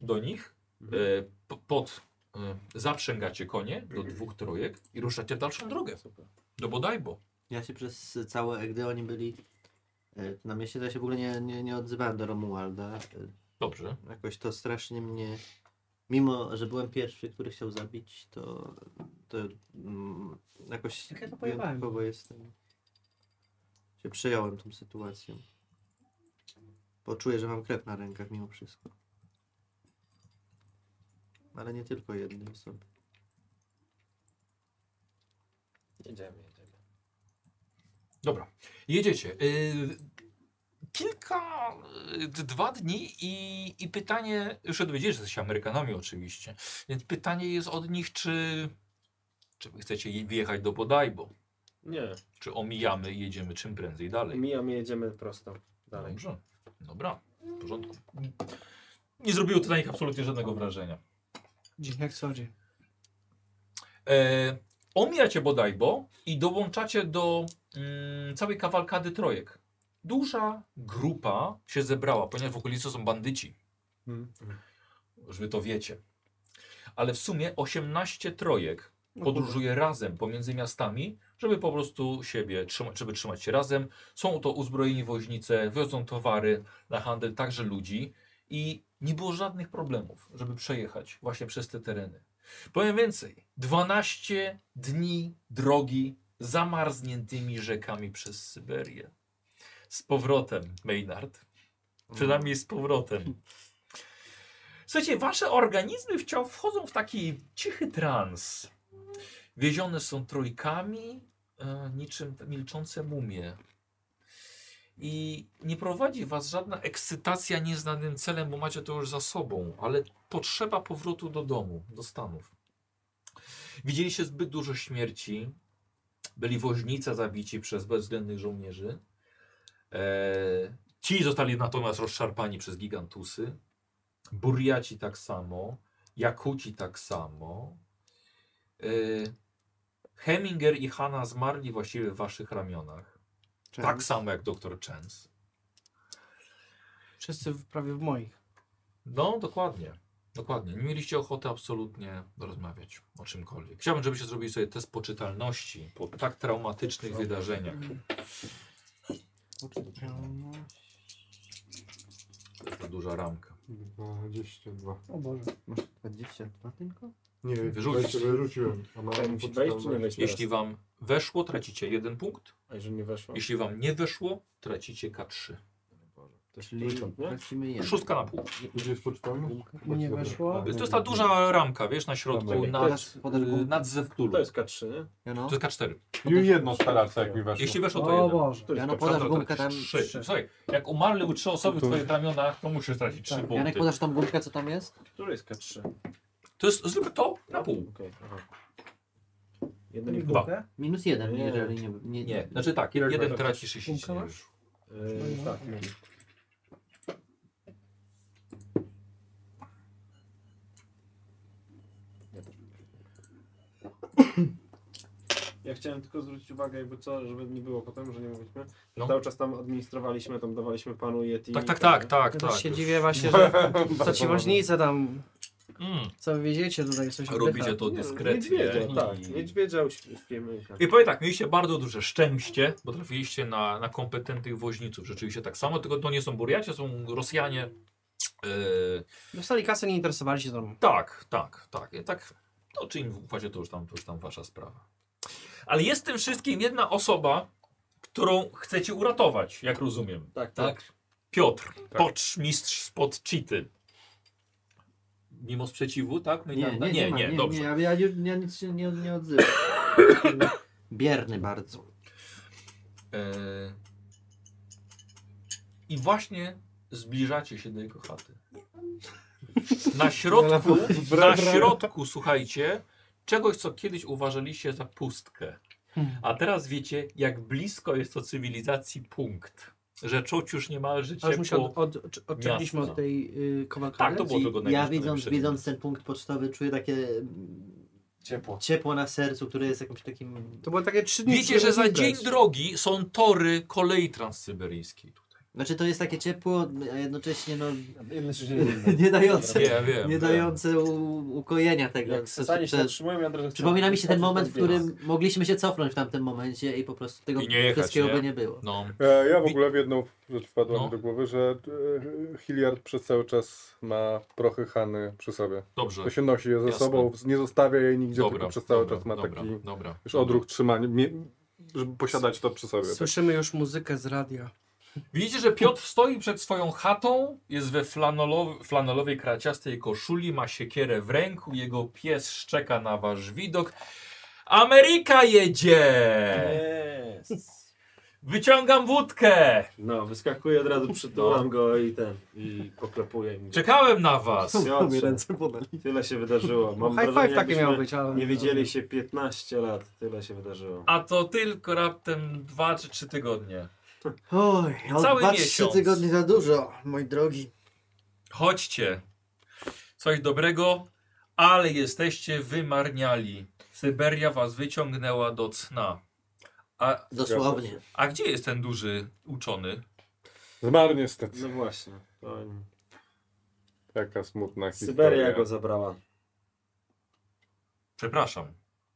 H: do nich,
C: Mhm.
H: e, p- pod, e, zaprzęgacie konie do dwóch trojek i ruszacie w dalszą drogę.
C: Mhm.
H: No
C: Super.
H: Do Bodajbo.
E: Ja się przez całe, gdy oni byli e, na mieście, to ja się w ogóle nie, nie, nie odzywałem do Romualda. E,
H: Dobrze.
E: Jakoś to strasznie mnie, mimo że byłem pierwszy, który chciał zabić, to, to mm, jakoś
D: Jak Tak, ja to pojebałem?
E: wyjątkowo jestem. Się przejąłem tą sytuacją. Poczuję, że mam krew na rękach mimo wszystko. Ale nie tylko jednej osoby.
C: Jedziemy, jedziemy.
H: Dobra, jedziecie. Y, Kilka, y, d- dwa dni i, i pytanie, już odwiedziecie, że jesteście Amerykanami oczywiście, więc pytanie jest od nich, czy, czy wy chcecie je- wjechać do Bodajbo,
C: Nie,
H: czy omijamy i jedziemy czym prędzej dalej.
C: mijamy, jedziemy prosto. Dalej.
H: Dobrze, dobra, w porządku. Nie zrobiło to na nich absolutnie żadnego wrażenia.
D: Dzień jak co dzień.
H: E, omijacie bodajbo i dołączacie do mm, całej kawalkady trojek. Duża grupa się zebrała, ponieważ w okolicy są bandyci.
F: Mm.
H: Już wy to wiecie. Ale w sumie 18 trojek podróżuje razem pomiędzy miastami, żeby po prostu siebie trzymać, żeby trzymać się razem. Są to uzbrojeni woźnice, wiozą towary na handel, także ludzi i nie było żadnych problemów, żeby przejechać właśnie przez te tereny. Powiem więcej, 12 dni drogi zamarzniętymi rzekami przez Syberię. Z powrotem, Maynard. Przynajmniej z powrotem. Słuchajcie, wasze organizmy wciąż wchodzą w taki cichy trans. Wiezione są trójkami, e, niczym te milczące mumie. I nie prowadzi was żadna ekscytacja nieznanym celem, bo macie to już za sobą, ale potrzeba powrotu do domu, do Stanów. Widzieliście zbyt dużo śmierci, byli woźnice zabici przez bezwzględnych żołnierzy. E, ci zostali natomiast rozszarpani przez gigantusy. Burjaci tak samo, Jakuci tak samo. Y, Heminger i Hanna zmarli właściwie w waszych ramionach. Tak samo jak doktor Chance.
D: Wszyscy w, prawie w moich.
H: No, dokładnie. Dokładnie. Nie mieliście ochoty absolutnie rozmawiać o czymkolwiek. Chciałbym, żebyście zrobili sobie test poczytalności po tak traumatycznych wydarzeniach. To jest ta duża ramka.
N: 22.
D: O Boże.
E: Masz 22 tylko?
N: Nie,
H: Wyrzucić.
N: wejście wyrzuciłem. A
F: No,
N: mam
C: Tak, musi wejść czy nie wejść teraz?
H: Jeśli wam weszło, tracicie jeden punkt.
C: A jeżeli nie weszło?
H: Jeśli wam nie weszło, tracicie K3.
C: To jest
E: Czyli
C: trójkąt, nie?
E: tracimy jeden.
H: Szóstka na pół.
N: Gdzie jest pocztownik?
D: Nie weszło.
H: To jest ta duża ramka, wiesz, na środku,
C: Dobra.
H: nad, y,
E: Podasz- podasz gumkę.
H: nad zewkturu.
C: To jest K3, nie?
E: Ja
H: To
E: no,
H: jest K4.
F: Już jedno staraca, jak mi weszło.
H: Jeśli weszło, to
D: O
H: jeden.
D: Boże.
C: To jest
E: ja no
C: K3.
E: podasz
H: Dobra, to
E: gumkę tam.
H: trzy. Słuchaj, jak umarły trzy osoby w twoich ramionach, to musisz tracić trzy
E: Janek,
H: punkty.
E: podasz tą gumkę, co tam jest?
C: Który jest K3?
H: To jest, zrób to na pół.
C: Okej, aha.
D: Daj
C: Jeden
D: mi
C: i dwa.
D: gumkę.
E: Minus jeden,
C: Nie.
E: jeżeli nie. nie,
H: Nie, znaczy tak, jeden
C: tak.
H: tracisz, jeśli ci nie
D: Punktowasz?
H: weszło.
C: Yy, tak, mieli. Ja chciałem tylko zwrócić uwagę, jakby co, żeby nie było potem, że nie mówiliśmy.
H: No.
C: Cały czas tam administrowaliśmy, tam dawaliśmy panu Yeti.
H: Tak, tak, tak, tak,
D: Ja
H: tak.
D: też się dziwię właśnie, że co ci woźnice tam
H: Mm.
D: Co wy wiedziecie, tutaj jesteśmy
H: Robicie
B: tak,
H: to dyskretnie.
C: Niedźwiedzia, tak.
H: i-
C: Niedźwiedzia uśpiemy. Tak.
H: I powiem tak, mieliście bardzo duże szczęście, bo trafiliście na, na kompetentnych woźniców. Rzeczywiście tak samo, tylko to nie są Burjacie, są Rosjanie. Yy,
D: Dostali kasę, nie interesowali się tą.
H: tak, tak, tak. I tak to czy im ufacie, to już, tam, to już tam wasza sprawa. Ale jest w tym wszystkim jedna osoba, którą chcecie uratować, jak rozumiem.
C: Tak,
H: Piotr, pocz, mistrz spod Cheaty. Mimo sprzeciwu, tak? No i tak- nie, nie,
E: ma,
H: dobrze.
E: Ja, ja, już- ja nic się nie, nie odzywam. Bierny bardzo.
H: E... I właśnie zbliżacie się do jego chaty. Na środku, na środku, słuchajcie, czegoś, co kiedyś uważaliście za pustkę.
D: Hmm.
H: A teraz wiecie, jak blisko jest to cywilizacji punkt. Że czuć już niemalże
D: A już my się
H: ciepło.
D: od, od, od, odczepiliśmy
H: miasta.
D: od tej y,
H: Tak,
D: kawalkady.
H: to było
E: I
H: tylko
E: ja
H: najgorsze,
E: widząc,
H: najlepsze.
E: widząc ten punkt pocztowy czuję takie mm,
B: Ciepło.
E: ciepło na sercu, które jest jakimś takim...
D: To było takie trzy dni.
H: Wiecie, że za
D: imprez.
H: dzień drogi są tory kolei transsyberyjskiej.
E: Znaczy to jest takie ciepło, a jednocześnie no,
B: Myślę, że nie wiem.
E: nie dające,
H: Nie, wiem.
E: nie
H: wiem.
E: dające u, ukojenia tego.
B: Jak
E: co-
B: stanie się
H: tak
E: co-
B: zatrzymują, ja od razu chcę-
E: Przypomina mi się ten
B: Chodź,
E: moment,
B: tam
E: w którym
B: biegam.
E: mogliśmy się cofnąć w tamtym momencie i po prostu tego
H: I nie jechać,
E: wszystkiego
H: nie?
E: by nie było.
H: No.
F: E, ja w ogóle w jedną rzecz wpadłem
H: No.
F: do głowy, że e, Hilliard przez cały czas ma prochy Hany przy sobie.
H: Dobrze.
F: To się nosi je ze
H: No. Jasne.
F: sobą, nie zostawia jej nigdzie,
H: Dobra,
F: tylko przez cały
H: dobra,
F: czas ma
H: dobra,
F: taki
H: dobra,
F: już
H: dobra.
F: odruch trzymania, mie- żeby posiadać to przy sobie. Tak.
D: Słyszymy już muzykę z radia.
H: Widzicie, że Piotr stoi przed swoją chatą, jest we flanolow flanelowej kraciastej koszuli, ma siekierę w ręku, jego pies szczeka na wasz widok. Ameryka jedzie!
C: Jest.
H: Wyciągam wódkę!
C: No, wyskakuje od razu, przytulam
E: No.
C: go i ten, i poklepuję. I mówię,
H: Czekałem na was!
E: Mi
C: Piotrze,
E: ręce podali.
C: tyle się wydarzyło. Mam
D: No, High
C: wrażenie,
D: five takie
C: jakbyśmy
D: miało być, ale...
C: Nie widzieli się 15 lat, tyle się wydarzyło.
H: A to tylko raptem dwa czy trzy tygodnie.
E: Oj,
H: od Cały dwa, trzy miesiąc. tygodnie
E: za dużo, moi drogi.
H: Chodźcie. Coś dobrego, ale jesteście wymarniali. Syberia was wyciągnęła do cna. A,
E: Dosłownie.
H: a gdzie jest ten duży uczony?
F: Zmarł niestety.
C: No właśnie. To
F: Jaka smutna historia.
C: Syberia go zabrała.
H: Przepraszam.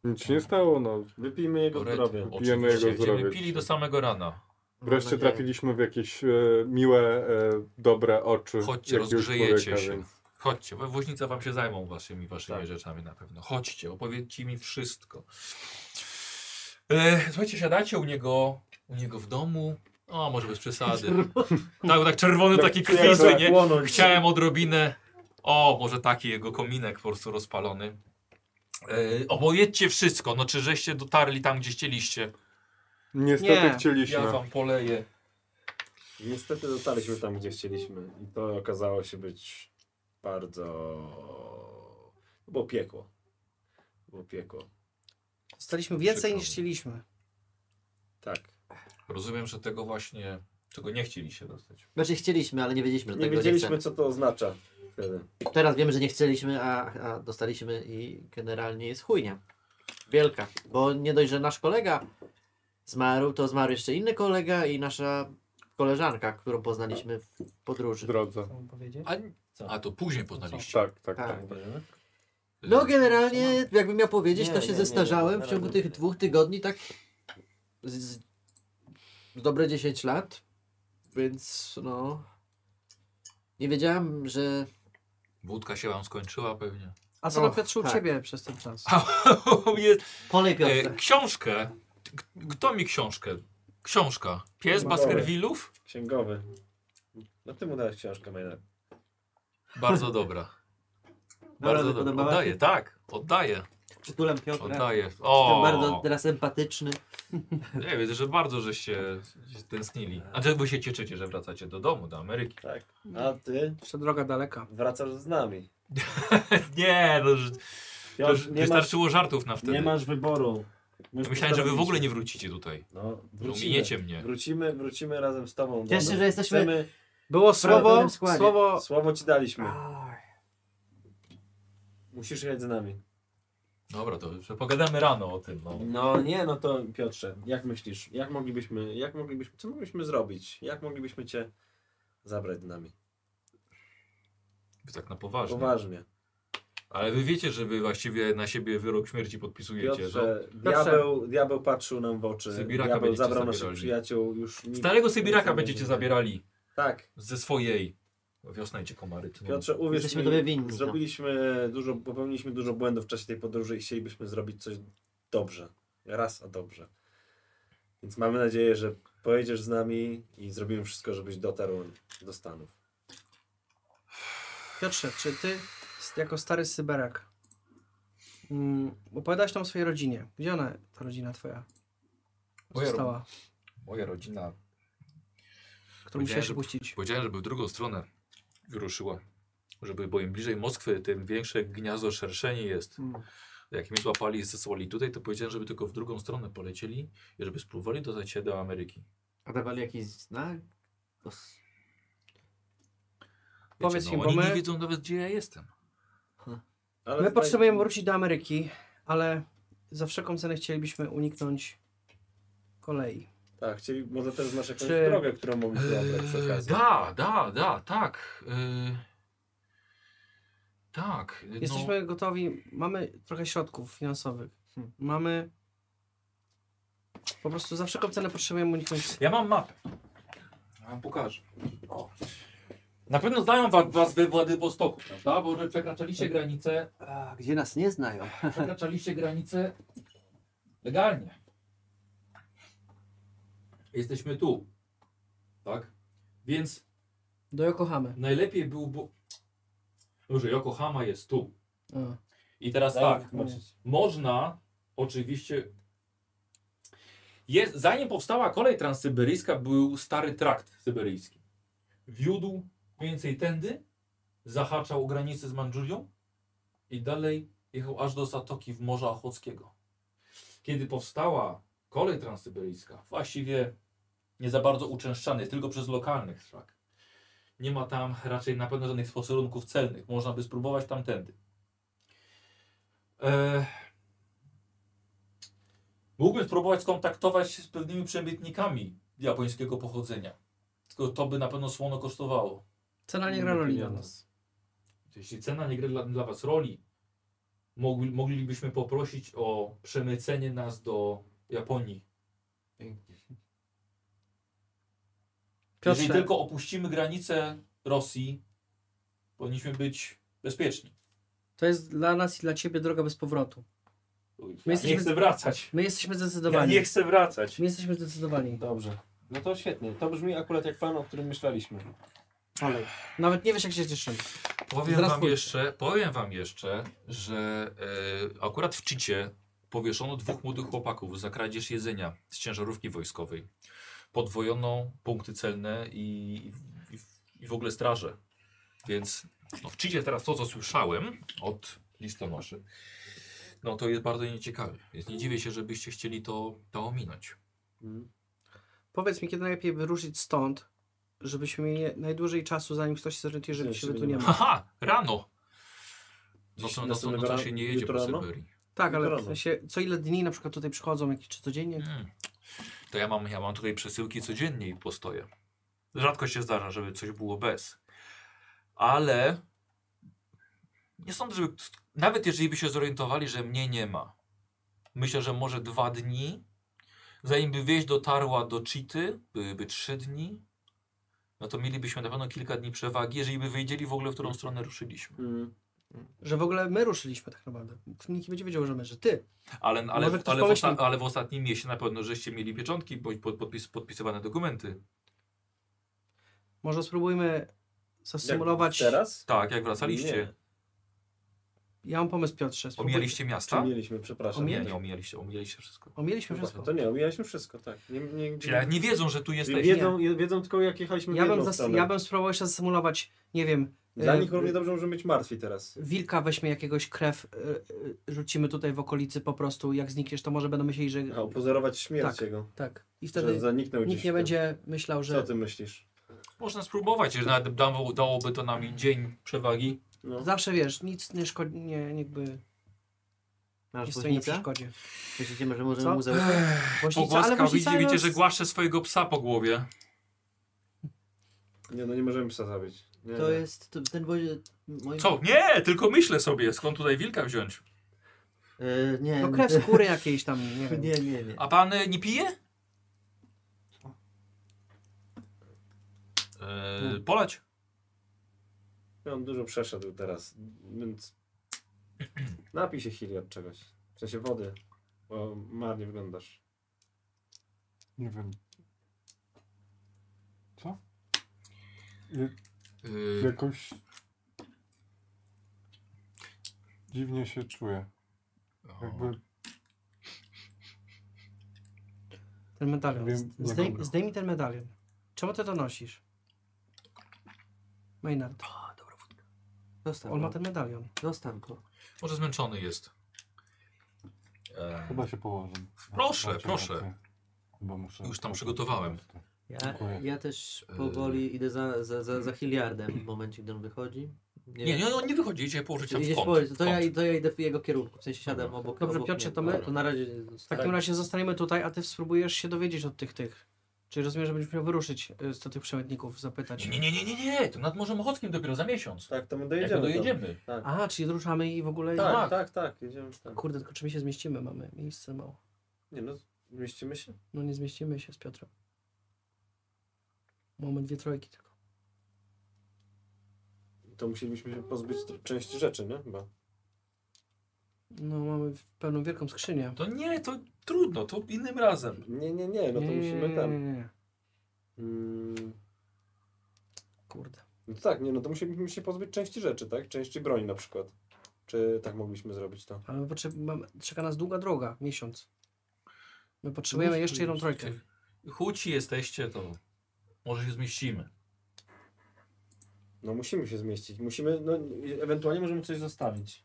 F: Nic się nie stało, no.
C: Wypijmy jego
H: Red,
C: zdrowie.
F: Pijemy
H: oczywiście.
F: jego
H: Będziemy
F: zdrowie
H: pili
F: dzisiaj.
H: do samego rana.
F: Wreszcie
E: nadzieję.
F: trafiliśmy w jakieś e, miłe, e, dobre oczy.
H: Chodźcie,
F: jakiegoś
H: rozgrzejecie
F: człowieka,
H: się.
F: więc-
H: Chodźcie, we woźnica wam się zajmą waszymi, waszymi
C: Tak.
H: rzeczami na pewno. Chodźcie, opowiedzcie mi wszystko. E, słuchajcie, siadacie u niego, u niego w domu. O, może bez przesady. tak, tak czerwony taki krwisty, nie? Chciałem odrobinę. O, może taki jego kominek po prostu rozpalony. E, opowiedzcie wszystko, no czy żeście dotarli tam, gdzie chcieliście.
F: Niestety
D: Nie,
F: chcieliśmy.
H: Ja wam poleję.
C: Niestety dotarliśmy tam, gdzie chcieliśmy. I to okazało się być bardzo... To było piekło. To było piekło.
D: Dostaliśmy więcej
H: Przykro
D: niż
H: mi.
D: chcieliśmy.
C: Tak.
H: Rozumiem, że tego właśnie, czego nie chcieliście dostać.
E: Znaczy chcieliśmy, ale nie wiedzieliśmy, że
C: Nie
E: tego nie
C: wiedzieliśmy,
E: chcemy.
C: co to oznacza wtedy.
E: Teraz wiemy, że nie chcieliśmy, a, a dostaliśmy i generalnie jest chujnia. Wielka. Bo nie dość, że nasz kolega zmarł, to zmarł jeszcze inny kolega i nasza koleżanka, którą poznaliśmy w podróży.
F: W drodze.
D: Co mam powiedzieć?
H: A, a to później poznaliście.
F: Tak, tak,
E: Tak.
F: tak.
E: No generalnie, jakbym miał powiedzieć,
C: Nie,
E: to się
C: nie, nie,
E: zestarzałem
C: nie,
E: w ciągu
C: nie.
E: tych dwóch tygodni, tak z, z dobre 10 lat, więc no nie wiedziałem, że
H: Wódka się wam skończyła pewnie.
D: A co na
E: Och,
D: Piotrze u
E: tak.
D: ciebie przez ten czas?
H: Jest,
E: polej
H: e,
E: Piotrze.
H: książkę. K- Kto mi książkę? Książka. Pies Baskervillów?
C: Księgowy. No ty mu dałeś książkę, Maynard.
H: Bardzo dobra.
E: Naprawdę
H: Bardzo dobra.
E: podobała
H: Oddaję, tak. Oddaję.
E: Przytulam Piotra.
H: Oddaję.
E: Jestem
H: O,
E: bardzo teraz empatyczny.
H: nie, widzę, że bardzo żeście się tęsknili. A czy wy się cieszycie, że wracacie do domu, do Ameryki?
C: Tak. A ty
D: Jeszcze droga daleka.
C: wracasz z nami.
H: Nie, no, że- to już
C: nie, masz,
H: wystarczyło żartów na wtedy.
C: nie masz wyboru. My już
H: Myślałem, że wy w ogóle nie
C: postanowiliśmy.
H: wrócicie tutaj.
C: No,
H: Że
C: wrócimy.
H: Ominiecie mnie.
C: Wrócimy, wrócimy razem z tobą.
E: Cieszę się, że jesteśmy-
C: Chcemy,
D: Było
E: pełnym
D: słowo,
E: składzie.
D: słowo...
C: słowo ci daliśmy.
D: Aj.
C: Musisz jechać z nami.
H: Dobra, to jeszcze pogadamy rano o tym. No.
C: No nie, no to Piotrze, jak myślisz? Jak moglibyśmy, jak moglibyśmy, co moglibyśmy zrobić? Jak moglibyśmy cię zabrać z nami?
H: Tak na poważnie.
C: Poważnie.
H: Ale wy wiecie, że wy właściwie na siebie wyrok śmierci podpisujecie. że...
C: Piotrze, diabeł, diabeł patrzył nam w oczy.
H: no. Sybiraka
C: diabeł
H: będziecie
C: zabrał naszych
H: zabierali.
C: przyjaciół. Już nikt-
H: Starego Sybiraka
C: nie
H: będziecie
C: będzie.
H: zabierali
C: Tak,
H: ze swojej. Wiosna idzie komary. tną.
C: Piotrze, uwierz
E: Jesteśmy
C: mi,
E: tobie winni, tak.
C: zrobiliśmy dużo, popełniliśmy dużo błędów w czasie tej podróży i chcielibyśmy zrobić coś dobrze. Raz, a dobrze. Więc mamy nadzieję, że pojedziesz z nami i zrobimy wszystko, żebyś dotarł do Stanów.
D: Piotrze, czy ty s- jako stary syberak mm, opowiadałeś tam o swojej rodzinie? Gdzie ona, ta rodzina twoja
A: Moja
D: została,
A: Moja rodzina
D: którą musiałeś
H: że-
D: opuścić?
H: Powiedziałem, żeby w drugą stronę wyruszyła. Żeby, bo im bliżej Moskwy, tym większe gniazdo szerszenie jest.
D: Mm.
H: Jak mnie złapali i zesłali tutaj, to powiedziałem, żeby tylko w drugą stronę polecieli i żeby spróbowali dostać się do Ameryki.
E: A dawali jakiś znak? To s-
H: Wiecie, no,
D: Powiedz im, bo
H: oni
D: my-
H: nie wiedzą nawet, gdzie ja jestem.
C: Ale
D: My
C: zdaje-
D: potrzebujemy wrócić do Ameryki, ale za wszelką cenę chcielibyśmy uniknąć kolei.
C: Tak, chcieli, może też masz jakąś
D: Czy-
C: drogę, którą mogliśmy obrać
D: Eee,
C: przy okazji.
H: Eee, da, da, da, tak. Yy, tak. yy,
D: Jesteśmy gotowi, mamy trochę środków finansowych, mamy... Po prostu za wszelką cenę potrzebujemy uniknąć...
H: Ja mam mapę. Ja wam pokażę. O. Na pewno znają wa- was we Władywostoku, prawda? Bo że przekraczaliście granicę,
E: A, gdzie nas nie znają?
H: przekraczaliście granicę legalnie. Jesteśmy tu. Tak? Więc
D: Do Yokohamy.
H: najlepiej byłby... Dobrze, Yokohama jest tu.
D: A.
H: I teraz
C: Daję
H: tak.
C: wytłumaczyć.
H: Można oczywiście. Jest, zanim powstała kolej transsyberyjska, był stary trakt syberyjski. Wiódł mniej więcej tędy, zahaczał o granicę z Mandżurią i dalej jechał aż do zatoki w Morza Ochockiego. Kiedy powstała kolej transsyberyjska, właściwie nie za bardzo uczęszczany, jest tylko przez lokalnych szlak. Nie ma tam raczej na pewno żadnych sposobunków celnych. Można by spróbować tamtędy. E, Mógłbym spróbować skontaktować się z pewnymi przemytnikami japońskiego pochodzenia. Tylko to by na pewno słono kosztowało.
D: Cena nie gra roli dla
C: pieniądze.
D: nas.
H: Jeśli cena nie gra dla, dla Was roli, mogli, moglibyśmy poprosić o przemycenie nas do Japonii. Jeżeli
D: Piotrze,
H: tylko opuścimy granicę Rosji, powinniśmy być bezpieczni.
D: to jest dla nas i dla ciebie droga bez powrotu.
H: Ja
D: jesteśmy-
H: Nie chcę wracać.
D: My jesteśmy
H: Ja
D: zdecydowani.
H: nie chcę wracać.
D: My jesteśmy zdecydowani.
B: Dobrze. No to świetnie. To brzmi akurat jak plan, o którym myśleliśmy.
D: Olej. Nawet nie wiesz, jak się cieszymy.
H: Powiem
D: Zaraz
H: wam,
D: pójdę.
H: jeszcze, powiem wam jeszcze, że e, akurat w Czycie powieszono dwóch młodych chłopaków za kradzież jedzenia z ciężarówki wojskowej. Podwojono punkty celne i, i, i w ogóle straże. Więc no, w Czycie teraz to, co słyszałem od listonoszy, no to jest bardzo nieciekawe. Więc nie dziwię się, żebyście chcieli to, to ominąć.
D: Powiedz mi, kiedy najlepiej wyruszyć stąd, żebyśmy mieli najdłużej czasu, zanim ktoś się zorientuje, że
C: Nie,
D: się
C: żeby
D: tu nie ma.
H: Haha, rano! Nocą, nocą,
C: następnego
H: nocą
C: rana-
H: się nie jedzie
C: jutro
H: po
C: rano?
H: Syberii.
D: Tak, ale
C: Jutro
D: w
C: rano.
D: sensie, co ile dni na przykład tutaj przychodzą, jakieś czy codziennie?
H: Mm. To ja mam, ja mam tutaj przesyłki codziennie i postoję. Rzadko się zdarza, żeby coś było bez. Ale nie sądzę, żeby. Nawet jeżeli by się zorientowali, że mnie nie ma, myślę, że może dwa dni, zanim by wieść dotarła do Cheaty, byłyby trzy dni, no to mielibyśmy na pewno kilka dni przewagi, jeżeli by wiedzieli w ogóle, w którą stronę ruszyliśmy.
C: Mm.
D: Że w ogóle my ruszyliśmy tak naprawdę. Nikt nie będzie wiedział, że my, że ty.
H: Ale, ale,
D: Może ktoś
H: ale, w,
D: pomyśli.
H: osta- ale w ostatnim mieście na pewno żeście mieli pieczątki bądź pod- podpis, podpisywane dokumenty.
D: Może spróbujmy zasymulować...
C: Jak teraz?
H: Tak, jak wracaliście.
C: Nie.
D: Ja mam pomysł, Piotrze. spróbuj-
H: Omijaliście
C: Czy
H: miasta?
C: mieliśmy, przepraszam.
D: Omijaliśmy
H: Nie, nie omijaliście, omijaliście wszystko.
D: Omijaliśmy
C: No właśnie,
D: wszystko.
C: to nie, omijaliśmy wszystko, tak. Nie, nie,
H: Czyli nawet nie wiedzą, że tu jesteście.
C: wiedzą, wiedzą tylko jak jechaliśmy
D: Ja
C: w
D: bym,
C: jedną
D: zas-
C: stronę.
D: ja bym spróbował jeszcze zasymulować, nie wiem...
C: Dla
D: e,
C: nich równie dobrze możemy być martwi teraz.
D: wilka weźmie jakiegoś krew, y, y, rzucimy tutaj w okolicy po prostu, jak znikniesz, to może będą myśleli, że...
C: A upozorować śmierć
D: Tak.
C: jego.
D: Tak. I
C: No. Że
D: wtedy
C: zaniknął gdzieś.
D: nikt
C: w
D: nie
C: tym.
D: będzie myślał,
C: Co
D: że...
C: ty myślisz?
H: Można spróbować, że nawet dało, dałoby to nam dzień przewagi.
C: No.
D: Zawsze wiesz, nic nie szkodzi, nie, jakby nie
E: Masz
D: stoi na
E: woźnica?
D: przeszkodzie.
E: Myślicie, że możemy
D: Co?
E: mu zaufać?
D: Woźnica, ale
H: Pogłaska,
D: woźnica,
H: widzicie, widzicie,
D: no,
H: że głaszcze swojego psa po głowie.
C: Nie, no nie możemy psa zabić.
B: Nie,
E: To
B: nie.
E: jest to, ten wozie... Moim...
H: Co? Nie, tylko myślę sobie, skąd tutaj wilka wziąć.
E: E, nie,
D: No krew z kury jakiejś tam, nie
E: nie,
D: wiem.
E: nie, nie, nie.
H: A pan y, nie pije? Yy, polać.
B: Ja on dużo przeszedł teraz, więc napij się chili od czegoś. W sensie wody, bo marnie wyglądasz.
F: Nie wiem. Co?
H: Y- E,
O: Yy,
F: Jakoś... Dziwnie się czuję. Jakby...
D: Ten medalion.
F: Wiem,
D: Zdej-
F: nie
D: Zdejm,
F: mam.
D: zdejmij ten medalion. Czemu ty to nosisz? Maynard,
E: Zostaw
D: on ma
E: go.
D: ten medalion.
E: Zostaw go.
H: Może zmęczony jest. E,
F: Chyba się położę.
H: Proszę,
F: Macie
H: proszę.
F: rację. Chyba muszę...
H: Już tam przygotowałem.
E: Ja,
F: Dziękuję. Y,
E: ja też powoli idę za, za, za, za Hilliardem w momencie, gdy on wychodzi.
H: nie, nie, on nie wychodzi, idzie położyć tam
E: Idziesz
H: w kąt.
E: powiedz, to,
H: kąt.
E: ja, to ja idę w jego kierunku, w sensie siadam obok
D: Dobrze,
E: obok
D: Piotrze,
E: niego. Tak,
D: to my-
E: To na razie...
D: W
H: Tak.
D: takim razie tak. zostaniemy tutaj, a ty spróbujesz się dowiedzieć od tych tych. Czyli rozumiem, że będziesz miał wyruszyć y, do tych przemytników, zapytać.
H: Znaczy, Nie, nie, nie, nie, nie, nie, to nad Morzem Ochockim dopiero za miesiąc.
B: Tak, to my
H: Jak to
B: dojedziemy.
H: dojedziemy.
D: A, czyli ruszamy i w ogóle...
B: tam.
H: Tak.
B: Tak, tak, tak, jedziemy tam.
D: Kurde, tylko czy my się zmieścimy? Mamy miejsce mało.
B: Nie no, mieścimy się?
D: No nie zmieścimy się z Piotrem. Mamy dwie trojki tylko.
B: To musielibyśmy się pozbyć tr- części rzeczy, nie? Chyba.
D: No mamy w- pewną wielką skrzynię.
H: No To nie, to trudno, to innym razem.
B: Nie, nie, nie, no to
D: Nie,
B: musimy tam.
D: nie, nie, nie.
B: Mm,
D: Kurde.
B: no tak, nie, no to musielibyśmy się pozbyć części rzeczy, tak? Części broni na przykład. Czy tak mogliśmy zrobić to?
D: Ale potrze- mam, czeka nas długa droga, miesiąc. My potrzebujemy jeszcze jedną trojkę.
H: Chuci jesteście, to może się zmieścimy.
B: No musimy się zmieścić, musimy, no ewentualnie możemy coś zostawić.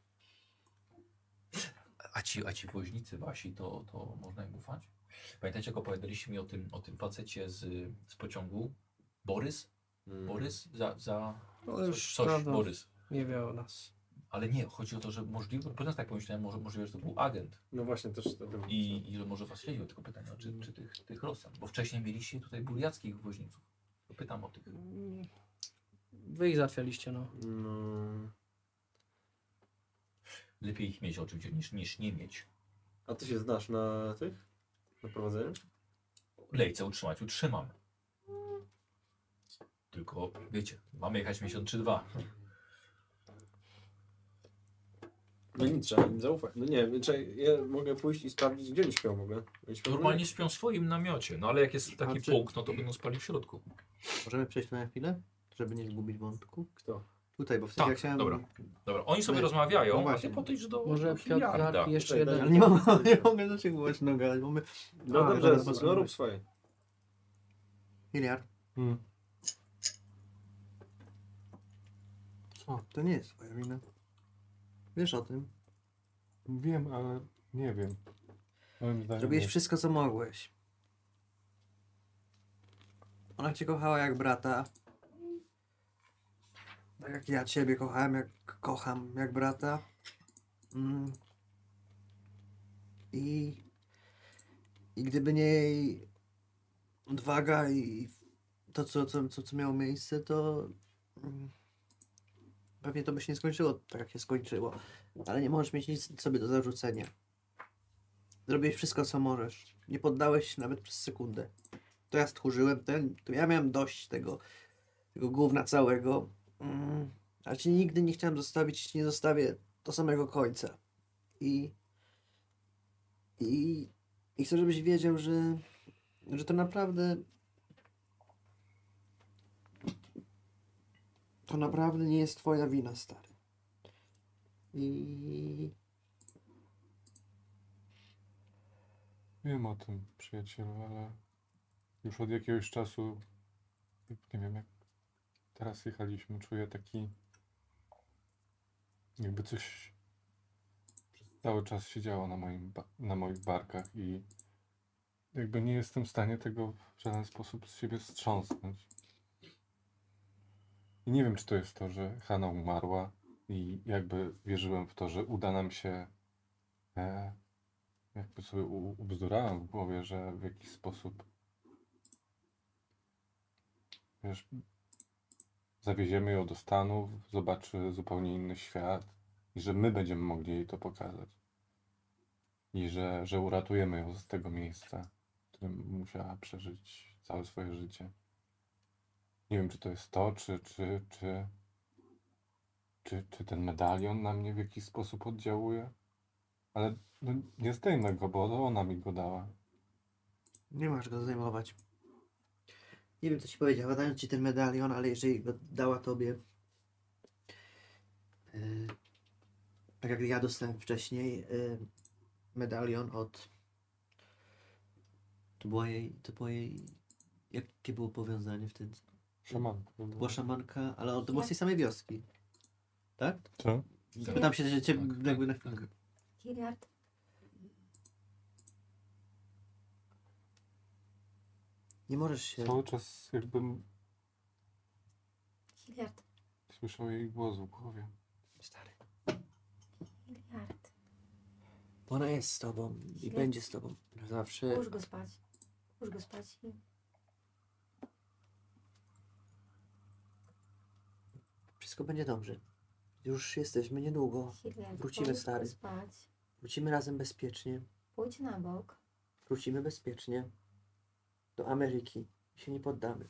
H: A ci, a ci woźnicy wasi, to, to można im ufać? Pamiętacie, jak opowiadaliście mi o tym, o tym facecie z, z pociągu? Borys?
B: Mm.
H: Borys? Za, za
D: No
H: coś,
D: już
H: coś
D: dawno
H: Borys.
D: nie wie o nas.
H: Ale nie, chodzi o to, że możliwe, potem tak pomyślałem, może, możliwe, że to był agent
B: No właśnie, też to bym
H: i, i że może was śledził, tylko pytanie, czy, czy tych, tych Rosjan, bo wcześniej mieliście tutaj burjackich woźniców. To Pytam o tych.
D: Mm. Wy ich załatwialiście, no.
B: No.
H: Lepiej ich mieć oczywiście niż, niż nie mieć.
B: A ty się znasz na tych? Na prowadzeniu?
H: Lejce utrzymać utrzymam. Tylko wiecie, mamy jechać miesiąc czy dwa.
B: No nic, trzeba im zaufać. No nie, czy ja mogę pójść i sprawdzić, gdzie oni śpią w ogóle? Oni śpią
H: Normalnie śpią w swoim namiocie, no ale jak jest taki
E: A czy-
H: punkt, no to będą spali w środku.
E: Możemy przejść na chwilę, żeby nie zgubić wątku?
B: Kto?
E: Tutaj, bo wtedy
H: Tak,
E: jak chciałem...
H: dobra. Dobra, oni sobie
E: No,
H: rozmawiają,
E: no
H: a ty
E: właśnie.
H: podejdź do
D: Może
H: do Hilliarda.
D: Piotr
B: Tutaj
D: jeszcze jeden.
E: Ale nie, mam, nie mogę do ciebie głośno gadać, bo my...
B: No
D: A,
B: dobrze,
D: zaraz
B: no rób swoje.
E: Hiliard.
F: Hmm.
E: O, to nie jest twoja wina. Wiesz o tym.
F: Wiem, ale nie wiem. Moim zdaniem
E: Zrobiłeś
F: jest-
E: wszystko, co mogłeś. Ona cię kochała jak brata. Tak jak ja ciebie kochałem, jak kocham, jak brata. Mm. I, I gdyby nie jej odwaga i to, co, co, co, co miało miejsce, to mm, pewnie to by się nie skończyło tak, jak się skończyło. Ale nie możesz mieć nic sobie do zarzucenia. Zrobiłeś wszystko, co możesz. Nie poddałeś się nawet przez sekundę. To ja stchórzyłem ten, to ja miałem dość tego, tego gówna całego. Mm, ale cię nigdy nie chciałem zostawić, nie zostawię do samego końca. I, i, i chcę, żebyś wiedział, że, że to naprawdę. To naprawdę nie jest twoja wina, stary. I
F: Wiem o tym, przyjacielu, ale już od jakiegoś czasu, nie wiem jak teraz jechaliśmy, czuję taki, jakby coś przez cały czas się działo na, moim ba- na moich barkach i jakby nie jestem w stanie tego w żaden sposób z siebie strząsnąć. I nie wiem, czy to jest to, że Hanna umarła i jakby wierzyłem w to, że uda nam się e, jakby sobie u- ubzdurałem w głowie, że w jakiś sposób wiesz, zawieziemy ją do Stanów, zobaczy zupełnie inny świat i że my będziemy mogli jej to pokazać. I że, że uratujemy ją z tego miejsca, w którym musiała przeżyć całe swoje życie. Nie wiem, czy to jest to, czy, czy, czy, czy, czy ten medalion na mnie w jakiś sposób oddziałuje, ale no, nie zdejmę go, bo to ona mi go dała.
E: Nie masz go zdejmować. Nie wiem, co ci powiedziała, dając ci ten medalion, ale jeżeli go dała tobie, yy, tak jak ja dostałem wcześniej, yy, medalion od. To była jej. To była jej. Jakie było powiązanie wtedy?
F: Szaman.
E: To była szamanka, ale on- to było z tej samej wioski. Tak?
F: Co?
E: Pytam się, że cię
P: Tak,
E: jakby na
P: tak,
E: chwilkę.
G: Hilliard.
E: Nie możesz się.
F: Cały czas jakbym
G: Hilliard.
F: słyszał jej głos w głowie.
D: Stary.
E: Y-
G: Hilliard.
E: Bo Ona jest z tobą i
G: Świetnie.
E: będzie z tobą. Zawsze.
G: Łóż go spać. Łóż go spać. i-
E: Wszystko będzie dobrze. Już jesteśmy niedługo.
G: Hilliard.
E: Wrócimy,
G: połóż go
E: stary.
G: spać.
E: Wrócimy razem bezpiecznie.
G: Pójdź na bok.
E: Wrócimy bezpiecznie do Ameryki. I się nie poddamy.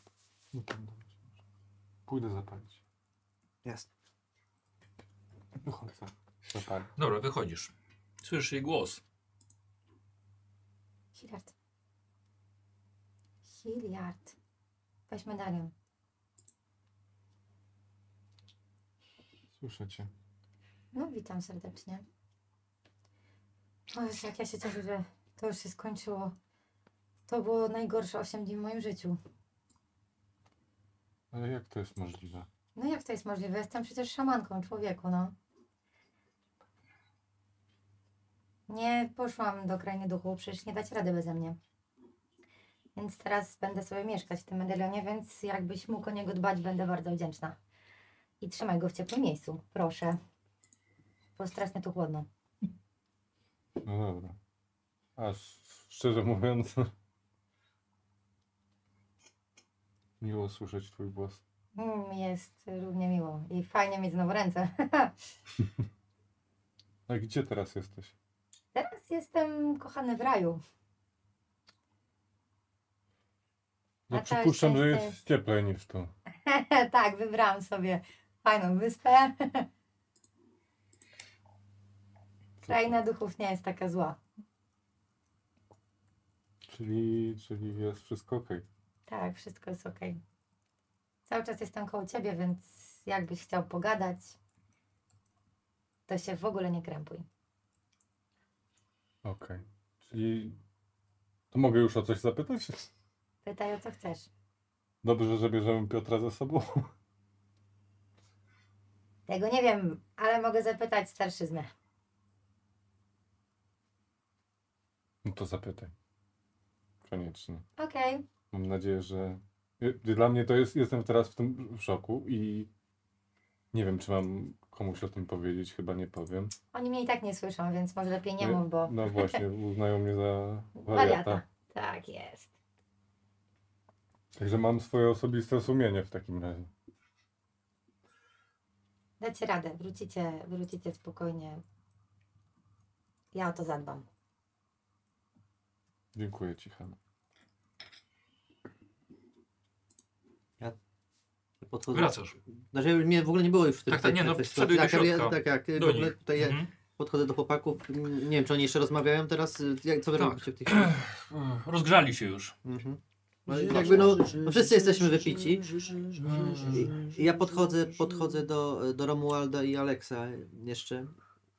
F: Nie pamiętam. No Pójdę zapalić.
E: Jasne.
F: No chodź, zapal.
H: Dobra, wychodzisz. Słyszysz jej głos.
G: Hilliard. Hilliard. Weź medalion.
F: Słyszę cię.
G: No, witam serdecznie. O Jezu, jak ja się cieszę, że to już się skończyło. To było najgorsze 8 dni w moim życiu.
F: Ale jak to jest możliwe?
G: No jak to jest możliwe? Jestem przecież szamanką, człowieku, no. Nie poszłam do krainy duchu, przecież nie dać rady beze mnie. Więc teraz będę sobie mieszkać w tym medalionie, więc jakbyś mógł o niego dbać, będę bardzo wdzięczna. I trzymaj go w ciepłym miejscu, proszę. Bo strasznie tu chłodno.
F: No dobra. Aż szczerze mówiąc. Miło słyszeć twój głos.
G: Mm, Jest równie miło i fajnie mieć znowu ręce.
F: A No gdzie teraz jesteś?
G: Teraz jestem kochany w raju.
F: No
G: A to
F: przypuszczam, że
G: jesteś-
F: jest cieplej niż tu.
G: tak, wybrałam sobie fajną wyspę.
F: Co-
G: Kraina duchów nie jest taka zła.
F: Czyli, czyli jest wszystko okej.
G: Tak, wszystko jest okej. Cały czas jestem koło ciebie, więc jakbyś chciał pogadać, to się w ogóle nie krępuj.
F: Okej. Czyli. To mogę już o coś zapytać?
G: Pytaj o co chcesz.
F: Dobrze, że bierzemy Piotra ze sobą.
G: Tego nie wiem, ale mogę zapytać starszyznę.
F: No to zapytaj. Koniecznie.
G: Okej,
F: Mam nadzieję, że. y, Dla mnie to jest. Jestem teraz w tym szoku i nie wiem, czy mam komuś o tym powiedzieć, chyba nie powiem.
G: oni mnie i tak nie słyszą, więc może lepiej
E: Y-
G: nie mów, bo
F: No właśnie, uznają mnie za
G: wariata.
F: wariata.
G: Tak jest.
F: Także mam swoje osobiste sumienie w takim razie.
G: Dacie radę, wrócicie, wrócicie spokojnie. Ja o to zadbam.
F: Dziękuję ci, Hanna.
E: Podchodzę.
H: Wracasz.
E: Znaczy mnie w ogóle nie było już w tym
H: Tak, tak, nie, no,
E: w tej
H: wszedłeś
E: sytuacji.
H: do
E: tak, ja-
H: środka.
E: tak jak w
H: Do
E: ogóle
H: nich.
E: tutaj ja
H: Mhm.
E: podchodzę do chłopaków. m, Nie wiem, czy oni jeszcze rozmawiają teraz. y, Jak, co wy
H: Tak.
E: robicie w tej chwili?
H: Rozgrzali się już.
E: Mhm. No, jakby no, no wszyscy jesteśmy wypici. I ja podchodzę, podchodzę do, do Romualda i Aleksa jeszcze.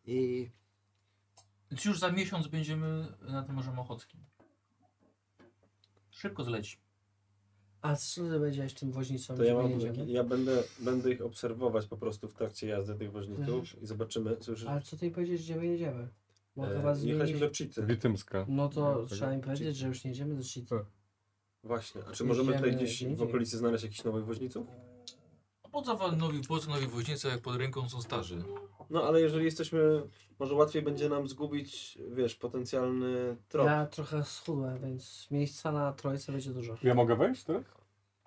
E: I
H: Więc już za miesiąc będziemy na tym Morzu Ochockim. Szybko zleci.
D: A co ty powiedziałeś tym woźnicom,
B: To ja,
D: że
B: mam,
D: nie jedziemy?
B: ja będę, będę ich obserwować po prostu w trakcie jazdy tych woźników i zobaczymy. Słyszysz?
D: Ale co ty im powiedzieć, gdzie my jedziemy? Bo chyba
B: E,
D: zmienili...
B: jechaliśmy do Cheaty.
F: Witymska.
D: No to
F: Tak, tak.
D: trzeba im powiedzieć, że już nie jedziemy do Cheaty.
B: Właśnie. A czy możemy tutaj
D: Jedziemy
B: gdzieś
D: gdzie
B: w
D: indziej.
B: okolicy znaleźć jakichś nowych woźniców?
H: Poza nowi, poza nowi woźnicy, jak pod ręką są starzy.
B: No ale jeżeli jesteśmy, może łatwiej będzie nam zgubić, wiesz, potencjalny trop.
D: Ja trochę schudłem, więc miejsca na trojce będzie dużo.
F: Ja mogę wejść teraz?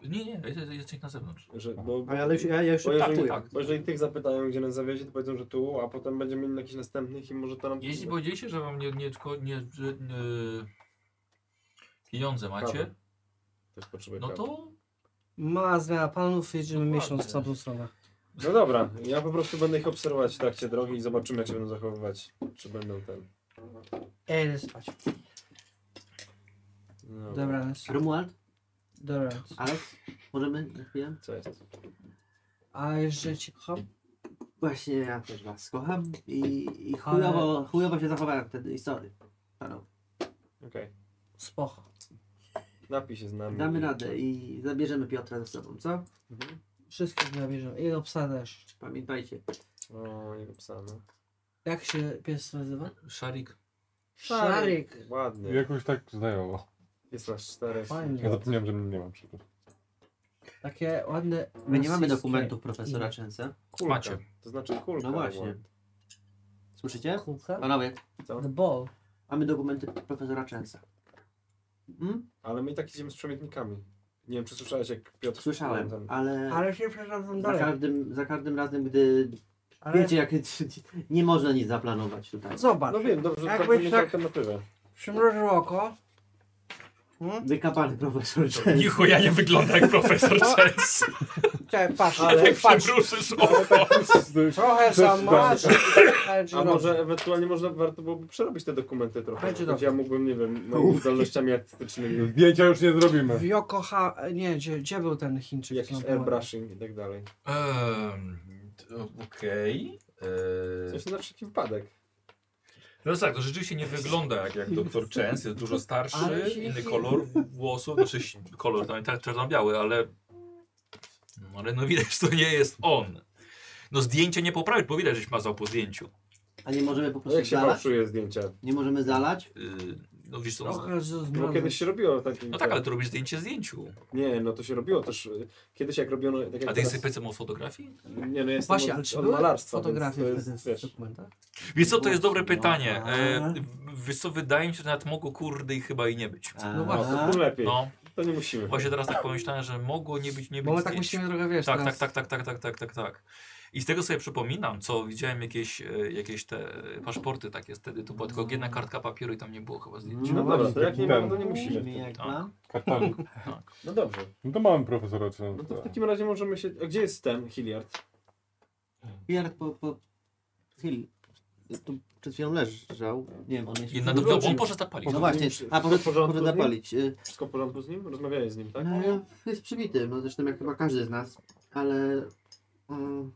H: Nie, nie, jest- jesteś na zewnątrz.
B: Że, bo,
E: A ja, ale już- ja, ja już się
B: Bo jeżeli,
E: pakuję.
H: tak.
B: bo jeżeli tych zapytają, gdzie nas zawiezie, to powiedzą, że tu, a potem będziemy mieli jakichś następnych i może to nam...
H: Jeśli powiedzieliście, że wam nie, nie, tylko- nie, że, nie pieniądze macie,
C: Kawy. Też potrzebuję
H: no
C: kawy.
H: to
D: Mała zmiana planów, jedziemy
H: Dokładnie.
D: miesiąc w tamtą stronę.
B: No dobra, ja po prostu będę ich obserwować w trakcie drogi i zobaczymy, jak się będą zachowywać. Czy będą ten... E,
D: Ej, spać.
B: No,
D: Dobranoc.
E: Romuald,
D: Dobranoc.
E: Alex, możemy na chwilę?
B: Co jest?
D: A że cię kocham?
E: Właśnie ja też was kocham i, i chujowo, chujowo się zachowałem wtedy i sorry. Panu,
B: Okej.
D: Spoko.
B: Napij się z nami.
E: damy radę i zabierzemy Piotra ze sobą, co?
B: Mhm.
D: Wszystkich nabierzemy. Jego psa też.
E: Pamiętajcie.
B: O, jego psa, no.
D: Jak się pies nazywa?
H: szarik.
D: Szarik.
B: Ładnie.
N: Jakoś tak zdajowo.
B: Jest nasz cztery.
N: Ja
D: Fajnie.
N: zapomniałem, że nie mam przykład.
D: Takie ładne.
E: My nie mamy
D: rosyjskie
E: dokumentów profesora
D: imię.
E: Częsa.
B: Kulka.
H: Macie.
B: To znaczy kulka.
E: No właśnie. Słyszycie?
D: Kulka?
E: Panowie,
D: The ball.
E: mamy dokumenty profesora Częsa. Mm?
B: Ale my i tak idziemy z przemytnikami. Nie wiem, czy słyszałeś, jak Piotr...
E: Słyszałem,
B: Ten-
E: ale
D: Ale się przeszedłem
E: za
D: dalej.
E: każdym, za każdym razem, gdy
D: Ale
E: wiecie, jak nie można nic zaplanować tutaj.
D: zobacz,
B: No wiem, dobrze, że
D: Jakbyś
B: to mieć
D: tak-
B: alternatywę.
D: przymrużył oko. Hmm?
E: Wykapany profesor Częs.
H: Nichu, ja nie wygląda jak profesor Chess.
D: Czekaj, patrz,
B: Ale
D: patrz.
H: Ruszysz
D: Trochę sam masz.
B: A może ewentualnie można warto byłoby przerobić te dokumenty trochę. Będzie
D: Będzie dobrze.
B: ja mógłbym, nie wiem, no, zdolnościami artystycznymi,
N: Zdjęcia już nie zrobimy.
D: W Yokoha... Nie, gdzie, gdzie był ten
B: czy
D: Chińczyk? No, co
B: jakiś
D: nam pomagał?
B: airbrushing i tak dalej.
H: Okej.
B: W
H: Eee,
B: sensie na wszelki wypadek.
H: No tak, to rzeczywiście nie wygląda jak, jak doktor Chance, jest dużo starszy,
D: Ale się-
H: inny kolor włosów, znaczy kolor tam tak czarno-biały, ale, no, ale no widać, że to nie jest on. No zdjęcie nie poprawić, bo widać, żeś mazał po zdjęciu.
E: A nie możemy po
B: No
E: prostu
B: jak się
E: zalać?
B: fałszuje zdjęcia?
E: Nie możemy zalać?
H: Yy, no wiesz co, no,
D: Trochę zmarł.
B: Bo kiedyś się robiło takie...
H: no tak, ale to robisz zdjęcie zdjęciu.
B: Nie, no to się robiło też... y, Kiedyś jak robiono... Tak jak
H: A ty jesteś
B: teraz-
H: specem od fotografii?
B: Nie, no ja jestem
D: Właśnie, ale
B: od,
D: czy
B: od
D: były
B: malarstwa,
D: fotografie
B: więc to
D: wtedy
B: jest,
D: w
B: wiesz...
D: dokumentach?
H: Wiesz co, to jest dobre
E: No,
H: pytanie. E,
E: ale-
H: wiesz co, wydaje mi się, że nawet mogło kurde i chyba i nie być.
D: No
B: No,
D: właśnie.
B: to tym lepiej.
H: No,
B: To nie musimy.
H: właśnie teraz tak pomyślałem, że mogło nie być, nie być
D: Bo my tak
H: zdjęć.
D: musimy trochę, wiesz,
H: Tak, tak,
D: teraz-
H: tak, tak, tak, tak, tak, tak, tak. I z tego sobie przypominam, co widziałem jakieś, e, jakieś te e, paszporty takie wtedy, to była tylko jedna kartka papieru i tam nie było chyba zdjęć.
B: No dobra, to jak nie mamy, to nie
E: Musimy
B: musimy.
E: jak plan.
N: Kartonik.
B: No dobrze.
N: No to mamy profesora
B: No to w
N: Częsa.
B: takim razie możemy się... A gdzie jest ten Hilliard?
E: Pierre po, po... Hill. Tu przed chwilą leżał. Nie wiem, on jeszcze...
H: Jedna do, do, on poszedł zapalić.
E: No właśnie, a może, może zapalić. Y,
B: Wszystko w porządku z nim? Rozmawiałeś z nim, tak?
E: No, jest przybity, no zresztą jak chyba każdy z nas, ale... Mm,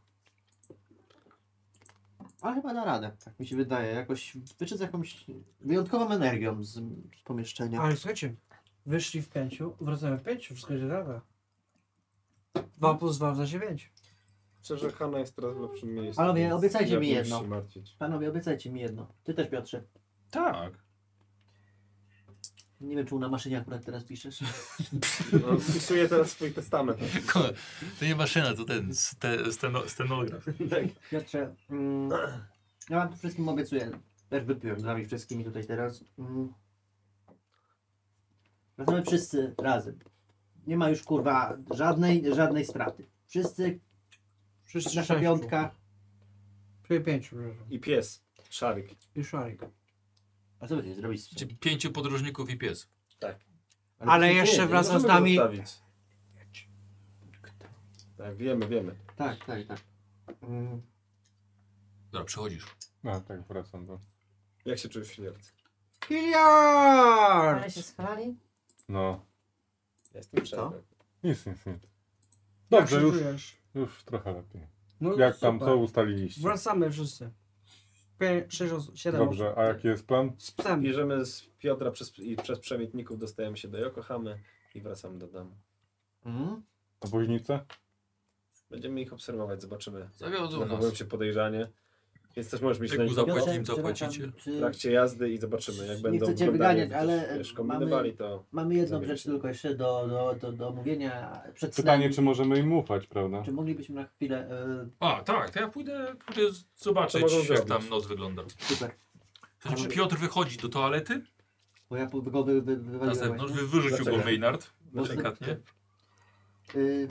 E: ale chyba da radę, tak mi się wydaje. Jakoś wyszedł z jakąś wyjątkową energią z, z pomieszczenia.
D: Ale słuchajcie, wyszli w pięciu, wracamy w pięciu, wszystko jest rada. 2 plus 2 za 9.
B: Szczerze, Hanna jest teraz w lepszym miejscu.
E: Panowie,
B: więc
E: obiecajcie
B: ja
E: mi
B: bym
E: jedno.
B: się martwić.
E: Panowie, obiecajcie mi jedno. Ty też, Piotrze.
H: Tak.
E: Nie wiem, czemu na maszynie akurat teraz piszesz.
B: No, Wpisuję teraz swój testament.
H: To nie maszyna, to ten ste, steno, stenograf.
E: Piotrze, mm, ja wam tu wszystkim obiecuję. Też wypiłem z wami wszystkimi tutaj teraz. Mm. Wracamy wszyscy razem. Nie ma już kurwa żadnej, żadnej straty. Wszyscy,
D: Wszyscy
E: nasza
D: sześciu.
E: piątka.
D: Czyli 5, przepraszam.
B: I pies. Szarik.
D: I szarik.
E: A co będziecie zrobić? z tym?
H: Czyli Pięciu podróżników i pies.
D: Ale
E: co się
D: jeszcze
E: dzieje?
D: wraz- Razem
B: Możemy
D: z nami-
B: go zostawić. Tak, wiemy, wiemy.
E: Tak, tak, tak. Mm.
H: Dobra, przychodzisz.
N: No tak, wracam do...
B: Jak się czujesz, Hilliard?
D: Hiliard!
G: Ale się schowali.
N: No,
B: Ja jestem przebrany.
N: nic, nic, nic.
D: Jak się
N: Dobrze, już,
D: czujesz?
N: już trochę lepiej.
D: No,
N: Jak tam,
D: super.
N: co ustaliliście?
D: Wracamy wszyscy. 6 osób, 7 osób.
N: Dobrze, a jaki jest plan?
D: Z psem.
B: Bierzemy z Piotra przez, i przez przemytników, dostajemy się do Yokohamy i wracamy do domu.
E: Mm.
N: Oboźnice?
B: Będziemy ich obserwować, zobaczymy.
D: No,
H: Zawiodą
B: Zachowują
H: nas.
B: się podejrzanie, więc też możesz mieć
H: Tyku
B: na nich
H: za- Tak. Płacimy,
E: Piotrze,
H: zapłacicie.
E: przepraszam,
B: w
E: Czy
B: trakcie jazdy i zobaczymy, jak
E: Nie
B: będą
E: chcecie
B: wyglądali,
E: wyganiać,
B: jak
E: ale
B: wiesz, kombinowali
E: mamy-
B: to.
E: mamy jedną
B: Zabieram
E: rzecz
B: się.
E: tylko jeszcze do, do, do, do omówienia przed snem.
N: Pytanie, czy możemy im ufać, prawda?
E: czy moglibyśmy na chwilę... y,
H: A, tak, to ja pójdę, pójdę z-
B: To mogą
H: zobaczyć, jak
B: zrobić.
H: tam noc wygląda.
E: super,
H: Słuchaj, Czy Piotr wychodzi do toalety?
E: bo ja po- go wy, wy, wywaliłem
H: Na zewnątrz,
E: właśnie.
H: wy, wyrzucił go
B: Dlaczego?
H: Maynard.
E: Bo-
H: Delikatnie.
E: Y,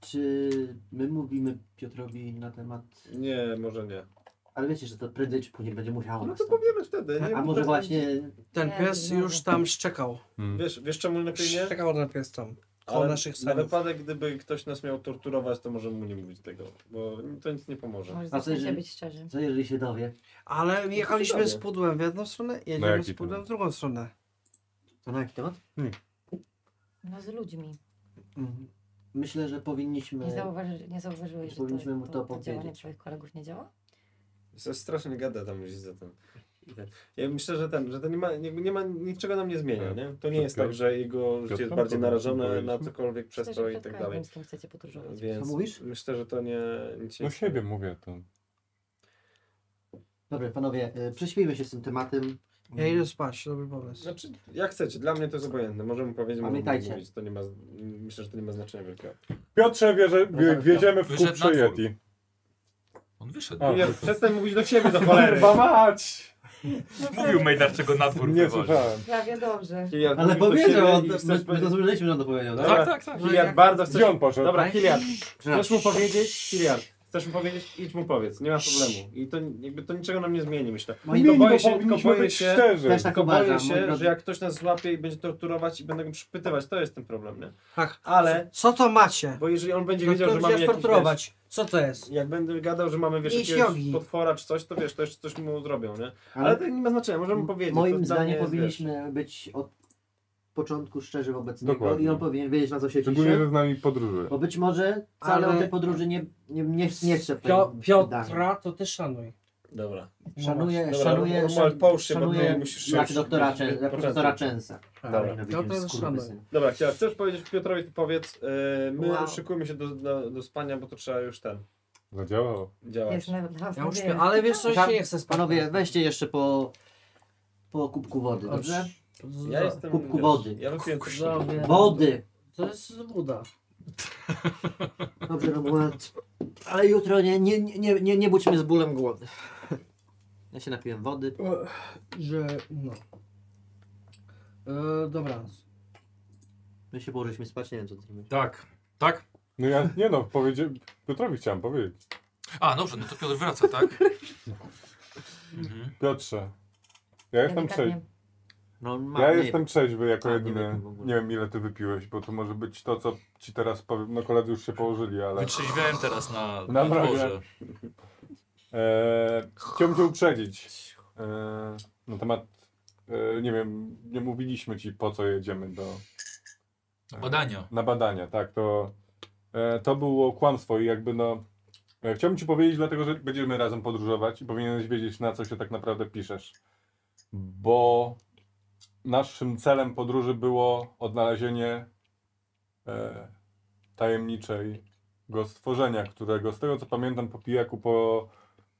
E: czy my mówimy Piotrowi na temat...
B: Nie, może nie.
E: Ale wiecie, że to prędzej czy później będzie musiało
B: No to
E: nastąpić.
B: powiemy wtedy. Nie?
E: A może właśnie...
D: Ten
G: Ja
D: pies
G: znowu.
D: już tam szczekał.
F: Mm.
B: Wiesz, wiesz czemu lepiej nie?
D: Szczekał ten pies tam. Koło
B: Ale
D: naszych
B: na
D: sadów.
B: wypadek, gdyby ktoś nas miał torturować, to możemy mu nie mówić tego, bo to nic nie pomoże.
G: Może
E: A co
G: zacznę się
E: jeżeli-
G: być szczerzy.
E: Co jeżeli się dowie?
B: No
D: Ale jechaliśmy z
B: ciekawe.
D: pudłem w jedną stronę, jedziemy
F: jaki
D: z pudłem
F: temat?
D: w drugą stronę.
E: To na jaki temat?
G: No z ludźmi.
E: Mhm. Myślę, że powinniśmy...
G: Nie, zauważy, nie zauważyłeś, że
E: No Powinniśmy
G: to,
E: mu
G: to,
E: to
G: to działanie
E: powiedzieć.
G: twoich kolegów nie działa?
B: Jest strasznie gada tam gdzieś za tym. Ja myślę, że ten, że ten nie ma, nie, nie ma niczego nam nie zmienia, nie? To nie jest tak, że jego życie jest
F: Piotrem
B: bardziej
F: Pawłem
B: narażone na
F: powiedzieliśmy.
B: cokolwiek przez
G: Myślę,
B: to
G: że
B: i
G: przed
B: tak
G: każdym,
B: dalej.
G: Z kim chcecie podróżować.
B: Więc
E: Co mówisz?
B: myślę, że to nie... Nic się
F: No
B: nie
F: siebie mówię to.
E: Dobra, panowie, y, prześpijmy się z tym tematem.
N: Mhm.
D: Ja idę spać, dobry pomysł.
B: Znaczy, jak chcecie, dla mnie to jest obojętne. Możemy powiedzieć, możemy
E: Pamiętajcie.
B: mówić. To nie ma, myślę, że to nie ma znaczenia wielkiego.
Q: Piotrze, wieże,
F: No tak,
Q: wie, wjedziemy w
H: Wyszedł na
Q: kuprze
H: dwór.
Q: Yeti.
H: On wyszedł.
Q: A,
B: Ja, przestań mówić do siebie, do cholery.
Q: Kurwa mać!
H: Mówił Maynard, czego na dwór
Q: Nie
H: wywali.
Q: słyszałem.
G: Prawie dobrze.
B: Kilian,
E: Ale
B: mówisz do
E: powiedział,
B: siebie
E: on,
B: i chcesz
E: my, my
B: powiedzieć-
E: to słyszeliśmy, że on to powiedział.
B: Dobra,
H: Tak, tak, tak.
B: No
E: No
B: Kilian, bardzo chcesz...
Q: Gdzie on poszedł?
B: Dobra, Kilian, chcesz mu
E: Przepraszam.
B: powiedzieć? Kilian, chcesz mu powiedzieć? Idź mu powiedz, nie ma problemu. I to jakby to niczego nam nie zmieni, myślę.
F: No
E: Moi
Q: Mini,
B: boję
Q: bo
B: się, tylko
Q: powinniśmy
B: boję
Q: być
B: się.
Q: szczerzy.
E: Też tak
B: Tylko boję
E: uważam, moi
B: się,
E: drodzy.
B: że jak ktoś nas złapie i będzie torturować i będę go przypytywać, to jest ten problem, nie?
D: Tak.
B: Ale,
D: Co to macie?
B: bo jeżeli on będzie
D: No
B: wiedział,
D: to
B: że mamy
D: będziesz
B: jakiś,
D: torturować. Co to jest?
B: wiesz, jak będę gadał, że mamy, wiesz,
D: Mieć
B: jakiegoś
D: jogi.
B: potwora czy coś, to wiesz, to jeszcze coś mu zrobią, nie?
E: Ale,
B: Ale to nie ma znaczenia, możemy powiedzieć. to
E: moim
B: dla mnie
E: zdaniem
B: jest,
E: powinniśmy być od początku szczerzy wobec niego
F: Dokładnie.
E: i on powinien wiedzieć, na co się
F: Szczególnie, że
E: cieszy.
F: z nami podróżuje.
E: Bo być może wcale
D: Ale-
E: o tej podróży nie, nie, nie, nie chce. w tej-
D: Pio-
E: wydarzeń.
D: Piotra, to ty szanuj.
B: wiesz. Dobra.
E: Szanuję,
B: Dobra,
E: szanuję,
B: Romuald,
E: szan-
B: połóż się, bo
E: szanuję
B: ty musisz
E: jak
B: szybciej-
E: doktora, Czę-
B: szybciej
E: jak profesora
B: poczęstuj.
E: Częsa.
B: Dobra.
E: Nienawidzę
D: No to jest
E: skurwysyn.
B: Dobra, Kira, chcesz powiedzieć Piotrowi, to powiedz, yy, my
E: Wow.
B: szykujemy się do, do, do spania, bo to trzeba już ten,
F: Zadziałało.
B: działać.
G: Jest nawet dla was
D: Ja już
G: nadzieja.
D: śpię, ale wiesz co, ja się nie chcę spać.
E: No Panowie, weźcie jeszcze po, po kubku wody, dobrze?
B: Ja jestem...
E: Kubku wody.
B: Ja wypiłem
E: Wody!
D: To jest woda.
E: Dobrze, Romuald. Ale jutro nie, nie, nie, nie, nie budźmy z bólem głowy. Ja się napiłem wody.
D: Że, no. E, dobra.
E: My się położyliśmy spać, nie wiem co ty mówisz.
H: Tak. Tak?
F: No ja, nie no, powiedzie... Piotrowi chciałem powiedzieć.
H: A, dobrze, no to Piotr wraca, tak? Mhm.
F: Piotrze, ja jestem
G: Delikatnie.
F: trzeźwy.
E: No, on ma,
F: Ja
E: tak nie-
F: jestem trzeźwy jako
E: A, nie
F: jedyny.
E: wypił w ogóle.
F: Nie wiem ile ty wypiłeś, bo to może być to, co ci teraz powiem. No koledzy już się położyli, ale...
H: Wytrzeźwiałem teraz na, na
F: Naprawdę.
H: dworze.
F: E, chciałbym cię uprzedzić. E, na temat... E, nie wiem, nie mówiliśmy ci po co jedziemy do...
H: Na badania.
F: Na badania, tak. To, e, to było kłamstwo i jakby no... E, chciałbym ci powiedzieć, dlatego że będziemy razem podróżować i powinieneś wiedzieć, na co się tak naprawdę piszesz. Bo naszym celem podróży było odnalezienie e, tajemniczego stworzenia, którego z tego co pamiętam po pijaku po,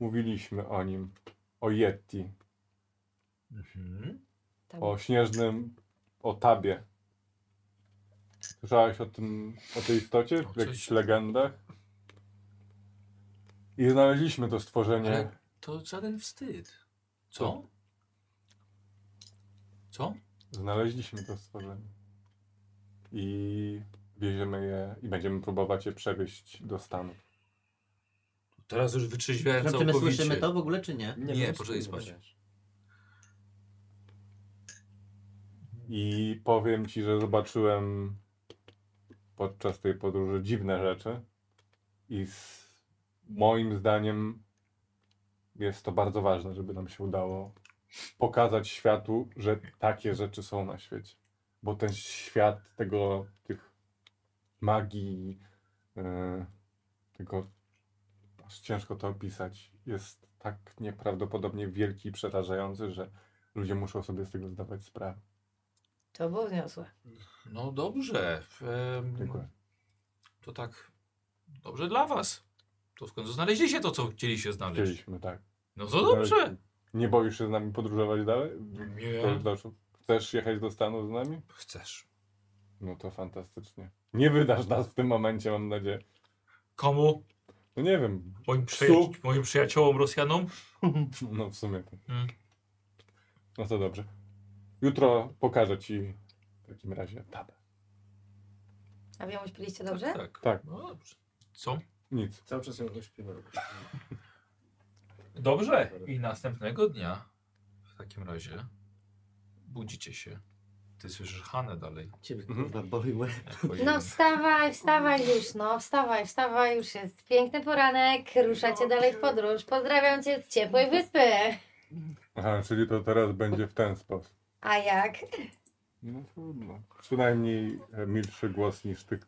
F: mówiliśmy o nim. O Yeti,
H: Mhm.
G: Tam.
F: o śnieżnym, o tabie. Słyszałeś o tym, o tej istocie w
H: O,
F: jakichś
H: coś-
F: legendach? I znaleźliśmy to stworzenie.
H: Ale to żaden wstyd. Co? Co?
F: Znaleźliśmy to stworzenie. I wieziemy je i będziemy próbować je przewieźć do Stanów.
H: Teraz już wytrzeźwiałem
E: Czy my słyszymy
H: całkowicie.
E: to w ogóle, czy nie?
H: Nie, poczekaj spać.
F: I powiem ci, że zobaczyłem podczas tej podróży dziwne rzeczy. I z moim zdaniem jest to bardzo ważne, żeby nam się udało pokazać światu, że takie rzeczy są na świecie. Bo ten świat tego, tych magii, yy, tego, aż ciężko to opisać, jest tak nieprawdopodobnie wielki i przerażający, że ludzie muszą sobie z tego zdawać sprawę.
G: To było wniosłe.
H: No dobrze. em,
F: Dziękuję.
H: To tak dobrze dla was. To w końcu znaleźliście to, co chcieliście znaleźć.
F: Chcieliśmy, tak.
H: No to dobrze.
F: Nie boisz się z nami podróżować dalej?
H: Nie.
F: Korytarzu? Chcesz jechać do Stanów z nami?
H: Chcesz.
F: No to fantastycznie. Nie wydasz nas w tym momencie, mam nadzieję.
H: Komu?
F: No nie wiem,
H: Moim,
F: Psu.
H: przyja- moim przyjaciołom Rosjanom?
F: no w sumie. to-
H: Mm.
F: No to dobrze. Jutro pokażę ci w takim razie tabę.
G: A wy ją uśpiliście dobrze?
H: Tak.
F: Tak.
H: No dobrze. Co?
F: Nic.
B: Cały czas ją śpiewam.
H: Dobrze. I następnego dnia w takim razie budzicie się. Ty słyszysz Hanę dalej.
E: Ciebie
F: Mhm.
E: kurwa boli łeb.
G: No wstawaj, wstawaj już, no wstawaj, wstawaj, już jest piękny poranek, ruszacie dalej w podróż, pozdrawiam cię z ciepłej wyspy.
F: Aha, czyli to teraz będzie w ten sposób.
G: A jak?
F: No trudno. Przynajmniej e, milszy głos niż tych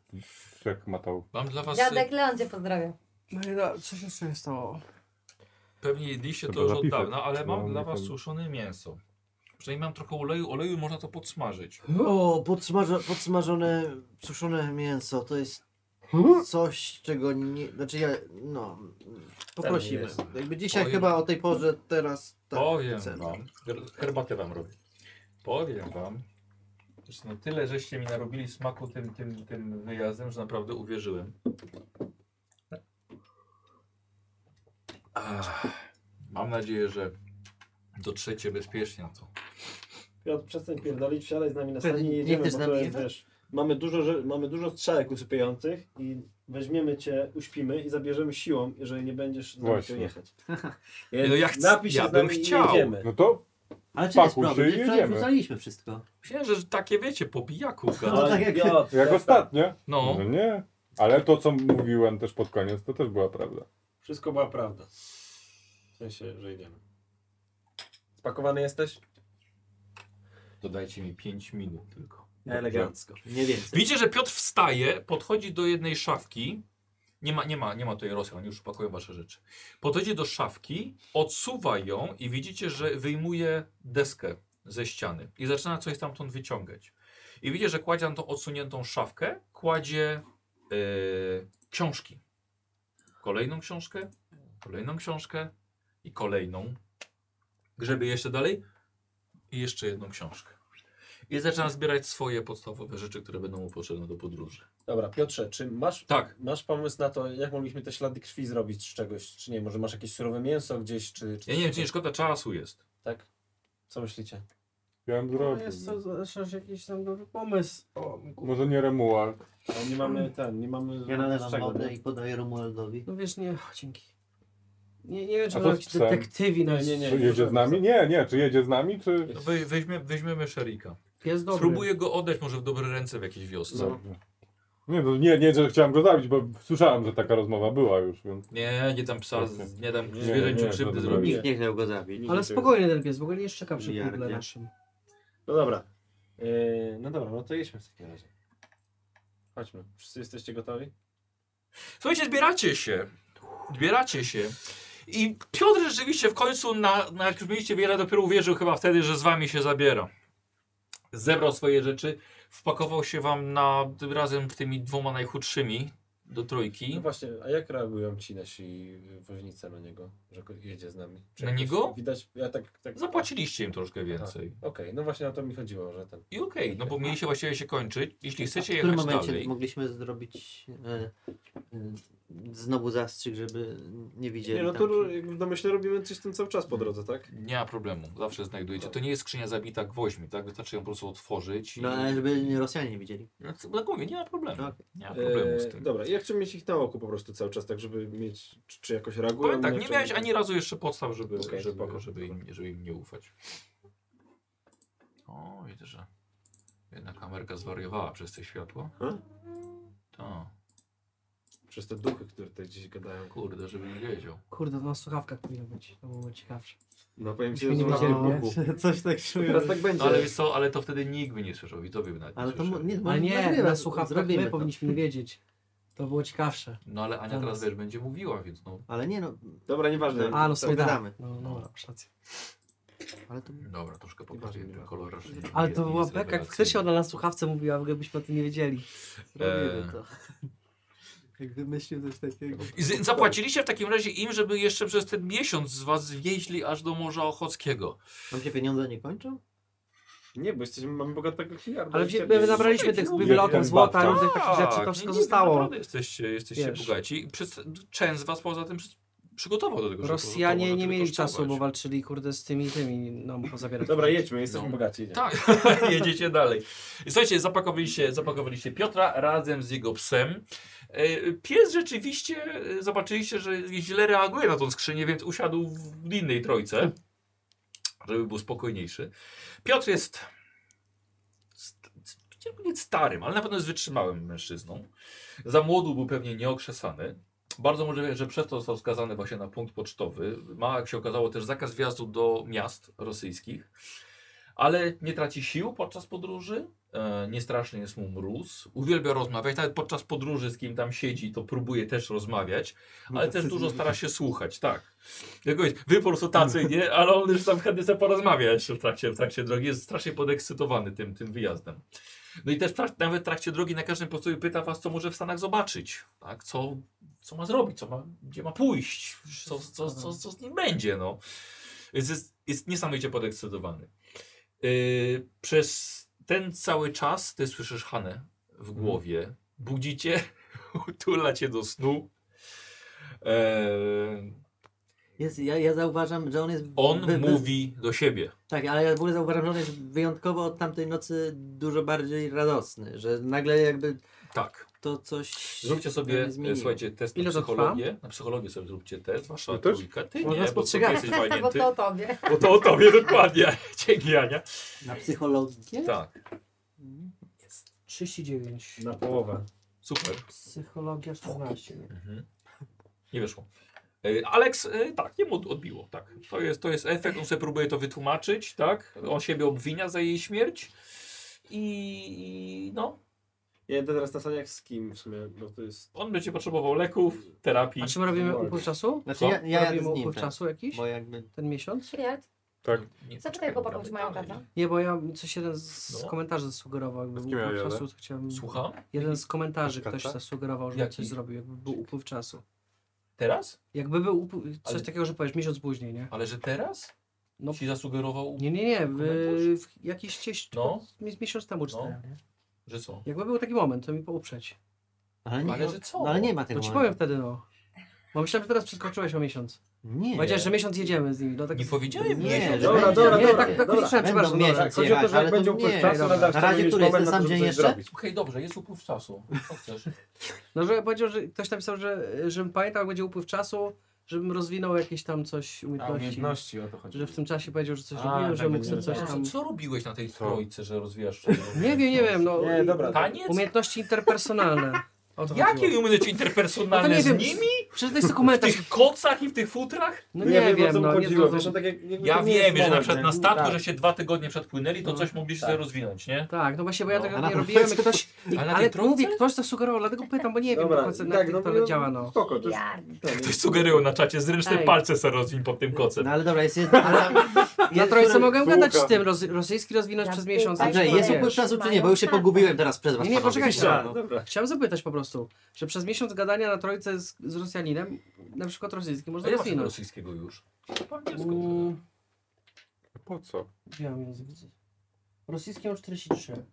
F: trzech matołów.
H: Mam dla was...
G: Dziadek Leon cię pozdrawia.
D: Marina, No co się z tym stało?
H: Pewnie jedliście to
F: Trzeba
H: już od
F: zapisać.
H: dawna, ale mam
F: No,
H: dla
F: nie
H: was
F: powiem.
H: suszone mięso. Przynajmniej mam trochę oleju. Oleju można to podsmażyć.
E: O, podsmażo, podsmażone, suszone mięso, to jest Hmm? coś, czego nie... Znaczy ja, no, poprosimy.
B: jest.
E: Jakby dzisiaj
H: Powiem-
E: chyba o tej porze, teraz... tak,
H: Powiem
E: chcemy.
H: wam. her- Herbatę wam robię. Powiem wam. Zresztą tyle żeście mi narobili smaku tym, tym, tym wyjazdem, że naprawdę uwierzyłem. Ach, mam nadzieję, że dotrzecie bezpiecznie na to.
B: Piotr, przestań pierdolić, wsiadaj z nami na
E: Ty
B: sali i
E: nie
B: jedziemy,
E: chcesz
B: bo
E: z
B: to
E: nami
B: jest,
E: jechać?
B: wiesz, mamy dużo, że, mamy dużo strzałek usypiających i weźmiemy cię, uśpimy i zabierzemy siłą, jeżeli nie będziesz z nami
F: Właśnie.
B: chciał jechać.
H: No ja chcę-
B: napij się
H: ja
B: z nami
H: bym
B: i
H: chciał.
B: jedziemy.
F: No to
E: Ale czy jest
F: Pakuj się
E: problem?
F: i
E: Wczoraj
F: jedziemy.
E: wrzucaliśmy wszystko.
H: Myślałem, że takie wiecie, po pijaku.
E: No
H: gadać.
E: tak jak-
B: Piotr,
F: jak
B: Piotr,
F: ostatnio.
H: No,
F: No nie. Ale to, co mówiłem też pod koniec, to też była prawda.
B: Wszystko była prawda. W sensie, że idziemy. Spakowany jesteś?
H: dodajcie mi 5 minut tylko.
B: Elegancko.
E: Nie więcej.
H: Widzicie, że Piotr wstaje, podchodzi do jednej szafki. Nie ma, nie ma, nie ma tutaj Rosjan, już pakują wasze rzeczy. Podchodzi do szafki, odsuwa ją i widzicie, że wyjmuje deskę ze ściany i zaczyna coś tamtąd wyciągać. I widzicie, że kładzie na tą odsuniętą szafkę, kładzie yy, książki. Kolejną książkę, kolejną książkę i kolejną. Grzebie jeszcze dalej i jeszcze jedną książkę. I zaczyna zbierać swoje podstawowe rzeczy, które będą mu potrzebne do podróży.
B: Dobra, Piotrze, czy masz,
H: Tak.
B: masz pomysł na to, jak mogliśmy te ślady krwi zrobić z czegoś? Czy nie, może masz jakieś surowe mięso gdzieś, czy... czy
H: Ja nie wiem, czy nie szkoda czasu jest.
B: Tak? Co myślicie?
F: Ja bym
D: No,
F: zrobił.
D: jest to zawsze jakiś tam dobry pomysł. O, ku-
F: Może nie Remual.
B: Ale No, nie mamy ten, nie mamy...
E: Ja nalewam
B: czego, no?
E: wodę
B: nie?
E: i podaję Romualdowi.
D: no wiesz, nie, dzięki. Nie, nie wiem, czy
F: A
D: będą
F: co z
D: jakiś
F: psem?
D: detektywi nas...
B: Nie, nie,
F: Czy
B: nie.
F: jedzie z nami? Nie, nie. Czy jedzie z nami, czy...
H: Wej, No weźmie, weźmiemy szerika.
D: Jest dobry.
H: Spróbuję go oddać może w dobre ręce w jakiejś wiosce.
B: No.
F: Nie, no, nie, nie, że chciałem go zabić, bo słyszałem, że taka rozmowa była już, więc...
H: Nie, nie dam psa, z- nie dam
F: Nie,
H: zwierzęciu
F: nie,
H: krzywdy
F: dobra.
H: zrobić.
E: Nikt nie chciał go zabić.
D: Ale spokojnie ten pies, w ogóle nie szczeka przy
E: Jarnie.
D: kuble naszym.
B: No dobra. Yy, no dobra, no to jedźmy w takim razie. Chodźmy. Wszyscy jesteście gotowi?
H: Słuchajcie, zbieracie się. Zbieracie się. I Piotr rzeczywiście w końcu, na, na jak już mieliście wiele, dopiero uwierzył chyba wtedy, że z wami się zabiera. Zebrał swoje rzeczy, wpakował się wam na razem z tymi dwoma najchudszymi do trójki.
B: No właśnie, a jak reagują ci nasi woźnice na niego, że ko- jedzie z nami?
H: Na
B: jakoś
H: niego?
B: Widać, ja tak... tak...
H: Zapłaciliście im troszkę
F: Tak.
H: więcej.
B: Okej, no właśnie o to mi chodziło, że ten...
H: I okej, no bo mieli się właściwie się kończyć. Jeśli chcecie
E: Tak, w którym
H: jechać
E: momencie
H: dalej,
E: mogliśmy zrobić e, e, znowu zastrzyk, żeby nie widzieli
B: Nie, no
E: tam,
B: to
E: czy-
B: jak w domyśle robimy coś z tym cały czas po drodze, tak?
H: nie ma problemu. Zawsze znajdujecie. To nie jest skrzynia zabita gwoźdźmi, tak? Wystarczy ją po prostu otworzyć i...
E: No ale żeby nie Rosjanie nie widzieli.
H: No, co- tak mówię, nie ma problemu.
E: Tak.
H: Nie ma problemu z
B: Eee,
H: tym.
B: Dobra, ja chciałbym mieć ich na oku po prostu cały czas, tak żeby mieć, czy, czy jakoś reagują.
H: Powiem tak,
B: na
H: nie
B: czy-
H: miałeś ani razu jeszcze podstaw, żeby,
B: Okej,
H: żeby,
B: spoko,
H: żeby,
B: dobra.
H: im, żeby im nie ufać. O, widzę, że jedna kamerka zwariowała przez te światło.
B: Hmm?
H: Tak,
B: Przez te duchy, które tutaj gdzieś gadają.
H: kurde, żebym wiedział.
D: Kurde, to na słuchawkach powinno być, to byłoby ciekawsze.
B: No powiem ci,
D: Myśmy nie
B: że
D: widzieli,
B: na
D: nie?
B: boku.
E: Coś tak czuję.
B: Teraz tak będzie.
H: No, ale wiesz co, ale to wtedy nikt by nie słyszał i to by nawet nie
E: Ale to mo-
H: słyszeli.
E: nie,
D: Ale nie,
E: nagrywa-
D: na słuchawkach
E: No, zrobimy
D: my
E: to.
D: powinniśmy wiedzieć. To było ciekawsze.
H: No ale Ania
D: Dla
H: teraz
D: nas.
H: wiesz, będzie mówiła, więc no.
E: Ale nie no,
B: Dobra, nieważne.
D: A, no
E: to
D: sobie
E: gadamy.
D: damy. No, no, masz rację.
E: ale to...
H: Dobra, troszkę poprawiłem ten kolor. aż nie-
D: Ale
H: nie-
D: to
H: nie
D: była
H: jest
D: beka, jak
H: rewelacyjny.
D: Krysia ona na słuchawce mówiła, w ogóle byśmy o tym nie wiedzieli.
H: Eee.
E: Robimy to. Jak wymyślił coś takiego.
H: I z- zapłaciliście w takim razie im, żeby jeszcze przez ten miesiąc z was wieźli aż do Morza Ochockiego.
E: Tam się pieniądze nie kończą?
B: Nie, bo jesteśmy, mamy bogatego miliarda.
D: Ale wzi- my nabraliśmy tych
H: Słuchajcie,
D: bibliotów,
F: mówię,
D: złota,
F: ten
D: różnych takich rzeczy, to
H: Tak,
D: wszystko
H: nie, nie,
D: zostało.
H: Naprawdę jesteście, jesteście
D: Wiesz.
H: bogaci. I Przez, część z was poza tym przez, przygotował do tego, żeby
D: Rosjanie
H: to-
D: nie
H: żeby
D: mieli
H: kosztować.
D: czasu, bo walczyli kurde z tymi, tymi, no pozabierać.
C: Dobra, jedźmy, jesteśmy
H: No.
C: bogaci. idziemy.
H: Tak, jedziecie dalej. Słuchajcie, zapakowaliście, zapakowaliście Piotra razem z jego psem. E, Pies rzeczywiście, e, zobaczyliście, że źle reaguje na tą skrzynię, więc usiadł w innej trojce, żeby był spokojniejszy. Piotr jest, st- chciałbym powiedzieć starym, ale na pewno jest wytrzymałym mężczyzną. Za młodu był pewnie nieokrzesany. Bardzo możliwe, że przez to został skazany właśnie na punkt pocztowy. Ma, jak się okazało, też zakaz wjazdu do miast rosyjskich. Ale nie traci sił podczas podróży. E, niestraszny jest mu mróz. Uwielbia rozmawiać. Nawet podczas podróży z kim tam siedzi, to próbuje też rozmawiać.
B: No
H: Ale też dużo stara się słuchać, tak. Jego jest, wy po prostu tacy, nie? Ale on już tam chętnie chce porozmawiać w trakcie, w trakcie drogi. Jest strasznie podekscytowany tym, tym wyjazdem. No i też w trak- nawet w trakcie drogi na każdym postoju pyta was, co może w Stanach zobaczyć, tak? Co, co ma zrobić, co ma, gdzie ma pójść, co, co, co, co z nim będzie, no. Więc jest, jest niesamowicie podekscytowany. Yy, przez ten cały czas ty słyszysz Hanę
E: Mhm.
H: w głowie, budzicie, utula cię do snu. Eee,
E: Jest, ja, ja zauważam, że on jest...
H: on
E: wy- wy-
H: mówi do siebie.
E: Tak, ale ja w ogóle zauważam, że on jest wyjątkowo od tamtej nocy dużo bardziej radosny, że nagle jakby
H: Tak.
E: to coś...
H: Zróbcie sobie,
E: nie
H: e,
E: zmieniło.
H: słuchajcie, test na
D: Ile to trwa?
H: psychologię. Na psychologię sobie zróbcie test, wasza
F: Ja też?
H: trójka. Ty
D: Można
H: nie, bo ty
D: spostrzegać.
H: jesteś
G: bo
H: walnięty.
G: to o tobie.
H: Bo to o tobie dokładnie. Dzięki Ania.
E: Na psychologię?
H: Tak,
D: 39.
C: Na połowę.
H: super.
D: Psychologia 14.
H: Mhm. Nie wyszło. E, Alex, e, tak, jemu od- odbiło, tak. To jest, to jest efekt, on sobie próbuje to wytłumaczyć, tak. On siebie obwinia za jej śmierć. I, i no,
C: Ja jedę teraz na saniach z kim w sumie, bo to jest...
H: on będzie potrzebował leków, terapii.
D: A czy my robimy upływ czasu?
E: Znaczy
H: Co?
E: ja, ja jadę z
D: robimy
E: nim,
D: upływ
E: tak,
D: czasu jakiś?
E: bo jakby...
D: Ten miesiąc?
G: Przyjad.
H: Nie,
G: Zapytaj chłopaków, czy mają
H: dalej.
G: kata.
D: Nie, bo ja coś jeden z
H: No.
D: komentarzy zasugerował, jakby
F: Z
D: był
F: kim ja
D: upływ
F: jadę?
D: czasu, to chciałbym...
H: Słucham?
D: Jeden z komentarzy ktoś
F: Kata?
D: zasugerował, że
H: Jaki?
D: coś zrobił, jakby był upływ czasu.
H: Teraz?
D: Jakby był upływ... coś
H: Ale-
D: takiego, że powiesz miesiąc później, nie?
H: Ale że teraz?
D: No.
H: Ci zasugerował,
D: Nie, nie, nie, w,
H: Komentarz?
D: w jakiś gdzieś
H: No.
D: mi- miesiąc temu
H: No.
D: czytałem. nie?
H: że co?
D: Jakby był taki moment, to mi pouprzeć.
E: Ale nie,
H: Ale że co?
E: no, ale nie ma tego
D: No ci powiem
E: momentu.
D: wtedy, no. Bo myślałem, że teraz przeskoczyłeś o miesiąc.
E: Nie.
D: Powiedziałeś, że miesiąc jedziemy z nimi. No, tak
H: Nie powiedziałem
E: Nie,
H: miesiąc.
E: że
B: Dobra,
E: będzie-
B: dobra,
D: nie,
B: dobra.
D: tak, tak usłyszałem,
E: Będą
D: przepraszam.
E: miesiąc
D: dobra.
B: Chodzi o to,
E: jechać,
B: że jak
E: ale
B: będzie
E: to
B: upływ
E: nie.
B: czasu,
D: dobra.
B: nadal
E: Na
B: chcemy
E: razie,
B: mieć
E: który jest
B: moment
E: ten
B: na to,
E: sam
B: żeby
E: dzień
B: coś
E: jeszcze?
B: zrobić.
H: Okej, dobrze, jest upływ czasu. Co chcesz?
D: No, że powiedział, że ktoś napisał, że żebym pamiętał, jak będzie upływ czasu, żebym rozwinął jakieś tam coś
C: A,
D: umiejętności.
C: umiejętności, o to chodzi.
D: Że w tym czasie powiedział, że coś
C: A,
D: robiłem, że
C: tak,
D: mógł sobie
C: nie,
D: coś
C: tak.
D: tam...
H: Co, co robiłeś na tej
F: Co?
H: trójce, że rozwijasz?
D: Nie wiem, nie wiem, no.
C: Nie, dobra.
H: Taniec?
D: Umiejętności interpersonalne. O No to chodziło.
H: Jakie umiejętności interpersonalne
D: No to nie
H: z
D: wiem,
H: nimi?
D: Przecież to jest
H: W
D: dokumentarz.
H: tych kocach i w tych futrach?
D: No
C: ja
D: nie
C: o
D: wiem,
C: co mu
D: no. Nie,
C: chodziło,
D: to,
C: wiesz,
D: to,
C: on tak jak, jakby
H: Ja
C: to nie
H: wiem,
C: jest
H: że na
C: moment,
H: przepłynęli,
C: nie?
H: na statku,
C: Tak.
H: że się dwa tygodnie przepłynęli, to
D: No,
H: coś mogliście
C: tak.
H: sobie rozwinąć, nie?
D: tak, no właśnie, bo ja
H: No.
D: tego
E: A na
D: nie
E: to
D: robiłem.
E: wszystko-
D: Ktoś,
H: Ale na
D: ale
H: tej trójce?
D: mówię, ktoś to sugerował, dlatego pytam, bo nie wiem,
C: Dobra,
D: do końca,
C: tak,
D: na
C: no,
D: jak to
C: no,
D: działa, no.
C: Spoko, to
G: Ja.
C: to nie-
H: Ktoś sugerują na czacie, zręczne
D: Ej.
H: palce sobie rozwiń pod tym kocem.
E: No ale dobra, jest... jest, jest
D: Na trójce mogę gadać z
F: Słucham.
D: tym, roz, rosyjski rozwinąć
G: Ja
D: przez
G: pytam,
D: miesiąc.
G: Andrzej,
E: Andrzej,
D: ale
E: jest
D: nie.
E: upływ czasu czy nie? Bo już się pogubiłem teraz przez was.
D: Nie, nie,
E: panowie.
D: poczekajcie.
C: Dobra, dobra.
D: Chciałem zapytać po prostu, że przez miesiąc gadania na trójce z, z Rosjaninem, na przykład rosyjskim,
H: A
D: można
H: nie masz tego
D: rozwinąć.
H: rosyjskiego już.
D: Mm,
F: Po co?
D: Gdzie mam język? Rosyjski mam 43.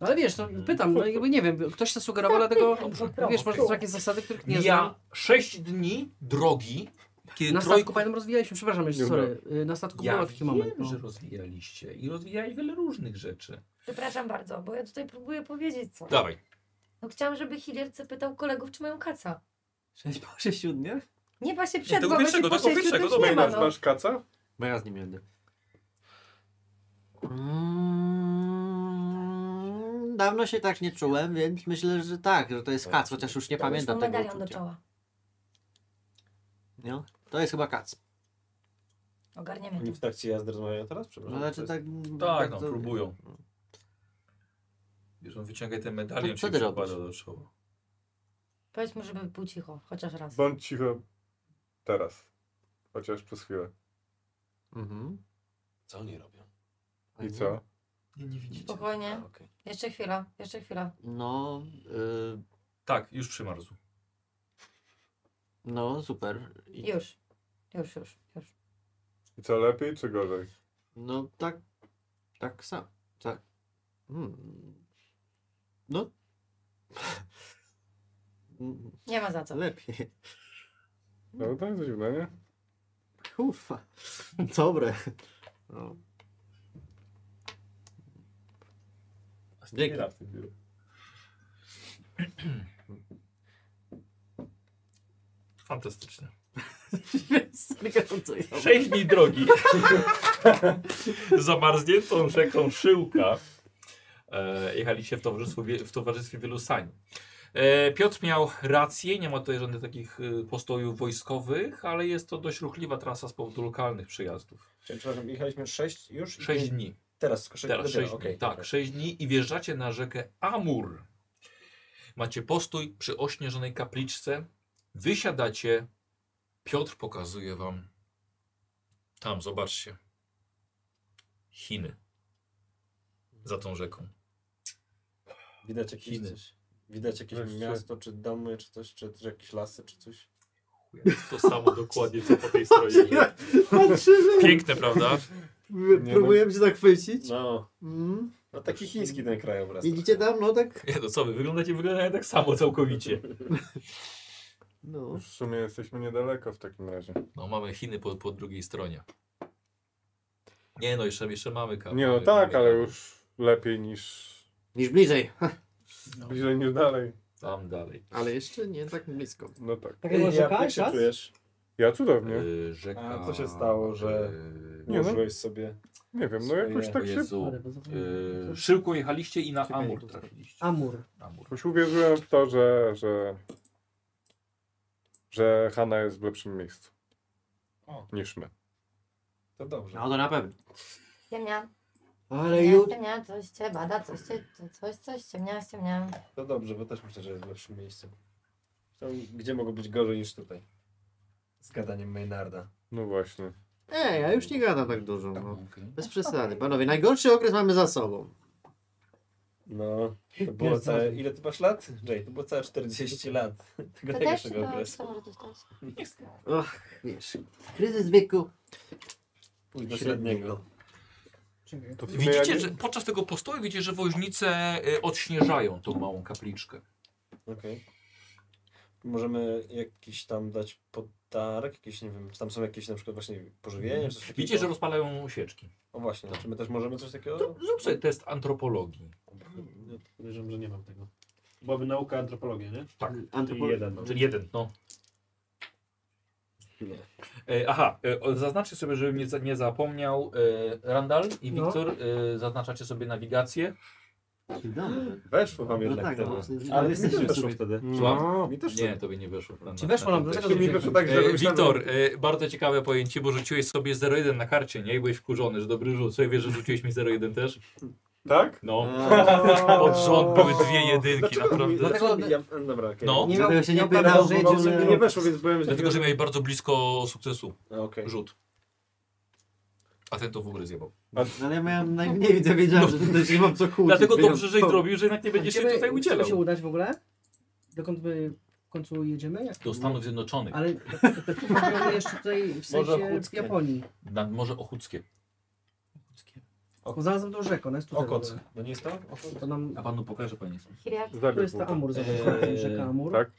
D: No ale wiesz, no, pytam, no jakby nie wiem, ktoś to sugerował, dlatego, wiesz, może to są jakieś zasady, których nie znam.
H: Ja sześć dni drogi, kiedy
D: Na
H: trójkę-
D: statku pamiętam rozwijaliśmy, przepraszam jeszcze,
F: Dobra.
D: sorry, y, na statku
H: Ja
D: był taki moment.
H: wiem,
D: No.
H: że rozwijaliście i rozwijali wiele różnych rzeczy.
G: Przepraszam bardzo, bo ja tutaj próbuję powiedzieć co.
H: Dawaj.
G: No chciałam, żeby Hilliard zapytał kolegów, czy mają kaca.
E: Sześć po sześciu dniach?
G: Nie właśnie przed,
H: tego
G: bo będzie
H: pierwszego,
G: po
H: tego
G: sześciu, to
H: pierwszego,
G: już
H: dobra,
G: nie ma,
F: Masz,
G: no.
F: masz kaca?
E: Bo ja z nim jadę.
D: No.
E: Dawno się tak nie czułem, więc myślę, że tak, że to jest kac, chociaż już nie pamiętam
G: Już
E: tego
G: medalion do
E: uczucia.
G: czoła.
E: Nie? To jest chyba kac.
G: Ogarniemy
C: Oni
G: to.
C: w trakcie jazdy rozmawiają teraz? Przepraszam.
E: No, znaczy
C: to jest-
E: tak...
H: Tak, no,
E: bardzo-
H: próbują. Wiesz, on wyciąga ten medalion,
E: To co
H: się
E: ty robisz?
H: przykłada do czoła.
G: Powiedz mu, żeby był cicho, chociaż raz.
F: Bądź cicho teraz. Chociaż przez chwilę.
E: Mhm.
H: Co oni robią?
F: I co?
H: Nie, nie widzicie.
G: Spokojnie.
H: A, okej.
G: Jeszcze chwila, jeszcze chwila.
E: No, y,
H: Tak, już przymarzł.
E: no super. I,
G: Już. Już, już, już.
F: I co, lepiej czy gorzej?
E: no tak, tak sam, tak. Hmm. No. Mm,
G: Nie ma za co.
E: Lepiej.
F: No tak, to dziwne, nie?
E: Ufa, dobre. No. Dzięki.
H: Fantastyczne.
E: Zrygają, co ja-
H: Sześć dni drogi. Zamarzniętą rzeką Szyłka. E, jechaliście w towarzystwie, wie- w towarzystwie wielu sań. E, Piotr miał rację, nie ma tutaj żadnych takich e, postojów wojskowych, ale jest to dość ruchliwa trasa z powodu lokalnych przejazdów.
B: Czyli, przepraszam, jechaliśmy 6 już? i
H: Sześć
B: pięć-
H: dni.
B: Teraz, tylko 6
H: Teraz 6 dni. tak, sześć dni i wjeżdżacie na rzekę Amur. Macie postój przy ośnieżonej kapliczce. Wysiadacie. Piotr pokazuje wam. Tam, zobaczcie. Chiny. Za tą rzeką.
B: Widać jakieś,
H: Chiny.
B: coś, widać jakieś
F: Wreszcie.
B: miasto, czy domy, czy coś, czy, czy jakieś lasy, czy coś.
H: To samo dokładnie, co po tej stronie.
E: Patrzę, że
H: Piękne, prawda?
F: Nie, no.
E: próbuję się zachwycić.
B: No,
E: Mm.
B: no taki chiński ten krajobraz.
E: Widzicie tam, no tak?
H: Nie, to co wy, wyglądacie, wyglądają tak samo całkowicie.
E: No.
F: W sumie jesteśmy niedaleko w takim razie.
H: No, mamy Chiny po, po drugiej stronie. Nie no, jeszcze, jeszcze mamy kawę.
F: Nie no tak, ale już lepiej niż
E: Niż bliżej.
F: bliżej niż dalej.
H: Tam dalej.
E: Ale jeszcze nie tak blisko.
F: No tak.
D: Tak jak
B: Ej,
D: narzekałeś
B: jak się
D: raz?
B: czujesz?
F: Ja cudownie.
H: Y, rzeka...
C: A co się stało, że-
H: y,
F: Nie, no.
C: Ułożyłeś sobie.
F: Nie wiem, no jakoś
C: Swoje-
F: tak
H: o
F: się...
H: Jezu.
D: Ale bez-
H: Y, szybko jechaliście i na Amur trafiliście.
D: Amur.
H: Amur.
F: Jakoś uwierzyłem w to, że... że... że Hanna jest w lepszym miejscu.
C: O.
F: Niż my.
C: To dobrze.
E: No to na pewno.
G: Ciemnia,
E: Ale
G: ciemnia,
E: już...
G: ciemnia, coś cię bada, coś cię, coś, coś, ciemnia, ciemnia.
C: To dobrze, bo też myślę, że jest w lepszym miejscu. Tam, gdzie mogło być gorzej niż tutaj? Z gadaniem Maynarda.
F: No właśnie.
E: Ej, ja już nie gadam tak dużo. No. Bez przesady. Panowie, najgorszy okres mamy za sobą.
C: No, to było całe... Ile ty masz lat? Jay, to było całe 40 lat tego
G: To też,
C: najgorszego
G: to,
C: okresu.
G: to może też dać.
E: Och, wiesz. Kryzys wieku.
C: Pójdź do
E: Średniego.
C: średniego.
F: To w sumie
H: Widzicie,
F: jak-
H: że podczas tego postoju widzicie, że woźnice y, odśnieżają tą małą kapliczkę.
C: Okej. Możemy jakiś tam dać podarek, jakiś, nie wiem, czy tam są jakieś na przykład właśnie pożywienie, czy coś takiego?
H: Mhm. Widzicie, że rozpalają świeczki.
C: O właśnie, czy my też możemy coś takiego?
H: To Zrób sobie test antropologii.
R: Ja podejrzewam, że nie mam tego. Byłaby nauka antropologia, nie?
H: Tak.
R: Czyli jeden. No.
H: Czyli jeden, no. E, aha, e, o, zaznaczcie sobie, żebym nie, za- nie zapomniał. E, Randall i
D: No.
H: Wiktor, e, zaznaczacie sobie nawigację.
E: Dobrze.
C: Weszło wam
E: No
C: jednak
E: tak,
C: to.
E: no,
C: Ale
E: ale
C: mi też
E: jesteśmy
C: weszło
E: sobie.
C: wtedy.
F: No.
C: Mi też
H: Nie, tobie nie weszło. Na-
D: Ci weszło
H: na- na
D: nam,
H: tym
D: dlatego
H: teście.
D: że-
F: Mi wyszło tak, że
H: E,
F: myślałem-
H: Witor, e, bardzo ciekawe pojęcie, bo rzuciłeś sobie 0,1 na karcie, nie? I byłeś wkurzony, że dobry rzut. Sobie wiesz, że rzuciłeś mi 0,1 też?
F: Tak?
H: No.
E: Eee.
H: Od rząd były dwie jedynki, naprawdę.
C: Dlaczego? Ja, dobra, okej.
H: No.
D: Nie
E: Dlatego
D: miał,
E: się
D: się
E: nie
D: nie
E: pytał,
D: pytał,
E: bo
D: że
E: w
D: idzie
E: ogóle-
D: sobie...
C: Mi nie weszło, więc byłem
H: Dlatego, że miałeś bardzo blisko sukcesu
C: A, Okej.
H: rzut. A ten to w ogóle zjebał.
E: Ale ja miałem najmniej widzę, wiedziałem, że tutaj nie mam co kłócić.
H: Dlatego dobrze,
E: Wiedziałem,
H: że ich
E: to-
H: zrobił, że jednak nie będziesz się
D: Chcemy-
H: tutaj
D: chcemy
H: udzielał.
D: się udać w ogóle? Dokąd my w końcu jedziemy? Jak...
H: Do Stanów Zjednoczonych,
D: Ale mówimy jeszcze tutaj w sensie w
C: Ochockie.
D: Japonii.
H: nad Morze Ochuckie.
D: Bo znalazłem tą rzekę, ona jest tutaj. w
C: Okoc.
D: ogóle.
C: No nie jest to?
D: To nam...
H: A panu pokażę, panie.
G: Kiriak,
D: To
F: Zabieg
D: jest
F: był
D: ta
F: to.
D: Amur, zobacz,
H: Eee,
D: rzeka Amur.
F: tak.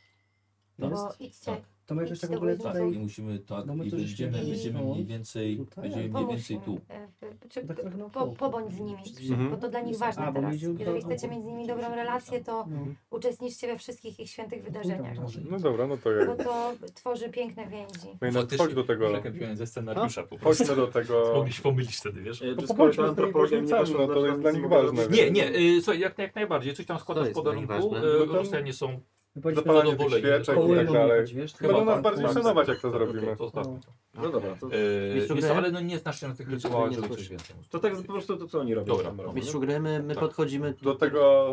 D: To
G: bo
D: No jest-
G: idźcie.
D: To ma jakoś tak w
G: Idźcie,
D: ogóle
G: bo
D: tutaj...
H: I musimy tak,
D: No my
H: i
D: to żeśmy
H: będziemy,
G: mieli
H: będziemy
D: to
H: mniej więcej,
D: tutaj,
H: będziemy mniej
G: Pomóż
H: więcej
G: im.
H: tu.
G: E, e, Czy,
D: Tak trochę
G: po,
D: naokoło.
G: pobądź z nimi,
F: Mhm.
G: bo to dla nich ważne
D: A, bo
G: teraz.
D: będzie-
G: Jeżeli chcecie mieć z nimi dobrą relację, to
D: No.
G: uczestniczcie we wszystkich ich świętych wydarzeniach.
F: No dobra, no to
G: Bo
F: jak.
G: to tworzy piękne więzi.
F: No i na-
H: Faktycznie,
F: Chodź do tego,
H: Rzekę wziąłem ze scenariusza po prostu.
F: chodźmy do tego...
H: Mogli się pomylić wtedy, wiesz?
R: E,
F: To
R: to skoro
F: No
R: ta
F: popatrzmy z tymi
R: antropologia mi nie
F: różnicami,
R: weszła,
F: no to
R: znaczy,
F: jest
R: nic
F: dla nich
R: mogę
F: ważne,
R: zrobić.
F: więc-
H: Nie, nie, y, słuchaj, jak, jak najbardziej. Coś tam składasz
E: To
H: w
E: jest
H: podarunku,
E: najważne.
H: y,
F: No to-
H: Rosjanie są
D: My powiedzmy,
H: Zapalenie
F: Zapalanie tych
H: zadowoleni.
F: świeczek
D: koło
F: i tak
D: Lemonu
F: dalej.
D: chodzi, wiesz?
H: Chyba
F: Będą nas
H: tak.
F: bardziej
H: Tak.
F: szanować, jak to zrobimy.
H: Okej, to zostawmy to.
C: No dobra, to,
H: Y,
E: Mistrzu
H: wiesz
E: gry?
H: co, ale no nie znasz się na tych rytuałach, żeby coś więcej.
C: to tak po prostu to, co oni robią.
H: Dobra,
C: tam robią.
E: Mistrzu gry, my, my
H: Tak.
E: podchodzimy...
F: Do tego,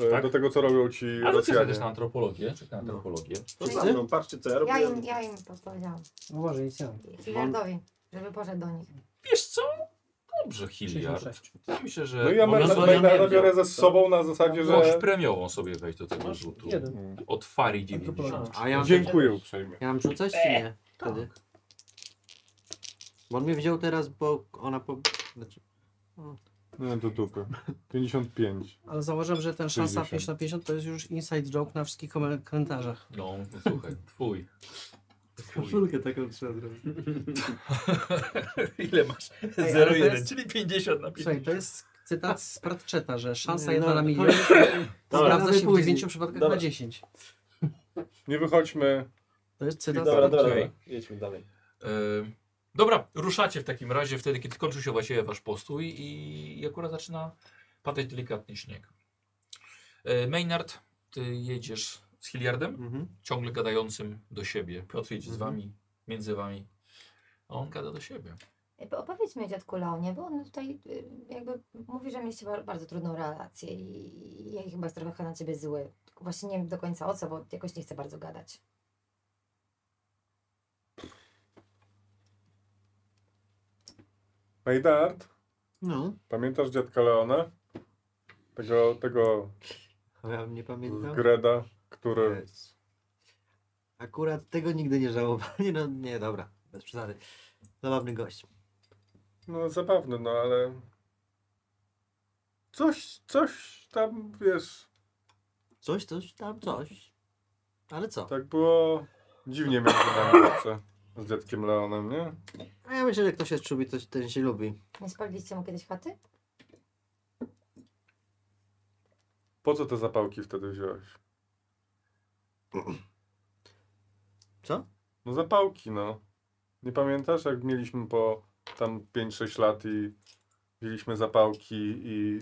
F: e,
H: Tak?
F: do tego co robią ci
H: Ale ty
F: Rosjanie.
H: też na antropologię, czy na antropologię.
C: To za mną, patrzcie, co ja robię.
G: Ja im, ja im podpowiedziałam.
D: No Uważaj, nic nie mam.
G: Hillardowi, żeby poszedł do nich.
H: Wiesz co? Dobrze, Hilliard.
D: 66.
H: Ja myślę, że...
F: No i ja
H: bo Rosjanie
F: Maynarda
H: wiedział.
F: biorę ze sobą na zasadzie,
H: Możesz
F: że...
H: premiową sobie wejść do tego rzutu.
D: Jeden.
H: Od Fari 90.
E: A ja,
F: Dziękuję uprzejmie.
E: ja mam rzucać, czy nie? Wtedy. Bo on mnie wziął teraz, bo ona po... Znaczy,
F: No do dupy. 55.
D: Ale zauważam, że ten szansa
F: 60.
D: 5 na 50 to jest już inside joke na wszystkich komen- komentarzach.
H: No, słuchaj, twój.
E: Koszulkę taką trzeba zrobić.
H: Ile masz?
D: ale to
H: 0,1,
D: jest-
H: czyli 50 na 50.
D: Słuchaj, to jest cytat z Pratchetta, że szansa
E: Nie,
D: jedna
E: no,
D: na
E: to
D: milion
E: Dobra,
D: sprawdza się w
E: później.
D: 9 przypadkach
C: Dobra.
D: na 10.
F: Nie wychodźmy.
D: To jest cytat
C: Dobra,
D: z
C: dobra,
H: Okej.
C: dobra. Jedźmy dalej.
H: Ym, dobra, ruszacie w takim razie wtedy, kiedy kończy się właściwie wasz postój i, i akurat zaczyna padać delikatny śnieg. Yy, Maynard, ty jedziesz z Hilliardem,
E: Mhm.
H: ciągle gadającym do siebie. Piotr jedzie z
C: Mhm.
H: wami, między wami. A on gada do siebie.
G: Jakby Opowiedz mi o dziadku Leonie, bo on tutaj y, jakby mówi, że mieliście ba- bardzo trudną relację i i ja chyba jest trochę na ciebie zły. Tylko Właśnie nie wiem do końca o co, bo jakoś nie chcę bardzo gadać.
F: Majdard,
E: No,
F: pamiętasz dziadka Leona? Tego, tego
E: a ja bym nie pamiętam.
F: Greda, który...
E: Jezu. Akurat tego nigdy nie żałowali. No nie, dobra, bez przesady. Zabawny gość.
F: No zabawny, no ale... Coś, coś tam, wiesz,
E: Coś, coś, tam coś. Ale co?
F: tak było dziwnie między nami zawsze. Z dziadkiem Leonem, nie?
E: A ja myślę, że kto się czubi, to ten się lubi.
G: Nie spaliliście mu kiedyś chaty?
F: Po co te zapałki wtedy wziąłeś?
E: Co?
F: No zapałki, no. Nie pamiętasz, jak mieliśmy po tam 5-6 lat i wzięliśmy zapałki i,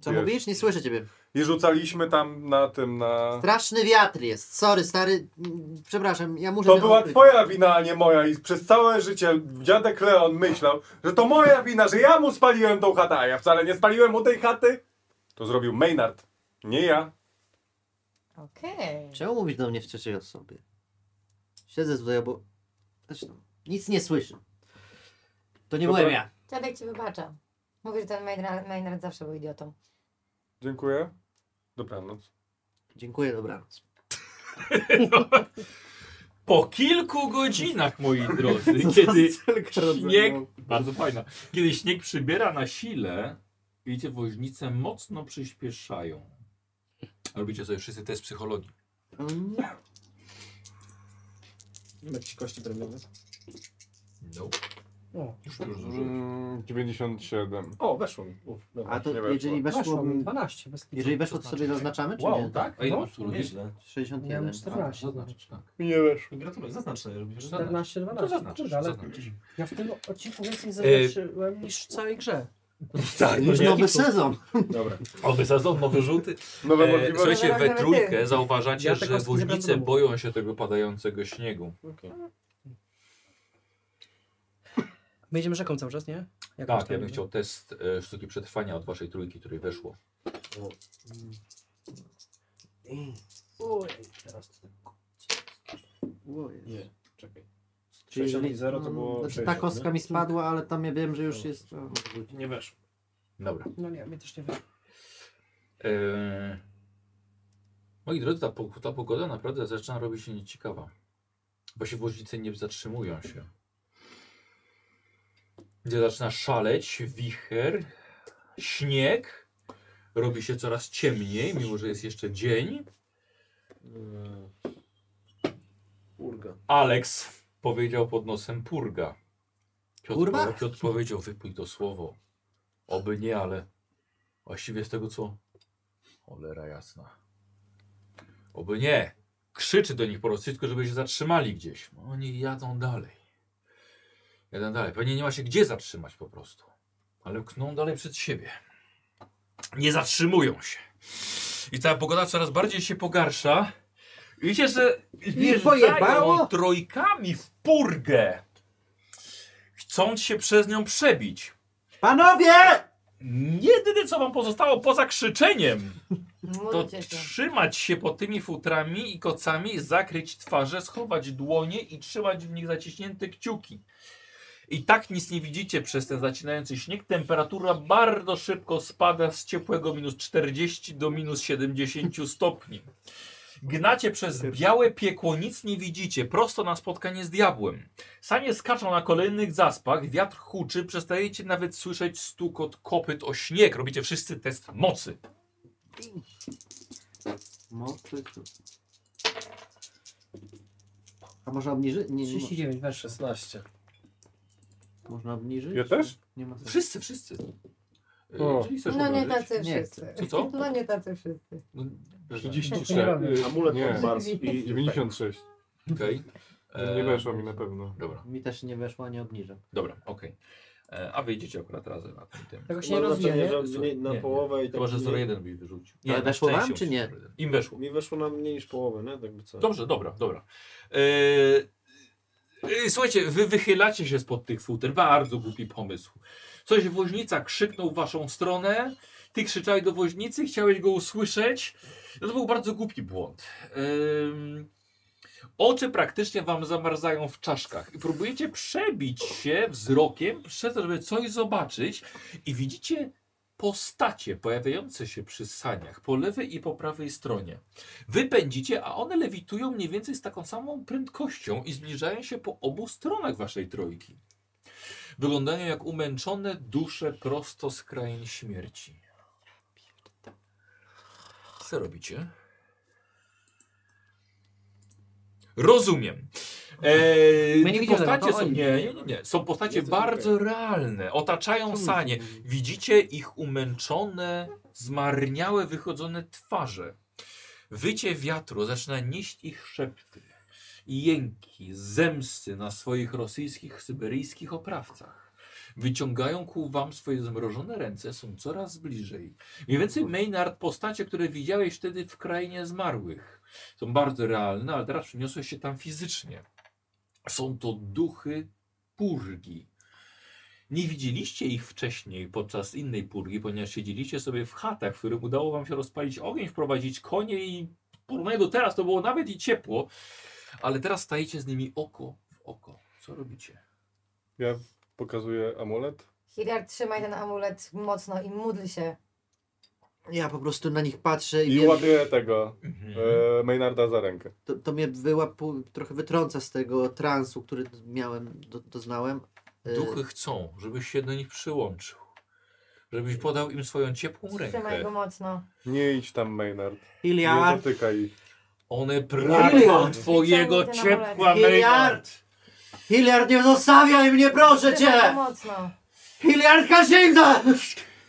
E: Co
F: Wiesz.
E: mówisz? Nie słyszę ciebie.
F: i rzucaliśmy tam na tym, na...
E: Straszny wiatr jest. Sorry, stary. Mm, Przepraszam, ja muszę...
F: To
E: ten
F: była
E: odkryć.
F: twoja wina, a nie moja i przez całe życie dziadek Leon myślał, że to moja wina, że ja mu spaliłem tą chatę, a ja wcale nie spaliłem mu tej chaty. To zrobił Maynard, nie ja.
G: Okej.
E: Czemu mówisz do mnie w trzeciej osobie? Siedzę tutaj, bo... Zresztą, nic nie słyszę. To nie
F: Dobra.
E: byłem ja.
G: Dziadek ci wybacza. Mówi, że ten Maynard, Maynard zawsze był idiotą.
F: Dziękuję. Dobranoc.
E: Dziękuję, dobranoc.
H: Po kilku godzinach, moi drodzy, kiedy śnieg, bardzo fajna, kiedy śnieg przybiera na sile, widzicie, woźnice mocno przyspieszają. Robicie sobie wszyscy test psychologii.
E: Mm,
C: Nie ma ci kości premiowe?
H: No.
D: O.
H: Już dużo zużyłem.
F: Mm, 97.
C: O, weszło mi. Uf, dobra.
E: A to
F: Nie
E: jeżeli
F: weszło.
E: weszło...
D: Weszło mi 12. Bez kitu.
E: Jeżeli weszło, to sobie zaznaczamy, czy nie?
C: Wow, tak?
H: A ile
D: No,
H: masz tu robić?
C: Nieźle.
E: 61.
D: Miałem 14.
H: Zaznacz, tak.
F: Nie weszło.
C: Gratuluję, zaznacz sobie. robisz.
D: 14,
H: No to
D: 12.
H: zaznacz,
D: Kurde, ale
H: zaznacz.
D: ja w tym odcinku
H: E,
D: więcej zaznaczyłem niż w całej grze.
H: Tak,
E: Już nowy sezon.
C: Dobra.
H: Nowy sezon, nowe rzuty.
F: Nowe
H: E,
F: możliwości.
H: słuchajcie, we trójkę zauważacie,
D: Ja
H: że
D: tego z tym nie będę
H: woźnice
D: mówił.
H: boją się tego padającego śniegu.
D: My jedziemy rzeką cały czas, nie? Jakoś
H: Tak,
D: tam
H: ja bym
D: będzie.
H: chciał test e, sztuki przetrwania od waszej trójki, której weszło.
C: Nie, czekaj.
E: Czyli
C: 60 to
E: mm,
C: było
E: Znaczy, ta
C: 60,
E: kostka
C: nie?
E: mi spadła, ale tam ja wiem, że już jest... o,
C: Nie weszło.
H: Dobra.
D: No nie, mnie też nie wyszło.
H: E, moi drodzy, ta, po- ta pogoda naprawdę zaczyna robić się nieciekawa. Właśnie woźnice nie zatrzymują się. Gdzie zaczyna szaleć, wicher, śnieg. Robi się coraz ciemniej, mimo że jest jeszcze dzień.
C: Mm. Urga.
H: Alex powiedział pod nosem purga. Piotr,
E: Kurwa?
H: Piotr powiedział, wypój to słowo. Oby nie, ale właściwie z tego co... Cholera jasna. Oby nie. Krzyczy do nich po rosyjsku, żeby się zatrzymali gdzieś. No, Oni jadą dalej. Jadą dalej. Pewnie nie ma się gdzie zatrzymać po prostu. Ale kną dalej przed siebie. Nie zatrzymują się. I ta pogoda coraz bardziej się pogarsza. Widzicie, że wjeżdżają
E: pojebało?
H: trojkami w purgę. Chcąc się przez nią przebić.
E: Panowie!
H: Jedyne co wam pozostało poza krzyczeniem to
G: Módlcie się.
H: trzymać się pod tymi futrami i kocami, zakryć twarze, schować dłonie i trzymać w nich zaciśnięte kciuki. I tak nic nie widzicie przez ten zacinający śnieg. Temperatura bardzo szybko spada z ciepłego minus 40 do minus 70 stopni. Gnacie przez białe piekło, nic nie widzicie, prosto na spotkanie z diabłem. Sanie skaczą na kolejnych zaspach, wiatr huczy, przestajecie nawet słyszeć stukot kopyt o śnieg. Robicie wszyscy test mocy.
E: No, Mocny tu. A można obniżyć? Nie, nie,
D: 39, weszło.
B: 16.
E: mo- można obniżyć?
F: Ja też?
E: Nie ma sensu.
H: Wszyscy, wszyscy. E,
F: O.
H: Jeżeli chcesz
G: No nie
H: obejrzeć-
G: tacy
E: Nie
G: wszyscy.
H: Co, co?
G: No nie tacy wszyscy.
H: No,
D: Nie
F: 34.
D: robię.
F: y,
C: Amulet od
F: nie,
C: Marsu i
F: 96.
H: Okej. E,
F: No Nie weszło mi na pewno.
H: Dobra,
E: Mi też nie weszło, nie obniżę.
H: dobra, okej. E, A wyjdziecie akurat razem na tym. tym.
D: Tego się nie
C: Mam
D: rozumie,
C: wrażenie,
D: nie?
C: że mniej-
H: Nie,
C: na
H: nie.
C: połowę i tak.
H: Chyba, że
C: mniej-
H: 0,1 byś wyrzucił.
E: Ale
H: na
E: weszło wam,
H: szczęście
E: czy
H: musisz
E: nie?
H: 0,1. Im weszło.
C: Mi weszło na mniej niż połowę, nie? Tak by co.
H: Dobrze, dobra, dobra. E, e, Słuchajcie, wy wychylacie się spod tych futer. Bardzo głupi pomysł. Coś woźnica krzyknął w waszą stronę. Ty krzyczałeś do woźnicy, chciałeś go usłyszeć. No to był bardzo głupi błąd. Ym, oczy praktycznie wam zamarzają w czaszkach. I próbujecie przebić się wzrokiem przez to, żeby coś zobaczyć. I widzicie postacie pojawiające się przy saniach po lewej i po prawej stronie. Wy pędzicie, a one lewitują mniej więcej z taką samą prędkością i zbliżają się po obu stronach waszej trójki. Wyglądają jak umęczone dusze prosto z krain śmierci. Co robicie? Rozumiem. Eee,
D: My nie widzimy,
H: postacie
D: to
H: są,
D: oni.
H: nie, nie, nie, nie. Są postacie bardzo realne. Otaczają sanie. Widzicie ich umęczone, zmarniałe, wychodzone twarze. Wycie wiatru zaczyna nieść ich szepty i jęki zemsty na swoich rosyjskich, syberyjskich oprawcach. Wyciągają ku wam swoje zmrożone ręce, są coraz bliżej. Mniej więcej Maynard postacie, które widziałeś wtedy w krainie zmarłych. Są bardzo realne, ale teraz przyniosłeś się tam fizycznie. Są to duchy purgi. Nie widzieliście ich wcześniej podczas innej purgi, ponieważ siedzieliście sobie w chatach, w których udało wam się rozpalić ogień, wprowadzić konie i w porównaniu do teraz to było nawet i ciepło, ale teraz stajecie z nimi oko w oko. Co robicie?
F: Ja pokazuję amulet.
G: Hilliard, trzymaj ten amulet mocno i módl się.
E: Ja po prostu na nich patrzę i,
F: I
E: wiem,
F: łapię tego
H: Mhm.
F: e, Maynarda za rękę.
E: to, to mnie wyłapu, trochę wytrąca z tego transu, który miałem, do, doznałem. E,
H: Duchy chcą, żebyś się do nich przyłączył. Żebyś podał im swoją ciepłą
G: Trzymaj go
H: rękę.
G: mocno.
F: Nie idź tam Maynard. Nie
E: Hilliard,
F: dotykaj ich.
H: One pragną
G: Wyciągnij
H: twojego
G: ten
H: ciepła,
E: amulet.
H: Maynard.
E: Hilliard, nie zostawiaj mnie, proszę
G: Trzymaj go
E: cię!
G: mocno.
E: Hilliard Kaczynka!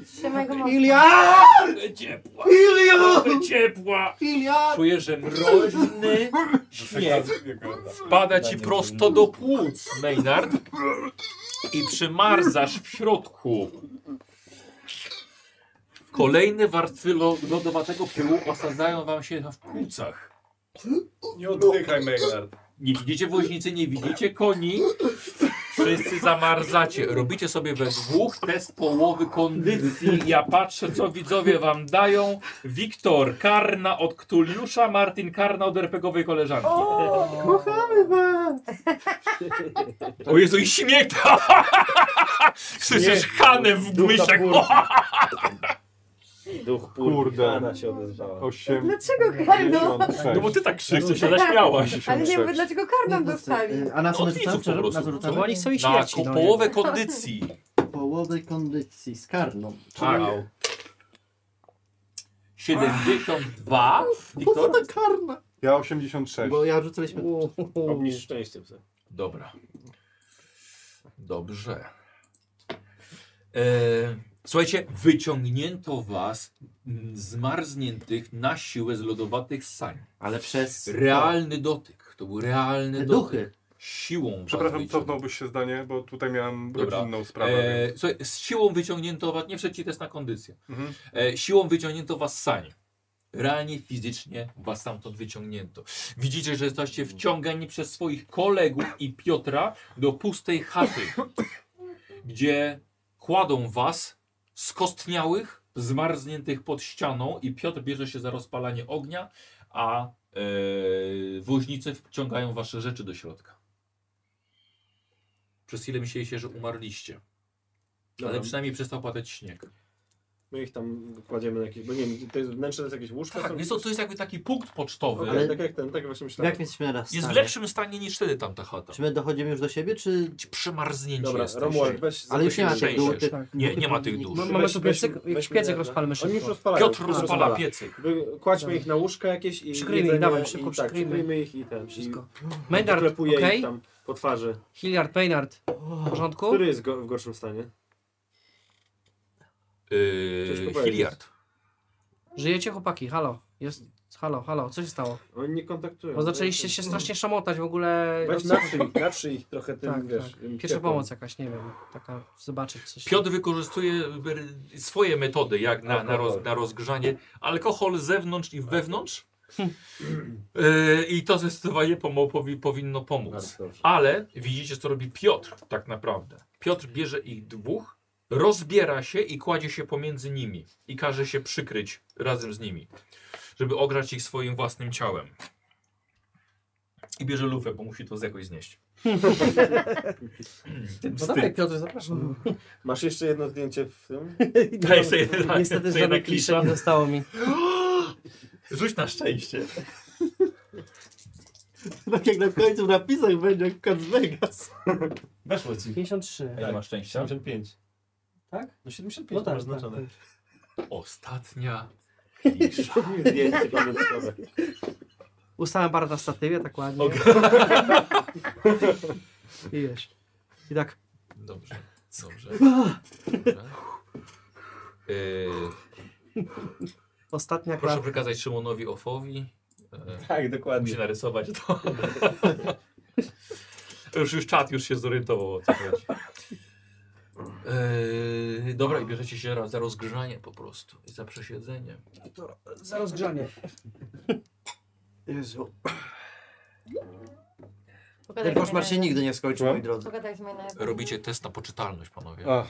G: Trzymaj go mocno.
E: Hilliard!
H: Ciepła,
E: Hilliard!
H: ciepła.
E: Hilliard!
H: Czuję, że mroźny śnieg wpada ci prosto do płuc, Maynard. I przymarzasz w środku. Kolejne warstwy lo- lodowatego pyłu osadzają wam się w płucach.
F: Nie oddychaj Maynard.
H: Nie widzicie woźnicy, nie widzicie koni. Wszyscy zamarzacie. Robicie sobie we dwóch test połowy kondycji. Ja patrzę, co widzowie wam dają. Wiktor Karna od Ktuliusza, Martin Karna od RPGowej koleżanki.
E: Kochamy was!
H: O Jezu, i śmiech! Słyszysz Hanę w
C: Duch na
H: myślach.
C: purgi. Duch purgi.
F: Kurde.
C: Hanna się odezwała.
F: 8.
G: Dlaczego karną?
H: No bo ty tak krzyknął, się zaśmiałaś.
G: Ale nie wiem,
F: 86.
G: dlaczego karną
E: Nie, no,
G: dostali.
E: e, A na co
H: Od
E: my
H: widzów
E: rzucamy?
H: po prostu.
E: Przepraszam,
D: No bo oni chcą i
H: Na
D: śmierci.
H: ko-
D: no nie?
H: połowę kondycji.
E: Połowę kondycji z karną.
H: Tak. 72. Wiktor?
E: karna?
F: Ja 86.
E: Bo ja rzucaliśmy...
C: Obniż szczęście psa.
H: Dobra. Dobrze. E, słuchajcie, wyciągnięto was mm, zmarzniętych na siłę z lodowatych sań.
E: Ale przez...
H: Realny dotyk. To był realny
E: Te
H: dotyk.
E: duchy.
H: Siłą was
F: Przepraszam,
H: wyciągnął.
F: cofnąłbyś się zdanie, bo tutaj miałem
H: Dobra.
F: rodzinną sprawę.
H: E,
F: więc-
H: słuchaj, z siłą wyciągnięto was, nie wszedł test na kondycję.
F: Mhm.
H: E, siłą wyciągnięto was z sań. Realnie, fizycznie was stamtąd wyciągnięto. Widzicie, że jesteście wciągani przez swoich kolegów i Piotra do pustej chaty, gdzie kładą was skostniałych, zmarzniętych pod ścianą i Piotr bierze się za rozpalanie ognia, a e, woźnice wciągają wasze rzeczy do środka.
B: Tak,
H: Przez chwilę myśleliście, że umarliście. Ale przynajmniej przestał padać śnieg.
B: My ich tam kładziemy na jakieś, bo nie wiem, to jest wnętrze, to jest jakieś łóżko?
H: Tak,
B: są...
H: jest to, to jest jakby taki punkt pocztowy.
B: Ale...
E: Ale-
B: Tak jak ten, tak właśnie myślałem.
E: Jak jesteśmy teraz?
H: Jest w
E: stanie?
H: lepszym stanie niż wtedy tamta chata.
E: Czy my dochodzimy już do siebie, czy...
H: Ci Przemarznięcie
B: Dobra,
H: jesteście.
B: Romuald, weź...
E: Ale już nie ma tych
H: Zaprosimy
E: dół.
H: przejście.
E: tych-
H: Tak. Nie, nie ma tych dusz.
D: No, mamy
B: Weź-
D: tu
B: weź-
D: piecyk,
B: weź
D: piecek
B: mnie,
D: rozpalmy
B: Oni już
D: szybko.
B: rozpalają.
H: Piotr rozpala piecyk.
B: Wy- Kładźmy ich na łóżka jakieś i
D: Przykryjmy ich,
B: jedzenie
D: dawaj, szybko
B: i tak,
D: przykryjmy.
B: przykryjmy ich i ten.
D: Wszystko.
B: I
D: Maynard,
B: oklepuję
D: okej?
B: ich tam po twarzy.
D: Hilliard, Maynard, w porządku?
B: Który jest go, w gorszym stanie?
H: Yy,
B: Ciężko powiedzieć.
H: Hilliard.
D: Żyjecie chłopaki, halo. Jest, halo, halo, co się stało?
B: Oni nie kontaktują.
D: Bo zaczęliście się strasznie szamotać w ogóle.
B: Weź
D: No, co-
B: naprzyj, ich, naprzyj ich trochę tym,
D: Tak,
B: wiesz...
D: tak.
B: tym
D: Pierwsza
B: ciepłem.
D: pomoc jakaś, nie wiem, taka zobaczyć coś.
H: Piotr wykorzystuje y, swoje metody jak na, na, roz,
B: Alkohol.
H: na rozgrzanie. Alkohol z zewnątrz i wewnątrz.
B: Tak.
H: Yy, I to zdecydowanie pomo- powi- powinno pomóc.
B: Bardzo dobrze.
H: Ale widzicie, co robi Piotr tak naprawdę. Piotr bierze ich dwóch, rozbiera się i kładzie się pomiędzy nimi. I każe się przykryć razem z nimi, żeby ograć ich swoim własnym ciałem. I bierze lufę, bo musi to z jakoś znieść. Ten
D: No dawaj Piotr, zapraszam.
B: Masz jeszcze jedno zdjęcie w tym?
H: Daj sobie, daj,
D: Niestety
H: No, sobie
D: żadnych
H: na
D: kliszy nie zostało mi.
H: Rzuć na szczęście.
E: Tak jak na końcu napisach będzie jak w Cat Vegas.
S: Weszło ci.
D: 53.
B: Tak.
S: ile
H: masz szczęścia?
S: 75.
D: Tak?
S: No 75
D: No
S: no
D: tak,
S: masz
D: tak,
S: znaczone.
D: tak.
H: Ostatnia klisza.
B: Zdjęcie pamiątkowe.
D: Ustałem bar na statywie, tak ładnie. I wiesz. I tak,
H: Dobrze, dobrze. dobrze. Yy,
D: ostatnia
H: proszę
D: klasa.
H: przekazać Szymonowi Ofowi. Yy,
B: Tak, dokładnie.
H: musi narysować to. już, już czat już się zorientował o co chodzi. Yy, dobra, i bierzecie się ra- za rozgrzanie po prostu i za przesiedzenie.
D: Za rozgrzanie.
E: Jezu.
C: Pogadaj
E: Ten
C: z
E: koszmar się
C: Maynardem.
E: nigdy nie skończy, moi drodzy.
C: Pogadaj z Maynardem.
H: Robicie test na poczytalność, panowie.
F: Ach,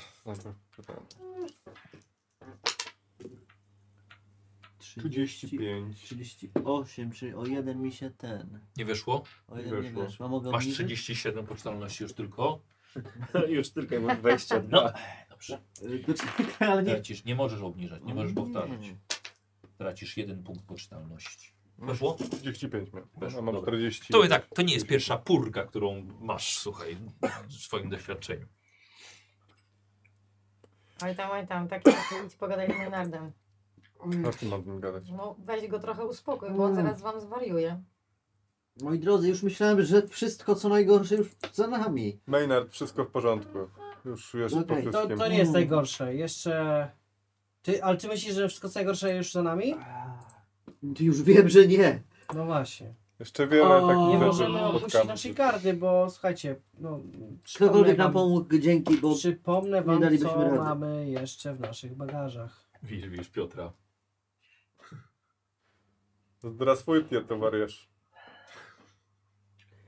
F: dobra. 35.
E: 38, czyli o jeden mi się ten.
H: Nie wyszło?
E: O jeden No, nie
F: Weszło.
E: weszło. A Mogę
H: Masz
E: obniżyć?
H: 37 poczytalności już tylko.
B: Już tylko mam 20.
H: No, dobrze.
E: Y, to czekaj, Ale nie.
H: Tracisz, nie możesz obniżać, nie możesz
E: Nie. No,
H: powtarzać. Tracisz jeden punkt poczytalności. Weszło?
F: 35 miałem.
H: Weszło,
F: A mam
H: dobra.
F: 40.
H: To i tak, to nie jest pierwsza purga, którą masz, słuchaj, w swoim doświadczeniu.
C: Oj tam, oj tam, tak tak, idź pogadaj z Maynardem.
F: Na czym mam z nim gadać?
C: No weź go trochę uspokój, bo
G: No.
C: on zaraz wam zwariuje.
E: Moi drodzy, już myślałem, że wszystko co najgorsze już za nami.
F: Maynard, wszystko w porządku. Już jest
E: Okej,
F: po
E: to-
D: To,
F: wszystkim.
D: to nie jest najgorsze. Jeszcze... Ty, ale ty myślisz, że wszystko co najgorsze już za nami?
E: Ty już wiem, że nie.
D: No właśnie.
B: Tak,
F: Jeszcze wiele
E: O,
F: takich
D: Nie
F: rzeczy
D: możemy opuścić
F: spotkamy
D: naszej
F: się.
D: karty, bo słuchajcie, no...
E: Ktokolwiek
D: przypomnę
E: nam
D: wam-
E: pomógł, dzięki, bo
D: Przypomnę
E: nie
D: wam,
E: dalibyśmy
D: co
E: rady.
D: mamy jeszcze w naszych bagażach.
H: Widzisz, widzisz Piotra.
F: Zdrasujcie, towarzysz.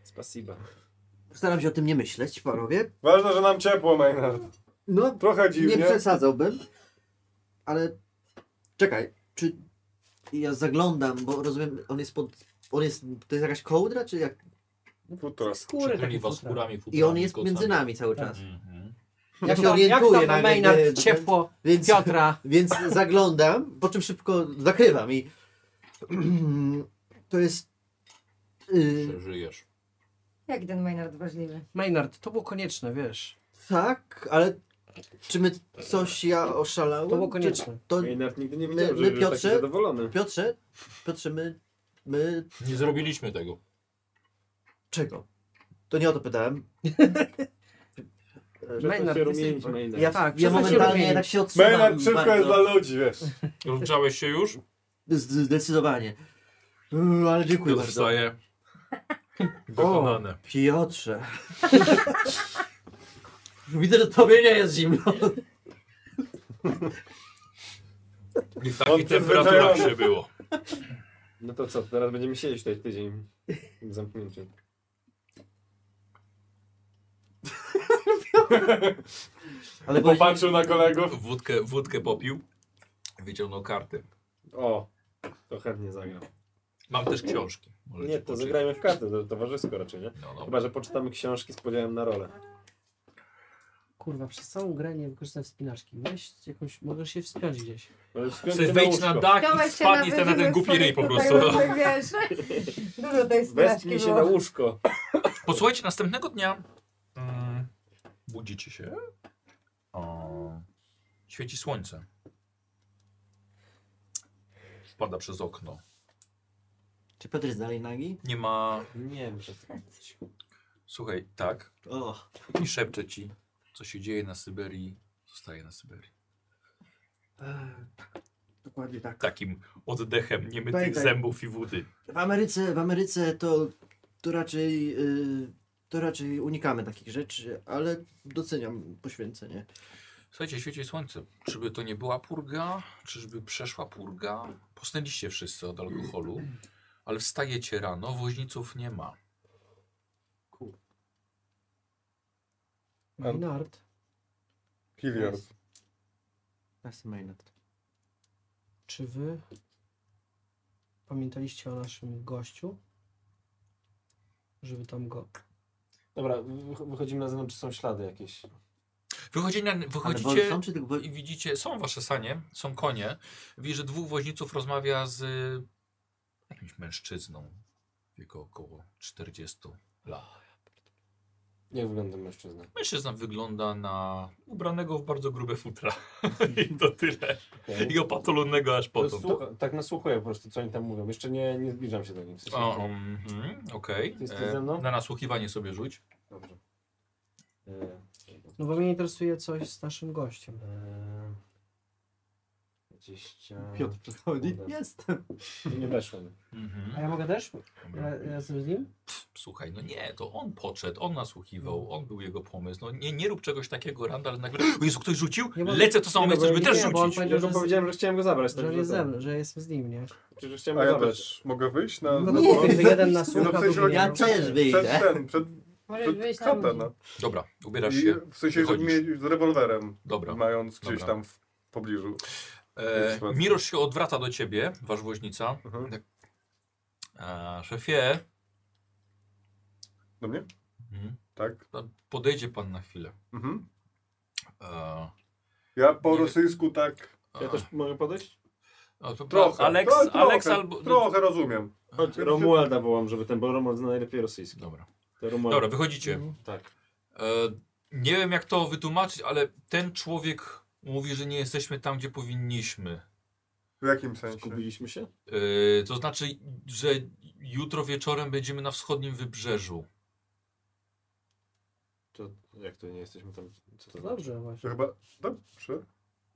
B: Spasiba.
E: staram się o tym nie myśleć, panowie.
F: Ważne, że nam ciepło, Maynard.
E: No,
F: Trochę
E: nie
F: dziwnie.
E: przesadzałbym, ale czekaj, czy ja zaglądam, bo rozumiem, on jest pod... On jest, to jest jakaś kołdra, czy jak?
F: Futra.
D: Skóry
H: Przytuli
D: takie
H: was
D: futra.
H: skórami, futrami,
E: I on jest
H: kocami.
E: między nami cały
D: Tak.
E: czas.
H: Mhm.
E: Ja się
D: tam-
E: orientuję e,
D: jak tam
E: nagle,
D: Maynard
E: gdy-
D: ciepło
E: Więc,
D: Piotra.
E: więc zaglądam, po czym szybko zakrywam i to jest... y,
H: Przeżyjesz.
C: Jaki ten Maynard ważliwy.
D: Maynard, to było konieczne, wiesz.
E: tak, ale czy my coś ja
D: To
E: oszalałem?
D: było
E: Czy-
D: konieczne.
E: To,
B: Maynard nigdy nie
E: My-
B: widział,
D: tak
E: my,
B: żeby był taki
E: Piotrze?
B: zadowolony.
E: Piotrze, Piotrze, my, my
H: Nie zrobiliśmy tego.
E: czego? To nie o to pytałem.
B: Że
D: Maynard,
B: Maynard, się
D: jesteś-
B: rumienić, Maynard.
E: Ja,
D: Tak,
E: ja
D: przestań się
E: momentalnie
D: rumienić.
E: tak się odsuwam.
F: Maynard, wszystko jest
E: bardzo.
F: dla ludzi, wiesz.
H: Rozgrzałeś się już?
E: Zdecydowanie. Uuu, ale dziękuję
H: Piotr
E: bardzo.
H: wstaje. Dokonane.
E: Piotrze. Widzę, że tobie nie jest zimno.
H: I w
F: On
H: takich temperaturach
F: przyzwyczajony.
H: się było.
B: No to co, teraz będziemy siedzieć tutaj tydzień w zamknięciu.
E: Ale właśnie,
F: Popatrzył na kolegów.
H: Wódkę, wódkę popił. Wyciągnął karty.
B: O, to chętnie zagram.
H: Mam też książki. Możecie
B: Nie, to
H: poczytać.
B: zagrajmy w karty, to towarzysko raczej, nie?
H: No, no.
B: Chyba, że poczytamy książki z podziałem na rolę.
D: Kurwa, przez całą grę nie wykorzystam wspinaczki. Weź jakąś, możesz się wspiąć gdzieś.
H: Chcesz wejść na dach i
G: Chciałeś się
H: spadniesz na ten
G: wyżywić
H: głupi ryj po
G: swoich
H: prostu.
G: tutaj różnych, wiesz, Tak, dużo tej
C: Westnij
G: spinaczki
C: się na
G: było.
C: łóżko.
H: Posłuchajcie, następnego dnia mm, budzicie się. O, świeci słońce. Wpada przez okno.
E: Czy Piotr jest dalej nagi?
H: Nie ma.
C: Nie wiem, że
H: Słuchaj, tak.
E: O,
H: I szepczę ci, co się dzieje na Syberii, zostaje na Syberii.
E: dokładnie tak.
H: Takim oddechem niemytych
E: Daj, daj.
H: zębów i wody.
E: W Ameryce, w Ameryce to, to raczej y, to raczej unikamy takich rzeczy, ale doceniam poświęcenie.
H: Słuchajcie, świeci słońce. Czyby to nie była purga? Czyżby przeszła purga? Posnęliście wszyscy od alkoholu, ale wstajecie rano, woźniców nie ma.
F: Mam-
D: Nard.
F: Hilliard.
E: That's Maynard.
D: Czy wy pamiętaliście o naszym gościu? Żeby tam go.
B: Dobra, wych- wychodzimy na zewnątrz, czy są ślady jakieś.
H: Wychodzi na,
E: Ale
H: wychodzicie...
E: wol- są tak czy tylko wol-
H: No i widzicie, są wasze sanie, są konie. Widzisz, że dwóch woźniców rozmawia z y, jakimś mężczyzną w jego około 40 lat.
B: Jak wygląda mężczyzna?
H: Mężczyzna wygląda na ubranego w bardzo grube futra. I to tyle. I opatolonego aż
B: To
H: potem.
B: słucha, tak nasłuchuję po prostu, co oni tam mówią. Jeszcze nie, nie zbliżam się do nich. W sensie,
H: O, mhm, Okej.
B: Ty jesteś
H: E,
B: ze mną?
H: Na nasłuchiwanie sobie rzuć.
B: Dobrze. E,
D: No bo mnie interesuje coś z naszym gościem.
B: e, 20...
E: Piotr przychodzi.
B: Dobra.
E: Jestem.
B: Nie weszłem.
D: A
H: Mhm.
D: ja mogę też?
H: Dobra.
D: Ra- Razem z nim?
H: Słuchaj, no nie, to on podszedł, on nasłuchiwał,
D: Mhm.
H: on był jego pomysł. No nie, nie rób czegoś takiego, Randall, nagle, o Jezu, ktoś rzucił?
D: Nie, bo-
H: Lecę to samo
D: nie,
H: miejsce,
D: bo-
H: żeby
D: nie,
H: też
D: bo on
H: rzucić.
D: powiedział,
B: Ja
D: że
B: mu powiedziałem, że chciałem go zabrać.
D: Że on jest tak ze mną, że jest z nim, nie?
B: Przecież chciałem
F: A
B: go
F: ja
B: zabrać.
F: też mogę wyjść na...
D: No
F: na
D: nie,
F: dwór?
D: że jeden na
F: Nie, no, w
D: słucha,
F: sensie,
D: drugi
E: Ja
D: na...
F: przed-
E: też wyjdę.
F: Przed ten, przed,
T: Możesz
F: przed
T: wyjść na
F: chatę,
T: ludzi.
F: no.
H: Dobra, ubierasz
F: I
H: się,
F: w sensie, żeby
H: wychodzisz.
F: mieć z rewolwerem,
H: dobra.
F: mając gdzieś
H: Dobra.
F: tam w pobliżu.
H: E,
F: Jest
H: Mirosz się odwraca do ciebie, wasz woźnica.
F: Mhm.
H: Tak. E, szefie,
F: Do mnie?
H: Mhm.
F: Tak.
H: podejdzie pan na chwilę.
F: Mhm.
H: E,
F: Ja po
H: Nie-
F: rosyjsku tak...
B: Ja też mogę podejść?
H: a, to,
F: Trochę.
H: Alex,
F: tro- trochę,
H: Alex albo...
F: Trochę rozumiem.
B: Chodź, Romualda wołam, żeby ten, bo Romuald zna najlepiej rosyjski.
H: Dobra.
B: To Romuald.
H: Dobra, wychodzicie.
D: Mhm.
B: Tak.
H: E, nie wiem jak to wytłumaczyć, ale ten człowiek mówi, że nie jesteśmy tam, gdzie powinniśmy.
F: W jakim sensie?
B: Zgubiliśmy się?
H: E, to znaczy, że jutro wieczorem będziemy na wschodnim wybrzeżu.
B: To jak to nie jesteśmy tam? Co to
D: To
B: znaczy?
D: dobrze
F: To
D: właśnie.
F: chyba... Dobrze.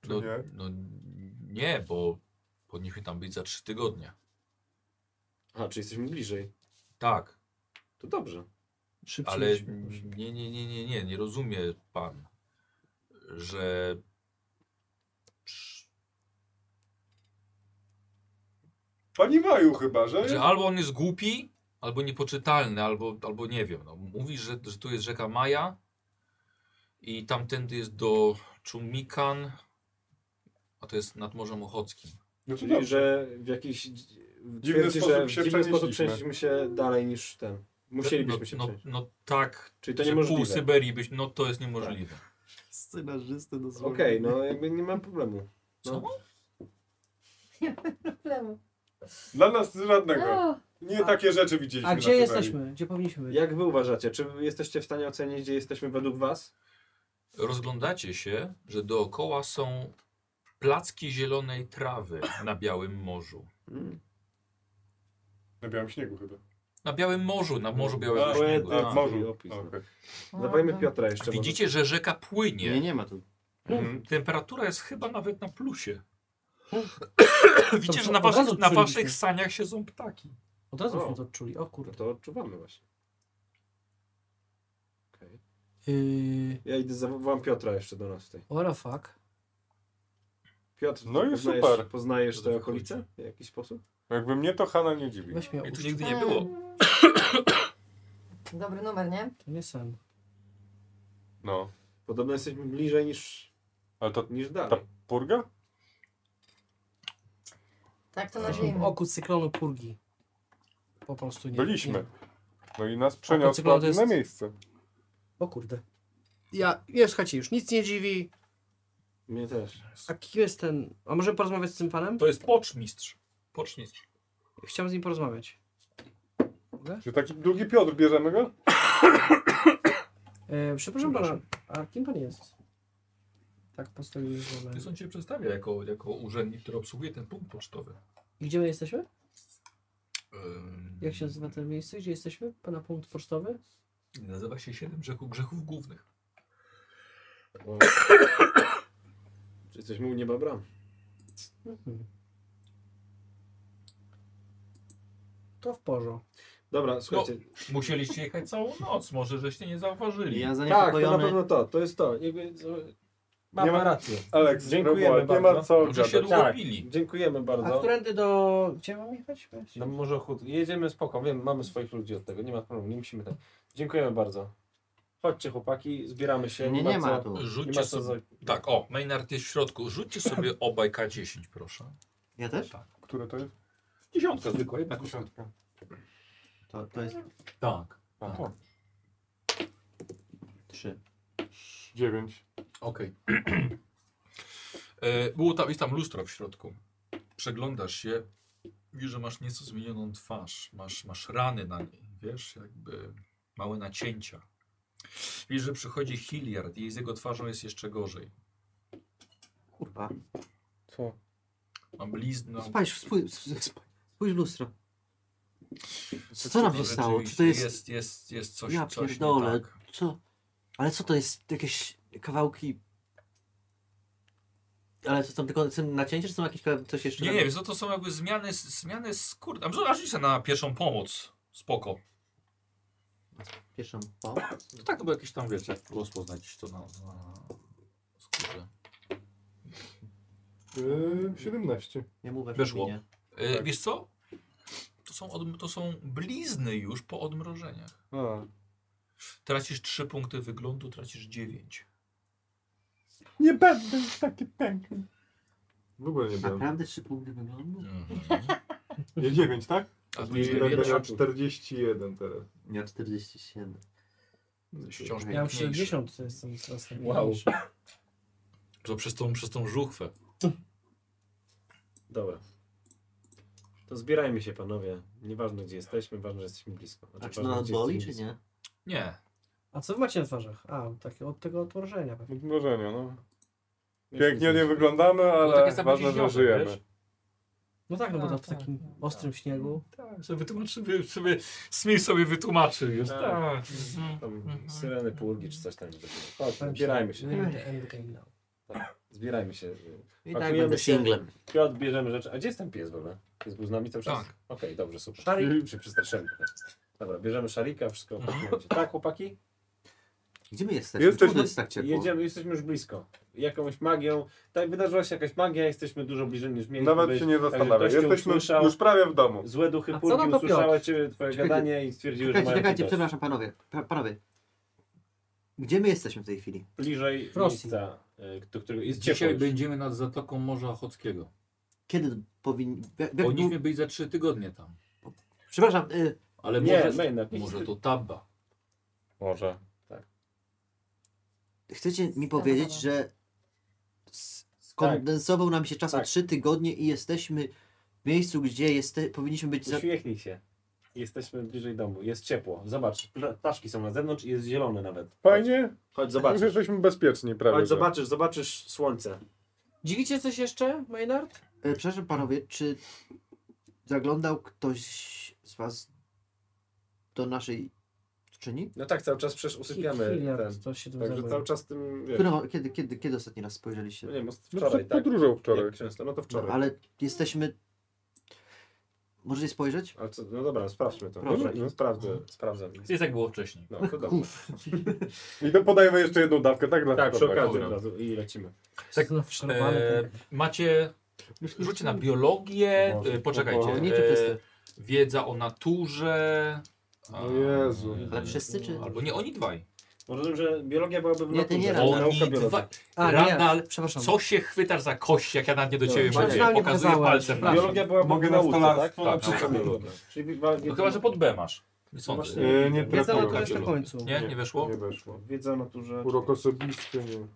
F: Czy
H: No,
F: nie?
H: no nie, bo powinniśmy tam być za trzy tygodnie.
B: Aha, czy jesteśmy bliżej.
H: Tak.
B: To dobrze.
D: Szybciej.
H: Ale
D: niż-
H: nie, nie, nie, nie, nie, nie rozumie pan, że
F: Pani Maju chyba, że? No
H: Że albo on jest głupi, albo niepoczytalny, albo, albo nie wiem. No, mówi, że, że tu jest rzeka Maja i tamtędy jest do Czumikan, a to jest nad Morzem Ochockim.
F: No to
B: Czyli,
F: dobrze.
B: że w jakiś dziwny
F: sposób
B: że w
F: się
B: dziwny sposób
F: przenieśliśmy.
B: przenieśliśmy się dalej niż ten. Musielibyśmy
H: no,
B: się
H: no,
B: przenieść.
H: no tak,
B: Czyli to
H: że pół
B: niemożliwe.
H: Syberii byś, no to jest niemożliwe.
E: Scenarzysty dosłownie.
B: Okej, no jakby nie mam problemu.
H: Co?
G: Problemu.
F: Dla nas żadnego.
G: O,
F: Nie takie rzeczy widzieliśmy.
D: A
F: na
D: gdzie
F: Syberii.
D: jesteśmy? Gdzie powinniśmy być?
B: Jak wy uważacie? Czy jesteście w stanie ocenić, gdzie jesteśmy według was?
H: Rozglądacie się, że dookoła są placki zielonej trawy na Białym Morzu.
F: Na białym śniegu chyba.
H: Na Białym Morzu, na Morzu Białego
F: A,
H: Śniegu.
F: Na
B: poety.
H: A.
F: morzu.
B: opis, no.
F: Okej.
D: no.
G: no.
B: Dawajmy Piotra jeszcze. może.
H: Widzicie, że rzeka
E: Nie,
H: płynie.
E: nie ma tu.
F: Mhm.
H: Temperatura jest chyba nawet na plusie. Widzicie,
D: To
H: że na
D: od
H: waszych,
D: razu
H: na waszych
D: czuliśmy.
H: saniach siedzą ptaki.
D: Od razu
B: O.
D: byśmy to odczuli. O
B: No
D: kurde.
B: to odczuwamy właśnie. Okej.
D: Yy,
B: Ja idę, zawołam Piotra jeszcze do nas tutaj.
D: what the fuck?
B: Piotr,
F: No i
B: poznajesz,
F: super.
B: poznajesz
H: To
B: te
H: wychodzi.
B: okolice w jakiś sposób?
F: Jakby mnie to Hanna nie dziwi.
D: Weź mnie
H: I tu
D: uś-
H: nigdy nie było.
G: Dobry numer, nie?
D: To nie sen.
F: No.
B: Podobno jesteśmy bliżej niż,
F: Ale to
B: niż
F: ta
B: dalej.
F: purga?
G: Tak to
D: W
G: nazwijmy.
D: oku cyklonu purgi. Po prostu nie.
F: Byliśmy.
D: Nie.
F: No i nas
D: cyklon
F: przeniosła
D: to jest-
F: na miejsce.
D: O kurde. ja, nie, słuchajcie, już nic nie dziwi.
B: Mnie też.
D: A kim jest ten... A może porozmawiać z tym panem?
H: To jest poczmistrz. Poczmistrz.
D: Chciałem z nim porozmawiać.
F: Czy taki drugi Piotr, bierzemy go?
D: E, przepraszam pana, a kim pan jest? Tak postawiłem
H: Więc
D: głowę.
H: on cię przedstawia jako, jako urzędnik, który obsługuje ten punkt pocztowy.
D: I Gdzie my jesteśmy?
H: Ym,
D: Jak się nazywa to miejsce, gdzie jesteśmy? Pana punkt pocztowy?
H: Nazywa się Siedem Grzechów, Grzechów Głównych.
B: O. Czy jesteśmy u nieba bram?
D: Mhm. To w porządku.
B: Dobra, słuchajcie.
H: Musieliście jechać całą noc, może żeście nie zauważyli.
E: Ja
B: tak, to na
E: zaniepokojony.
B: pewno to. To jest to. Jakby, ma
F: Nie
B: ma
F: ma-
B: rację.
F: Aleks,
B: Dziękujemy
F: spróbuj, nie ma
B: bardzo.
F: co
H: Może się
F: gadać.
H: długo
B: Tak.
H: pili.
B: Dziękujemy
D: A
B: bardzo.
D: którędy do... Gdzie mam jechać?
B: No może ochód. Jedziemy spoko, wiem, mamy swoich ludzi od tego, nie ma problemu, nie musimy tak. Dziękujemy bardzo. Chodźcie chłopaki, zbieramy się.
E: Nie, nie ma
B: co,
E: tu.
B: nie
H: Rzućcie
B: ma co
H: sobie...
B: za...
H: Tak, o, Maynard jest w środku. Rzućcie sobie obaj K10, proszę.
E: Ja też?
H: Tak.
F: Które to jest?
H: Dziesiątka zwykła, jednak
F: Dziesiątka.
E: To, to jest
H: Tak.
F: Tak.
H: Okej.
E: trzy.
F: Dziewięć.
H: E, Było tam, jest tam lustro w środku. Przeglądasz się, widzisz, że masz nieco zmienioną twarz. Masz, masz rany na niej, wiesz, jakby małe nacięcia. Widzisz, że przychodzi Hilliard i z jego twarzą jest jeszcze gorzej.
E: Kurwa.
F: Co?
H: Ma bliznę.
E: Spójrz, spójrz, spójrz w lustro.
H: No
E: Co nam się stało? Czy to jest...
H: Jest, jest, jest coś,
E: ja
H: coś nie
E: pierdolę.
H: tak.
E: Co? Ale co to jest? Jakieś kawałki... Ale to są tylko są nacięcie, czy są jakieś kawa- coś jeszcze?
H: Nie,
E: na-
H: nie, wiesz, no to są jakby zmiany, zmiany skóry. A może aż się na pierwszą pomoc. Spoko.
E: Pieszą. O.
H: To tak, to było jakieś tam, wiecie, rozpoznać to na, na skórze.
F: Yy, 17.
E: Nie mówię, że
H: Weszło.
E: minie.
H: E, Wiesz co? To są, od, to są blizny już po odmrożeniach.
F: A,
H: Tracisz 3 punkty wyglądu, tracisz 9.
F: Nie będę już taki piękny. W ogóle nie będę.
E: Naprawdę trzy punkty wyglądu?
H: Mhm.
F: Nie 9, tak?
H: A tu
F: I będę miał
H: dziewięć
F: 41 teraz.
E: Ja 47.
H: wciąż
D: Ja mam
H: piękniejszy.
D: 60, to jestem coraz
B: Wow.
D: wow.
H: To przez tą, przez tą żuchwę.
B: Dobra. To zbierajmy się panowie. Nieważne gdzie jesteśmy, ważne, że jesteśmy blisko. Znaczy,
E: A Tak, czy
B: ważne,
E: ona
B: gdzie
E: no, boli, czy
B: jesteśmy
E: nie?
H: Nie.
D: A co wy macie na twarzach? A, takie od tego odmrożenia pewnie.
F: Odmrożenie, no.
B: blisko.
F: Pięknie nie wyglądamy, ale
H: jest tam
F: ważne,
H: gdzieś
F: że
H: ziobro,
F: żyjemy.
H: wiesz?
D: No tak, no bo
H: A,
D: to w
H: tak,
D: takim
H: no,
D: ostrym śniegu.
H: Tak, sobie wytłumaczy, sobie, Smith sobie wytłumaczy już.
B: Tak.
H: Tak.
E: Mhm.
H: Mhm.
B: Tam syreny, purgi czy coś tam. Chodź,
D: Tak,
B: zbierajmy się.
D: Maybe the end game now.
B: Zbierajmy się.
E: I tak
B: Pakujemy
E: będę
B: się.
E: singlem.
B: Piotr, bierzemy rzeczy. A gdzie jest ten pies w ogóle? Pies był z nami cały czas?
H: Tak.
B: Okej, dobrze, super.
F: Mhm.
D: Szarik.
B: Się przestraszyłem. Dobra, bierzemy szarika, wszystko. pakujemy się. Tak, chłopaki?
E: Gdzie my jesteśmy?
F: Jesteśmy-
E: Jesteśmy. Czemu to jest tak ciepło?
B: Jedziemy, jesteśmy już blisko. Jakąś magią. Tak, wydarzyła się jakaś magia, jesteśmy dużo bliżej niż mieliśmy
F: Nawet
B: być.
F: się nie
B: Także
F: zastanawiam.
B: ktoś cię
F: Jesteśmy
B: usłyszał,
F: już prawie w domu.
B: Złe duchy
D: A co
B: purgi
D: nam to
B: usłyszały
D: Piotr?
B: ciebie, twoje
E: Czekajcie.
B: gadanie i stwierdziły, że
E: Czekajcie,
B: mają
E: czekajcie,
B: cię dość.
E: przepraszam panowie. Pa- Panowie. Gdzie my jesteśmy w tej chwili?
B: bliżej
D: Rosji.
B: miejsca, y, do którego jest ciepło.
H: Dzisiaj
B: już.
H: będziemy nad Zatoką Morza Ochockiego. Tak, no-
E: Kiedy powinni... jak- jak dłu-
H: Powinniśmy być za 3 tygodnie tam.
E: Przepraszam, y,
H: Ale
B: Nie, no,
H: może,
B: Maynard, nie
H: może
B: chcę-
H: to Tabba.
F: Może.
E: chcecie mi
C: Stanowa.
E: powiedzieć, że s- skondensował nam się czas o
B: Tak.
E: trzy tygodnie i jesteśmy w miejscu, gdzie jeste... powinniśmy być... Za...
B: Uśmiechnij się. Jesteśmy bliżej domu, jest ciepło. Zobacz, pla- ptaszki są na zewnątrz i jest zielone nawet.
F: Fajnie?
B: Chodź,
F: Już
B: zobaczysz.
F: jesteśmy bezpieczni prawie.
B: Chodź,
F: że.
B: zobaczysz, zobaczysz słońce.
D: Dziwicie coś jeszcze, Maynard?
E: Y, Przepraszam panowie, czy zaglądał ktoś z was do naszej czyni?
B: No tak, cały czas przecież usypiamy ten.
D: Hilliard, to się tym
B: Także
D: zajmuje.
B: cały czas tym, wiesz,
E: Którą, kiedy, kiedy, kiedy ostatni raz
B: no
E: spojrzeliście?
B: nie wiem,
F: No,
B: wczoraj,
F: przed
B: tak?
F: Podróżą wczoraj.
B: Jak często? No to
E: No,
B: wczoraj.
E: ale jesteśmy... Możecie spojrzeć?
B: Ale co, no dobra, sprawdźmy to.
E: Proszę.
B: No, sprawdzę, sprawdzę.
H: Jest jak było wcześniej.
B: No, to dobrze.
F: I to podajemy jeszcze jedną dawkę, tak? Dla
B: Tak, przy
F: chłopaka.
B: okazji
H: Dobra.
B: od razu i lecimy.
D: Tak, no,
H: E, macie. Rzucie na biologię.
F: Boże,
H: e, poczekajcie.
E: o, nie te
H: E,
E: testy.
H: wiedza o naturze.
F: O
H: a,
F: Jezu.
E: Ale wszyscy czy...
H: Albo nie, oni dwaj.
B: Może że biologia byłaby w
E: Nie, ty nie
B: naturze.
E: Randall.
H: Oni
B: Nauka biologii.
H: dwaj.
D: A,
H: Randall,
D: nie, przepraszam.
H: Co się chwytasz za kość, jak ja na nie do ciebie
B: Dobra,
H: mówię?
D: na mnie
H: Pokazuję
D: pokazałeś.
H: palcem. na-
B: Biologia byłaby
F: Mogę
B: w
F: na
B: nauce, tak? Tak,
F: stolarstwo
H: na
B: nauka
H: przykład.
B: biologia. Czyli wa-
H: No chyba, że pod B masz. Nie sądzę.
B: Właśnie-
F: Nie, nie
D: Wiedza
F: trafiło.
D: natura jest na końcu.
H: Nie, nie weszło?
F: Nie weszło.
B: Wiedza o naturze.
F: Urok osobisty, nie.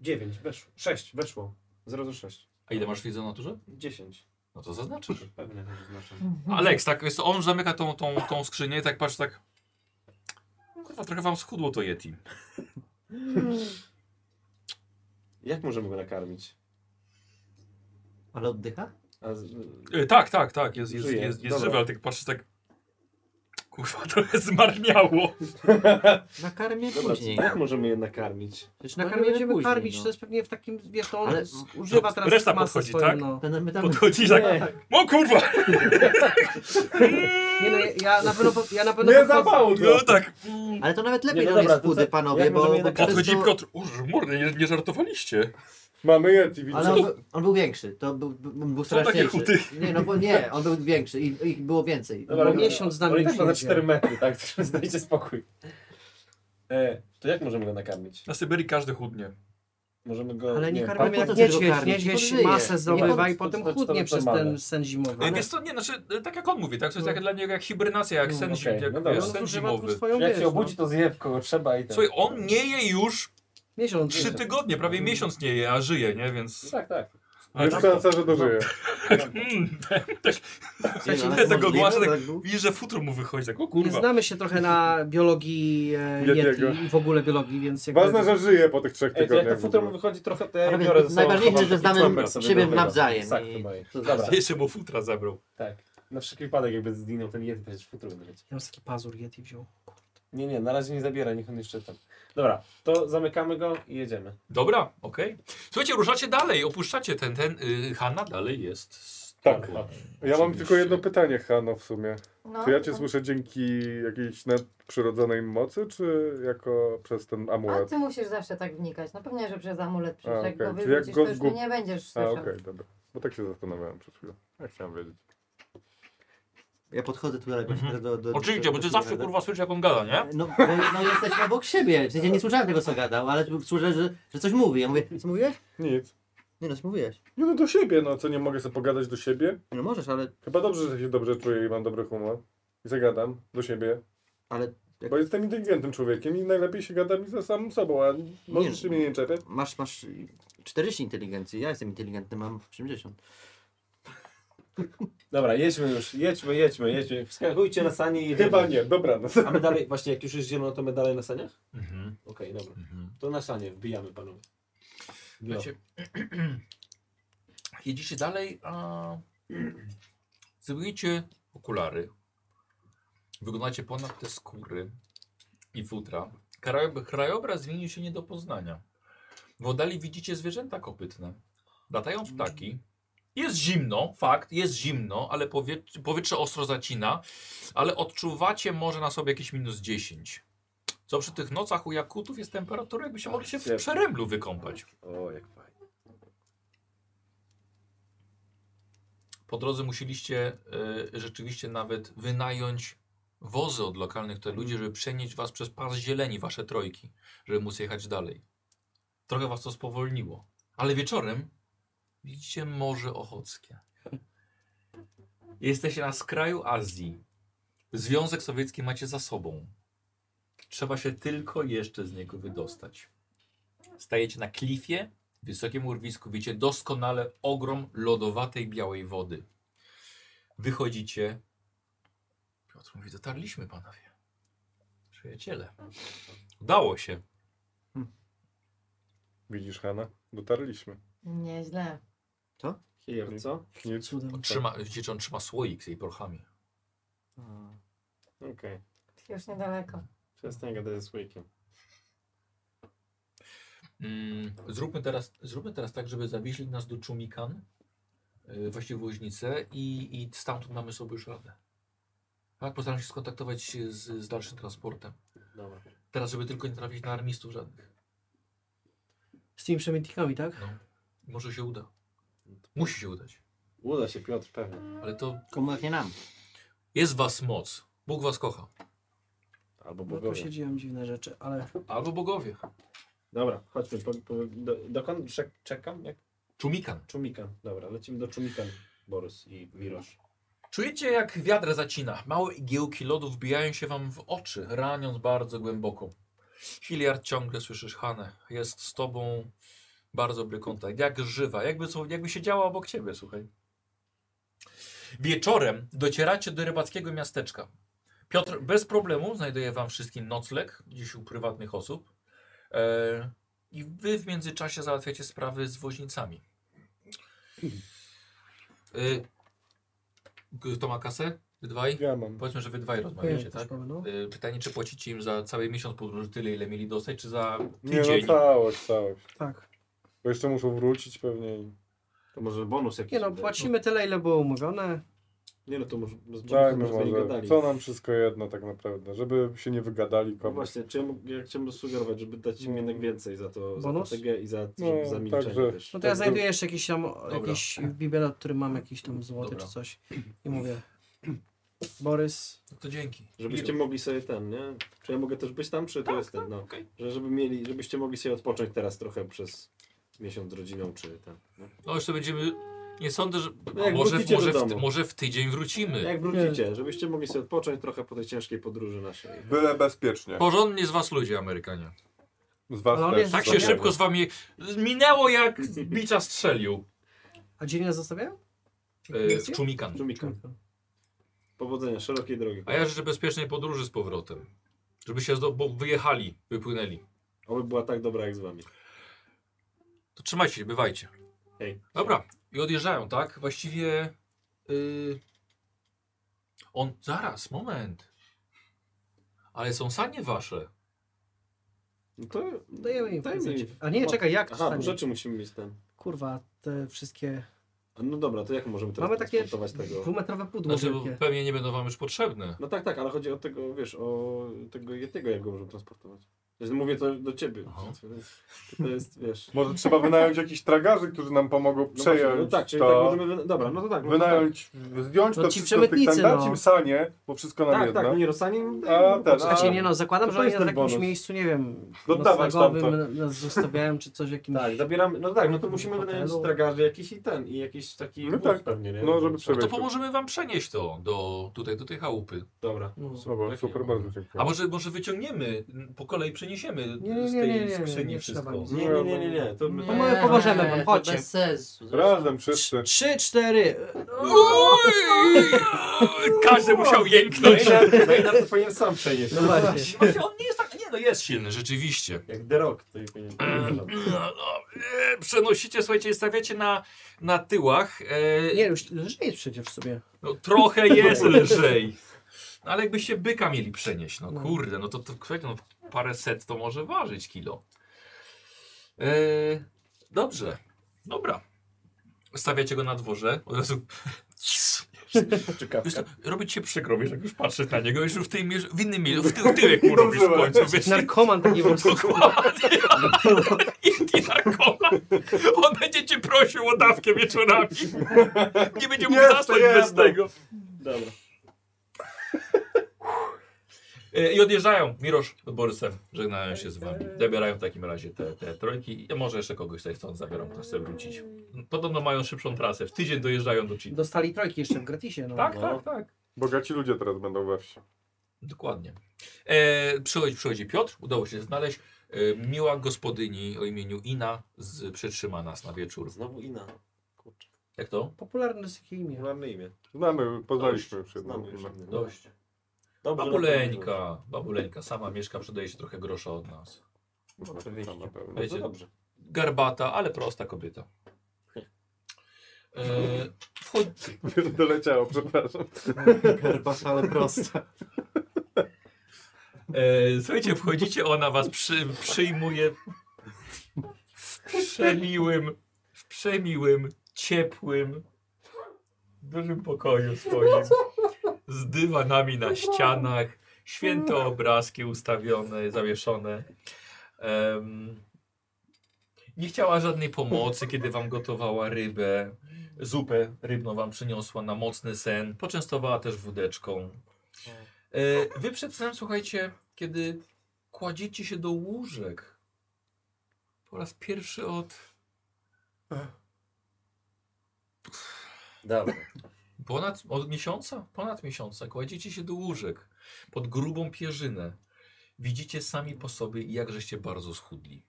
B: 9 weszło. 6 weszło. 0 do 6.
H: A ile masz wiedzy o naturze?
B: 10.
H: No to zaznaczysz.
B: Pewnie to znaczy.
H: Alex, tak, jest, on zamyka tą, tą, tą skrzynię i tak patrzy tak. Kurwa, trochę wam schudło to Yeti.
U: Jak możemy go nakarmić?
E: Ale oddycha?
U: A z...
H: E, tak, tak, tak, jest, jest,
U: Żyje.
H: jest, jest
U: Dobra.
H: żywy, ale tak patrzysz tak. Kurwa, trochę zmarniało.
E: Nakarmię
U: Dobra,
E: później.
U: jak możemy je nakarmić?
E: Przecież
D: No nie
E: nakarmię
D: będziemy
E: później.
D: karmić,
E: no.
D: to jest pewnie w takim, wiesz, to on
E: Ale-
D: z- używa teraz
H: reszta
D: masy
H: podchodzi,
D: swoją,
H: tak?
D: No.
E: Ten- My damy
H: Podchodzisz tak. O kurwa!
D: Nie no, ja- ja na pewno, po- ja na pewno
F: Nie
D: podchodzę.
F: zapał go!
H: No tak.
E: Ale to nawet lepiej,
B: Nie,
E: nie,
B: no
E: no
B: dobra,
E: jest
B: to
E: chudy,
B: co-
E: panowie,
B: jak
E: bo,
B: możemy
E: bo
B: jednak-
E: przez
H: Podchodzi
E: to-
H: Piotr. Uż, mordy, nie, nie żartowaliście.
F: Mamy Yeti,
E: Ale
F: widzisz?
E: on, był- on był większy, to był, był, był
H: Są takie
E: straszniejszy.
H: chudy.
E: Nie, no bo nie, on był większy i ich było więcej.
D: Bo miesiąc z nami
B: Ale i
D: już
B: tak ma za
D: nie
B: 4
D: cztery...
B: metry, tak? Znajdzie spokój. E, to jak możemy go nakarmić?
H: Na Syberii każdy
B: No
H: chudnie. E,
B: możemy go.
D: Ale tak nie
B: wiem,
D: karmimy
E: po
D: jak
E: co tego
D: niedźwiedź,
E: karmić?
D: niedźwiedź
E: Podżyje.
D: masę zdobywa i
B: to- to-
D: potem
B: to- to-
D: chudnie
B: to
D: przez
B: normalne.
D: ten sen zimowy.
H: Ale wiesz co, nie, znaczy, e, tak jak on mówi, tak? To jest
D: No.
H: jak dla niego jak hibernacja, jak
D: No,
H: sen,
B: okej,
H: jak,
B: no dobra.
H: wiesz,
D: On
H: sen
D: zużywa tu
H: zimowy.
D: swoją,
B: Jak
D: wiesz,
B: się obudzi,
D: no,
B: to zje kogo trzeba i tak.
H: Słuchaj, on nie je już
D: miesiąc.
H: trzy tygodnie, prawie
B: Mm.
H: miesiąc nie je, a żyje, nie?
B: No
H: Więc...
B: Tak, tak.
H: Ale
F: Jest
H: tak,
F: szansa, że dożyje.
H: mm,
E: Nie, no, ale
H: tego
E: możliwe,
H: głasa tak-
E: tak był?
H: widzisz, że futro mu wychodzi, tak o
D: Nie
H: kurwa.
D: znamy się trochę na biologii e, Yeti
F: Yetiego.
D: i w ogóle biologii, więc jakby...
F: Ważne, że żyje po tych trzech
B: Ej, E, to jak to
F: tygodniach. w
B: futro mu
F: ogóle.
B: wychodzi trochę, to ja
E: Ale
B: je biorę ze sobą,
E: najważniejsze,
B: chowam
E: że
B: taki
E: znamy
B: copek sobie
E: siebie
B: do tego.
E: nawzajem.
B: Tak,
E: i-
B: chyba je.
E: to
B: Dobra.
H: Jeszcze mu futra zabrał.
B: Tak. Na wszelki wypadek, jakby zginął ten jeden, to jest futro będę mieć.
D: Ja mam taki pazur Yeti wziął.
B: Nie, nie, na razie nie zabiera, niech on jeszcze tam. Dobra, to zamykamy go i jedziemy.
H: Dobra, okej. Słuchajcie, ruszacie dalej, opuszczacie ten, ten, y, Hanna dalej jest z
F: Tak.
H: tobą.
F: Ja mam
H: Oczywiście.
F: tylko jedno pytanie, Hano, w sumie.
C: No,
F: Czy ja cię słyszę dzięki jakiejś nadprzyrodzonej mocy, czy jako przez ten
C: A
F: amulet?
C: ty musisz zawsze tak wnikać. No pewnie, że przez amulet
F: A,
C: przecież jak
F: okej.
C: go
F: Czyli jak
C: wyrzucisz,
F: go
C: to już go
F: zgub-
C: nie będziesz
F: A,
C: słyszał.
F: okej, dobra. Bo tak się zastanawiałem przez chwilę. Ja chciałem wiedzieć.
E: Ja podchodzę tu jakoś
H: Mhm.
E: do, do, do...
H: Oczywiście, bo ty
E: do-
H: zawsze kurwa słyszysz jak on gada, nie?
E: No, bo, no jesteśmy obok siebie. W sensie nie słyszałem tego, co gadał, ale słyszę, że, że coś mówi. Ja mówię, co mówiłeś?
F: Nic.
E: Nie no, co mówiłeś?
F: Nie no do siebie, no co nie mogę sobie pogadać do siebie?
E: No możesz, ale...
F: Chyba dobrze, że się dobrze czuję i mam dobry humor. I zagadam do siebie.
E: ale
F: Bo jestem inteligentnym człowiekiem i najlepiej się gada mi ze samym sobą, a możesz się mnie nie czepiać.
E: masz, masz 40 inteligencji, ja jestem inteligentny, mam 80.
B: Dobra, jedźmy już, jedźmy, jedźmy, jedźmy. Wskakujcie na sanie i jedziemy.
F: Chyba nie, dobra. No.
B: A my dalej, właśnie jak już jeździmy, no to my dalej na saniach?
H: Mhm,
B: Okej, dobra.
H: mhm.
B: To na sanie wbijamy panowie. No.
H: Słuchajcie, jedziecie dalej, a zrobicie okulary. Wyglądacie ponad te skóry i futra. Krajob- Krajobraz zmienił się nie do poznania. W oddali widzicie zwierzęta kopytne. Latają ptaki. Jest zimno, fakt, jest zimno, ale powietrze, powietrze ostro zacina, ale odczuwacie może na sobie jakieś minus 10. Co przy tych nocach u Jakutów jest temperatura, jakby się mogli się w przeręblu wykąpać.
U: O, jak fajnie.
H: Po drodze musieliście y, rzeczywiście nawet wynająć wozy od lokalnych tutaj ludzi, żeby przenieść was przez pas zieleni, wasze trojki, żeby móc jechać dalej. Trochę was to spowolniło. Ale wieczorem widzicie Morze Ochockie. Jesteście na skraju Azji. Związek Sowiecki macie za sobą. Trzeba się tylko jeszcze z niego wydostać. Stajecie na klifie, w wysokim urwisku wiecie doskonale ogrom lodowatej białej wody. Wychodzicie. Piotr mówi, dotarliśmy panowie. Przyjaciele. Udało się.
F: Widzisz, Hanna? Dotarliśmy.
C: Nieźle.
B: Kijer, co?
F: Nic.
E: Cudem.
H: Trzyma, widzicie, on trzyma słoik z jej prochami.
B: Okej.
C: Już niedaleko.
B: Przestań gadać ze słoikiem.
H: Mm, zróbmy, teraz, zróbmy teraz tak, żeby zawieźli nas do Czumikan, yy, właściwie woźnicę i, i stamtąd mamy sobie już radę. Tak, postaram się skontaktować się z, z dalszym transportem.
B: Dobra.
H: Teraz, żeby tylko nie trafić na armistów żadnych.
D: Z tymi przemytnikami, tak?
H: No, może się uda. Musi się udać.
B: Uda się, Piotr, pewnie.
H: Ale to
E: Komu jak nie nam.
H: jest w was moc. Bóg was kocha.
U: Albo
D: Bo tu
U: bogowie.
D: No się dzieją dziwne rzeczy, ale...
H: Albo bogowie.
B: Dobra, chodźmy. Po, po, do, dokąd czek, czekam? Jak?
H: Czumikan.
B: Czumikan. Dobra, lecimy do Czumikan. Borys i Mirosz.
H: Czujecie, jak wiatr zacina. Małe igiełki lodu wbijają się wam w oczy, raniąc bardzo głęboko. Hilliard ciągle słyszysz Hanę. Jest z tobą bardzo bry kontakt. Jak żywa, jakby, co- jakby siedziała obok ciebie, słuchaj. Wieczorem docieracie do rybackiego miasteczka. Piotr bez problemu znajduje wam wszystkim nocleg, dziś u prywatnych osób. E, I wy w międzyczasie załatwiacie sprawy z woźnicami. E, kto ma kasę? Wy dwaj?
F: Ja mam.
H: Powiedzmy, że wy dwaj rozmawiacie,
D: Pojedzie,
H: tak?
D: No.
H: E, Pytanie, czy płacicie im za cały miesiąc podróży tyle, ile mieli dostać, czy za
F: Nie
H: tydzień?
F: no, całość, całość.
D: Tak.
F: Bo jeszcze muszą wrócić pewnie i...
B: To może bonus jakiś.
D: Nie no,
B: będzie.
D: płacimy tyle, ile było umówione.
B: Nie no, to może z bonusem
F: Dajmy
B: byśmy nie
F: tak, może,
B: gadali.
F: co nam wszystko jedno tak naprawdę, żeby się nie wygadali
B: No
F: komuś.
B: właśnie, czy ja, mógł- ja chciałbym sugerować, żeby dać im
F: No.
B: jednak więcej za to, za
D: Mm. Bonus?
B: strategię i za,
F: No,
B: za milczenie
F: także-
B: też.
D: No to ja
F: Tak,
D: znajduję jeszcze jakiś tam, jakiś bibelat, który mam jakiś tam złoty
H: Dobra.
D: czy coś. I mówię, Borys,
H: No to dzięki.
B: Żebyście mogli sobie ten, nie? Czy ja mogę też być tam, czy to jest ten, no. Że żeby mieli, żebyście mogli sobie odpocząć teraz trochę przez miesiąc z rodziną, czy ten. No.
H: No jeszcze będziemy... Nie sądzę, że...
B: No jak
H: może,
B: wrócicie
H: może,
B: do
H: w,
B: domu.
H: może w tydzień wrócimy.
B: Jak wrócicie, żebyście mogli sobie odpocząć trochę po tej ciężkiej podróży naszej.
F: Byle bezpiecznie.
H: Porządnie z was ludzie, Amerykanie.
F: Z was
D: Ale on
F: też.
D: jest-
H: Tak się
F: Dobra.
H: szybko z wami... Minęło jak z bicza strzelił.
D: a dzień nas zostawiają?
H: E, w Czumikan.
B: Czumika. Powodzenia, szerokiej drogi.
H: A ja życzę bezpiecznej podróży z powrotem. Żeby się zdo... bo wyjechali, wypłynęli.
B: Oby była tak dobra jak z wami.
H: To trzymajcie się, bywajcie.
B: Hej.
H: Dobra, i odjeżdżają, tak? Właściwie. y, On. Zaraz, moment. Ale są sanie wasze.
B: No to
D: Dajemy im
B: dajmy
D: prezent.
B: im-
D: A nie, czekaj, jak to
B: Aha, bo
D: stanie?
B: rzeczy musimy mieć tam.
D: Kurwa, te wszystkie...
B: A No dobra, to jak możemy teraz
D: Mamy takie
B: transportować tego?
D: dwumetrowe pudło
H: No. Znaczy, bo
D: wielkie.
H: pewnie nie będą wam już potrzebne.
B: No tak, tak, ale chodzi o tego, wiesz, o tego jednego, jak go możemy transportować. Znaczy, Mówię to do ciebie.
H: Aha.
B: To jest, wiesz...
F: Może trzeba wynająć jakichś tragarzy, którzy nam pomogą
B: No właśnie,
F: przejąć
B: no tak, czyli
F: to,
B: tak możemy... wyna- Dobra, no to tak. No to tak.
F: wynająć, zdjąć
D: No
F: to
D: ci
F: wszystko z tych tak
D: przemytnicy,
F: dać
D: no.
F: im sanie, bo wszystko nam
B: Tak,
F: jedno.
B: tak, no nie Rosanie...
F: A, ten, a-
D: Znaczy nie
B: tak.
D: no, zakładam,
F: To
D: że oni
F: jest
D: na
F: ten
D: jakimś
F: bonus.
D: miejscu, nie wiem,
F: Dodawać
D: No noclegowym nas zostawiają czy coś jakimś...
B: Tak, zabieramy, no tak, no to musimy
D: Hotelu.
B: wynająć tragarzy jakiś i ten, i jakiś taki
F: No
B: wóz
F: tak,
B: pewnie, nie?
F: no, żeby
H: No to
F: Przejdźmy.
H: pomożemy wam przenieść to do, tutaj, do tej chałupy.
B: Dobra.
D: No.
F: Słowo, super, bardzo dziękuję.
H: A może, może wyciągniemy, m, po kolei przeniesiemy
D: Nie, nie,
H: z
D: nie,
H: tej
D: nie, nie, nie,
H: skrzyni
D: nie trzeba
H: wszystko.
D: nic.
B: Nie, nie, nie, nie, nie, to my
D: No my pomożemy wam,
E: to
D: chodźcie.
E: Bez sensu.
F: Razem
H: No.
F: wszyscy.
D: Trzy, cztery...
H: Oj! Każdy musiał
B: No
H: jęknąć.
B: Maynard to powinien sam przenieść.
D: No właśnie.
H: Właśnie on nie jest tak, nie no jest silny, rzeczywiście.
B: Jak The Rock to powinien
H: No, no, e, Przenosicie, słuchajcie, i stawiacie na, na tyłach. e,
D: Nie, już lżej jest przecież sobie.
H: No, trochę jest lżej. No, ale jakbyście byka mieli przenieść, no
D: No.
H: kurde, no to, to słuchajcie, no, parę set to może ważyć kilo. E, dobrze, dobra. Stawiacie go na dworze, od razu
B: Czy
H: Wiesz
B: kawka?
H: co, robić się przykro, wiesz, jak już patrzę na niego, już w, tej mierze, w innym mierze, w tył, tyłek mu robisz w końcu, wiesz,
D: Narkoman taki po prostu.
H: Dokładnie. Indie narkoman. On będzie cię prosił o dawkę wieczorami. Nie będzie mógł zasnąć bez tego.
B: Dobra.
H: E, I odjeżdżają. Mirosz z Borysem żegnają się z wami. Zabierają w takim razie te, te trojki. I może jeszcze kogoś tutaj stąd zabiorą, kto chce wrócić. Podobno mają szybszą trasę. W tydzień dojeżdżają do Chile.
D: Dostali trojki jeszcze w gratisie. No.
H: Tak,
B: No.
H: tak, tak.
F: Bogaci ludzie teraz będą we wsi.
H: Dokładnie. E, przychodzi, przychodzi Piotr, udało się znaleźć. E, miła gospodyni o imieniu Ina z, przytrzyma nas na wieczór.
B: Znowu Ina. Kurczę,
H: Jak to?
D: Popularne jest takie imię.
B: mamy imię.
F: Znamy, poznaliśmy już jedną.
B: Znamy już inne.
H: Dość.
B: Dobrze, no
H: Babuleńka, babuleńka, sama mieszka, przydaje się trochę grosza od nas.
F: No,
B: Oczywiście.
F: na pewno. No
B: Dobrze,
H: Wiecie,
B: dobrze.
H: garbata, ale prosta kobieta. E, wchodzi,
F: Doleciało, przepraszam.
E: Herbasa, ale prosta.
H: e, słuchajcie, wchodzicie, ona was przy, przyjmuje w przemiłym, w przemiłym, ciepłym, dużym pokoju swoim. Z dywanami na ścianach, święte obrazki ustawione, zawieszone. Em, nie chciała żadnej pomocy, kiedy wam gotowała rybę. Zupę rybną wam przyniosła na mocny sen. Poczęstowała też wódeczką. E, wy przed snem, słuchajcie, kiedy kładziecie się do łóżek po raz pierwszy od
B: Dobra.
H: Ponad, od miesiąca? Ponad miesiąca. Kładziecie się do łóżek pod grubą pierzynę. Widzicie sami po sobie, jakżeście bardzo schudli.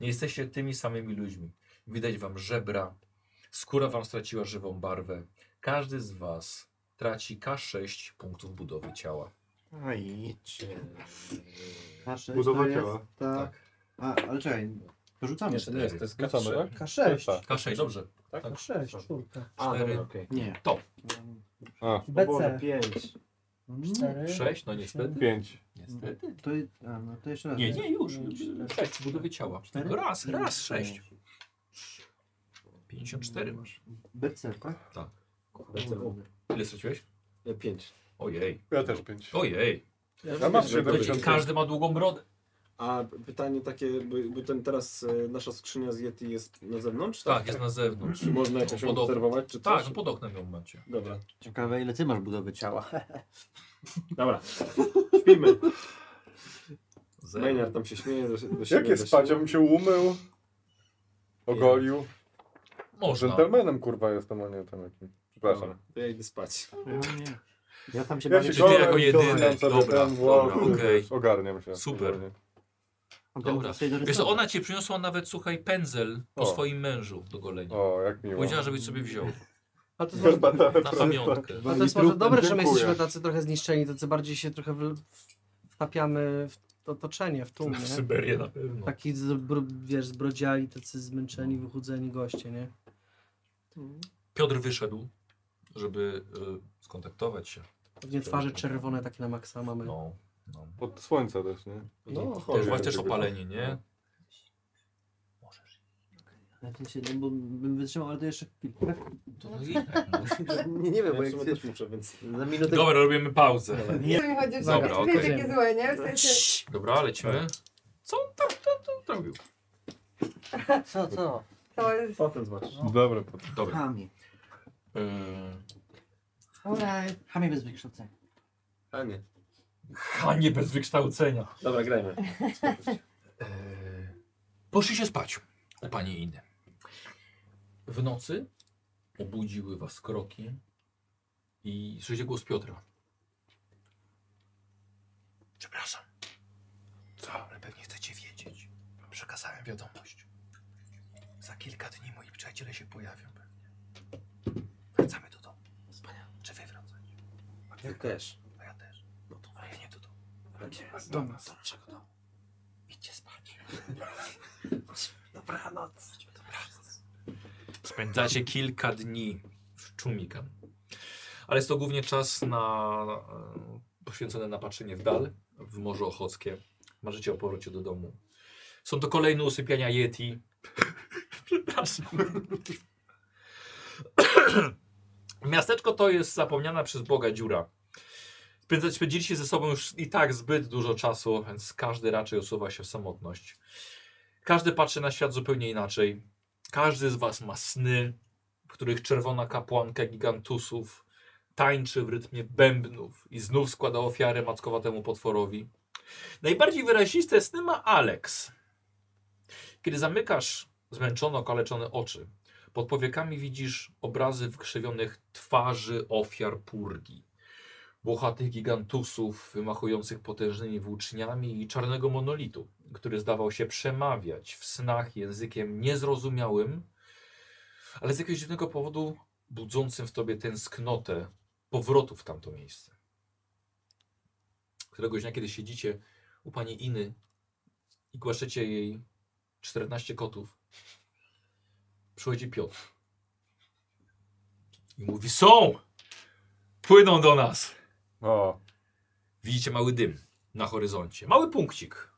H: Nie jesteście tymi samymi ludźmi. Widać wam żebra, skóra wam straciła żywą barwę. Każdy z was traci K6 punktów budowy ciała.
E: A idźcie. K6
F: Budowa
E: to jest
F: ciała.
E: Ta...
H: Tak.
E: A, ale czekaj, dorzucamy.
B: Nie, to nie jest, to jest
F: Wracamy,
B: K3.
F: tak?
D: K6.
H: K6, dobrze. Tak.
D: K6, czwórka.
B: A,
H: Cztery.
B: dobra, okej.
E: Nie.
F: A,
B: O Boże,
D: BC.
B: 5.
D: Cztery.
H: 6, no niestety.
F: pięć.
H: Niestety.
E: Mm, To, je- a, no to jeszcze raz.
H: Nie, nie, już. już. Sześć budowy ciała.
E: Cztery?
H: Raz, raz, sześć. 54 masz.
E: BC, tak?
H: Tak.
E: Kurde.
H: Ile straciłeś?
B: 5.
H: Ojej.
F: Ja też pięć.
H: Ojej.
F: Ja mam
H: Wiecie,
F: 70.
H: Każdy ma długą brodę.
B: A pytanie takie, bo, bo ten teraz e, nasza skrzynia z Yeti jest na zewnątrz?
H: Tak, jest na zewnątrz.
B: Czy można jakoś ją
H: Podobno.
B: obserwować, czy coś?
H: Tak, no pod oknem ją macie.
B: Dobra,
E: Ciekawe ile ty masz budowy ciała.
B: dobra. Śpimy.
H: Zero.
B: Maynard tam się śmieje. Do, do siebie, do
F: Jakie spać? Ja
B: siebie.
F: bym się umył, ogolił.
H: Można.
F: Gentlemanem kurwa jestem, a nie tam jakim. Przepraszam.
B: Dobra, No, to ja idę spać.
E: Ja tam się
F: Ja
E: bawię.
F: się
H: Czy ty
F: gołem,
H: jako jedyny?
F: gołem sobie
H: Dobra,
F: ten
H: dobra,
F: włożył.
H: okej.
F: Ogarniam się.
H: Super.
F: Ogólnie.
H: Dobra. Wiesz co, ona ci przyniosła nawet, słuchaj, pędzel po
F: O.
H: swoim mężu do golenia.
F: O, jak miło. tak.
H: Powiedziała, żebyś sobie wziął
D: A to jest tak. może,
F: Herbata
H: na pamiątkę.
D: a to jest może dobre, że my
F: Dziękuję.
D: jesteśmy tacy trochę zniszczeni, tacy bardziej się trochę w, wtapiamy w otoczenie, w
H: No,
D: tłum, nie?
H: Syberię na pewno.
D: Taki, zbro, wiesz, zbrodziali, tacy zmęczeni, wychudzeni goście, nie?
H: Piotr wyszedł, żeby y, skontaktować się.
D: Pewnie twarze czerwone takie na maksa mamy.
H: No, no.
F: Od słońca też, nie?
H: no
F: No,
H: też,
F: chory.
H: właśnie też opaleni, nie?
E: Ja to się, no bo bym wytrzymał, ale to jeszcze chwilkę.
H: To no jednak, no.
E: Nie, nie wiem, bo
B: Ja w
E: jak
B: sumie też muszę, więc...
E: za minutę...
H: Dobra, robimy pauzę.
G: Nie mi chodzi, że
H: Dobra,
G: to
H: okej.
G: jest takie złe, nie? W sensie,
H: Dobra, lecimy. Co on tam, tam, tam robił?
E: Co, co?
G: to jest...
B: Potem zobaczysz.
H: No.
F: Dobra, po-
H: Dobra.
E: Hamie.
H: Y,
G: Alright.
E: Hamie bez wykształcenia.
B: A nie.
H: Hanie bez wykształcenia.
B: Dobra, grajmy.
H: Eee, Poszli się spać u pani Iny. W nocy obudziły was kroki i słyszycie głos Piotra. Przepraszam. Co? Ale pewnie chcecie wiedzieć. Przekazałem wiadomość. Za kilka dni moi przyjaciele się pojawią pewnie. Wracamy do domu. Wspaniale. Czy wy wracacie?
B: Ja też.
H: A ja też. No to a ja nie do domu.
D: Do nas.
H: Do naszego domu. Idźcie spać.
D: Dobranoc.
H: Spędzacie kilka dni w Czumikan. Ale jest to głównie czas na e, poświęcony na patrzenie w dal, w Morze Ochockie. Marzycie o powrocie do domu. Są to kolejne usypiania Yeti. Przepraszam. Miasteczko to jest zapomniana przez Boga dziura. Spędza- Spędziliście ze sobą już i tak zbyt dużo czasu, więc każdy raczej osuwa się w samotność. Każdy patrzy na świat zupełnie inaczej. Każdy z was ma sny, w których czerwona kapłanka gigantusów tańczy w rytmie bębnów i znów składa ofiarę mackowatemu potworowi. Najbardziej wyraziste sny ma Alex. Kiedy zamykasz zmęczono okaleczone oczy, pod powiekami widzisz obrazy wykrzywionych twarzy ofiar purgi. Włochatych gigantusów wymachujących potężnymi włóczniami i czarnego monolitu, który zdawał się przemawiać w snach językiem niezrozumiałym, ale z jakiegoś dziwnego powodu budzącym w tobie tęsknotę powrotu w tamto miejsce. Któregoś dnia, kiedy siedzicie u pani Iny i głaszczecie jej 14 kotów, przychodzi Piotr i mówi: Są! Płyną do nas!
F: O,
H: Widzicie mały dym na horyzoncie. Mały punkcik.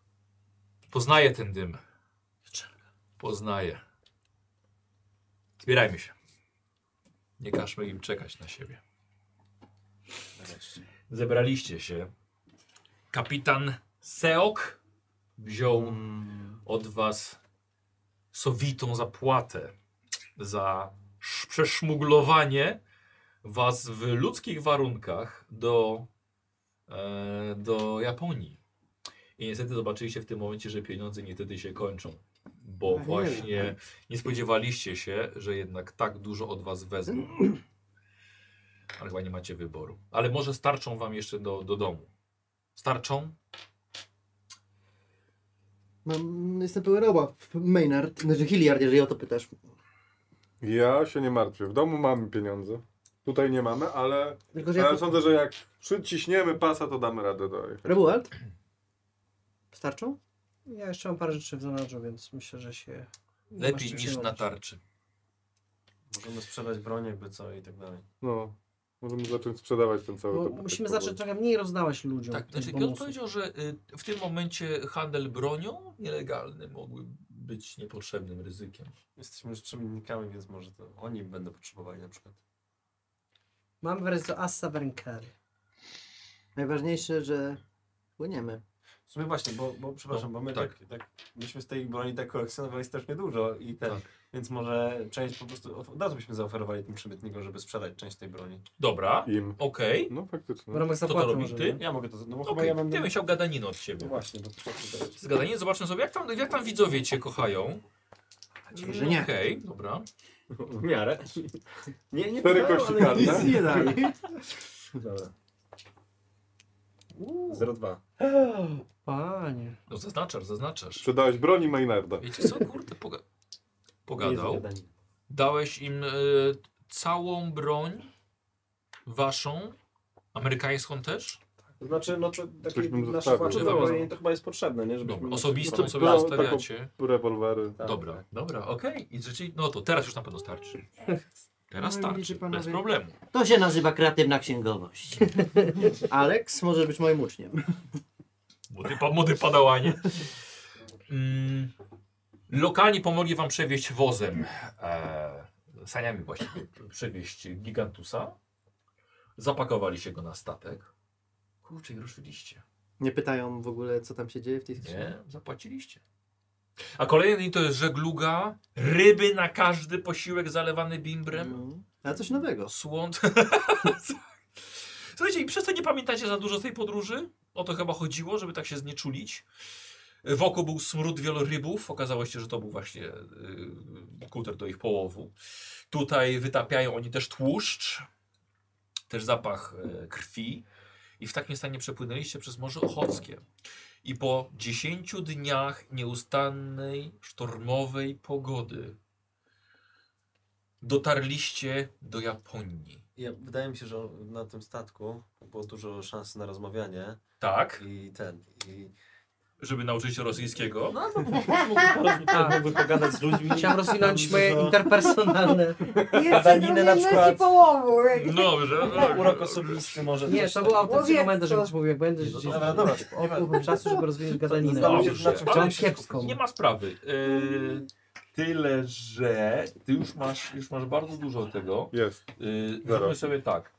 H: Poznaję ten dym. Poznaję. Zbierajmy się. Nie każmy im czekać na siebie. Zebraliście się. Kapitan Seok wziął od was sowitą zapłatę za sz- przeszmuglowanie was w ludzkich warunkach do e, do Japonii. I niestety zobaczyliście w tym momencie, że pieniądze niestety się kończą. Bo
E: nie.
H: właśnie nie spodziewaliście się, że jednak tak dużo od was wezmą. ale chyba nie macie wyboru. Ale może starczą wam jeszcze do, do domu. Starczą?
E: Mam, No, jestem pełen obaw. Maynard, znaczy Hilliard, jeżeli o to pytasz.
F: Ja się nie martwię. W domu mamy pieniądze. Tutaj nie mamy, ale,
E: Tylko, że
F: ale
E: ja...
F: sądzę, że jak przyciśniemy pasa, to damy radę dojechać.
E: Rebuald? Starczą?
D: Ja jeszcze mam parę rzeczy w zanadrzu, więc myślę, że się... nie ma z
H: Lepiej
D: czym się
H: niż na
D: bawić.
H: tarczy.
C: Możemy sprzedać broń, jakby co i tak dalej.
F: No. Możemy zacząć sprzedawać ten cały
D: Bo
F: dobytek
D: musimy
F: powoli.
D: zacząć trochę mniej rozdawać ludziom.
H: Tak,
D: tych
H: znaczy Piotr
D: bonusów.
H: powiedział, że y, w tym momencie handel bronią nielegalny mógłby być niepotrzebnym ryzykiem.
C: Jesteśmy już przemiennikami, więc może to oni będą potrzebowali na przykład.
D: Mam wreszcie Assa Wenkery.
E: Najważniejsze, że płyniemy.
C: W sumie właśnie, bo, bo przepraszam, bo my
H: tak.
C: tak. Tak, myśmy z tej broni tak kolekcjonowali strasznie dużo i ten, więc może część po prostu, od razu byśmy zaoferowali tym przemytnikom, żeby sprzedać część tej broni.
H: Dobra,
F: Im.
H: okej.
F: No faktycznie.
D: W ramach
H: Co to
D: zapłaty
H: robi
D: może,
H: ty?
D: nie?
C: Ja mogę to, no bo chyba
H: Okej,
C: ja mam...
H: Ty byś chciał gadaninę od ciebie.
C: No właśnie, bo to
H: Zgadanie, zobaczmy sobie, jak tam, jak tam widzowie cię kochają. No
E: nadzieję, że nie.
H: Okej, dobra.
C: W miarę. Nie, nie
F: Cztery
C: pytają,
F: kości
C: ale
F: karne.
C: nic nie-
E: dali.
C: Dobra. 0,2.
D: Panie.
H: No zaznaczasz, zaznaczasz.
F: Sprzedałeś broni Maynarda.
H: Wiecie co, kurde, poga pogadał. Dałeś im e, całą broń waszą, amerykańską też?
B: To znaczy, no to
F: Coś
B: takie
F: bym
B: nasze
F: zostawił.
B: walczywe
H: Dobra.
B: brojenie to chyba jest potrzebne, nie? Żebyśmy
H: Dobra,
B: mogli
H: osobistą
B: spróbować.
H: sobie
F: No,
H: zostawiacie.
F: Rewolwery.
B: Tak.
F: Tak.
H: Dobra, dobra, okej. I rzeczywiście, no to teraz już na pewno starczy. Teraz
E: No, widzicie
H: starczy, bez
E: panowie.
H: problemu.
E: To się nazywa kreatywna księgowość. Alex może być moim uczniem.
H: Młody, pa, młody padałanie. Mm, lokalni pomogli wam przewieźć wozem, e, saniami właściwie, przewieźć gigantusa. Zapakowali się go na statek. Kurczę, i ruszyliście.
E: Nie pytają w ogóle, co tam się dzieje w tej skrzyni.
H: Nie, zapłaciliście. A kolejny dzień to jest żegluga, ryby na każdy posiłek zalewany bimbrem.
E: No. A coś nowego.
H: Słon. Słuchajcie, i przez to nie pamiętacie za dużo z tej podróży? O to chyba chodziło, żeby tak się znieczulić. Wokół był smród wielorybów. Okazało się, że to był właśnie yy, kuter do ich połowu. Tutaj wytapiają oni też tłuszcz, też zapach y, krwi. I w takim stanie przepłynęliście przez Morze Ochockie. I po 10 dniach nieustannej sztormowej pogody dotarliście do Japonii.
C: Ja, wydaje mi się, że na tym statku było dużo szans na rozmawianie
H: Tak,
C: i ten, i...
H: żeby nauczyć się rosyjskiego.
C: No to mógłby pogadać z ludźmi.
D: Chciałem rozwinąć
C: Dużo-
D: moje interpersonalne.
G: Jest
C: Daninę na
G: równomierności
C: przykład.
G: połowu.
H: No dobrze.
C: Urok osobisty może
D: Nie,
C: coś
D: to
C: tam.
D: był autentyczny
G: Łowiecko.
D: moment, żebym ci mówił, jak będę
H: No
D: gdzieś
C: Dobra, dobra.
D: opływ czasu, żeby rozwinąć gadaninę.
C: Zastanów się,
H: Dobrze.
C: na czym
H: Ale
C: chciałem
D: Chciałem
C: się
D: kiepską.
H: Nie ma sprawy. Yy, tyle, że ty już masz, już masz bardzo dużo tego.
F: Jest.
H: Yy,
F: Zero.
H: zróbmy sobie tak.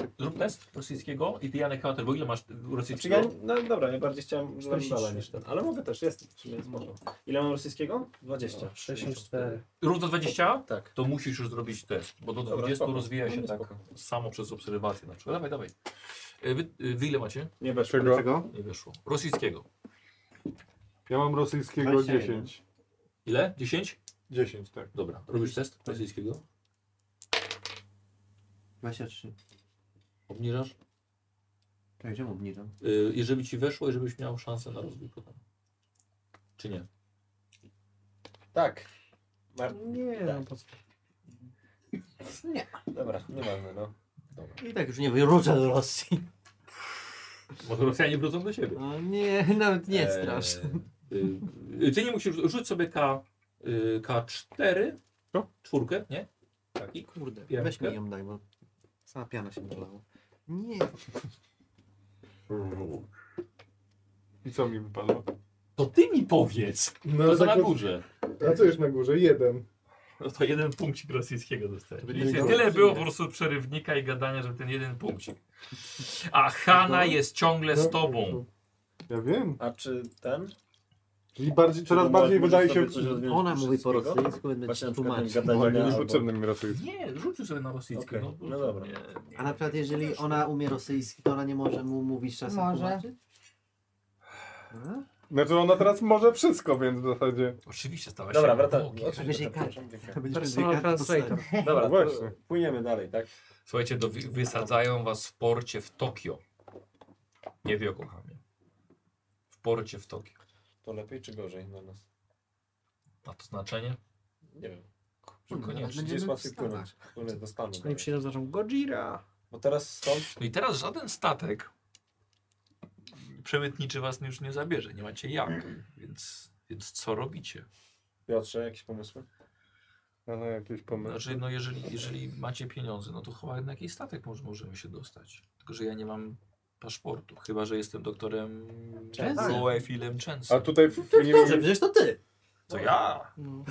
H: Yy, zrób test rosyjskiego i ty Janek Hunter, bo ile masz
E: Znaczy,
B: Czy ja,
H: rosyjskiego?
B: no dobra, ja bardziej chciałem
D: 43.
B: żadala niż ten, ale mogę też, jest, w sumie jest może. Ile mam rosyjskiego? 20.
D: 64.
H: Rób do 20?
C: Tak.
H: To musisz już zrobić test, bo do
B: Dobra,
H: 20
B: spoko.
H: rozwija się
B: No,
H: tak
B: spoko.
H: samo przez obserwację na przykład. Dawaj, dawaj. Yy, Wy, yy, wy ile macie?
B: Nie bez
F: Czego?
E: Dlaczego?
H: Nie wyszło. Rosyjskiego.
F: Ja mam rosyjskiego
E: 21.
F: 10.
H: Ile? 10?
F: 10, tak.
H: Dobra. Robisz test rosyjskiego?
E: 23.
H: Obniżasz?
E: Czekaj, Tak, czemu obniżam?
H: Y, I żeby ci weszło i żebyś miał szansę na rozwój potem. Czy nie?
B: Tak.
D: Nie, no po co?
E: Nie.
B: Dobra, nieważne, no.
E: I tak już nie wrócę do Rosji.
H: Może Rosjanie wrócą do siebie. E,
E: O nie, nawet nie
H: Eee.
E: strasz.
H: Y, y, ty nie musisz, rzuć sobie K, y, K4,
F: Co?
H: czwórkę, nie?
E: I kurde,
H: Piankę.
E: weź mi ją daj, bo sama piana się bolała. Nie,
F: I co mi wypadło?
H: To ty mi powiedz,
T: No
H: to co na górze.
T: Pracujesz na górze, jeden.
H: No to jeden punkcik rosyjskiego dostajesz.
E: Będzie
H: Tyle,
E: dobrze.
H: było po prostu przerywnika i gadania, żeby ten jeden punkcik. A Hanna jest ciągle z tobą.
F: Ja wiem.
B: A czy ten?
F: Czyli bardziej, coraz
B: Czy
F: bardziej
B: możesz
F: wydaje się...
B: sobie coś odjąć
E: ona mówi po
B: rosyjskiego?
E: rosyjsku, będę
B: Właśnie
E: ci
B: na przykład ten
E: tłumaczyć.
F: No,
B: gadanina
F: nie
B: albo...
F: rzucę na mi rosyjski.
H: Nie, rzucił sobie na rosyjski.
B: Okej,
H: bo-
B: no dobra.
H: nie.
E: A na przykład jeżeli ona umie rosyjski, to ona nie może mu mówić czasem
G: Może.
E: tłumaczyć? A?
F: Znaczy ona teraz może wszystko, więc w zasadzie.
H: Oczywiście stała się
B: Dobra, wracamy.
F: No,
H: Bogiem.
E: Będzie karta.
D: Personal translator.
B: Dobra, to
F: Właśnie.
B: płyniemy dalej, tak?
H: Słuchajcie, do, wy- wysadzają was w porcie w Tokio. Nie wie o kochanie. W porcie w Tokio.
B: To lepiej czy gorzej dla nas?
H: Ma to znaczenie?
B: Nie wiem.
H: Koniecznie.
B: Gdzie jest łatwiej płynąć? Płynę do Stanów.
D: Oni No przyjdą zaczą Gojira.
B: Bo teraz stąd
H: No i teraz żaden statek przemytniczy was już nie zabierze. Nie macie jak. Więc, więc co robicie?
B: Piotrze, jakieś pomysły?
F: Ale no, jakieś pomysły.
H: Znaczy, no jeżeli, jeżeli macie pieniądze, no to chyba na jakiś statek może, możemy się dostać. Tylko, że ja nie mam paszportu. Chyba, że jestem doktorem
E: Częsem.
H: Goefilem Częsem.
F: A tutaj w, nie
E: Dobrze, przecież to ty.
H: To ja!
D: No.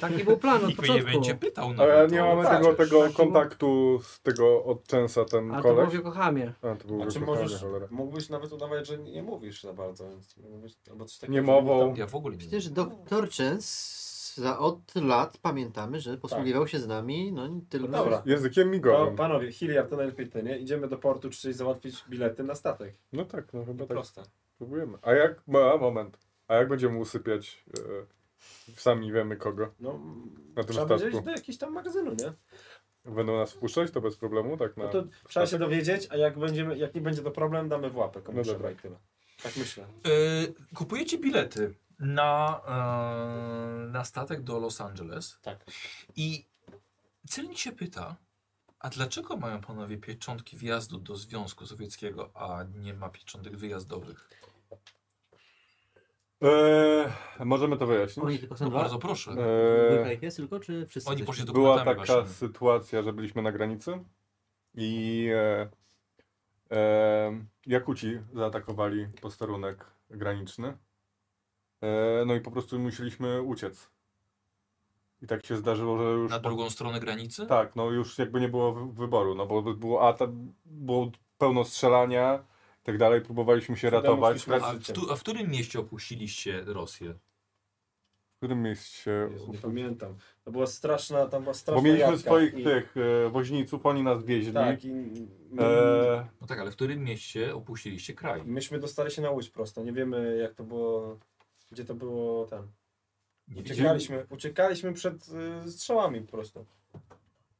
D: Taki był plan od
H: Nikt mnie nie
D: no, początku.
H: będzie pytał na
F: ale nie mamy
D: tak,
F: tego,
D: też.
F: tego
D: Taki-
F: kontaktu z tego od Częsa ten
D: Ale to było
F: koleś.
D: w Yokohamie.
F: A, to był
B: Znaczy
F: znaczy
B: możesz,
F: cholera.
B: mógłbyś nawet udawać, że nie mówisz za bardzo, więc mógłbyś, albo coś takiego.
F: Niemową.
B: żeby
H: Ja w ogóle nie
E: Przecież doktor Chens za od lat pamiętamy, że posługiwał się z nami, no nie tylko.
B: Tak. Dobra.
F: Językiem
B: Tam... No,
F: migowym.
B: panowie, Hilliard to najlepiej ty, nie? Idziemy do portu, czy coś załatwić bilety na statek.
F: No tak, no chyba tak
B: Proste.
F: spróbujemy. A jak, ma, moment, a jak będziemy usypiać, e, sami wiemy kogo,
B: No,
F: Na tym
B: trzeba będzie
F: statku.
B: iść do jakiegoś tam magazynu, nie?
F: będą nas wpuszczać, to bez problemu, tak na...
B: No to trzeba się dowiedzieć, a jak, będziemy, jak nie będzie to problem, damy w łapę komuś
F: No
B: no
F: dobra.
B: i tyle. Tak myślę.
H: Y, kupujecie bilety na, e, na statek do Los Angeles.
B: Tak.
H: I celnik się pyta, a dlaczego mają panowie pieczątki wjazdu do Związku Sowieckiego, a nie ma pieczątek wyjazdowych?
F: Eee, możemy to wyjaśnić.
E: Oni tylko są
H: No
E: dwa.
H: bardzo proszę.
F: Eee,
E: Jest tylko, czy wszyscy?
H: Oni
E: też?
H: poszli do
F: była taka sytuacja, że byliśmy na granicy i e, e, Jakuci zaatakowali posterunek graniczny. E, no i po prostu musieliśmy uciec. I tak się zdarzyło, że już
H: Na
F: po-
H: drugą stronę granicy?
F: Tak, no już jakby nie było wy- wyboru, no bo by było, a tam było pełno strzelania i tak dalej, próbowaliśmy się
B: Cudem
F: ratować.
B: uszliśmy.
H: A w, tu, a w którym mieście opuściliście Rosję?
F: W którym mieście?
B: Jezu, nie pamiętam. To była straszna, tam była straszna
F: Bo mieliśmy
B: jadka
F: swoich
B: i,
F: tych Eee. e, woźniców, oni nas wieźli.
B: Tak, i
F: E,
H: No tak, ale w którym mieście opuściliście kraj?
B: myśmy dostali się na łódź prosto. Nie wiemy jak to było, gdzie to było tam.
H: Nie wiecie?
B: Uciekaliśmy, uciekaliśmy przed y, strzałami po prostu.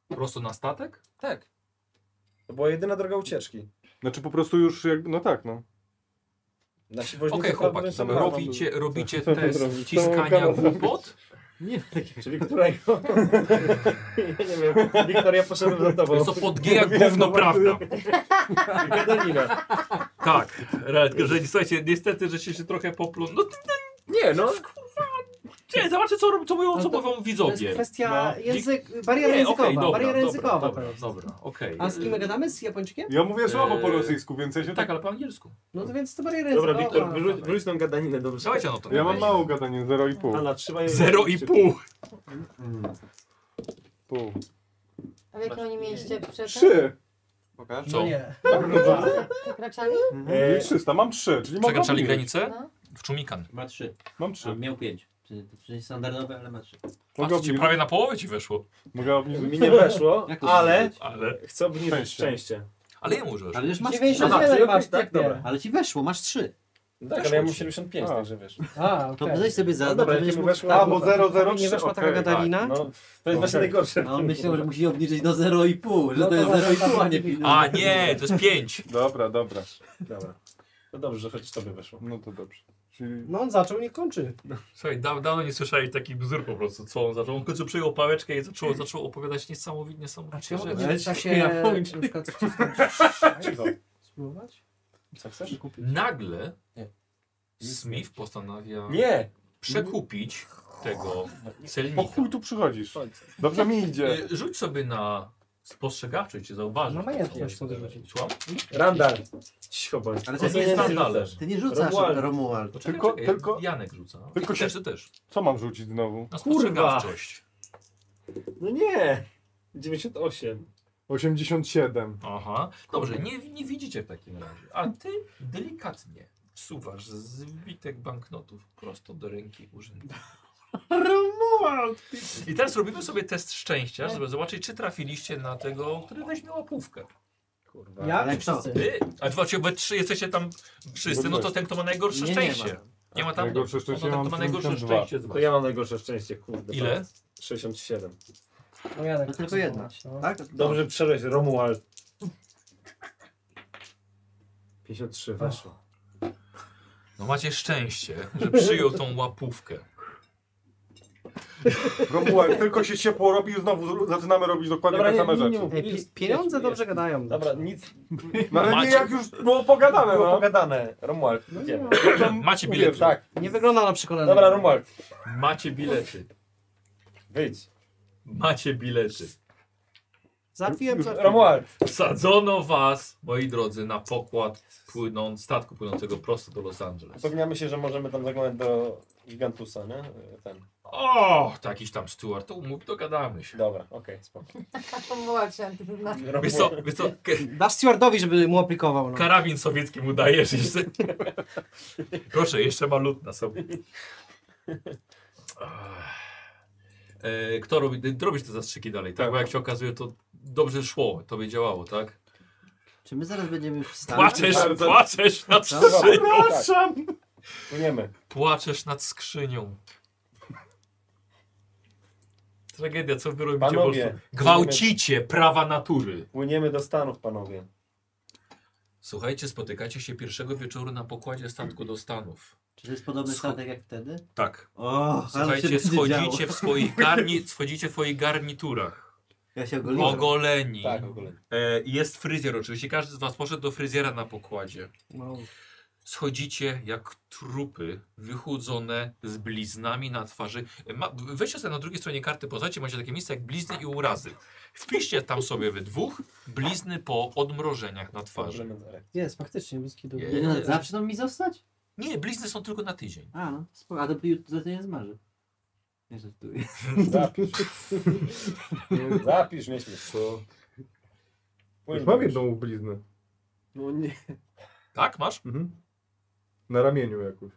H: Prosto na statek?
B: Tak. To była jedyna droga ucieczki.
F: Znaczy po prostu już jakby, no tak, no.
B: Nasi
H: Okej,
B: woźnicy
H: chłopaki,
B: prawdopodobnie są na-
H: robicie, robicie
F: Co ty
H: test
F: zrobisz?
H: wciskania
F: Całą kanał
H: głupot?
E: Nie ma takiego.
B: Czyli którego? ja nie wiem. Wiktor, ja poszedłem za
H: To
B: tobą.
H: jest to pod G jak gówno prawda.
B: Gadanina.
H: Tak, tylko że słuchajcie, niestety, że się, się trochę poplątał. No, ty-
B: Nie no,
H: nie, zobaczcie, co, rob- co mówią,
D: No
H: co
D: to-
H: mówią
D: To jest
H: widzowie.
D: kwestia
H: No.
D: język, bariera językowa.
H: okej, dobra,
D: bariera
H: dobra,
D: językowa
H: dobra,
D: to jest.
H: Dobra, okej.
D: A z kim my gadamy? Z Japończykiem?
F: Ja mówię słabo po
H: Eee,
F: rosyjsku, więc ja się tak...
H: Tak, ale po angielsku.
D: No to więc to bariera
B: Dobra,
D: językowa. No
B: Wiktor, wyrzuć, wyrzuć tą gadaninę, dobrze?
H: Słuchajcie, no to.
F: Ja mam mało gadanie, zero i pół.
B: Anna, trzymaj
H: Zero i pół.
F: pół.
G: A w jakim oni mieście przetem?
F: Trzy!
N: Pokaż.
D: No
H: Co?
D: nie.
G: Przekraczali?
F: Eee, 300, mam trzy, czyli mam
H: Przekraczali
F: dwa mniej.
H: granicę?
G: No.
H: W Czumikan.
E: Ma trzy.
F: Mam
E: A
F: trzy.
E: miał pięć. Czyli, czyli standardowe, ale ma trzy.
F: Mogę
H: Patrzcie,
F: obniżyć?
H: prawie na połowę ci weszło.
F: Mogę obniżyć?
B: Mi nie weszło,
E: Jak to
B: ale
E: zrobić?
H: Ale,
B: chcę obniżyć
F: Szczęście.
B: szczęście.
H: ale jemu już
E: Ale już masz trzy.
D: 91
B: czyli
D: masz,
B: jakoś
D: tak?
B: tak, dobra.
D: Nie.
E: Ale ci weszło, masz trzy.
B: No tak,
H: Weszło
B: ale ja mam
H: ci.
B: 75,
F: A.
B: także wiesz.
D: A,
E: To
D: okej.
E: weź sobie za.
B: No dobra,
E: to będziesz
B: jak mu
E: mógł-
B: weszło...
F: A, bo
D: A mi
F: 003,
D: nie weszła taka
F: okej.
D: gadalina?
B: No, to jest właśnie
F: Okej.
B: najgorsze.
E: A on myślał, no, że musi obniżyć do 0,5, że
D: No
E: to
D: to
E: jest
D: może
E: 0,5, a nie
D: tak.
E: 5.
H: A nie, to jest pięć.
F: Dobra, dobra.
B: Dobra. No dobrze, że choć tobie weszło.
F: No to dobrze. Czyli...
D: No on zaczął, nie kończy.
H: Słuchaj, da- dawno nie słyszałeś taki bzdur po prostu, co on zaczął. On w końcu przejął pałeczkę i zaczął, zaczął opowiadać niesamowite,
D: A czy
H: niesamowite
D: ja mogę
H: rzeczy.
D: w czasie
E: Ja
D: na
E: kończę.
D: przykład wcisnąć
B: Cicho.
D: spróbować?
B: Co chcesz?
H: Nagle
B: Nie.
H: Smith postanawia
B: Nie!
H: przekupić tego
F: Po
H: celnika.
F: chuj tu przychodzisz? Dobrze mi idzie.
H: Y, Rzuć sobie na spostrzegawczość, czy zauważysz.
D: No ma
H: co
D: jasność,
H: to jest.
D: może rzucić.
H: Słucham?
B: Randall! Cicho bądź.
E: Ale
H: To
E: to
H: jest
E: nie jest
H: standard.
E: Ty nie rzucasz
B: Romuald.
E: Romuald.
H: Poczekaj,
F: Tylko-
H: czekaj,
F: tylko-
H: Janek rzuca.
F: tylko
H: Tylko też,
F: się-
H: ty też.
F: Co mam rzucić znowu?
B: Kurwa.
H: Na spostrzegawczość.
B: No nie! 98.
F: 87.
H: Aha. Dobrze, nie, nie widzicie w takim razie. A ty delikatnie wsuwasz zwitek banknotów prosto do ręki urzędnika.
E: Romuald!
H: I teraz robimy sobie test szczęścia, żeby zobaczyć, czy trafiliście na tego, który weźmie łapówkę.
B: Tak.
C: Kurwa.
D: Ja
E: Ale
D: czy wszyscy?
E: kto?
H: Ty, a dwa we trzy jesteście tam wszyscy, no to ten, kto ma najgorsze
E: Nie, nie
H: szczęście.
E: ma.
H: Nie ma tam.
F: Tak, Najgorsze szczęście
H: no, to
F: mam
H: ma najgorsze
F: 72.
H: szczęście.
C: To ja mam najgorsze szczęście, kurde.
H: Ile?
C: 67.
D: No ja tak
E: To tylko
D: chcę
E: jedna.
D: zobaczyć, no.
E: Tak?
C: Dobrze przerwać Romuald. 53 weszło.
H: No macie szczęście, że przyjął tą łapówkę.
F: Romuald, tylko się ciepło robi i znowu zaczynamy robić dokładnie
B: Dobra,
F: te same
B: nie, nie,
F: rzeczy.
B: nie mów.
D: Ej, pi-
B: Jest,
D: pieniądze
B: jest,
D: dobrze gadają.
B: Dobra, nic
F: No ale nie,
H: Macie-
F: jak już było pogadane,
B: było
F: no.
B: pogadane. Romuald, idziemy.
H: Macie
F: Mówię,
H: bilety.
B: Tak,
D: Nie wygląda na przekonanie.
B: dobra Romuald,
H: Macie bilety.
B: wyjdź.
H: Macie bilety.
D: Załatwiłem co.
B: Romuald,
H: Wsadzono was, moi drodzy, na pokład płyną, No, statku płynącego prosto do Los Angeles.
B: upewniamy się, że możemy tam zaglądać do Gigantusa, nie? Ten.
H: O, takiś tam Stuart, to umów, dogadamy się.
B: Dobra, okej, spoko.
G: Pomłoczę.
B: No
H: Wiesz co, wiesz co, k-
D: Dasz stewardowi, żeby mu aplikował. No.
H: karabin sowiecki mu dajesz jeszcze. Proszę, jeszcze ma lód na sobie. E, Kto robi, ty robisz te zastrzyki dalej, tak? Bo jak się okazuje, to dobrze szło, tobie działało, tak?
E: Czy my zaraz będziemy już wstać?
H: Płaczesz, płaczesz nad skrzynią.
B: Przepraszam! tak. Płyniemy.
H: Płaczesz nad skrzynią. Tragedia, co wy robicie po
B: Panowie,
H: prostu? Gwałcicie prawa natury.
B: Płyniemy do Stanów, panowie.
H: Słuchajcie, spotykacie się pierwszego wieczoru na pokładzie statku do Stanów.
E: Czy to jest podobny
H: Scho-
E: statek jak wtedy?
H: Tak.
E: O, ale się
H: Słuchajcie,
E: będzie
H: schodzicie
E: działo.
H: w, swoich garni, schodzicie w swoich garniturach.
E: Ja się ogoliłem.
H: Ogoleni.
B: Tak, w ogóle.
H: E, jest fryzjer oczywiście. Każdy z was poszedł do fryzjera na pokładzie.
D: No.
H: Schodzicie jak trupy wychudzone z bliznami na twarzy. E, Ma, weźcie sobie na drugiej stronie karty, poznacie, macie takie miejsce jak blizny i urazy. Wpiszcie tam sobie wy dwóch blizny po odmrożeniach na twarzy.
D: Jest, faktycznie, bliski do.
H: Je-
E: Nie, no, Zawsze tam mi zostać?
H: Nie, blizny są tylko na tydzień.
E: A, no, spoko. A to ju- za to nie zmarzy. Nie żartuję.
B: Zapisz. Zapisz, nie śmiesz.
F: Co? Już
B: Płyniemy.
F: mam jedną bliznę.
E: No nie.
H: Tak, masz?
F: Mhm. Na ramieniu jakoś.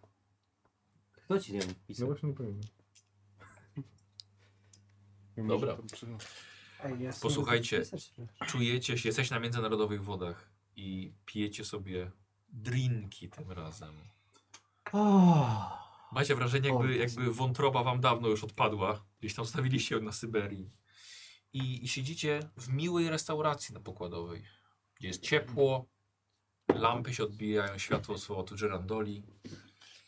E: Kto ci nie
F: No
E: pisał?
F: właśnie nie pamiętam. Nie
H: Dobra.
F: może to przy-
D: Ej, jest.
H: Posłuchajcie.
D: Jest też-
H: Czujecie się, jesteście na międzynarodowych wodach i pijecie sobie drinki tym razem.
E: O,
H: Macie wrażenie,
E: O,
H: jakby,
E: to
H: jakby wątroba wam dawno już odpadła. Gdzieś tam stawiliście ją na Syberii. I, I siedzicie w miłej restauracji na pokładowej, gdzie jest ciepło, lampy się odbijają, światło słowa tu żerandoli.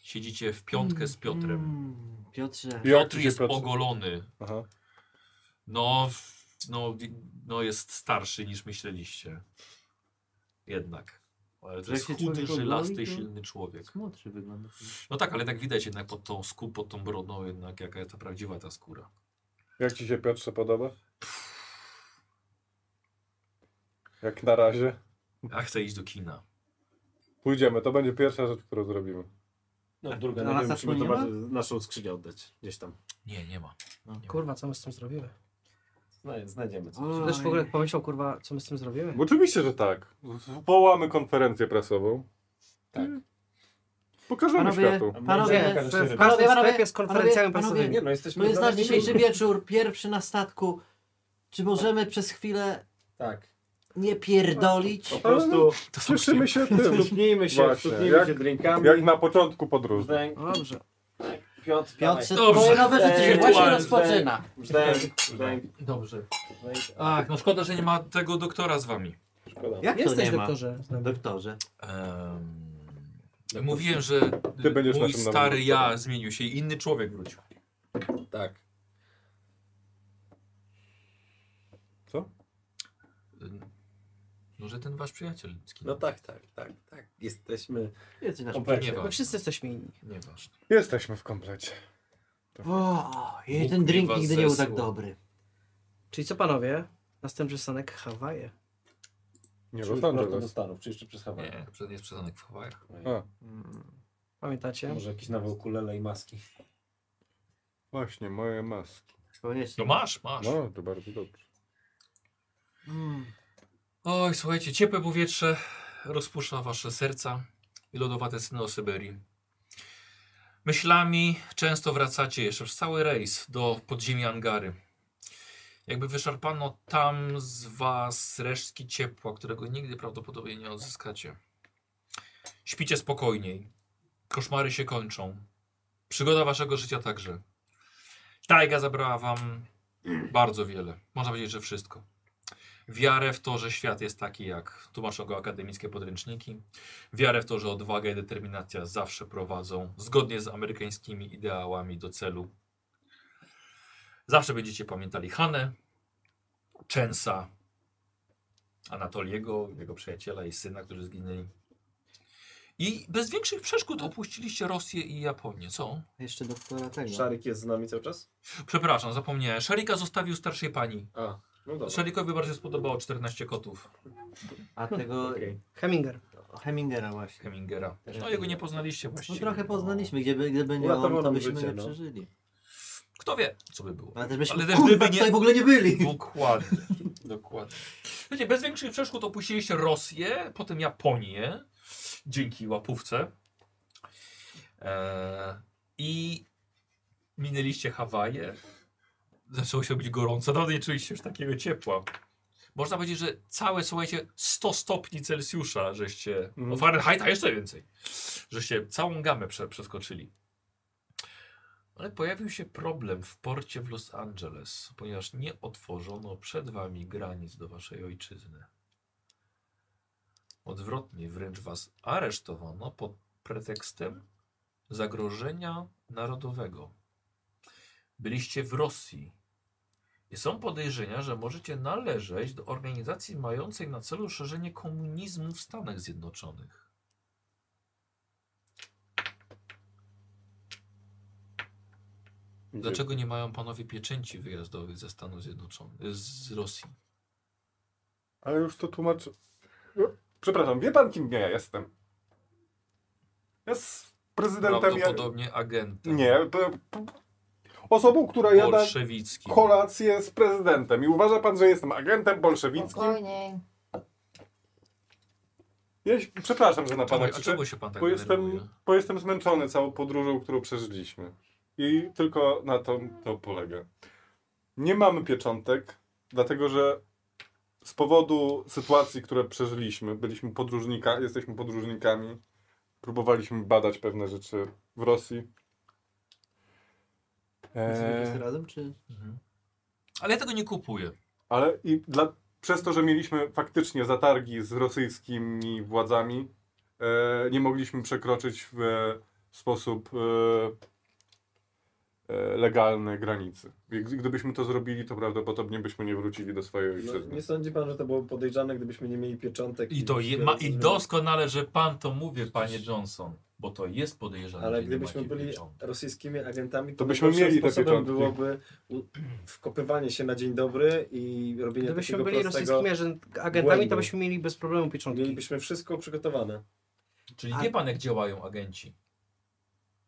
H: Siedzicie w piątkę z Piotrem.
E: Mm, Piotrze.
H: Piotr
F: się
H: jest
F: patrzy.
H: ogolony.
F: Aha.
H: No, w- no, wi- no jest starszy niż myśleliście. Jednak. Ale
E: Jak
H: to jest
E: się
H: chudy,
E: człowiek ogoli,
H: żylasty,
E: to-
H: silny człowiek.
E: Smutrzy wygląda.
H: No tak, ale tak widać jednak pod tą skórą, pod tą brodą jednak jaka jest ta prawdziwa ta skóra.
F: Jak ci się Piotrze podoba? Jak na razie.
H: Ja chcę iść do kina.
F: Pójdziemy, to będzie pierwsza rzecz, którą zrobimy.
C: No druga,
E: Na
C: nie wiem,
E: lasach
C: musimy to
E: płyniemy?
C: bardzo- naszą skrzynię oddać gdzieś tam.
H: Nie, nie ma.
D: Kurwa, co my z tym zrobimy?
C: Znaj- No, Znajdziemy coś.
E: Oj.
D: Też w ogóle pomyślał, kurwa, co my z tym zrobimy?
F: Oczywiście, że tak. Zwołamy konferencję prasową.
C: Tak.
F: I Pokażemy
E: Panowie,
F: światu.
E: panowie,
C: Pokażę szczerze.
E: w- w
D: Każdy
E: każdym
D: sklep
E: sklepie
D: jest konferencjami
E: panowie,
D: prasowymi.
C: Nie no, jesteśmy...
E: To jest nasz
C: znaleźliśmy-
E: dzisiejszy wieczór, pierwszy na statku. Czy możemy przez chwilę
C: Tak. no,
E: nie pierdolić?
C: Po prostu
H: To są
F: Cieszymy się tym.
B: Sztuchnijmy się,
F: Właśnie,
B: sztuchnijmy
F: jak-
B: się drinkami.
F: Jak na początku podróży.
B: Brzdęk,
D: Dobrze.
B: Piotr,
E: Piotrze,
H: Dobrze.
E: twoje nowe życie się
H: Wirtualne.
E: właśnie rozpoczyna.
B: brzdęk, brzdęk,
H: Dobrze.
B: brzdęk.
H: Ach, no szkoda, że nie ma tego doktora z wami.
B: Szkoda.
E: Jak to
D: Jesteś
E: nie ma?
D: doktorze. z nami.
E: Doktorze.
H: Em, mówiłem, że
F: Ty będziesz
H: mój
F: naszym nowym
H: stary ja
F: doktorem.
H: zmienił się i inny człowiek wrócił.
C: tak.
H: Ym, Może ten wasz przyjaciel. z kina.
C: No tak, tak, tak, tak. Jesteśmy
E: Jesteś nasz.
C: kompletnie.
H: Nieważne.
D: My No wszyscy jesteśmy inni.
H: Nieważne.
F: Jesteśmy w komplecie.
E: O, jej
H: Bóg mi
E: ten drink
H: was
E: nigdy nie był tak
H: zesłał.
E: dobry.
D: Czyli co panowie? Następny stanek Hawaje.
F: Nie
C: Czy już
F: Los
C: prosto do
F: Angeles.
C: Stanów, czy jeszcze przez Hawaje?
H: Nie, przed- jest przesanek w Hawajach.
F: A,
D: Pamiętacie?
C: Może jakieś nowe ukulele i maski.
F: właśnie, moje maski.
E: Koniecznie.
H: No masz, masz.
F: No, to bardzo dobrze.
D: Hmm.
E: Mm.
H: Oj, słuchajcie, ciepłe powietrze rozpuszcza wasze serca i lodowate sny o Syberii. Myślami często wracacie jeszcze przez cały rejs do podziemi Angary. Jakby wyszarpano tam z was resztki ciepła, którego nigdy prawdopodobnie nie odzyskacie. Śpicie spokojniej. Koszmary się kończą. Przygoda waszego życia także. Tajga zabrała wam bardzo wiele. Można powiedzieć, że wszystko. Wiarę w to, że świat jest taki, jak tłumaczą go akademickie podręczniki. Wiarę w to, że odwaga i determinacja zawsze prowadzą, zgodnie z amerykańskimi ideałami, do celu. Zawsze będziecie pamiętali Hanę, Częsa, Anatoliego, jego przyjaciela i syna, którzy zginęli. I bez większych przeszkód opuściliście Rosję i Japonię. Co?
E: Jeszcze doktora tego.
C: Szaryk jest z nami cały czas?
H: Przepraszam, zapomniałem. Szarika zostawił starszej pani.
C: A, no dobra.
H: Szarikowi bardzo się spodobało 14 kotów
E: A tego
C: Okej.
D: Heminger.
E: Hemingera właśnie.
H: Hemingera. No jego nie poznaliście
E: No
H: właściwie.
E: trochę poznaliśmy, gdyby, gdyby nie on, to
C: Uratowało
E: byśmy
C: życie,
E: nie
C: no.
E: przeżyli.
H: Kto wie, co by było.
E: Ale też byśmy
H: Ale też
E: kurwa,
H: gdyby nie-
E: tutaj w ogóle nie byli.
H: Dokładnie. Dokładnie. Słuchajcie, bez większych przeszkód opuściliście Rosję, potem Japonię, dzięki łapówce. Eee, I minęliście Hawaje. Zaczęło się być gorąco, dawno nie czuliście już takiego ciepła. Można powiedzieć, że całe, słuchajcie, 100 stopni Celsjusza, żeście, no Fahrenheita jeszcze więcej, żeście całą gamę prze, przeskoczyli. Ale pojawił się problem w porcie w Los Angeles, ponieważ nie otworzono przed wami granic do waszej ojczyzny. Odwrotnie, wręcz was aresztowano pod pretekstem zagrożenia narodowego. Byliście w Rosji i są podejrzenia, że możecie należeć do organizacji mającej na celu szerzenie komunizmu w Stanach Zjednoczonych. Dlaczego nie mają panowie pieczęci wyjazdowych ze Stanów Zjednoczonych, z Rosji?
F: Ale już to tłumaczę. Przepraszam, wie pan kim ja jestem? Ja z prezydentem... Ja...
H: Prawdopodobnie agentem
F: Nie, p- p- osobą, która jada
H: bolszewickim.
F: kolację z prezydentem. I uważa pan, że jestem agentem
H: No,
F: bolszewickim?
G: Spokojnie.
F: Ja się, przepraszam, że na pana
H: Czemu, no. a
F: krzyczę,
H: czego się pan tak
F: bo jestem,
H: denerwuje?
F: bo jestem zmęczony całą podróżą, którą przeżyliśmy. I tylko na to, to polega. Nie mamy pieczątek, dlatego że z powodu sytuacji, które przeżyliśmy, byliśmy podróżnika, jesteśmy podróżnikami, próbowaliśmy badać pewne rzeczy w Rosji.
E: Jesteśmy
F: Eee,
E: wszyscy razem, czy...
H: Mhm. Ale ja tego nie kupuję.
F: Ale i dla, przez to, że mieliśmy faktycznie zatargi z rosyjskimi władzami, e, nie mogliśmy przekroczyć w e, sposób e, e, legalny granicy. I gdy- Gdybyśmy to zrobili, to prawdopodobnie byśmy nie wrócili do swojej
C: No,
F: ojczyzny.
C: nie sądzi pan, że to było podejrzane, gdybyśmy nie mieli pieczątek?
H: I to je,
C: wiele
H: ma,
C: co
H: i
C: zmieniło?
H: doskonale, że pan to mówi, panie Johnson, bo to jest podejrzane.
C: Ale
H: że nie
C: gdybyśmy
H: macie
C: byli
H: pieczątek.
C: rosyjskimi agentami, to,
F: To byśmy
C: najgorszym
F: mieli te
C: sposobem
F: pieczątki.
C: byłoby u- wkopywanie się na dzień dobry i robienie
D: Gdybyśmy
C: takiego
D: byli
C: prostego...
D: rosyjskimi agent- agentami,
C: błędu.
D: to byśmy mieli bez problemu pieczątki.
C: Mielibyśmy wszystko przygotowane.
H: Czyli
E: A-
H: wie pan, jak działają agenci.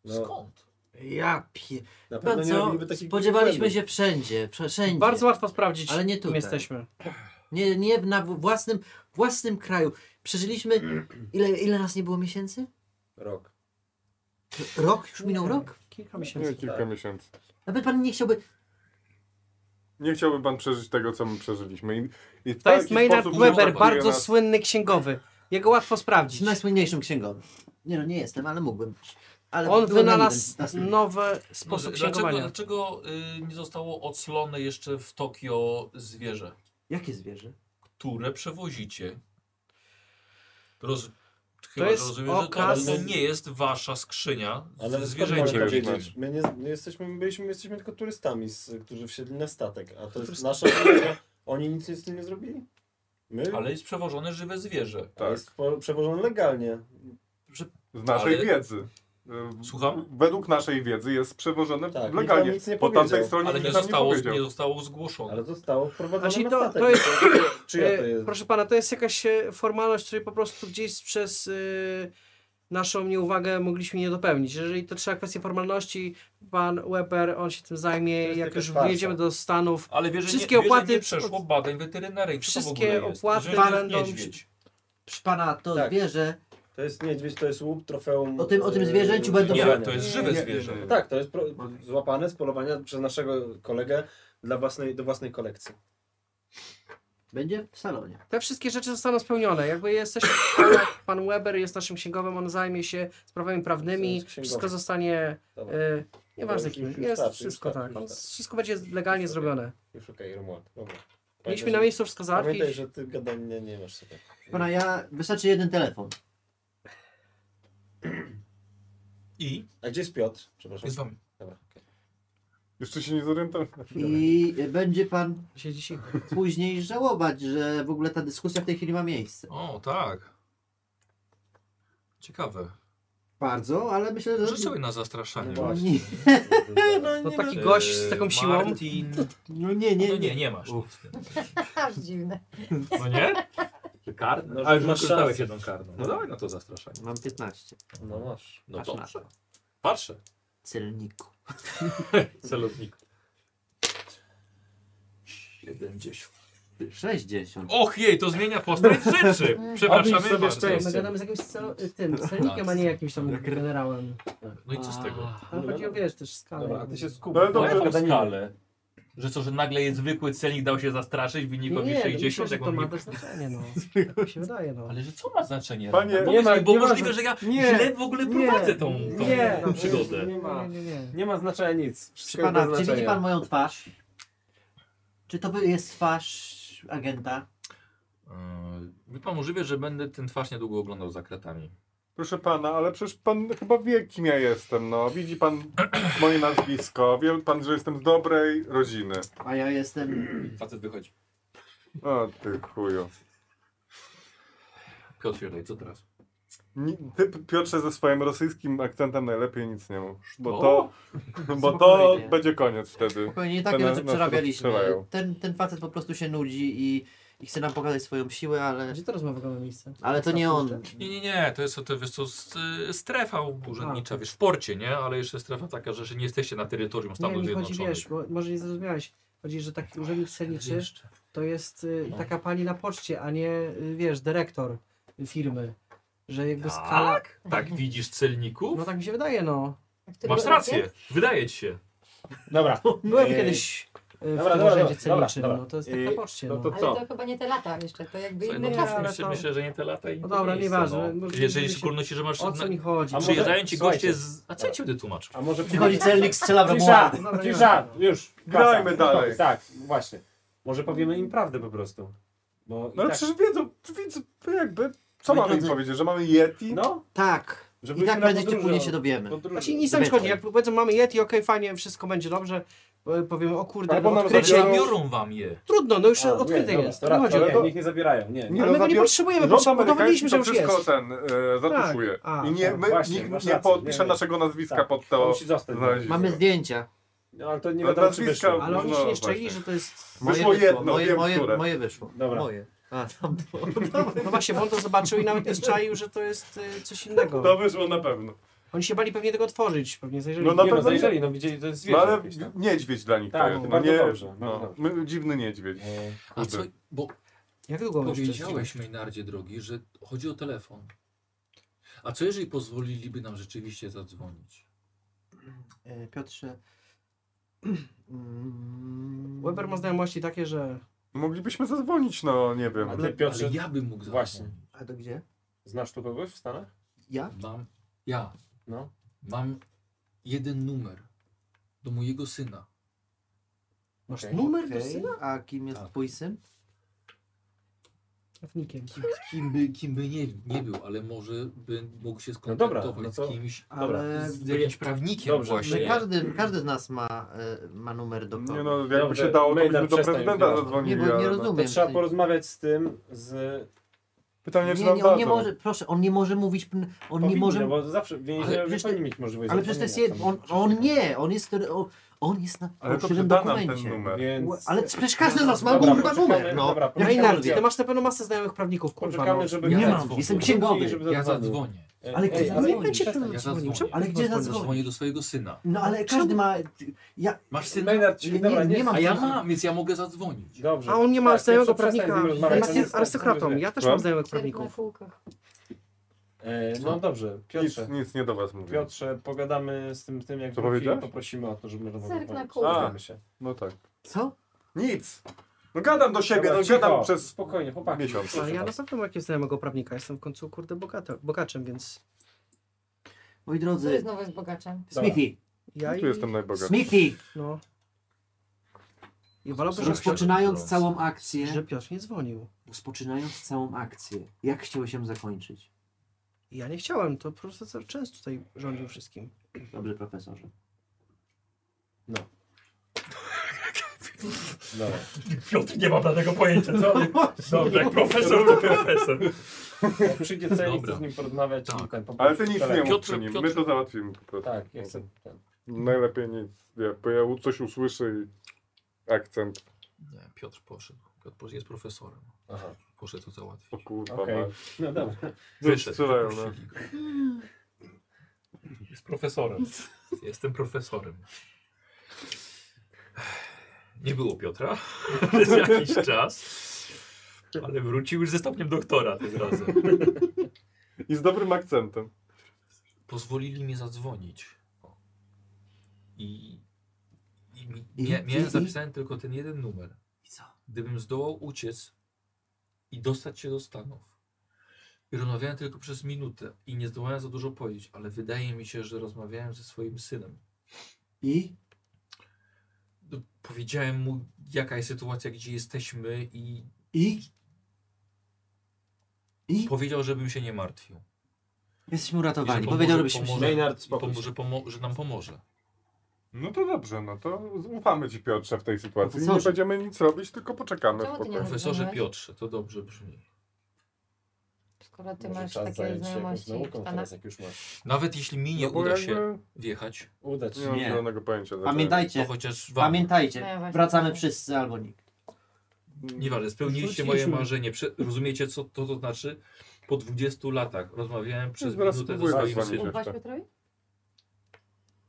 C: No,
H: Skąd?
E: Ja pie...
C: na pewno
E: Pan
C: nie
E: co?
C: robiliby takich
E: Spodziewaliśmy
C: błędów.
E: się wszędzie, prze- wszędzie.
D: Bardzo łatwo sprawdzić,
E: Ale nie
D: kim
E: tutaj.
D: jesteśmy.
E: Nie, nie w- na w- własnym, własnym kraju. Przeżyliśmy... Ile, ile nas nie było miesięcy?
C: Rok.
E: Rok? Już minął rok?
D: Kilka miesięcy.
F: Nie, kilka
C: tak.
F: miesięcy.
E: Nawet pan nie chciałby...
F: Nie chciałby pan przeżyć tego, co my przeżyliśmy. I, i w
D: To jest
F: taki
D: Maynard
F: sposób
D: Weber,
F: traktuje
D: bardzo
F: nas-
D: słynny księgowy. Jego łatwo sprawdzić.
E: Jest najsłynniejszym księgowym. Nie no, nie jestem, ale mógłbym być. Ale
D: On
E: byłem
D: wynalazł
E: na nim.
D: nowy
H: No,
D: sposób
H: dlaczego
D: księgowania.
H: dlaczego y, nie zostało oclone jeszcze w Tokio zwierzę?
E: Jakie zwierzę?
H: które przewozicie. Roz... Chyba,
D: To
H: że
D: jest
H: rozumiem, że to,
D: okaz-
H: że to nie jest wasza skrzynia
C: Ale
H: z
C: skąd
H: zwierzęciem.
C: można
F: Już
C: wiedzieć? My, nie, my jesteśmy, my byliśmy, jesteśmy tylko turystami, z, którzy wsiedli na statek. A to jest nasza wina, Oni nic z tym nie zrobili? My?
H: Ale tak. jest przewożone żywe zwierzę.
C: A Jest po, przewożony legalnie.
F: Z naszej
H: Ale-
F: wiedzy. Y,
H: Słucham?
F: Według naszej wiedzy jest przewożone
C: Tak, nikt nam
F: legalnie.
C: nic nie
F: po tamtej
C: powiedział.
F: stronie
H: Ale
F: nikt
H: nie
F: nam
H: zostało,
F: powiedział.
H: nie zostało zgłoszone.
C: Ale zostało wprowadzone
D: Znaczy,
C: na
D: to-
C: statek.
D: to jest-
C: Czyja to
D: E,
C: jest?
D: Proszę pana, to jest jakaś e, formalność, której po prostu gdzieś przez e, naszą nieuwagę mogliśmy nie dopełnić. Jeżeli to trzeba kwestie formalności, pan Weber, on się tym zajmie,
C: jest
D: jak
C: jakaś
D: już
C: farsa.
D: wyjedziemy do Stanów.
H: Ale wierzę,
D: Wszystkie
H: nie, wierzę,
D: opłaty-
H: nie przeszło badań weterynaryjnych. Co to w
D: wszystkie
H: ogóle jest?
D: opłaty
H: Że to jest
D: będą-
H: niedźwiedź.
E: Proszę pana, to
C: Tak.
E: zwierzę
B: To jest niedźwiedź, to jest łup, trofeum.
E: O tym- o tym
B: e,
E: zwierzęciu będą
B: zbierania.
H: Nie, to jest żywe
E: Nie, nie,
H: zwierzę.
B: Tak, to jest pro, złapane z polowania przez naszego kolegę dla własnej, do własnej kolekcji.
E: Będzie w salonie.
D: Te wszystkie rzeczy zostaną spełnione. Jakby jesteś, pan Weber jest naszym księgowym, on zajmie się sprawami prawnymi,
B: Jest księgowym.
D: wszystko zostanie,
B: Dobra.
D: e, nieważne
B: Już-
D: kim,
B: już- już
D: jest
B: tak, już
D: wszystko
B: tak,
D: tak,
B: już
D: on,
B: tak.
D: wszystko będzie legalnie
B: Już tak.
D: zrobione.
B: Już okej, Romuald. Dobra. Pamiętaj,
D: Mieliśmy na
B: że-
D: miejscu wszystko
B: Pamiętaj,
D: załatwić.
B: że ty gadania nie masz sobie.
E: Pana, ja wystarczy jeden telefon.
H: I
B: A gdzie jest Piotr? Przepraszam.
H: jest wam.
B: Dobra. okej.
F: Jeszcze się nie zorientowałem.
E: I będzie pan
D: Siedzi cicho.
E: później żałować, że w ogóle ta dyskusja w tej chwili ma miejsce.
H: O, tak. Ciekawe.
E: Bardzo, ale myślę, że.
H: Rzuć sobie na zastraszanie.
E: No
B: właśnie.
E: nie,
B: No
D: To No taki
H: Eee,
D: gość z taką siłą.
H: Martin.
E: no nie,
H: No
E: nie.
H: nie,
E: nie.
H: nie masz. nic.
G: Aż dziwne.
H: No nie?
B: Karny? No,
H: Ale już masz
B: masz
H: korzystałeś
B: szansę.
H: jedną karną. No dawaj na to zastraszanie.
E: Mam 15.
B: No masz.
H: No
E: Masz na
H: dobrze. Patrzę.
E: Celniku.
H: Celownik. 70.
E: 60.
H: Och jej, to zmienia postać rzeczy.
B: Obliż
H: Przepraszamy
B: sobie
H: bardzo.
B: szczęście.
D: My gadamy z jakimś cel, tym celnikiem, a nie jakimś tam generałem.
H: No i co z tego?
D: Ale chodzi o, wiesz, też
B: Dobra,
D: skalę.
B: a ty się skup.
F: No ale
H: No
F: dobrze,
H: jaką skalę? Że co, że nagle jest zwykły celnik dał się zastraszyć w wyniku
D: Nie, nie,
H: jakichś
D: no myślę,
H: 60,
D: że
H: jak
D: to
H: on
D: ma
H: nie...
D: też znaczenie, no. Tak mi się wydaje, no.
H: Ale że co ma znaczenie?
F: Panie,
H: Bo,
B: nie ma-
H: bo
B: nie ma-
H: możliwe, że ja
B: nie,
H: źle w ogóle prowadzę tą, tą
B: nie,
H: tą przygodę.
B: Nie ma,
D: no, Nie, nie, nie.
B: nie ma znaczenia nic.
E: Czy
B: Wszystko
E: pana,
B: bez
E: czy widzi
B: znaczenia.
E: pan moją twarz? Czy to wy- jest twarz agenta?
H: Yy, Wie pan możliwe, że będę ten twarz niedługo oglądał za kratami.
F: Proszę pana, ale przecież pan chyba wie, kim ja jestem, no. Widzi pan moje nazwisko, wie pan, że jestem z dobrej rodziny.
E: A ja jestem.
H: Facet wychodzi.
F: O, ty chuju.
H: Piotr Jodaj, co teraz?
F: Ni- Ty, Piotrze, ze swoim rosyjskim akcentem najlepiej nic nie mów, bo
H: O!
F: to, bo to
E: Spokojnie.
F: będzie koniec wtedy.
E: Spokojnie, nie
F: To
E: takie
F: na-
E: rzeczy
F: nas
E: przerabialiśmy.
F: rozstrzelają.
E: Ten, ten facet po prostu się nudzi i, i chce nam pokazać swoją siłę, ale,
D: Gdzie to rozmowa ma miejsce?
E: ale to nie on.
H: Nie, nie, nie, to jest to, wiesz, to strefa urzędnicza, wiesz, w porcie, nie? Ale jeszcze strefa taka, że że nie jesteście na terytorium
D: Nie,
H: Stanów
D: mi chodzi,
H: Zjednoczonych.
D: wiesz, bo, może nie zrozumiałeś. Chodzi, że taki urzędnik celniczy to jest y,
B: No.
D: taka pani na poczcie, a nie, y, wiesz, dyrektor firmy. Że jakby skala...
H: Tak? Tak widzisz celników?
D: No tak mi się wydaje, no.
G: Który
H: Masz
G: był
H: rację, wydaje ci się.
B: Dobra, E,
D: Byłem
B: Ej.
D: kiedyś y,
B: Dobra,
D: w tym
B: dobra,
D: urzędzie
B: dobra,
D: celniczym,
B: dobra.
D: no to jest
B: Ej,
D: tak na poczcie,
B: no
D: no.
B: to-
G: Ale
B: co?
G: to chyba nie te lata jeszcze, to jakby
H: Słuchaj,
G: inne
H: no,
G: czasy.
D: ale
H: myślę,
D: to-
H: myślę, że nie te lata i
D: No
H: to
D: dobra,
H: miejsce,
D: nieważne,
H: no.
D: może-
H: Jeżeli
D: żeby się-
H: szczególności, że masz...
D: O co mi chodzi?
B: A może-
H: Przyjeżdżają ci
B: Słuchajcie.
H: goście z... A co ja ci będę tłumaczył?
B: a może
E: Przychodzi celnik, strzela w
B: Cisza,
E: Romualda.
D: Dobra,
B: cisza,
D: nie ma.
B: już.
F: Grajmy
B: Klasa.
F: dalej.
B: Tak, właśnie. Może powiemy im prawdę po prostu. Bo i
F: No ale
B: tak,
F: przecież wiedzą, wiedzą jakby, co
E: Moi
F: mamy im
E: drodzy-
F: powiedzieć, że mamy Yeti?
B: no,
E: Tak.
B: że
E: I
B: byliśmy
E: tak
B: na
E: prędzej czy
B: podróży,
E: później
B: o-
E: się dowiemy.
B: podróży.
D: Znaczy nic nam nie szkodzi, jak powiedzą mamy Yeti, okej, fajnie, wszystko będzie dobrze. e, Powiemy, o kurde,
F: Albo
D: no,
F: nam
D: odkrycie.
F: zabiorą-
H: Zabiorą wam je.
D: Trudno, no już
B: A, nie,
D: odkryte
B: dobra,
D: jest.
B: to raz,
D: nie chodzi
B: ale
D: o
F: nie.
B: to- niech nie zabierają, nie. no,
F: Nie,
D: Ale my
F: zabior-
D: nie potrzebujemy, bo
F: Rząd
D: przy- udowodniliśmy,
F: amerykański
D: że
F: no, to
D: już
F: wszystko
D: jest.
F: ten e, zatuszuje.
D: A,
F: I nie,
B: tak,
F: my,
B: właśnie,
F: nikt
B: masz
F: nie
B: rację,
F: podpisze
B: nie, nie.
F: naszego nazwiska
B: Tak,
F: pod
B: To
F: to
B: musi zostać.
F: znalezienie.
E: Mamy zdjęcia.
B: No, ale to nie
F: Ale
B: wiadomo, czy
F: nazwiska-
B: wyszło.
D: Ale oni
F: No,
D: się nie szczęli,
F: właśnie.
D: że to jest...
E: Moje
F: Wyszło jedno,
E: moje,
F: wiem,
E: moje,
F: które.
E: moje wyszło.
B: Dobra.
E: Moje. A, tam było.
D: No właśnie, bo on to zobaczył i nawet nie czaił, że to jest y, coś
F: To
D: innego.
F: wyszło na pewno.
D: Oni się bali pewnie tego otworzyć, pewnie zajrzeli.
F: No na
B: nie, no,
F: pewno-
B: zajrzeli, no widzieli, to jest
F: No
B: zwierzę
F: ale
B: jakieś tam.
F: niedźwiedź dla nich
B: Tak,
F: to jest. No,
B: bardzo
F: nie,
B: dobrze, bardzo
F: no,
B: dobrze.
F: my, dziwny niedźwiedź.
B: E,
H: A co... Bo
D: Jak długo jeszcze?
H: Powiedziałeś Maynardzie drogi, że chodzi o telefon. A co jeżeli pozwoliliby nam rzeczywiście zadzwonić?
E: E, Piotrze. Mm.
D: Weber ma znajomości takie, że...
F: Moglibyśmy zadzwonić, no nie wiem.
B: Ale Piotrze,
H: Ale ja bym mógł zadzwonić.
B: Właśnie.
E: A to gdzie?
B: znasz tu kogoś w Stanach?
E: Ja?
H: Mam, ja
B: No.
H: mam jeden numer do mojego syna.
D: Masz
B: Okej.
D: numer do
E: Okej.
D: syna?
E: A kim jest
H: Tak.
E: twój syn?
D: Trafnikiem.
H: Kim by, kim by nie, nie był, ale może by mógł się
B: No dobra,
H: skontaktować
B: no to-
H: z kimś,
B: Dobra,
E: Ale
H: z jakimś prawnikiem
B: Dobrze,
E: że
H: właśnie.
E: każdy, każdy z nas ma, e, ma numer do
F: Nie
E: kogo.
F: no, jakby
B: Dobrze,
F: się dało, to
B: Maynard,
F: byśmy do
B: przestań
F: prezydenta
B: już gadać.
E: nie,
F: zadzwonili.
E: bo nie
F: ale no.
E: rozumiem.
B: To trzeba
E: Nie,
B: porozmawiać z tym, z...
F: Pytanie, czy
E: nie,
F: nam
E: nie, on nie
F: dadzą.
E: może, proszę, on nie może mówić, pn- on
B: Powinni,
E: nie może,
B: bo zawsze
E: Ale
B: więźniowie
E: przecież-
B: powinni mieć możliwość
E: ale przecież to jest, jed-
B: zadzwonienia
E: on,
B: tam.
E: on nie, on jest, on, on jest na
F: Ale to
E: fałszywym
F: da nam ten
E: dokumencie.
F: numer.
B: Więc...
E: Ale przecież każdy z nas ma
B: Dobra,
E: kurwa
B: poczekamy,
E: numer, no.
B: dobra,
E: Jak
B: poczekamy,
D: Reynard,
E: najbardziej.
D: ty masz na pewno masę znajomych prawników, kurwa.
B: Poczekamy,
D: No.
B: żeby...
E: Nie
H: Ja
E: mam,
H: zadzwonię.
E: jestem księgowy.
B: żeby
H: Ja
B: zadzwonił.
H: zadzwonię.
B: Ej,
E: Ale
B: ej,
E: gdzie
D: No
B: ale-
E: zadzwonić?
D: Przestań.
H: Ja
D: Zadzwonił.
H: zadzwonię.
D: Czemu- ale
E: gdzie zadzwonić?
H: Zadzwonię do swojego syna.
E: No ale każdy ma, ja,
H: Masz syna?
B: Maynard,
E: nie,
B: dobra,
E: nie, nie mam
H: A ja
E: sensu.
H: mam, więc ja mogę zadzwonić.
B: Dobrze.
D: A on nie ma
B: Tak,
D: znajomego
B: to przestań z nim
D: prawnika.
B: rozmawiać,
D: Jest
B: to nie jest-
D: arystokratą. Ja też
F: Co?
D: mam znajomych
G: Cierp na
D: prawników.
G: kółkach.
B: E, no dobrze,
F: Nic,
B: Piotrze.
F: nic nie do was mówię.
B: Piotrze, pogadamy z tym, z tym jak
F: Co
B: wróci i
F: powiedziałeś?
B: poprosimy o to, żeby rozmowę
G: Cyrk na
B: dokończyć.
G: kół.
B: Dowiemy się.
F: No tak.
E: Co?
F: Nic. No gadam do siebie,
B: Dobra,
F: no
B: cicho.
F: gadam przez
B: Spokojnie, chłopaki.
F: miesiąc.
D: Ale ja na pewno jakiś znajomego prawnika. Jestem w końcu, kurde, bogato, bogaczem, więc
E: Moi
G: Który
E: drodzy,
G: znowu jest bogaczem?
E: Smithy,
D: ja i...
F: No Tu jestem najbogatszy.
E: Smithy,
D: No. I wolałbym, żeby, Piotr,
E: rozpoczynając całą akcję,
D: żeby Piotr nie dzwonił.
E: rozpoczynając całą akcję, jak chciałeś ją zakończyć?
D: I Ja nie chciałem, to profesor Częst tutaj rządził wszystkim.
E: Dobrze, profesorze.
B: Dobra.
H: Piotr nie ma danego pojęcia, co? Dobrze, jak profesor to profesor.
B: Jak przyjdzie celnik,
H: Dobra.
B: chcę z nim porozmawiać.
H: Tak.
B: i Ten, po
F: Ale
B: prostu
F: ty nic
B: telefon.
F: nie mów
H: Piotr-
F: przy nim, my
H: Piotr-
F: to załatwimy po prostu.
B: Tak, ja chcę. Ten.
F: Najlepiej nic, nie, bo ja u- coś usłyszę i akcent.
H: Nie, Piotr poszedł. Piotr poszedł, jest profesorem.
B: Aha.
H: Poszedł to załatwić.
F: O kurwa,
B: Okej.
F: okay.
B: No dobra.
F: strzelają, no.
H: wypuścili go. Jest profesorem. Jestem profesorem. Nie było Piotra przez jakiś czas, ale wrócił już ze stopniem doktora tym razem.
F: I z dobrym akcentem.
H: Pozwolili mi zadzwonić. O. I, i, mi-
E: I-
H: mia,
E: i-
H: miałem
E: i-
H: zapisany tylko ten jeden numer.
E: I co?
H: Gdybym zdołał uciec i dostać się do Stanów. I rozmawiałem tylko przez minutę i nie zdołałem za dużo powiedzieć, ale wydaje mi się, że rozmawiałem ze swoim synem.
E: I?
H: No, Powiedziałem mu, jaka jest sytuacja, gdzie jesteśmy, i
E: I? I?
H: powiedział, żebym się nie martwił.
E: Jesteśmy
H: I
E: uratowani.
H: pomoże-
E: Powiedział, żebyśmy się...
H: pomoże,
B: Maynard,
H: i
B: spokój.
H: pomo- że, pomo- że nam pomoże.
F: No to dobrze, no to ufamy ci Piotrze w tej sytuacji. Nie
E: Profesorze.
F: będziemy nic robić, tylko poczekamy
G: Czemu
F: w
G: ty nie
F: pokoju.
H: Profesorze
G: Rozmawiać?
H: Piotrze, to dobrze brzmi.
G: Skoro ty
B: Może
G: masz
B: czas
G: takie
B: zająć się jakąś
G: znajomości.
B: nauką
G: pana-
B: teraz, jak już masz.
H: Nawet jeśli mi nie
F: No bo
H: uda się Znaczy
F: jakby
H: wjechać,
B: Udać
F: Nie
B: się.
F: mam
E: Nie.
F: zielonego pojęcia. dlaczego.
H: to
E: Pamiętajcie,
H: chociaż wam.
G: No ja
E: pamiętajcie,
G: właśnie
E: wracamy
G: tak.
E: wszyscy albo nikt.
F: Mm,
H: Nieważne, spełniliście moje
D: Wróciliśmy.
H: marzenie. Prze- rozumiecie, co to, to znaczy? Po 20 latach rozmawiałem przez
F: Zaraz
H: minutę ze
F: spróbuję
H: swoim
F: zadzwonić.
H: synem.
G: Ufasz
F: jeszcze.
G: Piotrowi?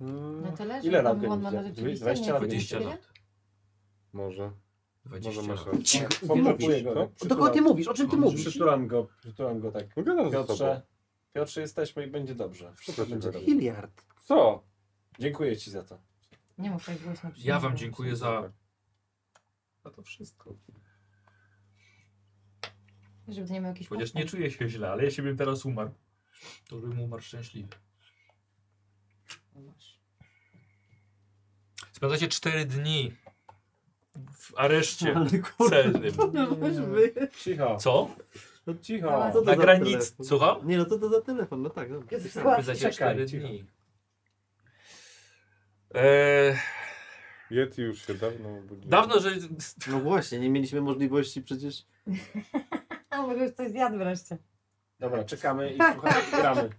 F: Mm,
G: No to leży.
B: Ile
G: bo
B: lat
G: on-
B: go
G: on
B: nie
G: ma
B: widział?
G: rzeczywiście
B: 20
G: nie-
B: lat go nie
H: 20
G: widział.
H: lat.
F: Może,
H: 20
F: może
H: lat.
F: masz
E: Cicho.
B: Pomogę go.
F: Co?
B: tak,
D: Dokładnie mówisz, o czym ty
H: Dobrze.
B: przytulam-
D: mówisz?
B: Przytulam go, przytulam go tak.
F: No gadam ze sobą.
B: Piotrze, Piotrze jesteśmy i będzie dobrze. Wszystko
F: ci
B: będzie
F: wyrobię?
B: dobrze.
D: Miliard.
F: Co?
B: Dziękuję ci za to.
G: Nie mów tak głośno. przy
H: Ja
G: nim.
H: wam dziękuję za, za to wszystko.
G: Żeby to nie miał jakiś
H: Chociaż
G: postęp.
H: nie czuję się źle, ale jeśli bym teraz umarł, to bym umarł szczęśliwy. Spędzacie 4 dni w areszcie celnym.
D: No,
B: Cicho,
H: Co?
B: cicho.
E: Co to
H: Na
E: za
H: granicy.
E: telefon?
H: Słucham?
E: Nie no, to, to za telefon, no tak. No.
H: Spędzacie
B: Czekaj,
H: 4
B: cicho.
H: dni. Eee,
F: Yeti już się dawno obudził.
H: dawno, że e,
E: no właśnie, nie mieliśmy możliwości przecież...
G: A może już coś zjadł wreszcie.
B: Dobra, czekamy i słuchamy, i gramy.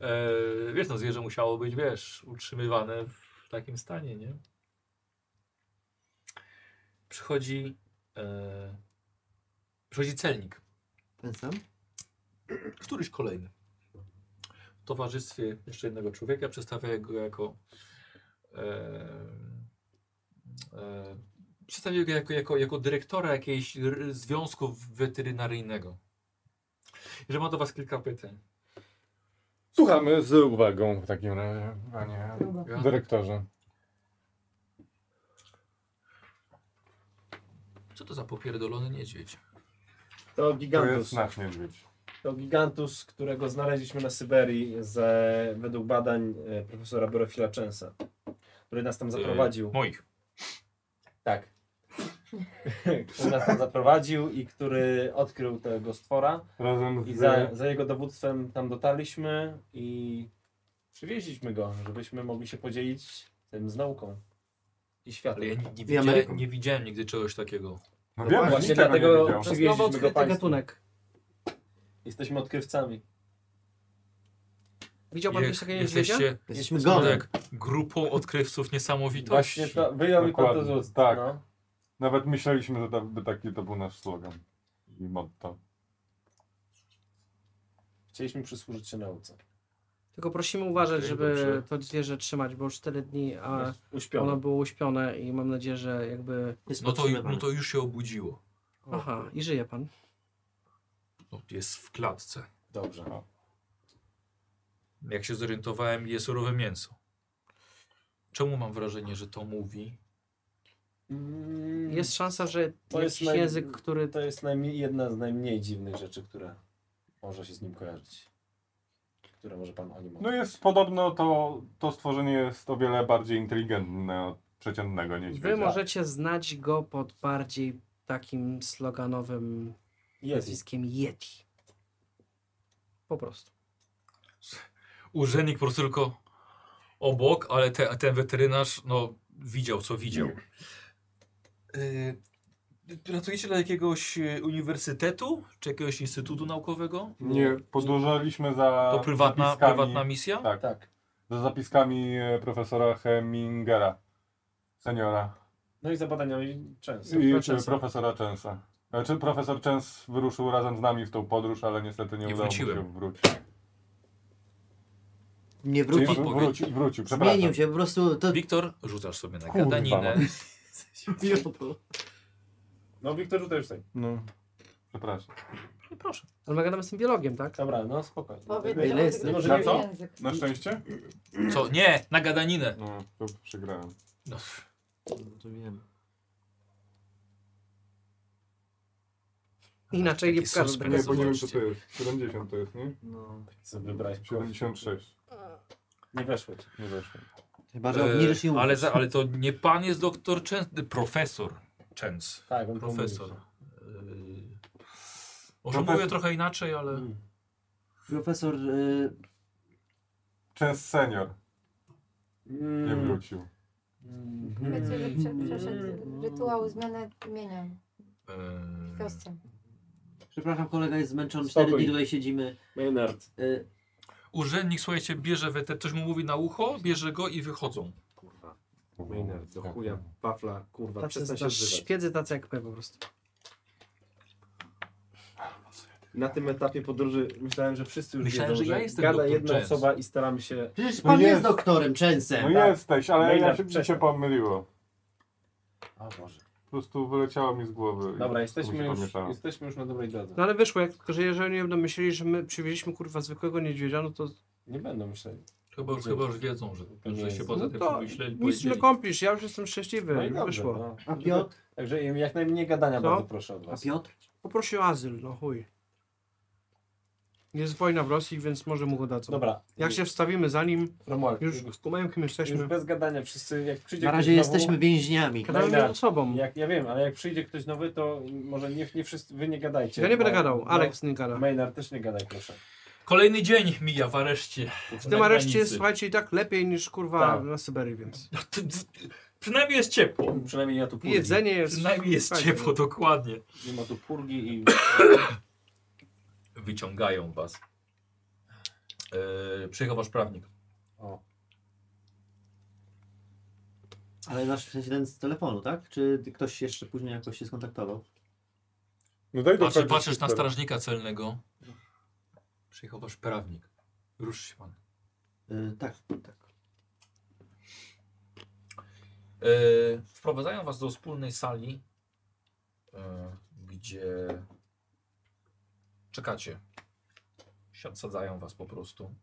H: Eee, wiesz, no zwierzę musiało być, wiesz, utrzymywane w takim stanie, nie? Przychodzi, eee, przychodzi celnik,
E: Ten sam?
H: któryś kolejny. W towarzystwie jeszcze jednego człowieka przedstawia go jako eee, eee, przedstawia go jako, jako, jako dyrektora jakiegoś r- związku weterynaryjnego. I że ma do was kilka pytań.
F: Słuchamy z uwagą w takim razie, panie dyrektorze.
H: Co to za popierdolony niedźwiedź?
B: To
F: To jest
B: gigantus.
F: nasz niedźwiedź.
B: To gigantus, którego znaleźliśmy na Syberii ze, według badań e, profesora Borofila Częsa, który nas tam zaprowadził.
H: Moich.
B: Tak. który nas tam zaprowadził i który odkrył tego stwora.
F: Razem
B: I
F: z...
B: za, za jego dowództwem tam dotarliśmy i przywieźliśmy go, żebyśmy mogli się podzielić tym z nauką i
H: Ale
B: światem.
H: ja nie, nie,
E: I Ameryką.
H: widziałem, nie widziałem nigdy czegoś takiego.
F: No wiem, że
B: Właśnie
F: niczego
B: dlatego-
F: nie wiedział.
D: To jest nowo
B: Przywieźliśmy go
D: odkryty
B: państwu.
D: gatunek.
B: Jesteśmy odkrywcami.
D: Widział pan
H: Jak
D: kiedyś takiego niedźwiedzia?
H: jesteście
E: Jesteśmy
B: Jesteśmy
E: gonem.
H: tak, grupą odkrywców niesamowitości.
B: Właśnie to, wyjął mi pan to z
F: Dokładnie,
B: ust.
F: tak.
B: No.
F: Nawet myśleliśmy, że to, by taki to był nasz slogan i motto.
B: Chcieliśmy przysłużyć się nauce.
D: Tylko prosimy uważać,
H: Okej,
D: żeby
H: dobrze.
D: to zwierzę trzymać, bo już 4 dni, a ono
B: Uśpiony.
D: było uśpione i mam nadzieję, że jakby...
E: Jest
H: No to,
E: podtrzymywany.
H: no to już się obudziło.
D: Aha, i żyje pan.
H: No, jest w klatce.
C: Dobrze.
H: Jak się zorientowałem, je surowe mięso. Czemu mam wrażenie, że to mówi?
B: Mm,
D: Jest szansa, że
B: To
D: jakiś
B: jest naj-
D: język, który...
B: To jest najmniej, jedna z najmniej dziwnych rzeczy, które może się z nim kojarzyć. Które może pan o nim
F: No jest podobno to, to stworzenie jest o wiele bardziej inteligentne od przeciętnego niedźwiedzia.
D: Wy możecie znać go pod bardziej takim sloganowym
B: jest.
D: nazwiskiem Yeti. Po prostu.
H: Urzędnik po prostu tylko obok, ale te, ten weterynarz no, widział, co widział. Yy, pracujecie dla jakiegoś e, uniwersytetu czy jakiegoś instytutu naukowego?
F: Nie, podążaliśmy za
H: To prywatna,
F: zapiskami,
H: prywatna misja?
F: Tak, tak. Za zapiskami e, profesora Hemingera, seniora.
B: No i za badaniami często.
F: I czy profesora Częsa. Znaczy profesor Częs wyruszył razem z nami w tą podróż, ale niestety nie,
H: Nie
F: udało mu
H: wróciłem.
F: się wrócić.
E: Nie
F: Czyli
E: wróci.
H: Wrócił.
F: wró- wrócił, wrócił, przepraszam.
E: Zmienił się po prostu. To...
H: Wiktor, rzucasz sobie na
F: Kurwa,
H: gadaninę.
F: no.
B: No Wiktor tutaj już tak.
F: No, przepraszam.
D: Ale my gadamy z tym biologiem, tak?
B: Dobra, no spokojnie.
G: Powiedział
E: Ile jest?
B: Może
F: Na
B: nie-
F: co?
G: język.
F: Na szczęście?
H: Co? Nie, na gadaninę.
F: No, to przegrałem.
H: No,
E: To wiem.
D: Inaczej nie
H: taki
D: pokażę
H: suspens.
D: tego.
F: Nie, bo nie wiem co
H: zobaczcie.
F: to jest. 70 to jest, nie?
E: No.
B: Co wybrałeś?
F: 76.
B: Nie weszło ci.
F: Nie weszło.
E: Chyba, że
H: e,
E: obniżysz i umrzesz.
H: ale, za- ale to nie pan jest doktor Częs, profesor Częs.
B: Tak, on
H: Profesor.
B: pomógł.
H: Yy, Może
F: Profes-
H: mówię trochę inaczej, ale. e,
B: Mm.
E: Profesor. Y...
F: Częs senior nie
B: Mm.
F: wrócił.
D: Mm-hmm.
B: Mm.
G: Wiecie, że prze- przeszedł rytuał zmiany imienia
H: yy,
G: siostrą.
E: Przepraszam, kolega jest zmęczony. 4 dni
B: Spokój.
E: tutaj siedzimy.
C: Maynard.
E: Y...
H: Urzędnik, słuchajcie, bierze weter, ktoś mu mówi na ucho, bierze go i wychodzą.
C: Kurwa. Maynard, do chuja. Wafla,
B: No,
C: kurwa,
D: Tacy
C: przestań się
D: znasz
C: zżywać.
D: Śpiedzy tacy jak my po prostu.
C: Na tym etapie podróży myślałem, że wszyscy już
H: Myślałem,
C: wiedzą,
H: że ja jestem
C: gada
H: doktor
C: jedna
H: Jens.
C: osoba i staramy się...
E: Przecież
F: No
E: pan jest,
F: jest.
E: doktorem Częsem.
F: No
C: tak.
F: jesteś, ale
C: Maynard,
F: ja się, mi się
C: przestań.
F: pomyliło.
C: O Boże.
F: Po prostu wyleciało mi z głowy. i
B: Dobra,
F: mi się
B: jesteśmy już,
F: pomieszało.
B: jesteśmy już na dobrej drodze.
D: No ale wyszło, jak, tylko że jeżeli oni będą myśleli, że my przywieźliśmy kurwa zwykłego niedźwiedzia, no to
B: Nie będą myśleli.
H: Chyba już, chyba już wiedzą, że,
B: Nie
H: że się
B: jest.
H: poza
D: No
H: tym
D: to
H: pomyśleli.
D: nic nie
H: powiedzieli.
D: kąpisz, ja już jestem szczęśliwy,
B: No i dobrze,
D: wyszło.
B: no.
E: A Piotr?
B: Także im jak najmniej gadania
D: Co?
B: bardzo proszę od
E: A
B: was.
E: Piotr?
D: Poprosił o azyl, no chuj. Jest wojna w Rosji, więc może mu go dadzą.
B: Dobra.
D: Jak się wstawimy za nim,
B: Romuald, już,
D: już skumają kim
B: już
D: jesteśmy.
B: bez gadania wszyscy, jak przyjdzie
E: Na
B: ktoś
E: razie
B: znowu,
E: jesteśmy więźniami.
D: Gadamy
B: Dobra.
D: między sobą.
B: Jak, ja wiem, ale jak przyjdzie ktoś nowy, to może nie, nie wszyscy, wy nie gadajcie.
D: Ja nie będę
B: Bo-
D: gadał,
B: bo
D: Alex nie gada.
B: Maynard też nie gadaj, proszę.
H: Kolejny dzień mija w areszcie.
D: W tym areszcie jest, słuchajcie, i tak lepiej niż kurwa
B: Tak.
D: na Syberii, więc...
H: Przynajmniej jest ciepło.
B: Przynajmniej nie ma tu
D: I
B: purgi.
D: jedzenie jest...
H: Przynajmniej jest
D: Słuchajcie,
H: ciepło, dokładnie.
B: no. Nie ma tu purgi i...
H: Wyciągają was. Yy, przyjechał wasz prawnik.
B: O,
E: Ale masz w sensie ten z telefonu, tak? Czy ktoś jeszcze później jakoś się skontaktował?
F: No daj do
H: Patrzy,
F: końca
H: Znaczy, patrzysz na
F: wszystko.
H: strażnika celnego. Przyjechał wasz prawnik. Rusz się pan.
E: Y, tak, tak.
H: E, wprowadzają was do wspólnej sali, e, gdzie czekacie. Siad- Sadzają was po prostu.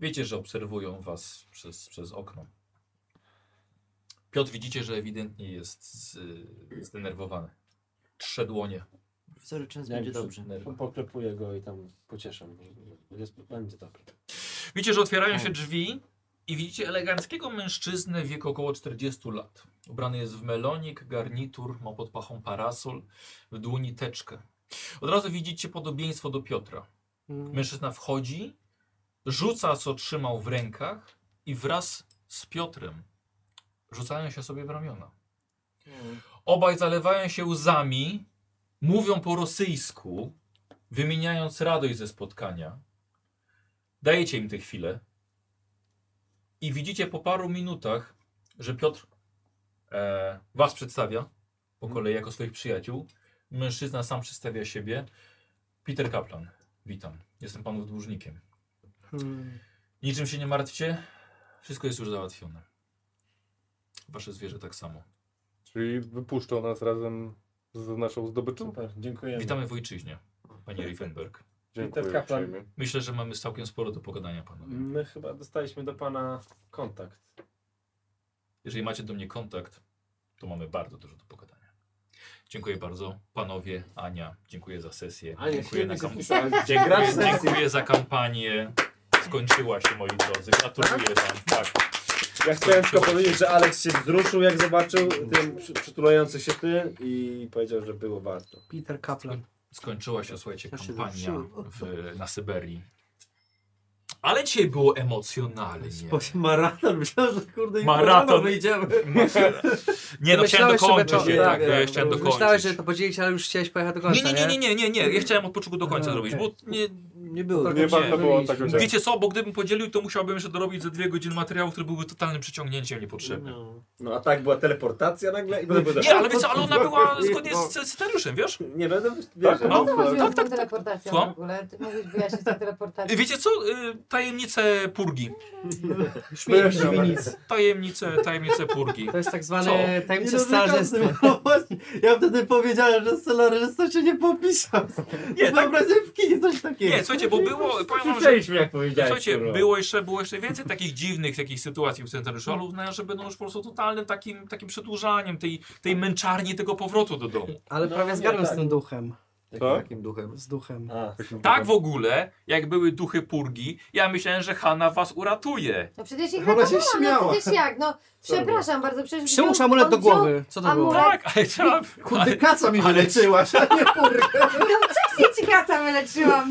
H: Wiecie, że obserwują was przez, przez okno. Piotr widzicie, że ewidentnie jest z, zdenerwowany. Trzy dłonie.
E: Sorry, Częs
B: Jak
E: będzie
B: przy-
E: dobrze.
H: Nerwy.
B: poklepuję go i tam pocieszę. Będzie, będzie dobrze.
H: Widzicie, że otwierają się drzwi i widzicie eleganckiego mężczyznę w wieku około 40 lat. Ubrany jest w melonik, garnitur, ma pod pachą parasol, w dłoni teczkę. Od razu widzicie podobieństwo do Piotra.
D: Mm.
H: Mężczyzna wchodzi, rzuca co trzymał w rękach i wraz z Piotrem rzucają się sobie w ramiona. Obaj zalewają się łzami, mówią po rosyjsku, wymieniając radość ze spotkania. Dajecie im tę chwilę i widzicie po paru minutach, że Piotr e, was przedstawia po kolei jako swoich przyjaciół. Mężczyzna sam przedstawia siebie. Peter Kaplan, witam. Jestem panów dłużnikiem.
D: Mm.
H: Niczym się nie martwcie, wszystko jest już załatwione. Wasze zwierzę tak samo.
F: Czyli wypuszczą nas razem z naszą zdobyczą?
B: Super, dziękujemy.
H: Witamy w ojczyźnie, panie Riefenberg.
F: Dziękuję
B: Peter Kaplan.
F: uprzejmie.
H: Myślę, że mamy całkiem sporo do pogadania, panowie.
B: My chyba dostaliśmy do pana kontakt.
H: Jeżeli macie do mnie kontakt, to mamy bardzo dużo do pogadania. Dziękuję bardzo. Panowie, Ania, dziękuję za sesję.
B: Ania,
H: dziękuję,
B: świetnie
H: kamp-
B: zapisałeś. Gracz
H: dziękuję,
B: sesji.
H: dziękuję za kampanię. Skończyła się, moi drodzy. Gratuluję wam. Tak.
C: Ja chciałem tylko powiedzieć, że Alex się wzruszył, jak zobaczył ten przy- przytulający się ty i powiedział, że było warto.
D: Peter Kaplan.
H: Skończyła się, słuchajcie,
E: Ja się
H: kampania
E: zepsułem.
H: w, na Syberii. Ale dzisiaj było emocjonalnie.
E: Maraton, myślałem, że kurde i
H: Maraton.
E: maraton wyjdziemy.
H: Nie, no chciałem
D: Myślałeś, żeby
H: dokończyć.
D: to-
H: je, tak,
D: tak,
H: ja
D: tak.
H: chciałem dokończyć.
D: Myślałeś, że to podzielić, ale już chciałeś pojechać do końca,
H: nie, nie, nie, nie, nie, nie. Ja chciałem od początku do końca zrobić, bo nie,
E: Nie było.
F: Nie warto było
D: Byliśmy.
F: tego
D: Wiecie,
F: działać.
H: Wiecie co, bo gdybym podzielił, to musiałbym jeszcze dorobić ze dwie godziny materiału, które były totalnym przeciągnięciem niepotrzebnym.
E: No.
C: No a tak była teleportacja nagle i będę.
H: Nie, ale wiecie, ale ona była zgodnie z z scenariuszem, wiesz?
C: Nie będę wierzę.
H: No,
G: Co chodzi
H: tak,
G: o
H: tak,
G: tą teleportację
H: Słucham?
G: w ogóle? Ty mówisz wyjaśnić tę teleportację.
H: Wiecie co, y, tajemnice purgi.
D: Śmiej nic.
H: Tajemnice, tajemnice purgi.
D: To jest tak
H: Co?
D: zwane tajemnicze
E: Nie dotykam
D: starzystwo.
E: tego. No właśnie, Ja wtedy powiedziałem, że scenarysta się nie popisał.
H: Nie,
E: Nie,
H: tak-
E: tak razie w kinie coś takiego.
H: Nie, słuchajcie, bo było, powiem wam, że...
R: Słyszeliśmy jak powiedziałeś.
H: Słuchajcie,
R: kurwa.
H: było jeszcze, było jeszcze więcej takich dziwnych takich sytuacji w scenariuszu, ale uznałem, że będą już po prostu totalnym takim, takim przedłużaniem tej, tej męczarni tego powrotu do domu.
D: Ale
B: No,
D: prawie
B: nie,
D: zgadłem z
B: tak.
D: tym duchem.
C: Tak?
F: Co?
E: Takim duchem.
D: Z duchem.
B: A,
H: Tak w ogóle, jak były duchy purgi, ja myślałem, że Hanna was uratuje.
G: No przecież ich
E: Ona się
G: ratowała, no
E: śmiała.
G: przecież jak, no przepraszam bardzo, przecież
D: Przyłóż
G: wziął-
D: amulet do
G: on wziął-
D: głowy. Co to było?
G: amulet-
H: Tak, ale trzeba... ale-
E: Kurde, kaca mi
H: ale-
E: wyleczyłaś, a nie
G: tak,
E: kurka.
G: no, Wcześniej ci kaca wyleczyłam,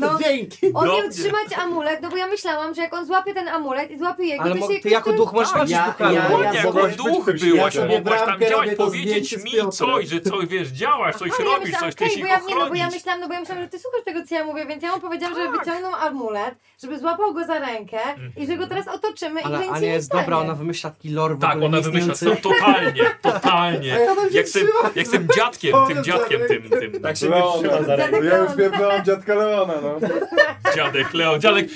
G: no.
E: Dzięki.
G: On miał
H: Dobrze.
G: trzymać amulet, no bo ja myślałam, że jak on złapie ten amulet i złapie jego,
D: Ale
G: to
D: mo-
G: się
D: ty
G: jakoś
D: jako
G: tam-
D: duch możesz
H: Tak,
D: walczyć
E: ja-
D: z duchami.
E: ja-
H: Dokładnie,
E: ja-
H: jako
E: mogę
F: być
H: duch byłaś,
F: przyjacielem.
H: mogłaś tam
E: Bramkę
H: działać,
E: robię to
H: powiedzieć
E: zdjęcie z
H: mi
E: Piotrem.
H: coś, że coś wiesz, działasz, coś
G: Ale
H: robisz, coś, ty się
G: bo
H: ich
G: ja, nie, no bo ja
H: ochronisz. Tak.
G: myślałam, no bo ja myślałam, że ty słuchasz tego, co ja mówię, więc ja mu powiedziałam, żeby wyciągnął amulet, żeby złapał go za rękę i że go
H: Mhm.
G: teraz otoczymy i że
D: Ale
G: nic się
D: Ania
G: nie
D: jest
G: stanie.
D: dobra, ona wymyśla taki lore w
H: Tak,
D: ogóle
H: ona wymyśla to
D: nieistniejący.
H: totalnie, totalnie.
E: Ja tam się
H: Jak tym,
E: trzymam.
H: jak tym dziadkiem, tym
E: Powiem
H: dziadkiem,
E: dalej.
H: tym, tym
C: Tak się
F: Leona.
C: wytrzyma za rękę.
F: No ja już pierdolę dziadka Leona, no.
H: dziadek, Leo, dziadek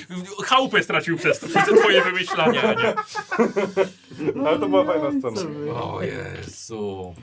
H: chałupę stracił przez to, przez te twoje wymyślania, Ania.
F: Ale to była
H: No
F: fajna scena.
H: O Jezu.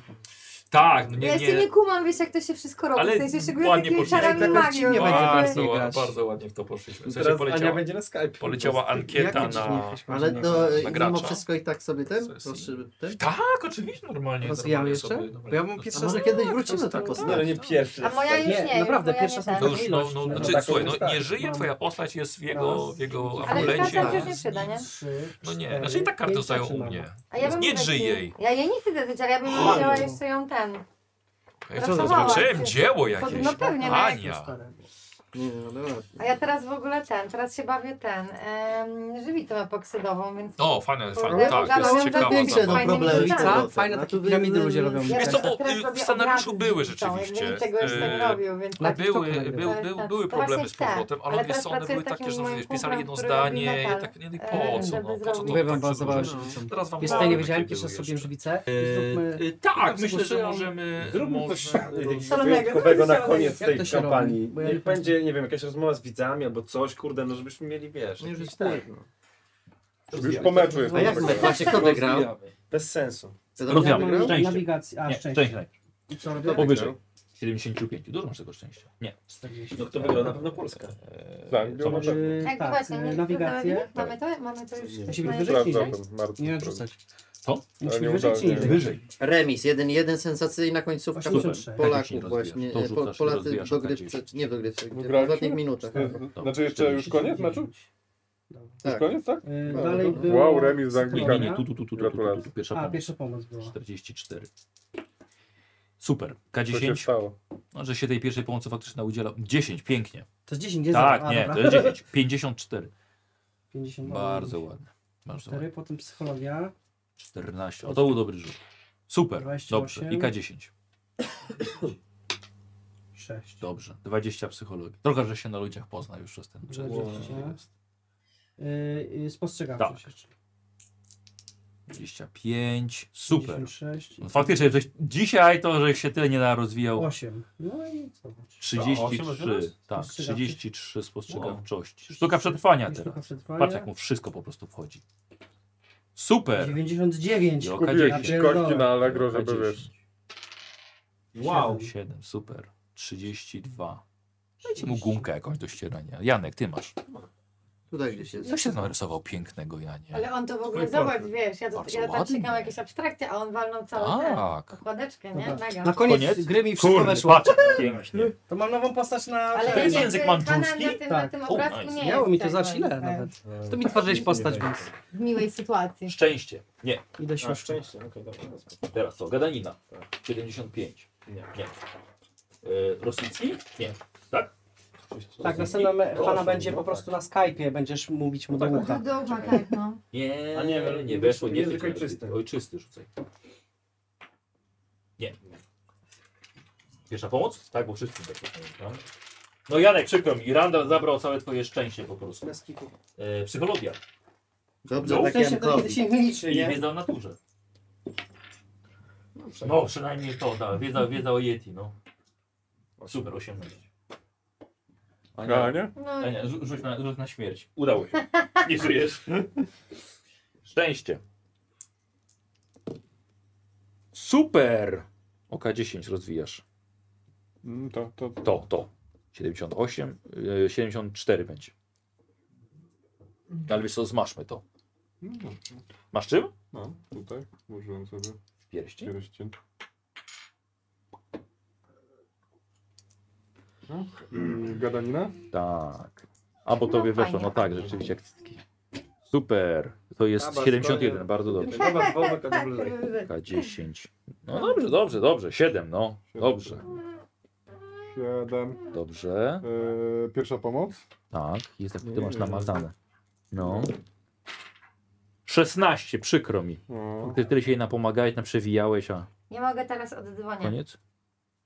H: Tak, no
G: ja
H: nie,
G: jeszcze nie
H: nie.
G: kumam, wiesz, jak to się wszystko robi,
H: Ale
G: w sensie szczególnie
H: ładnie
G: takiej
H: poszliśmy.
G: czarami
D: Tak,
G: magii.
D: odcinek będzie
H: Bardzo,
D: później
H: ła-
D: grać.
H: bardzo ładnie w to poszliśmy. W sensie
B: teraz Ania
H: poleciała,
B: będzie na Skype.
H: poleciała ankieta
D: Jakie dziwne
H: na...
D: jakieś
E: Ale
D: marzenia.
E: to e,
H: Nagracza.
E: mimo wszystko i tak sobie ten,
H: Sesji.
E: proszę, ten.
H: Tak, oczywiście, normalnie.
D: Rozwijam
H: normalnie
D: jeszcze?
H: sobie-
D: Bo ja mam
H: No,
D: pierwszy
E: A
D: raz
E: może kiedyś wrócimy
H: tak
E: do tej
B: No, ale
E: postaci.
B: nie pierwszy.
G: A moja już nie,
D: Nie, naprawdę,
G: już moja
D: pierwszy
G: nie
D: raz
G: tak.
H: To już, no, no,
D: No,
H: znaczy,
B: taką
H: słuchaj, no,
B: postać.
H: nie żyje,
D: Mam.
H: twoja postać jest w jego,
D: No,
H: w jego
G: Ale
H: amulecie.
G: karta już nie przyda, nie?
D: Trzy,
H: No nie,
D: cztery,
H: znaczy i tak karty
D: pięć
H: zostają u
D: zaczynamy.
H: mnie.
G: A ja bym
H: Nie
G: tak-
H: drzyj jej.
G: Ja jej nie chcę dotyczyć, ale ja bym wzięła jeszcze ją ten.
H: Ja
G: Pracowała.
H: zobaczyłem dzieło jakieś.
G: No pewnie, no jak
H: Ania.
D: tak.
E: Nie, no dobra.
G: A ja teraz w ogóle ten, teraz się bawię ten, em, żywicą epoksydową, więc
H: O, fajne, fajne,
G: Ale
H: tak,
G: gadałem
H: jest
G: za
H: ciekawa
G: większe,
E: Większe no
H: zabawa.
G: Fajne
E: problemy.
G: miejsca.
E: co?
D: Fajne
E: A
D: takie
E: tu
D: piramidy
E: wy-
D: ludzie robią.
G: Ja
H: Wiesz
G: też
H: co, o,
G: teraz
H: y, w
G: robię
H: scenariuszu
G: obrazy
H: były
G: z dziecią, jakby
H: rzeczywiście,
G: nikt tego jeszcze nie
H: y,
G: robił, więc
D: na
G: tak.
D: ty-
H: Były,
D: TikToka
H: był,
G: nagrywa.
H: był,
G: Tak,
H: były
G: tak.
H: problemy z
G: Właśnie
H: powrotem, ale,
G: ale
H: wiesz
G: teraz
H: co, one
G: pracuję
H: były
G: z takim
H: takie, że
G: moim
H: wiesz, pisali
G: kumplem,
H: jedno
G: który robi
H: zdanie
G: metal,
H: i tak, nie,
G: e,
H: po co,
G: żeby
H: no, po co
G: zrobić.
H: to
D: Mówię wam,
H: tak
D: bardzo
H: przedłużać?
E: ważne.
H: Teraz wam
D: Jest
H: powiem,
D: tutaj, nie wiedziałem,
H: jakie
D: pierwszy raz
H: były
D: robiłem
H: jeszcze.
D: żywicę.
H: Y,
D: Zróbmy...
H: y, Tak,
D: tak
H: myślę, że
D: zgłosiłam.
H: możemy...
B: Zróbmy
H: może-
B: coś
H: y,
B: jakiegoś
G: Szalonego,
B: wyjątkowego na
G: szalonego.
B: koniec
D: Jak
B: tej
D: to się robi?
B: kampanii.
D: Bo ja nie
B: Niech
D: wiem.
B: będzie, nie wiem, jakaś rozmowa z widzami albo coś, kurde, no żebyśmy mieli, wiesz,
E: Nie, że
B: jakiś
E: tak.
B: ten,
F: Już po meczu tak- jest.
E: A No jak my? Właśnie kto wygrał?
B: bez sensu.
E: Wiadomo,
H: Rozmawiamy.
E: wygrał?
H: Szczęście.
D: Nawigacja, a
H: Nie,
D: szczęście.
H: szczęście.
D: I co robię?
E: Kto
H: Powyżej.
E: wygrał?
H: 75, dużo masz tego szczęścia. Nie.
B: No kto wygrał? Na pewno Polska.
H: Eee,
F: Tak, no
H: co masz?
F: tak.
D: Y,
G: Tak,
D: tak,
G: właśnie,
D: y,
G: nie,
D: nawigację.
G: Mamy to, mamy to już.
D: Musimy
G: mamy
D: wyżej?
G: to
D: Wyżej?
F: Sprawdzam ten Marcin.
D: Nie wiem rzucać.
H: Co?
F: Ale nie
D: Musimy rzucić
F: udało się.
D: nigdy.
E: Remis, 1-1, sensacyjna końcówka
D: Super.
E: Pol-
D: Super.
H: Tak, jak
E: Polaków
H: się tak
E: właśnie.
H: rozwijasz, to
E: e, Po,
H: rzucasz,
E: Polacy
H: rozwijasz,
E: dogrywce,
H: attackujesz.
E: nie w dogrywce, w
F: Wygraliśmy?
E: ostatnich minutach.
F: Znaczy jeszcze już koniec meczu? Już
E: Tak.
F: koniec, tak?
D: Y,
F: No,
D: Dalej
F: dobra.
D: było...
F: Wow, remis z
H: Nie,
F: Anglikami.
H: nie, nie, tu, tu, tu, tu, tu, tu, tu, tu
F: Gratulacje.
H: pierwsza
D: A,
H: pomoc.
D: pierwsza pomoc była.
H: 44. Super.
F: Co się
H: K10,
F: stało?
H: no, że się tej pierwszej pomocy faktycznie udziela. 10, pięknie.
D: To jest 10, nie
H: tak,
D: zero. A,
H: nie,
D: dobra.
H: to jest 10. 54.
D: 50,
H: Bardzo
D: no,
H: ładne. Bardzo ładne.
D: 4, potem psychologia.
H: 14. O, to był dobry rzut. Super.
D: 28.
H: Dobrze. I K10.
D: 6.
H: Dobrze. 20 psychologii. Droga, że się na ludziach pozna już przez ten czas.
D: Wow.
H: Jest.
D: Yy, Spostrzegawczość
H: Tak.
D: jeszcze.
H: 25. Super.
D: 56.
H: No, faktycznie, żeś, dzisiaj to, że się tyle nie da rozwijał.
D: 8. No i zobacz.
R: osiem rozumiesz?
H: 33. Tak,
D: Spostrzegawczość.
H: 33 spostrzegawczości. Sztuka przetrwania teraz.
D: Sztuka przetrwania.
H: Patrz, jak mu wszystko po prostu wchodzi. Super!
D: 99.
H: Jo.
F: Kupię
H: K10.
F: jakieś kości na Allegro, żeby wiesz.
H: Wow!
D: Wow.
H: 7, super. 32. Dajcie mu gumkę jakąś do ścierania. Janek, ty masz.
E: Tutaj gdzieś jest.
H: Co No się narysował pięknego, Janie?
C: Ale on to w ogóle,
H: Twoje
C: zobacz, wiesz, ja, to,
H: Bardzo
C: ja tam
H: ładnie.
C: czekam jakieś abstrakcje, a on walnął całą tę
H: Tak.
C: okładeczkę, nie? Mega.
D: No Na koniec,
H: Koniec?
D: gry mi wszystko
H: Kurde,
D: weszło.
H: patrz, pięknie.
D: To mam nową postać na...
C: Ale
H: To jest
C: jakby
H: język mandżurski?
C: pana Na tym, na
D: Tak.
C: tym
H: O,
C: obrazku
H: nice.
C: nie
D: Miało
C: jest
D: mi to
C: tak,
D: za chwilę
C: moim zdaniem.
D: nawet.
H: No,
D: To mi tworzyłeś postać, więc
C: W miłej sytuacji.
H: Szczęście. Nie,
D: idę się
A: szczęście, okej, dobra. no spoko.
H: teraz to. Gadanina. Tak. 75.
A: Nie.
H: Nie. E, rosyjski? Nie.
D: Tak, następna me- fana będzie po prostu na Skype'ie, będziesz mówić mu do
C: No
D: ucha.
C: to do ucha, tak, no.
H: Nie,
A: A nie,
H: nie,
A: nie,
H: weszło. Nie,
A: język
H: tylko
A: ojczysty.
H: Ojczysty rzucaj. Nie. Pierwsza pomoc? Tak, bo wszyscy tak pamiętam. No Janek, przykro mi, Randall zabrał całe twoje szczęście po prostu. E, psychologia.
E: Dobrze,
H: No,
E: tak
D: Szczęście to
E: Jankowi.
D: nigdy się nie liczy,
H: I
D: nie?
H: wiedza o naturze. E, No, przynajmniej to, da. Wiedza, wiedza o Yeti, no. Super, 18.
F: A nie?
C: no
H: Ania, rzu- rzuć na, rzuć na śmierć. Udało się. Nie żyjesz. Szczęście. Super! Oka 10 rozwijasz.
F: Mm, To, to,
H: To, to. 78, y, 74 będzie. Ale wiesz co, zmaszmy to.
F: mm,
H: No.
F: dobrze.
H: Masz czym?
F: No, tutaj włożyłem sobie
H: Pierścień.
F: pierścień. Mm, Gadanina?
H: Tak. A bo
C: No,
H: tobie weszło,
C: fajnie.
H: no tak, rzeczywiście. jak cycki. Super. To jest
A: Dobra,
H: 71,
A: skoro-
H: bardzo dobrze.
A: Dobra, Bobek, a
C: tak,
A: to lżej.
C: żeby-
H: K10. No dobrze, dobrze, dobrze. 7, no. Dobrze.
F: Siedem.
H: Dobrze.
F: E, pierwsza pomoc?
H: Tak, jest jak ty
F: Nie
H: masz
F: wiem.
H: namazane. No. 16, przykro mi.
F: O.
H: Ty tyle się jej napomagałeś, naprzewijałeś, a
C: Nie mogę teraz od dzwonienia.
H: koniec?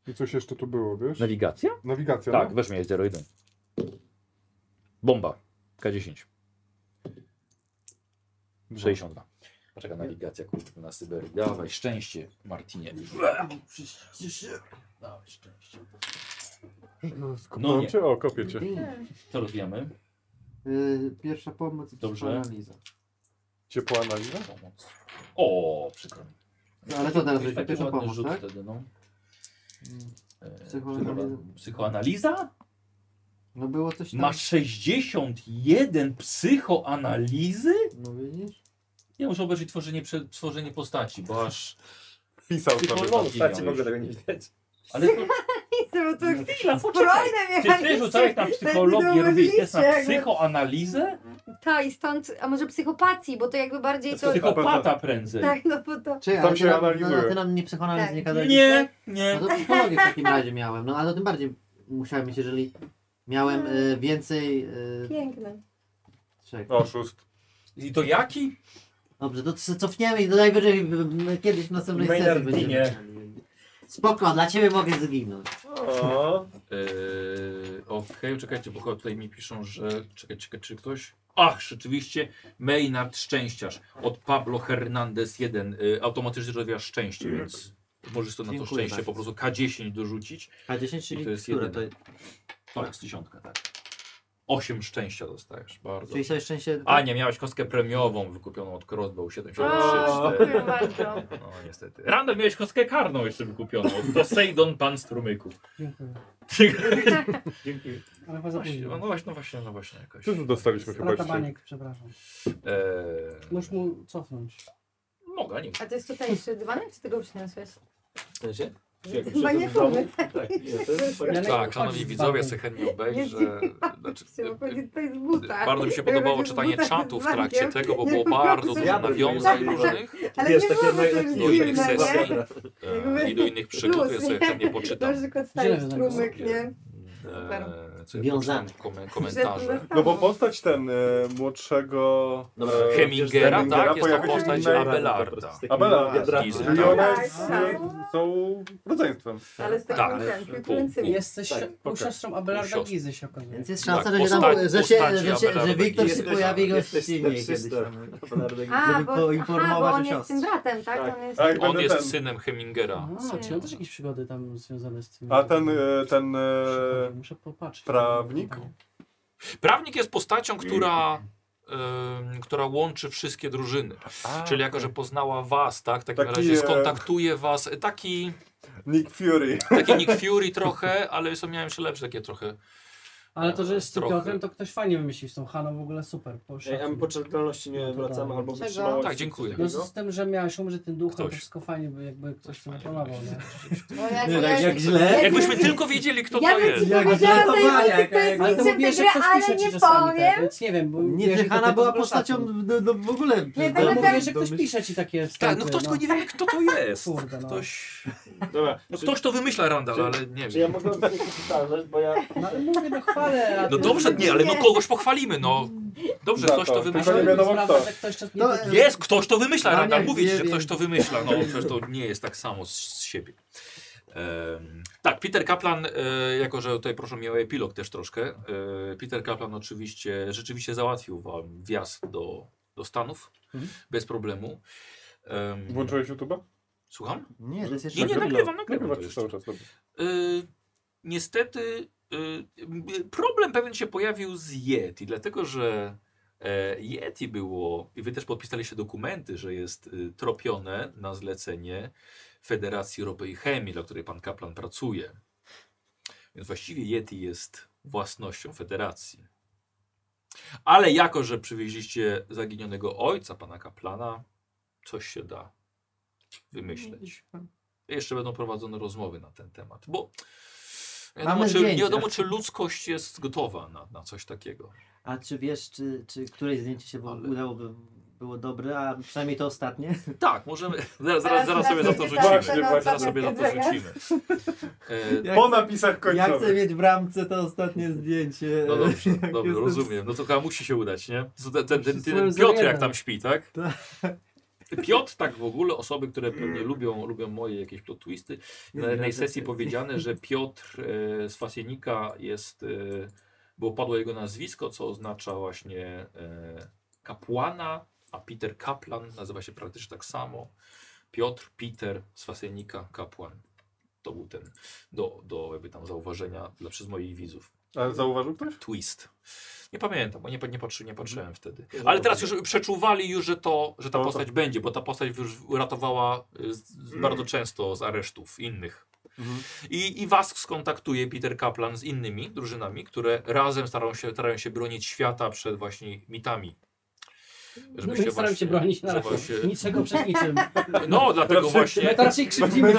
F: I coś jeszcze tu było, wiesz?
H: Nawigacja?
F: Nawigacja,
H: No Tak,
F: no?
H: weźmy jej 01. Bomba. K10.
F: Dwa.
H: 62. Poczekaj, nawigacja kurde na Syberii. Dawaj, szczęście, Martinie. Dawaj, szczęście. No
F: No
H: nie.
F: cię, o, kopię cię.
H: Co rozwijamy?
E: Y, Pierwsza pomoc i
H: Dobrze.
E: analiza.
F: Ciepła analiza?
H: Pomoc. O, przykro mi.
E: No, ale co teraz
H: Taki
E: robisz? Pierwsza
H: ładny
E: pomoc,
H: rzut
E: tak?
H: wtedy, no. E,
E: Psychoanaliza.
H: Psychoanaliza?
E: No było coś
C: Tak.
E: tam.
H: Masz 61 psychoanalizy?
E: No widzisz?
H: Ja muszę obejrzeć tworzenie, prze- tworzenie postaci, bo aż...
F: Pisał
H: Tylko
F: sobie.
H: no,
F: tam.
V: Postaci w ogóle tego nie widać.
H: Ale to,
C: Bo to
H: no, chwila, poczekaj.
C: Brojne
H: Czy ty rzucałeś na psychologię, robiłeś test na psychoanalizę?
C: Tak, i stąd, a może psychopatii, bo to jakby bardziej to...
H: Psychopata prędzej.
C: Tak, no bo to...
E: Czy,
F: Tam
E: ale
F: się
E: ty nam-
F: analizuje.
E: No, no, ty nam nie psychoanaliz
C: Tak.
E: nie gadałeś.
H: Nie,
E: No
H: nie.
E: to psychologię w takim razie miałem, no ale tym bardziej musiałem mieć, jeżeli miałem y, więcej y,
C: Piękne.
E: trzech.
H: No.
F: Oszust.
H: I to jaki?
E: Dobrze, to c- cofniemy i do najwyżej y, y, kiedyś w następnej sesji
H: Maynard
E: będziemy.
H: ginie.
E: mieli. Spoko, dla ciebie mogę zginąć.
A: O,
H: Eee, Okej, czekajcie, bo chyba tutaj mi piszą, że. Czekaj, czekaj, czy ktoś. Ach, rzeczywiście, Maynard Szczęściarz od Pablo Hernandez 1. Eee, automatycznie rozwija szczęście, więc możesz to na to
E: Dziękuję
H: szczęście
E: bardzo.
H: po prostu K10 dorzucić.
E: K10,
H: I to
E: czyli
H: jest
E: które to
H: jedyne. To jest dziesiątka, tak. 8 szczęścia dostajesz, bardzo.
E: Czyli sobie szczęście.
H: A nie, miałeś kostkę premiową wykupioną od Crossbow 734.
C: Dziękuję bardzo.
H: No niestety. Randall miałeś kostkę karną jeszcze wykupioną. To Sejdon Pan Strumyku.
D: Dziękuję.
A: dzięki.
D: Ale was
H: Właśnie, no
D: zapomniałem.
H: właśnie, no właśnie, no właśnie jakoś.
F: Czy tu dostaliśmy chyba
D: Strata
F: jeszcze?
D: baniek, przepraszam.
W: E,
D: Możesz
H: Eee,
D: mu cofnąć.
H: mogę, nie
C: A to jest tutaj jeszcze dywanek, czy tego przyniosłeś?
A: Sensie?
C: Chyba nie chudy, tak.
A: Tak, nie, to jest fajne.
D: Janek,
W: Tak,
D: chodź
W: szanowni
D: z
W: widzowie,
D: babą.
W: sobie chętnie obejrzę. Znaczy,
C: Się, bo
W: y,
C: pewnie tutaj z
W: y,
C: buta.
W: bardzo mi się
C: Ja
W: podobało
C: będę z
W: czytanie
C: buta z
W: czatu w trakcie
C: dzwonkiem.
W: tego, bo
C: Nie,
W: było
C: po
W: bardzo
C: prostu.
W: dużo
A: Ja bym
W: nawiązań
A: nie
W: różnych
C: Ale
A: Wiesz,
C: nie
A: takie
C: było to
A: naj-
B: no,
C: już
A: takie
H: do innych
C: dziwne,
H: sesji
C: nie?
H: e, i do innych przygód, więc sobie chętnie poczytam.
C: Na przykład stary
D: Źle, że
C: strumyk,
H: tak
C: nie?
W: E,
H: Eee, co ja
E: Wiązane.
H: poczytam? Kom-
C: Że
H: komentarze.
C: tu
B: No bo postać ten e, młodszego...
A: Dobra,
B: e,
H: No, Hemingera,
B: Hemingera
H: tak, jest to
B: pojawia się
H: postać
B: w innej-
H: Abelarda.
B: Abelarda. I
H: Z Disneya.
B: ona
C: Tak,
B: jest,
C: tak.
B: e, są rodzeństwem.
C: Ale z
H: Tak.
C: takim ten, kwiatującymi.
D: Jesteś
A: Tak,
D: u
A: pokaż.
D: siostrą Abelarda
H: siostry.
D: Gizy się okazuje.
E: Więc jest szansa,
H: Tak,
E: że, się tam,
H: postaci-
E: że, się,
H: postaci
E: że, się, że
H: Abelarda
E: Wiktor się
H: Gizy.
E: pojawi go
A: Jesteś
B: tak
E: silniej kiedyś
A: stepsister.
E: tam.
C: A,
E: żeby
C: bo, aha, bo
E: poinformować
C: on
E: o
C: jest tym
E: siostrze.
C: bratem, tak?
A: Tak.
C: On jest...
B: A jak
H: On
B: będę ten...
H: jest synem
C: Tak.
H: Hemingera.
D: A, czy on też jakieś przygody tam związane z tym?
B: A ten, e, ten... E,
D: Muszę popatrzeć.
B: prawnik?
H: Prawnik jest postacią, która e, em, która łączy wszystkie drużyny.
F: A,
H: Czyli jako, że poznała was, tak? W takim
F: Taki,
H: razie
F: e,
H: skontaktuje was. e, Taki,
F: Nick Fury.
H: taki Nick Fury trochę, ale są miałem jeszcze lepsze takie trochę.
D: Ale to, że jest z tym
H: Trochę.
D: Piotrem, to ktoś fajnie wymyślił z tą Haną, w ogóle super. Po
B: Ej, a my po czerwalności nie
D: No to
B: wracamy
D: dawaj.
B: albo
G: Czego?
B: wytrzymałości.
H: Tak, dziękuję.
D: no z tym, że miałeś umrzeć tym duchem, to
H: Ktoś.
D: wszystko fajnie, by jakby ktoś to
H: Fajnie,
D: napolował,
H: fajnie.
D: nie?
G: No jak,
E: Nie, tak
G: jak,
E: jak źle.
H: Jakbyśmy tylko wiedzieli, kto
G: ja
H: to
G: bym
H: jest.
G: ci powiedziała tej
D: Ale
G: ulicy,
D: to
G: to jest
D: mówię,
G: niczym
D: że
G: tej gry,
D: ktoś
G: ale
D: pisze ci
G: nie
D: czasami,
G: powiem.
D: Tak, więc nie wiem, bo
E: Nie,
D: wiesz,
E: że
D: tylko
E: Hanna
D: ty to
E: była
D: w ogóle
E: postacią
D: szacun.
E: do, do, w ogóle.
G: Nie,
E: do-
D: Ale
G: będę
D: mówię, że ktoś
E: domyśl-
D: pisze ci takie
H: Tak,
D: wstępy,
H: no ktoś tylko nie wie, kto to jest.
D: Kurde, no.
H: Ktoś,
B: Dobra,
H: no ktoś to wymyśla, Randall, ale nie
B: czy ja
H: wiem.
B: mogę powtarzać, bo ja...
D: No, ale mówię, no chwalę. a
H: No
D: ty-
H: dobrze, nie, ale no kogoś pochwalimy, no. Dobrze,
F: Za
H: ktoś
F: to.
H: to
D: A
F: Tylko
H: wymyśla.
F: nie
D: to
F: wiadomo
D: sprawdza, że
F: kto.
D: ktoś to
E: No,
D: nie...
H: Jest, ktoś to wymyśla,
E: Ja
H: Randall.
E: nie
H: Mówię ci, że
E: wiem.
H: ktoś to wymyśla. No, przecież to nie jest tak samo z, z siebie. Em, tak, Peter Kaplan, e, jako że tutaj proszę mnie o epilog też troszkę. E, Peter Kaplan oczywiście rzeczywiście załatwił wam wjazd do, do Stanów bez problemu. Em,
F: Włączyłeś YouTube'a?
H: Słucham?
E: Nie, to jest jeszcze.
H: Nie, no, nie, nagrywam, nagrywam. Tak,
F: Nagrywasz
H: to jeszcze.
F: cały czas, dobra.
H: Y, niestety y, y, problem pewien się pojawił z Yeti, dlatego że e, Yeti było, i wy też podpisaliście dokumenty, że jest y, tropione na zlecenie Federacji Ropy i Chemii, dla której pan Kaplan pracuje. Więc właściwie Yeti jest własnością Federacji. Ale jako, że przywieźliście zaginionego ojca pana Kaplana, coś się da wymyśleć. Jeszcze będą prowadzone rozmowy na ten temat, bo nie wiadomo,
E: Mamy
H: czy, nie
E: zdjęcia.
H: wiadomo, czy ludzkość jest gotowa na, na coś takiego.
E: A czy wiesz, czy, czy któreś zdjęcie się w-
H: Ale-
E: udałoby było dobre, a przynajmniej to ostatnie?
H: Tak, możemy. Zaraz, zaraz, zaraz sobie za to rzucimy.
F: Właśnie,
H: Zaraz sobie za to rzucimy. E,
E: Ja
F: Po
E: chcę-
F: napisach
E: Ja chcę
F: końcowych.
E: mieć w ramce to ostatnie zdjęcie.
H: no dobrze,
E: Jak
H: dobrze,
E: jestem-
H: rozumiem. No to chyba musi się udać, nie? Co Ten, ten, ten,
D: Jestem
H: ten
D: za
H: Piotr jak
D: jeden.
H: tam śpi, tak? Piotr, tak w ogóle, osoby, które pewnie lubią, lubią moje jakieś plot twisty. Na jednej sesji powiedziane, że Piotr e, z Fasienika jest, e, bo padło jego nazwisko, co oznacza właśnie e, kapłana, a Peter Kaplan nazywa się praktycznie tak samo. Piotr, Peter z Fasienika, kapłan. To był ten do, do jakby tam zauważenia dla przez moich widzów.
F: A zauważył ktoś?
H: Twist. Nie pamiętam, bo nie, nie, patrzy, nie patrzyłem wtedy. Ale teraz już przeczuwali już, że, to, że ta
F: No to-
H: postać będzie, bo ta postać już uratowała y, z, z bardzo często z aresztów innych.
F: Mhm.
H: I, I was skontaktuje Peter Kaplan z innymi drużynami, które razem starają się, starają się bronić świata przed właśnie mitami.
D: No i staram się bronić na
H: żeby
D: razie.
H: właśnie-
D: Niczego przed niczym.
H: No, dlatego
F: Znaczy,
H: właśnie.
D: My to raczej krzywdzimy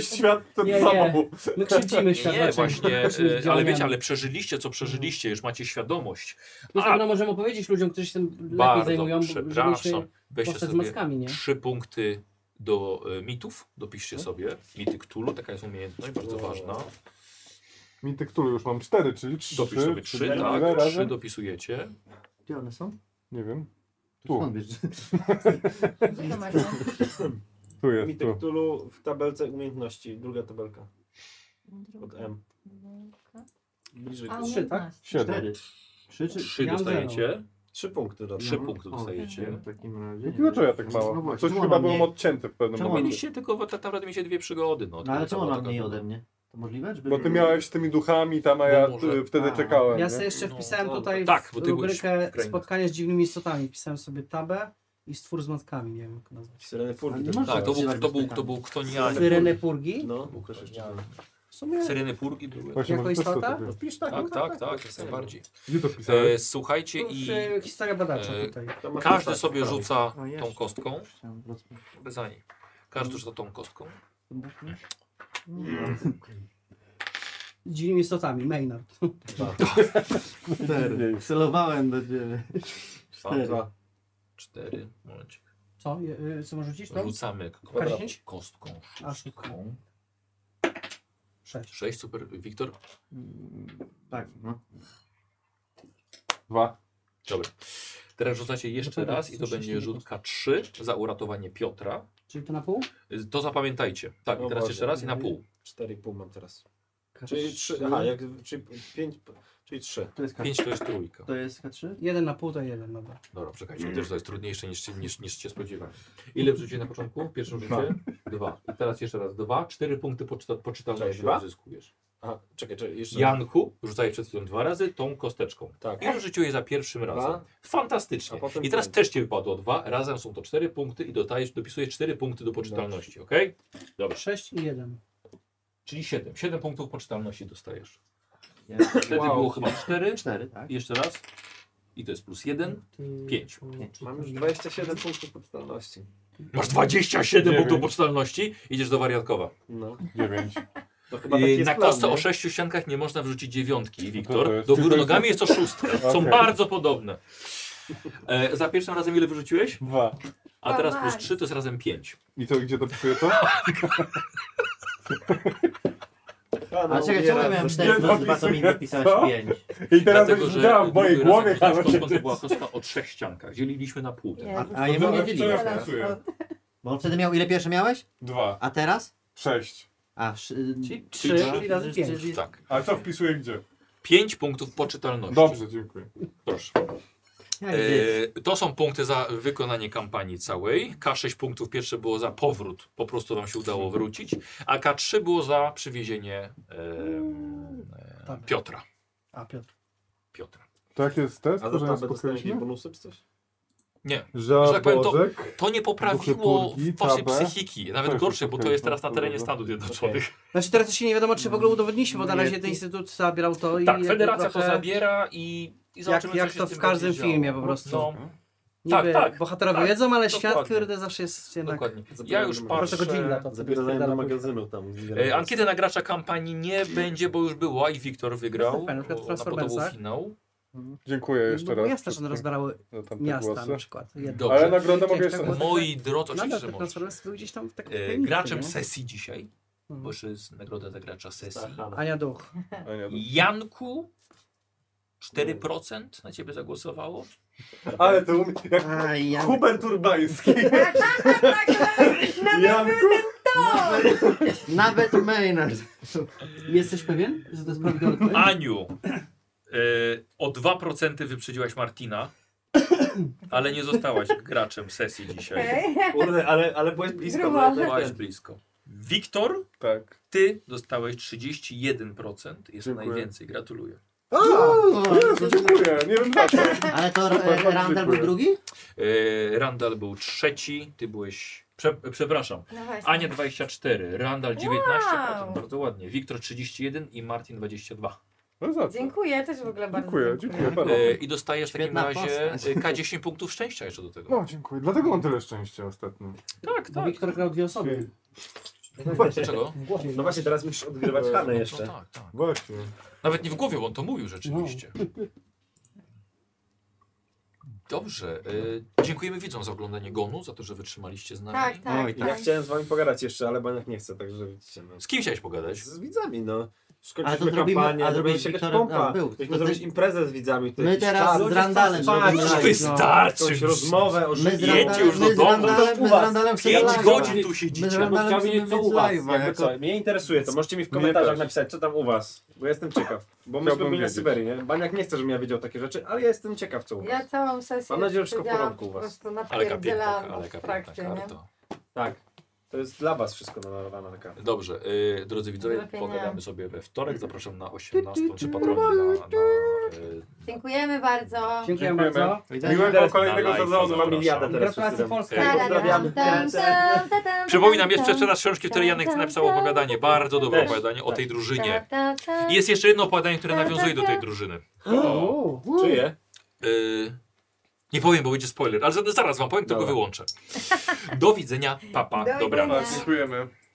D: świat.
F: świat
D: Nie, nie. My krzywdzimy świat
H: Nie,
D: raczej
H: e, właśnie,
D: naszym
H: y, ale
D: działaniami.
H: wiecie, ale przeżyliście, co przeżyliście, już macie świadomość.
D: Plus
H: A-
D: na pewno możemy powiedzieć ludziom, którzy się tym lepiej
H: Bardzo
D: zajmują,
H: przepraszam. Weźcie
D: postać z
H: sobie
D: maskami, nie?
H: trzy punkty do e, mitów. Dopiszcie sobie. Mity Cthulhu, taka jest umiejętność, bardzo ważna.
F: Mity Cthulhu już mam cztery, czyli trzy.
H: Dopisz sobie trzy,
F: Czyli
H: tak,
F: ile
H: trzy
F: razy?
H: dopisujecie.
E: Gdzie one są?
F: Nie wiem. Tu.
E: Skąd wiesz?
F: Tu jest,
B: Mitek
F: tu.
B: Tulu w tabelce umiejętności, druga tabelka od M. Bliżej.
D: Trzy, tak?
F: Siedem.
E: Cztery. Trzy czy
H: Trzy
D: Ja mam
H: dostajecie.
B: Trzy punkty do
H: Trzy
E: No,
H: punkty
E: o,
H: dostajecie.
E: W takim razie.
F: No to dlaczego ja tak mało?
E: No właśnie,
F: Coś
E: czemu
F: chyba
E: ona
F: byłem
E: mnie-
F: odcięty w pewnym
E: czemu
F: momencie.
H: Mieliście tylko, tak naprawdę mieliście dwie przygody. No,
E: No ale
H: tylko
E: czemu ona
H: taka
E: mniej
H: była.
E: ode mnie? To możliwe? Żeby...
F: Bo ty miałeś z tymi duchami tam, a
H: No
F: ja
H: może.
F: y, wtedy
E: A,
F: czekałem.
D: Ja
F: nie?
D: sobie jeszcze
H: No,
D: wpisałem
H: dobra.
D: tutaj
H: Tak,
D: w
H: bo ty byłeś w
D: rubrykę
H: Ukrainie.
D: spotkanie z dziwnymi istotami. Pisałem sobie tabę i stwór z matkami, nie wiem jak nazwać.
B: Syreny
E: Ale nie
B: Furgi.
E: można
H: Tak, to był,
E: odzywać
H: to był,
E: bez
H: to był Ktonianie.
D: Syrenę Purgi.
B: No,
H: Łukasz jeszcze.
D: W sumie
H: Syreny Purgi były.
F: Właśnie,
D: Jako
F: może też to
D: istota? no
F: tak jest.
H: Tak, tak, tak, jak najbardziej.
F: Gdzie to
H: E,
F: pisałeś?
H: słuchajcie
D: to
H: i
D: się historia badacza
H: e,
D: tutaj.
B: tak.
H: każdy sobie rzuca
E: A, jeszcze.
H: tą kostką.
E: Chciałem rozpocząć.
H: Bez ani. Każdy rzuca tą kostką.
D: Z dziwnymi istotami, Maynard.
E: Cztery. Celowałem do ciebie. Cztery.
H: Dwa, cztery. Momencik.
D: Co? Je- y, Co możesz rzucić? To?
H: Rzucamy
D: K10?
H: kostką.
D: A,
H: szóstką.
D: Sześć.
H: Sześć, super. Wiktor?
E: Tak, no.
F: Dwa.
H: Dobra. Teraz rzucacie jeszcze
D: No to
H: raz
D: raz,
H: i to
D: coś się
H: będzie
D: nie
H: rzutka 3 za uratowanie Piotra.
D: Czyli to na pół?
H: Y, To zapamiętajcie. Tak, i
B: O
H: teraz
B: Boże.
H: jeszcze raz i na pół.
B: 4,5 mam teraz. Czyli 3, aha, jak, czyli 5, czyli 3.
E: To jest K3.
H: Pięć to jest trójka.
E: To jest K3?
D: Jeden na pół to jeden, dobra.
H: Dobra, czekajcie, też to jest trudniejsze niż, się- niż, niż się spodziewałem. Ile wrzuciłeś na początku? W pierwszym rzucie? Dwa. I teraz jeszcze raz dwa. Cztery punkty poczyta, poczytalności
B: Cześć, dwa.
H: odzyskujesz.
X: Aha, czekaj, czekaj, jeszcze.
H: Janku, rzucaj przed chwilą dwa razy tą kosteczką.
X: Tak.
H: I rzucił je za pierwszym
X: Dwa.
H: razem. Fantastycznie.
X: A potem
H: I teraz
X: pięć.
H: też ci wypadło dwa. Razem są to cztery punkty i dotajesz, dopisujesz cztery punkty do poczytalności, ok? Dobrze.
D: 6 i 1.
H: Czyli siedem. Siedem punktów poczytalności dostajesz. Wtedy było chyba cztery.
E: Cztery, tak?
H: Jeszcze raz. I to jest plus jeden. Pięć.
X: Mam już 27 punktów podstawności.
H: Masz 27 punktów poczytalności. Idziesz do wariatkowa.
X: No.
F: Dziewięć.
X: To chyba taki
H: Yy,
X: jest
H: Na
X: plan,
H: kostce
X: nie?
H: o sześciu siankach nie można wrzucić dziewiątki,
F: to
H: Wiktor.
F: jest-
H: Do góry nogami jest to szóstka. Są
F: Okej.
H: bardzo podobne. E, za pierwszym razem ile wyrzuciłeś?
F: Dwa.
H: A teraz plus
G: Dawaj.
H: trzy to jest razem pięć.
F: I to gdzie dopisuję to?
E: A no, czekaj, czemu ja miałem 4 plus 2, to mi
F: Co?
E: dopisałeś 5?
F: I teraz
H: Dlatego,
F: już
H: że
F: grałem w mojej
H: drugi raz,
F: głowie,
H: jak graliśmy
F: ale się
H: w kosmos, była kostka o trzech ściankach. Dzieliliśmy na pół. ten.
G: Nie,
E: A, a ja
B: No,
E: bym nie dzielił.
G: teraz
F: pasuje.
G: od-
E: Bo on wtedy miał, ile pierwsze miałeś?
F: Dwa.
E: A teraz?
F: Sześć.
E: A, szy,
H: Czyli
D: trzy
H: trzy.
D: czyli razy pięć.
E: czyli-
H: Tak.
F: A co wpisuję gdzie?
H: Pięć punktów poczytalności.
F: Dobrze, dziękuję.
H: Proszę.
E: Jak jest?
H: E, to są punkty za wykonanie kampanii całej. K6 punktów pierwsze było za powrót, po prostu wam się udało wrócić, a K3 było za przywiezienie em, e,
D: Tak.
H: Piotra.
D: A, Piotr.
H: Piotra.
F: To jak jest test,
B: A
F: to,
B: do
F: że
B: tam
F: nas
B: dostaję jakieś
F: pokryliśmy?
B: bonusy czy coś?
H: Że tak powiem, to-
F: Żaborzek.
H: To nie poprawiło
F: Duchy purgi,
H: waszej
F: tabę.
H: psychiki, nawet
F: To już
H: gorsze,
F: jest
H: bo to
F: okej,
H: jest
F: no,
H: teraz na
F: to
H: terenie
F: dobra.
H: Stanów Zjednoczonych.
D: Znaczy teraz to się nie wiadomo, czy w ogóle udowodniliśmy, bo na razie ten instytut zabierał to i...
H: Tak,
D: jakby
H: federacja to
D: trochę-
H: zabiera i, i zobaczymy,
D: Jak, jak
H: co się
D: to
H: z tym
D: w każdym
H: będzie
D: filmie
H: działo.
D: po prostu.
H: No,
D: Niby
H: Tak, tak,
D: bohaterowie
H: tak,
D: wiedzą, ale świat,
H: dokładnie.
D: kurde, zawsze jest jednak...
H: dokładnie. Ja
B: Zabieramy
H: już
B: numer.
H: patrzę.
D: Proszę go to
B: Zabierałem do magazynu tam.
H: E, Ankiety na gracza kampanii nie będzie, bo już była i Wiktor wygrał.
D: Super, na przykład w
H: bo- no, bo to był
D: Transformersach.
H: finał.
F: Dziękuję jeszcze
D: No, bo
F: raz.
D: miasta, że one
F: wszystkim
D: rozbrały
F: za tamte
D: miasta
F: głosy.
D: na przykład. Jedno. No,
H: Dobrze.
F: Ale nagrodę mogę jeszcze
D: Bo-
H: Moi drodzy, oczywiście,
D: Nadal
H: że
D: te
H: możesz.
D: Transformersy były gdzieś tam w takim...
H: E,
D: tajemnicy,
H: graczem
D: nie?
H: sesji dzisiaj,
D: Mhm.
H: bo jeszcze jest nagroda za gracza sesji.
D: Ania Duch.
F: A nie, dobra.
H: Janku, 4% na ciebie zagłosowało.
C: Ale to u mnie, jak
E: A, ja...
C: Hubert Urbański. Tak, Janku,
E: Nawet Maynard. Jesteś pewien, że to jest prawidłowa odpowiedź?
H: Aniu, e, o 2% wyprzedziłaś Martina, ale nie zostałaś graczem sesji dzisiaj.
G: Okej.
B: Kurde, ale, ale byłeś blisko.
G: Grubo.
B: bo ja
H: Byłaś
B: tak-
H: blisko. Wiktor,
C: Tak.
H: ty dostałeś 31%. Jest
C: Dziękuję.
H: najwięcej, gratuluję.
C: A, Jezu, dziękuję. Nie wiem dlaczego.
E: Ale to
C: Super,
E: e,
C: bardzo
E: Randall był
C: dziękuję.
E: drugi?
H: E, Randall był trzeci, ty byłeś... Prze, przepraszam,
G: No właśnie.
H: Ania 24, Randall 19%,
G: Wow.
H: bardzo ładnie. Wiktor 31 i Martin 22.
C: No za co?
G: Dziękuję, też w ogóle bardzo.
C: Dziękuję, dziękuję bardzo.
H: E, I dostajesz w takim
E: Świetna
H: razie
E: postać.
H: e, K10 punktów szczęścia jeszcze do tego.
C: No, dziękuję. Dlatego mam tyle szczęścia ostatnio.
H: tak,
D: Bo
H: tak.
D: Wiktor grał dwie osoby.
H: Dlaczego?
D: W głowie.
B: No właśnie, teraz musisz odgrywać
C: No,
B: Hanę
H: No
B: jeszcze.
H: tak, tak.
C: Właśnie.
H: Nawet nie w głowie, bo on to mówił rzeczywiście.
B: No.
H: Dobrze. E, dziękujemy widzom za oglądanie Gonu, za to, że wytrzymaliście z nami.
G: Tak, tak.
E: Oj,
B: Ja chciałem z wami pogadać jeszcze, ale Baniak nie chce, także widzicie. No.
H: Z kim chciałeś pogadać?
B: Z widzami, no.
E: Ale to
B: Skończyliśmy
E: zrobimy-
B: kampanię,
E: ale
B: zrobimy
E: zrobiłeś
B: się jakaś
E: Wiktorem-
B: pompa.
E: a, był.
B: Byśmy
E: To ty-
B: zrobić imprezę z widzami. to
E: My
B: jakiś
E: teraz
B: czas.
E: z Randallem
D: spać,
E: zrobimy
D: już
E: live,
H: Wystarczy.
B: Jakąś rozmowę o
E: My z
B: życiu.
H: Jedźcie już
E: Randallem,
H: no do
E: my z
H: domu,
E: Randallem,
B: to
E: my
B: u
E: z
B: was.
E: Randallem chcemy
H: Pięć
E: live'a.
H: godzin tu
E: My z
H: siedzicie.
E: Randallem
B: Ciekawi
E: chcemy
B: mnie, co
E: mieć
B: u was.
E: live'a.
B: Jakby co,
E: Jako...
B: mnie interesuje, to możecie mi w
F: Mnie
B: komentarzach
F: też.
B: napisać, co tam u was. Bo jestem ciekaw. Bo myśmy
F: Chciałbym
B: byli na
F: wiedzieć.
B: Syberii, nie? Baniak nie chce, żebym ja wiedział takie rzeczy, ale ja jestem ciekaw, co u was.
G: Ja całą sesję
B: Mam nadzieję, że wszystko w
G: siedziałam
B: porządku u
G: po
B: was.
G: prostu
H: Ale kapięta,
G: napierdzielam
H: ale
G: w
H: kapięta
G: trakcie, nie?
H: karta.
B: Tak. To jest dla was wszystko namalowane na kartę.
H: Dobrze, e, drodzy widzowie,
G: Lepiej nie.
H: pogadamy sobie we wtorek. Zapraszam na 18 czy patroni na, na, e,
G: Dziękujemy bardzo.
D: Dziękuję
C: Dziękujemy.
D: bardzo.
C: Miłego kolejnego
H: Na live'a
C: sezonu.
B: Mam miliardę teraz.
D: Gratulacje
B: wszyscy dam.
D: Polska.
H: Ej.
B: Pozdrawiamy.
G: Tam, tam, tam, tam, tam,
H: Przypominam jeszcze
G: tam.
H: przeczytasz
G: tak,
H: książki, które Janek napisał opowiadanie. Bardzo dobre
B: Też,
H: opowiadanie o
B: tak.
H: tej
G: Ta,
H: drużynie.
G: ta, ta.
H: I jest jeszcze jedno opowiadanie,
G: Tak,
H: które nawiązuje do tej drużyny.
D: O,
B: Czyje?
H: Yy, nie powiem, bo będzie spoiler, ale za- zaraz wam powiem, tylko
B: Dobra.
H: wyłączę. Do widzenia, papa,
G: Do
H: dobranoc.
G: widzenia.
C: Dziękujemy.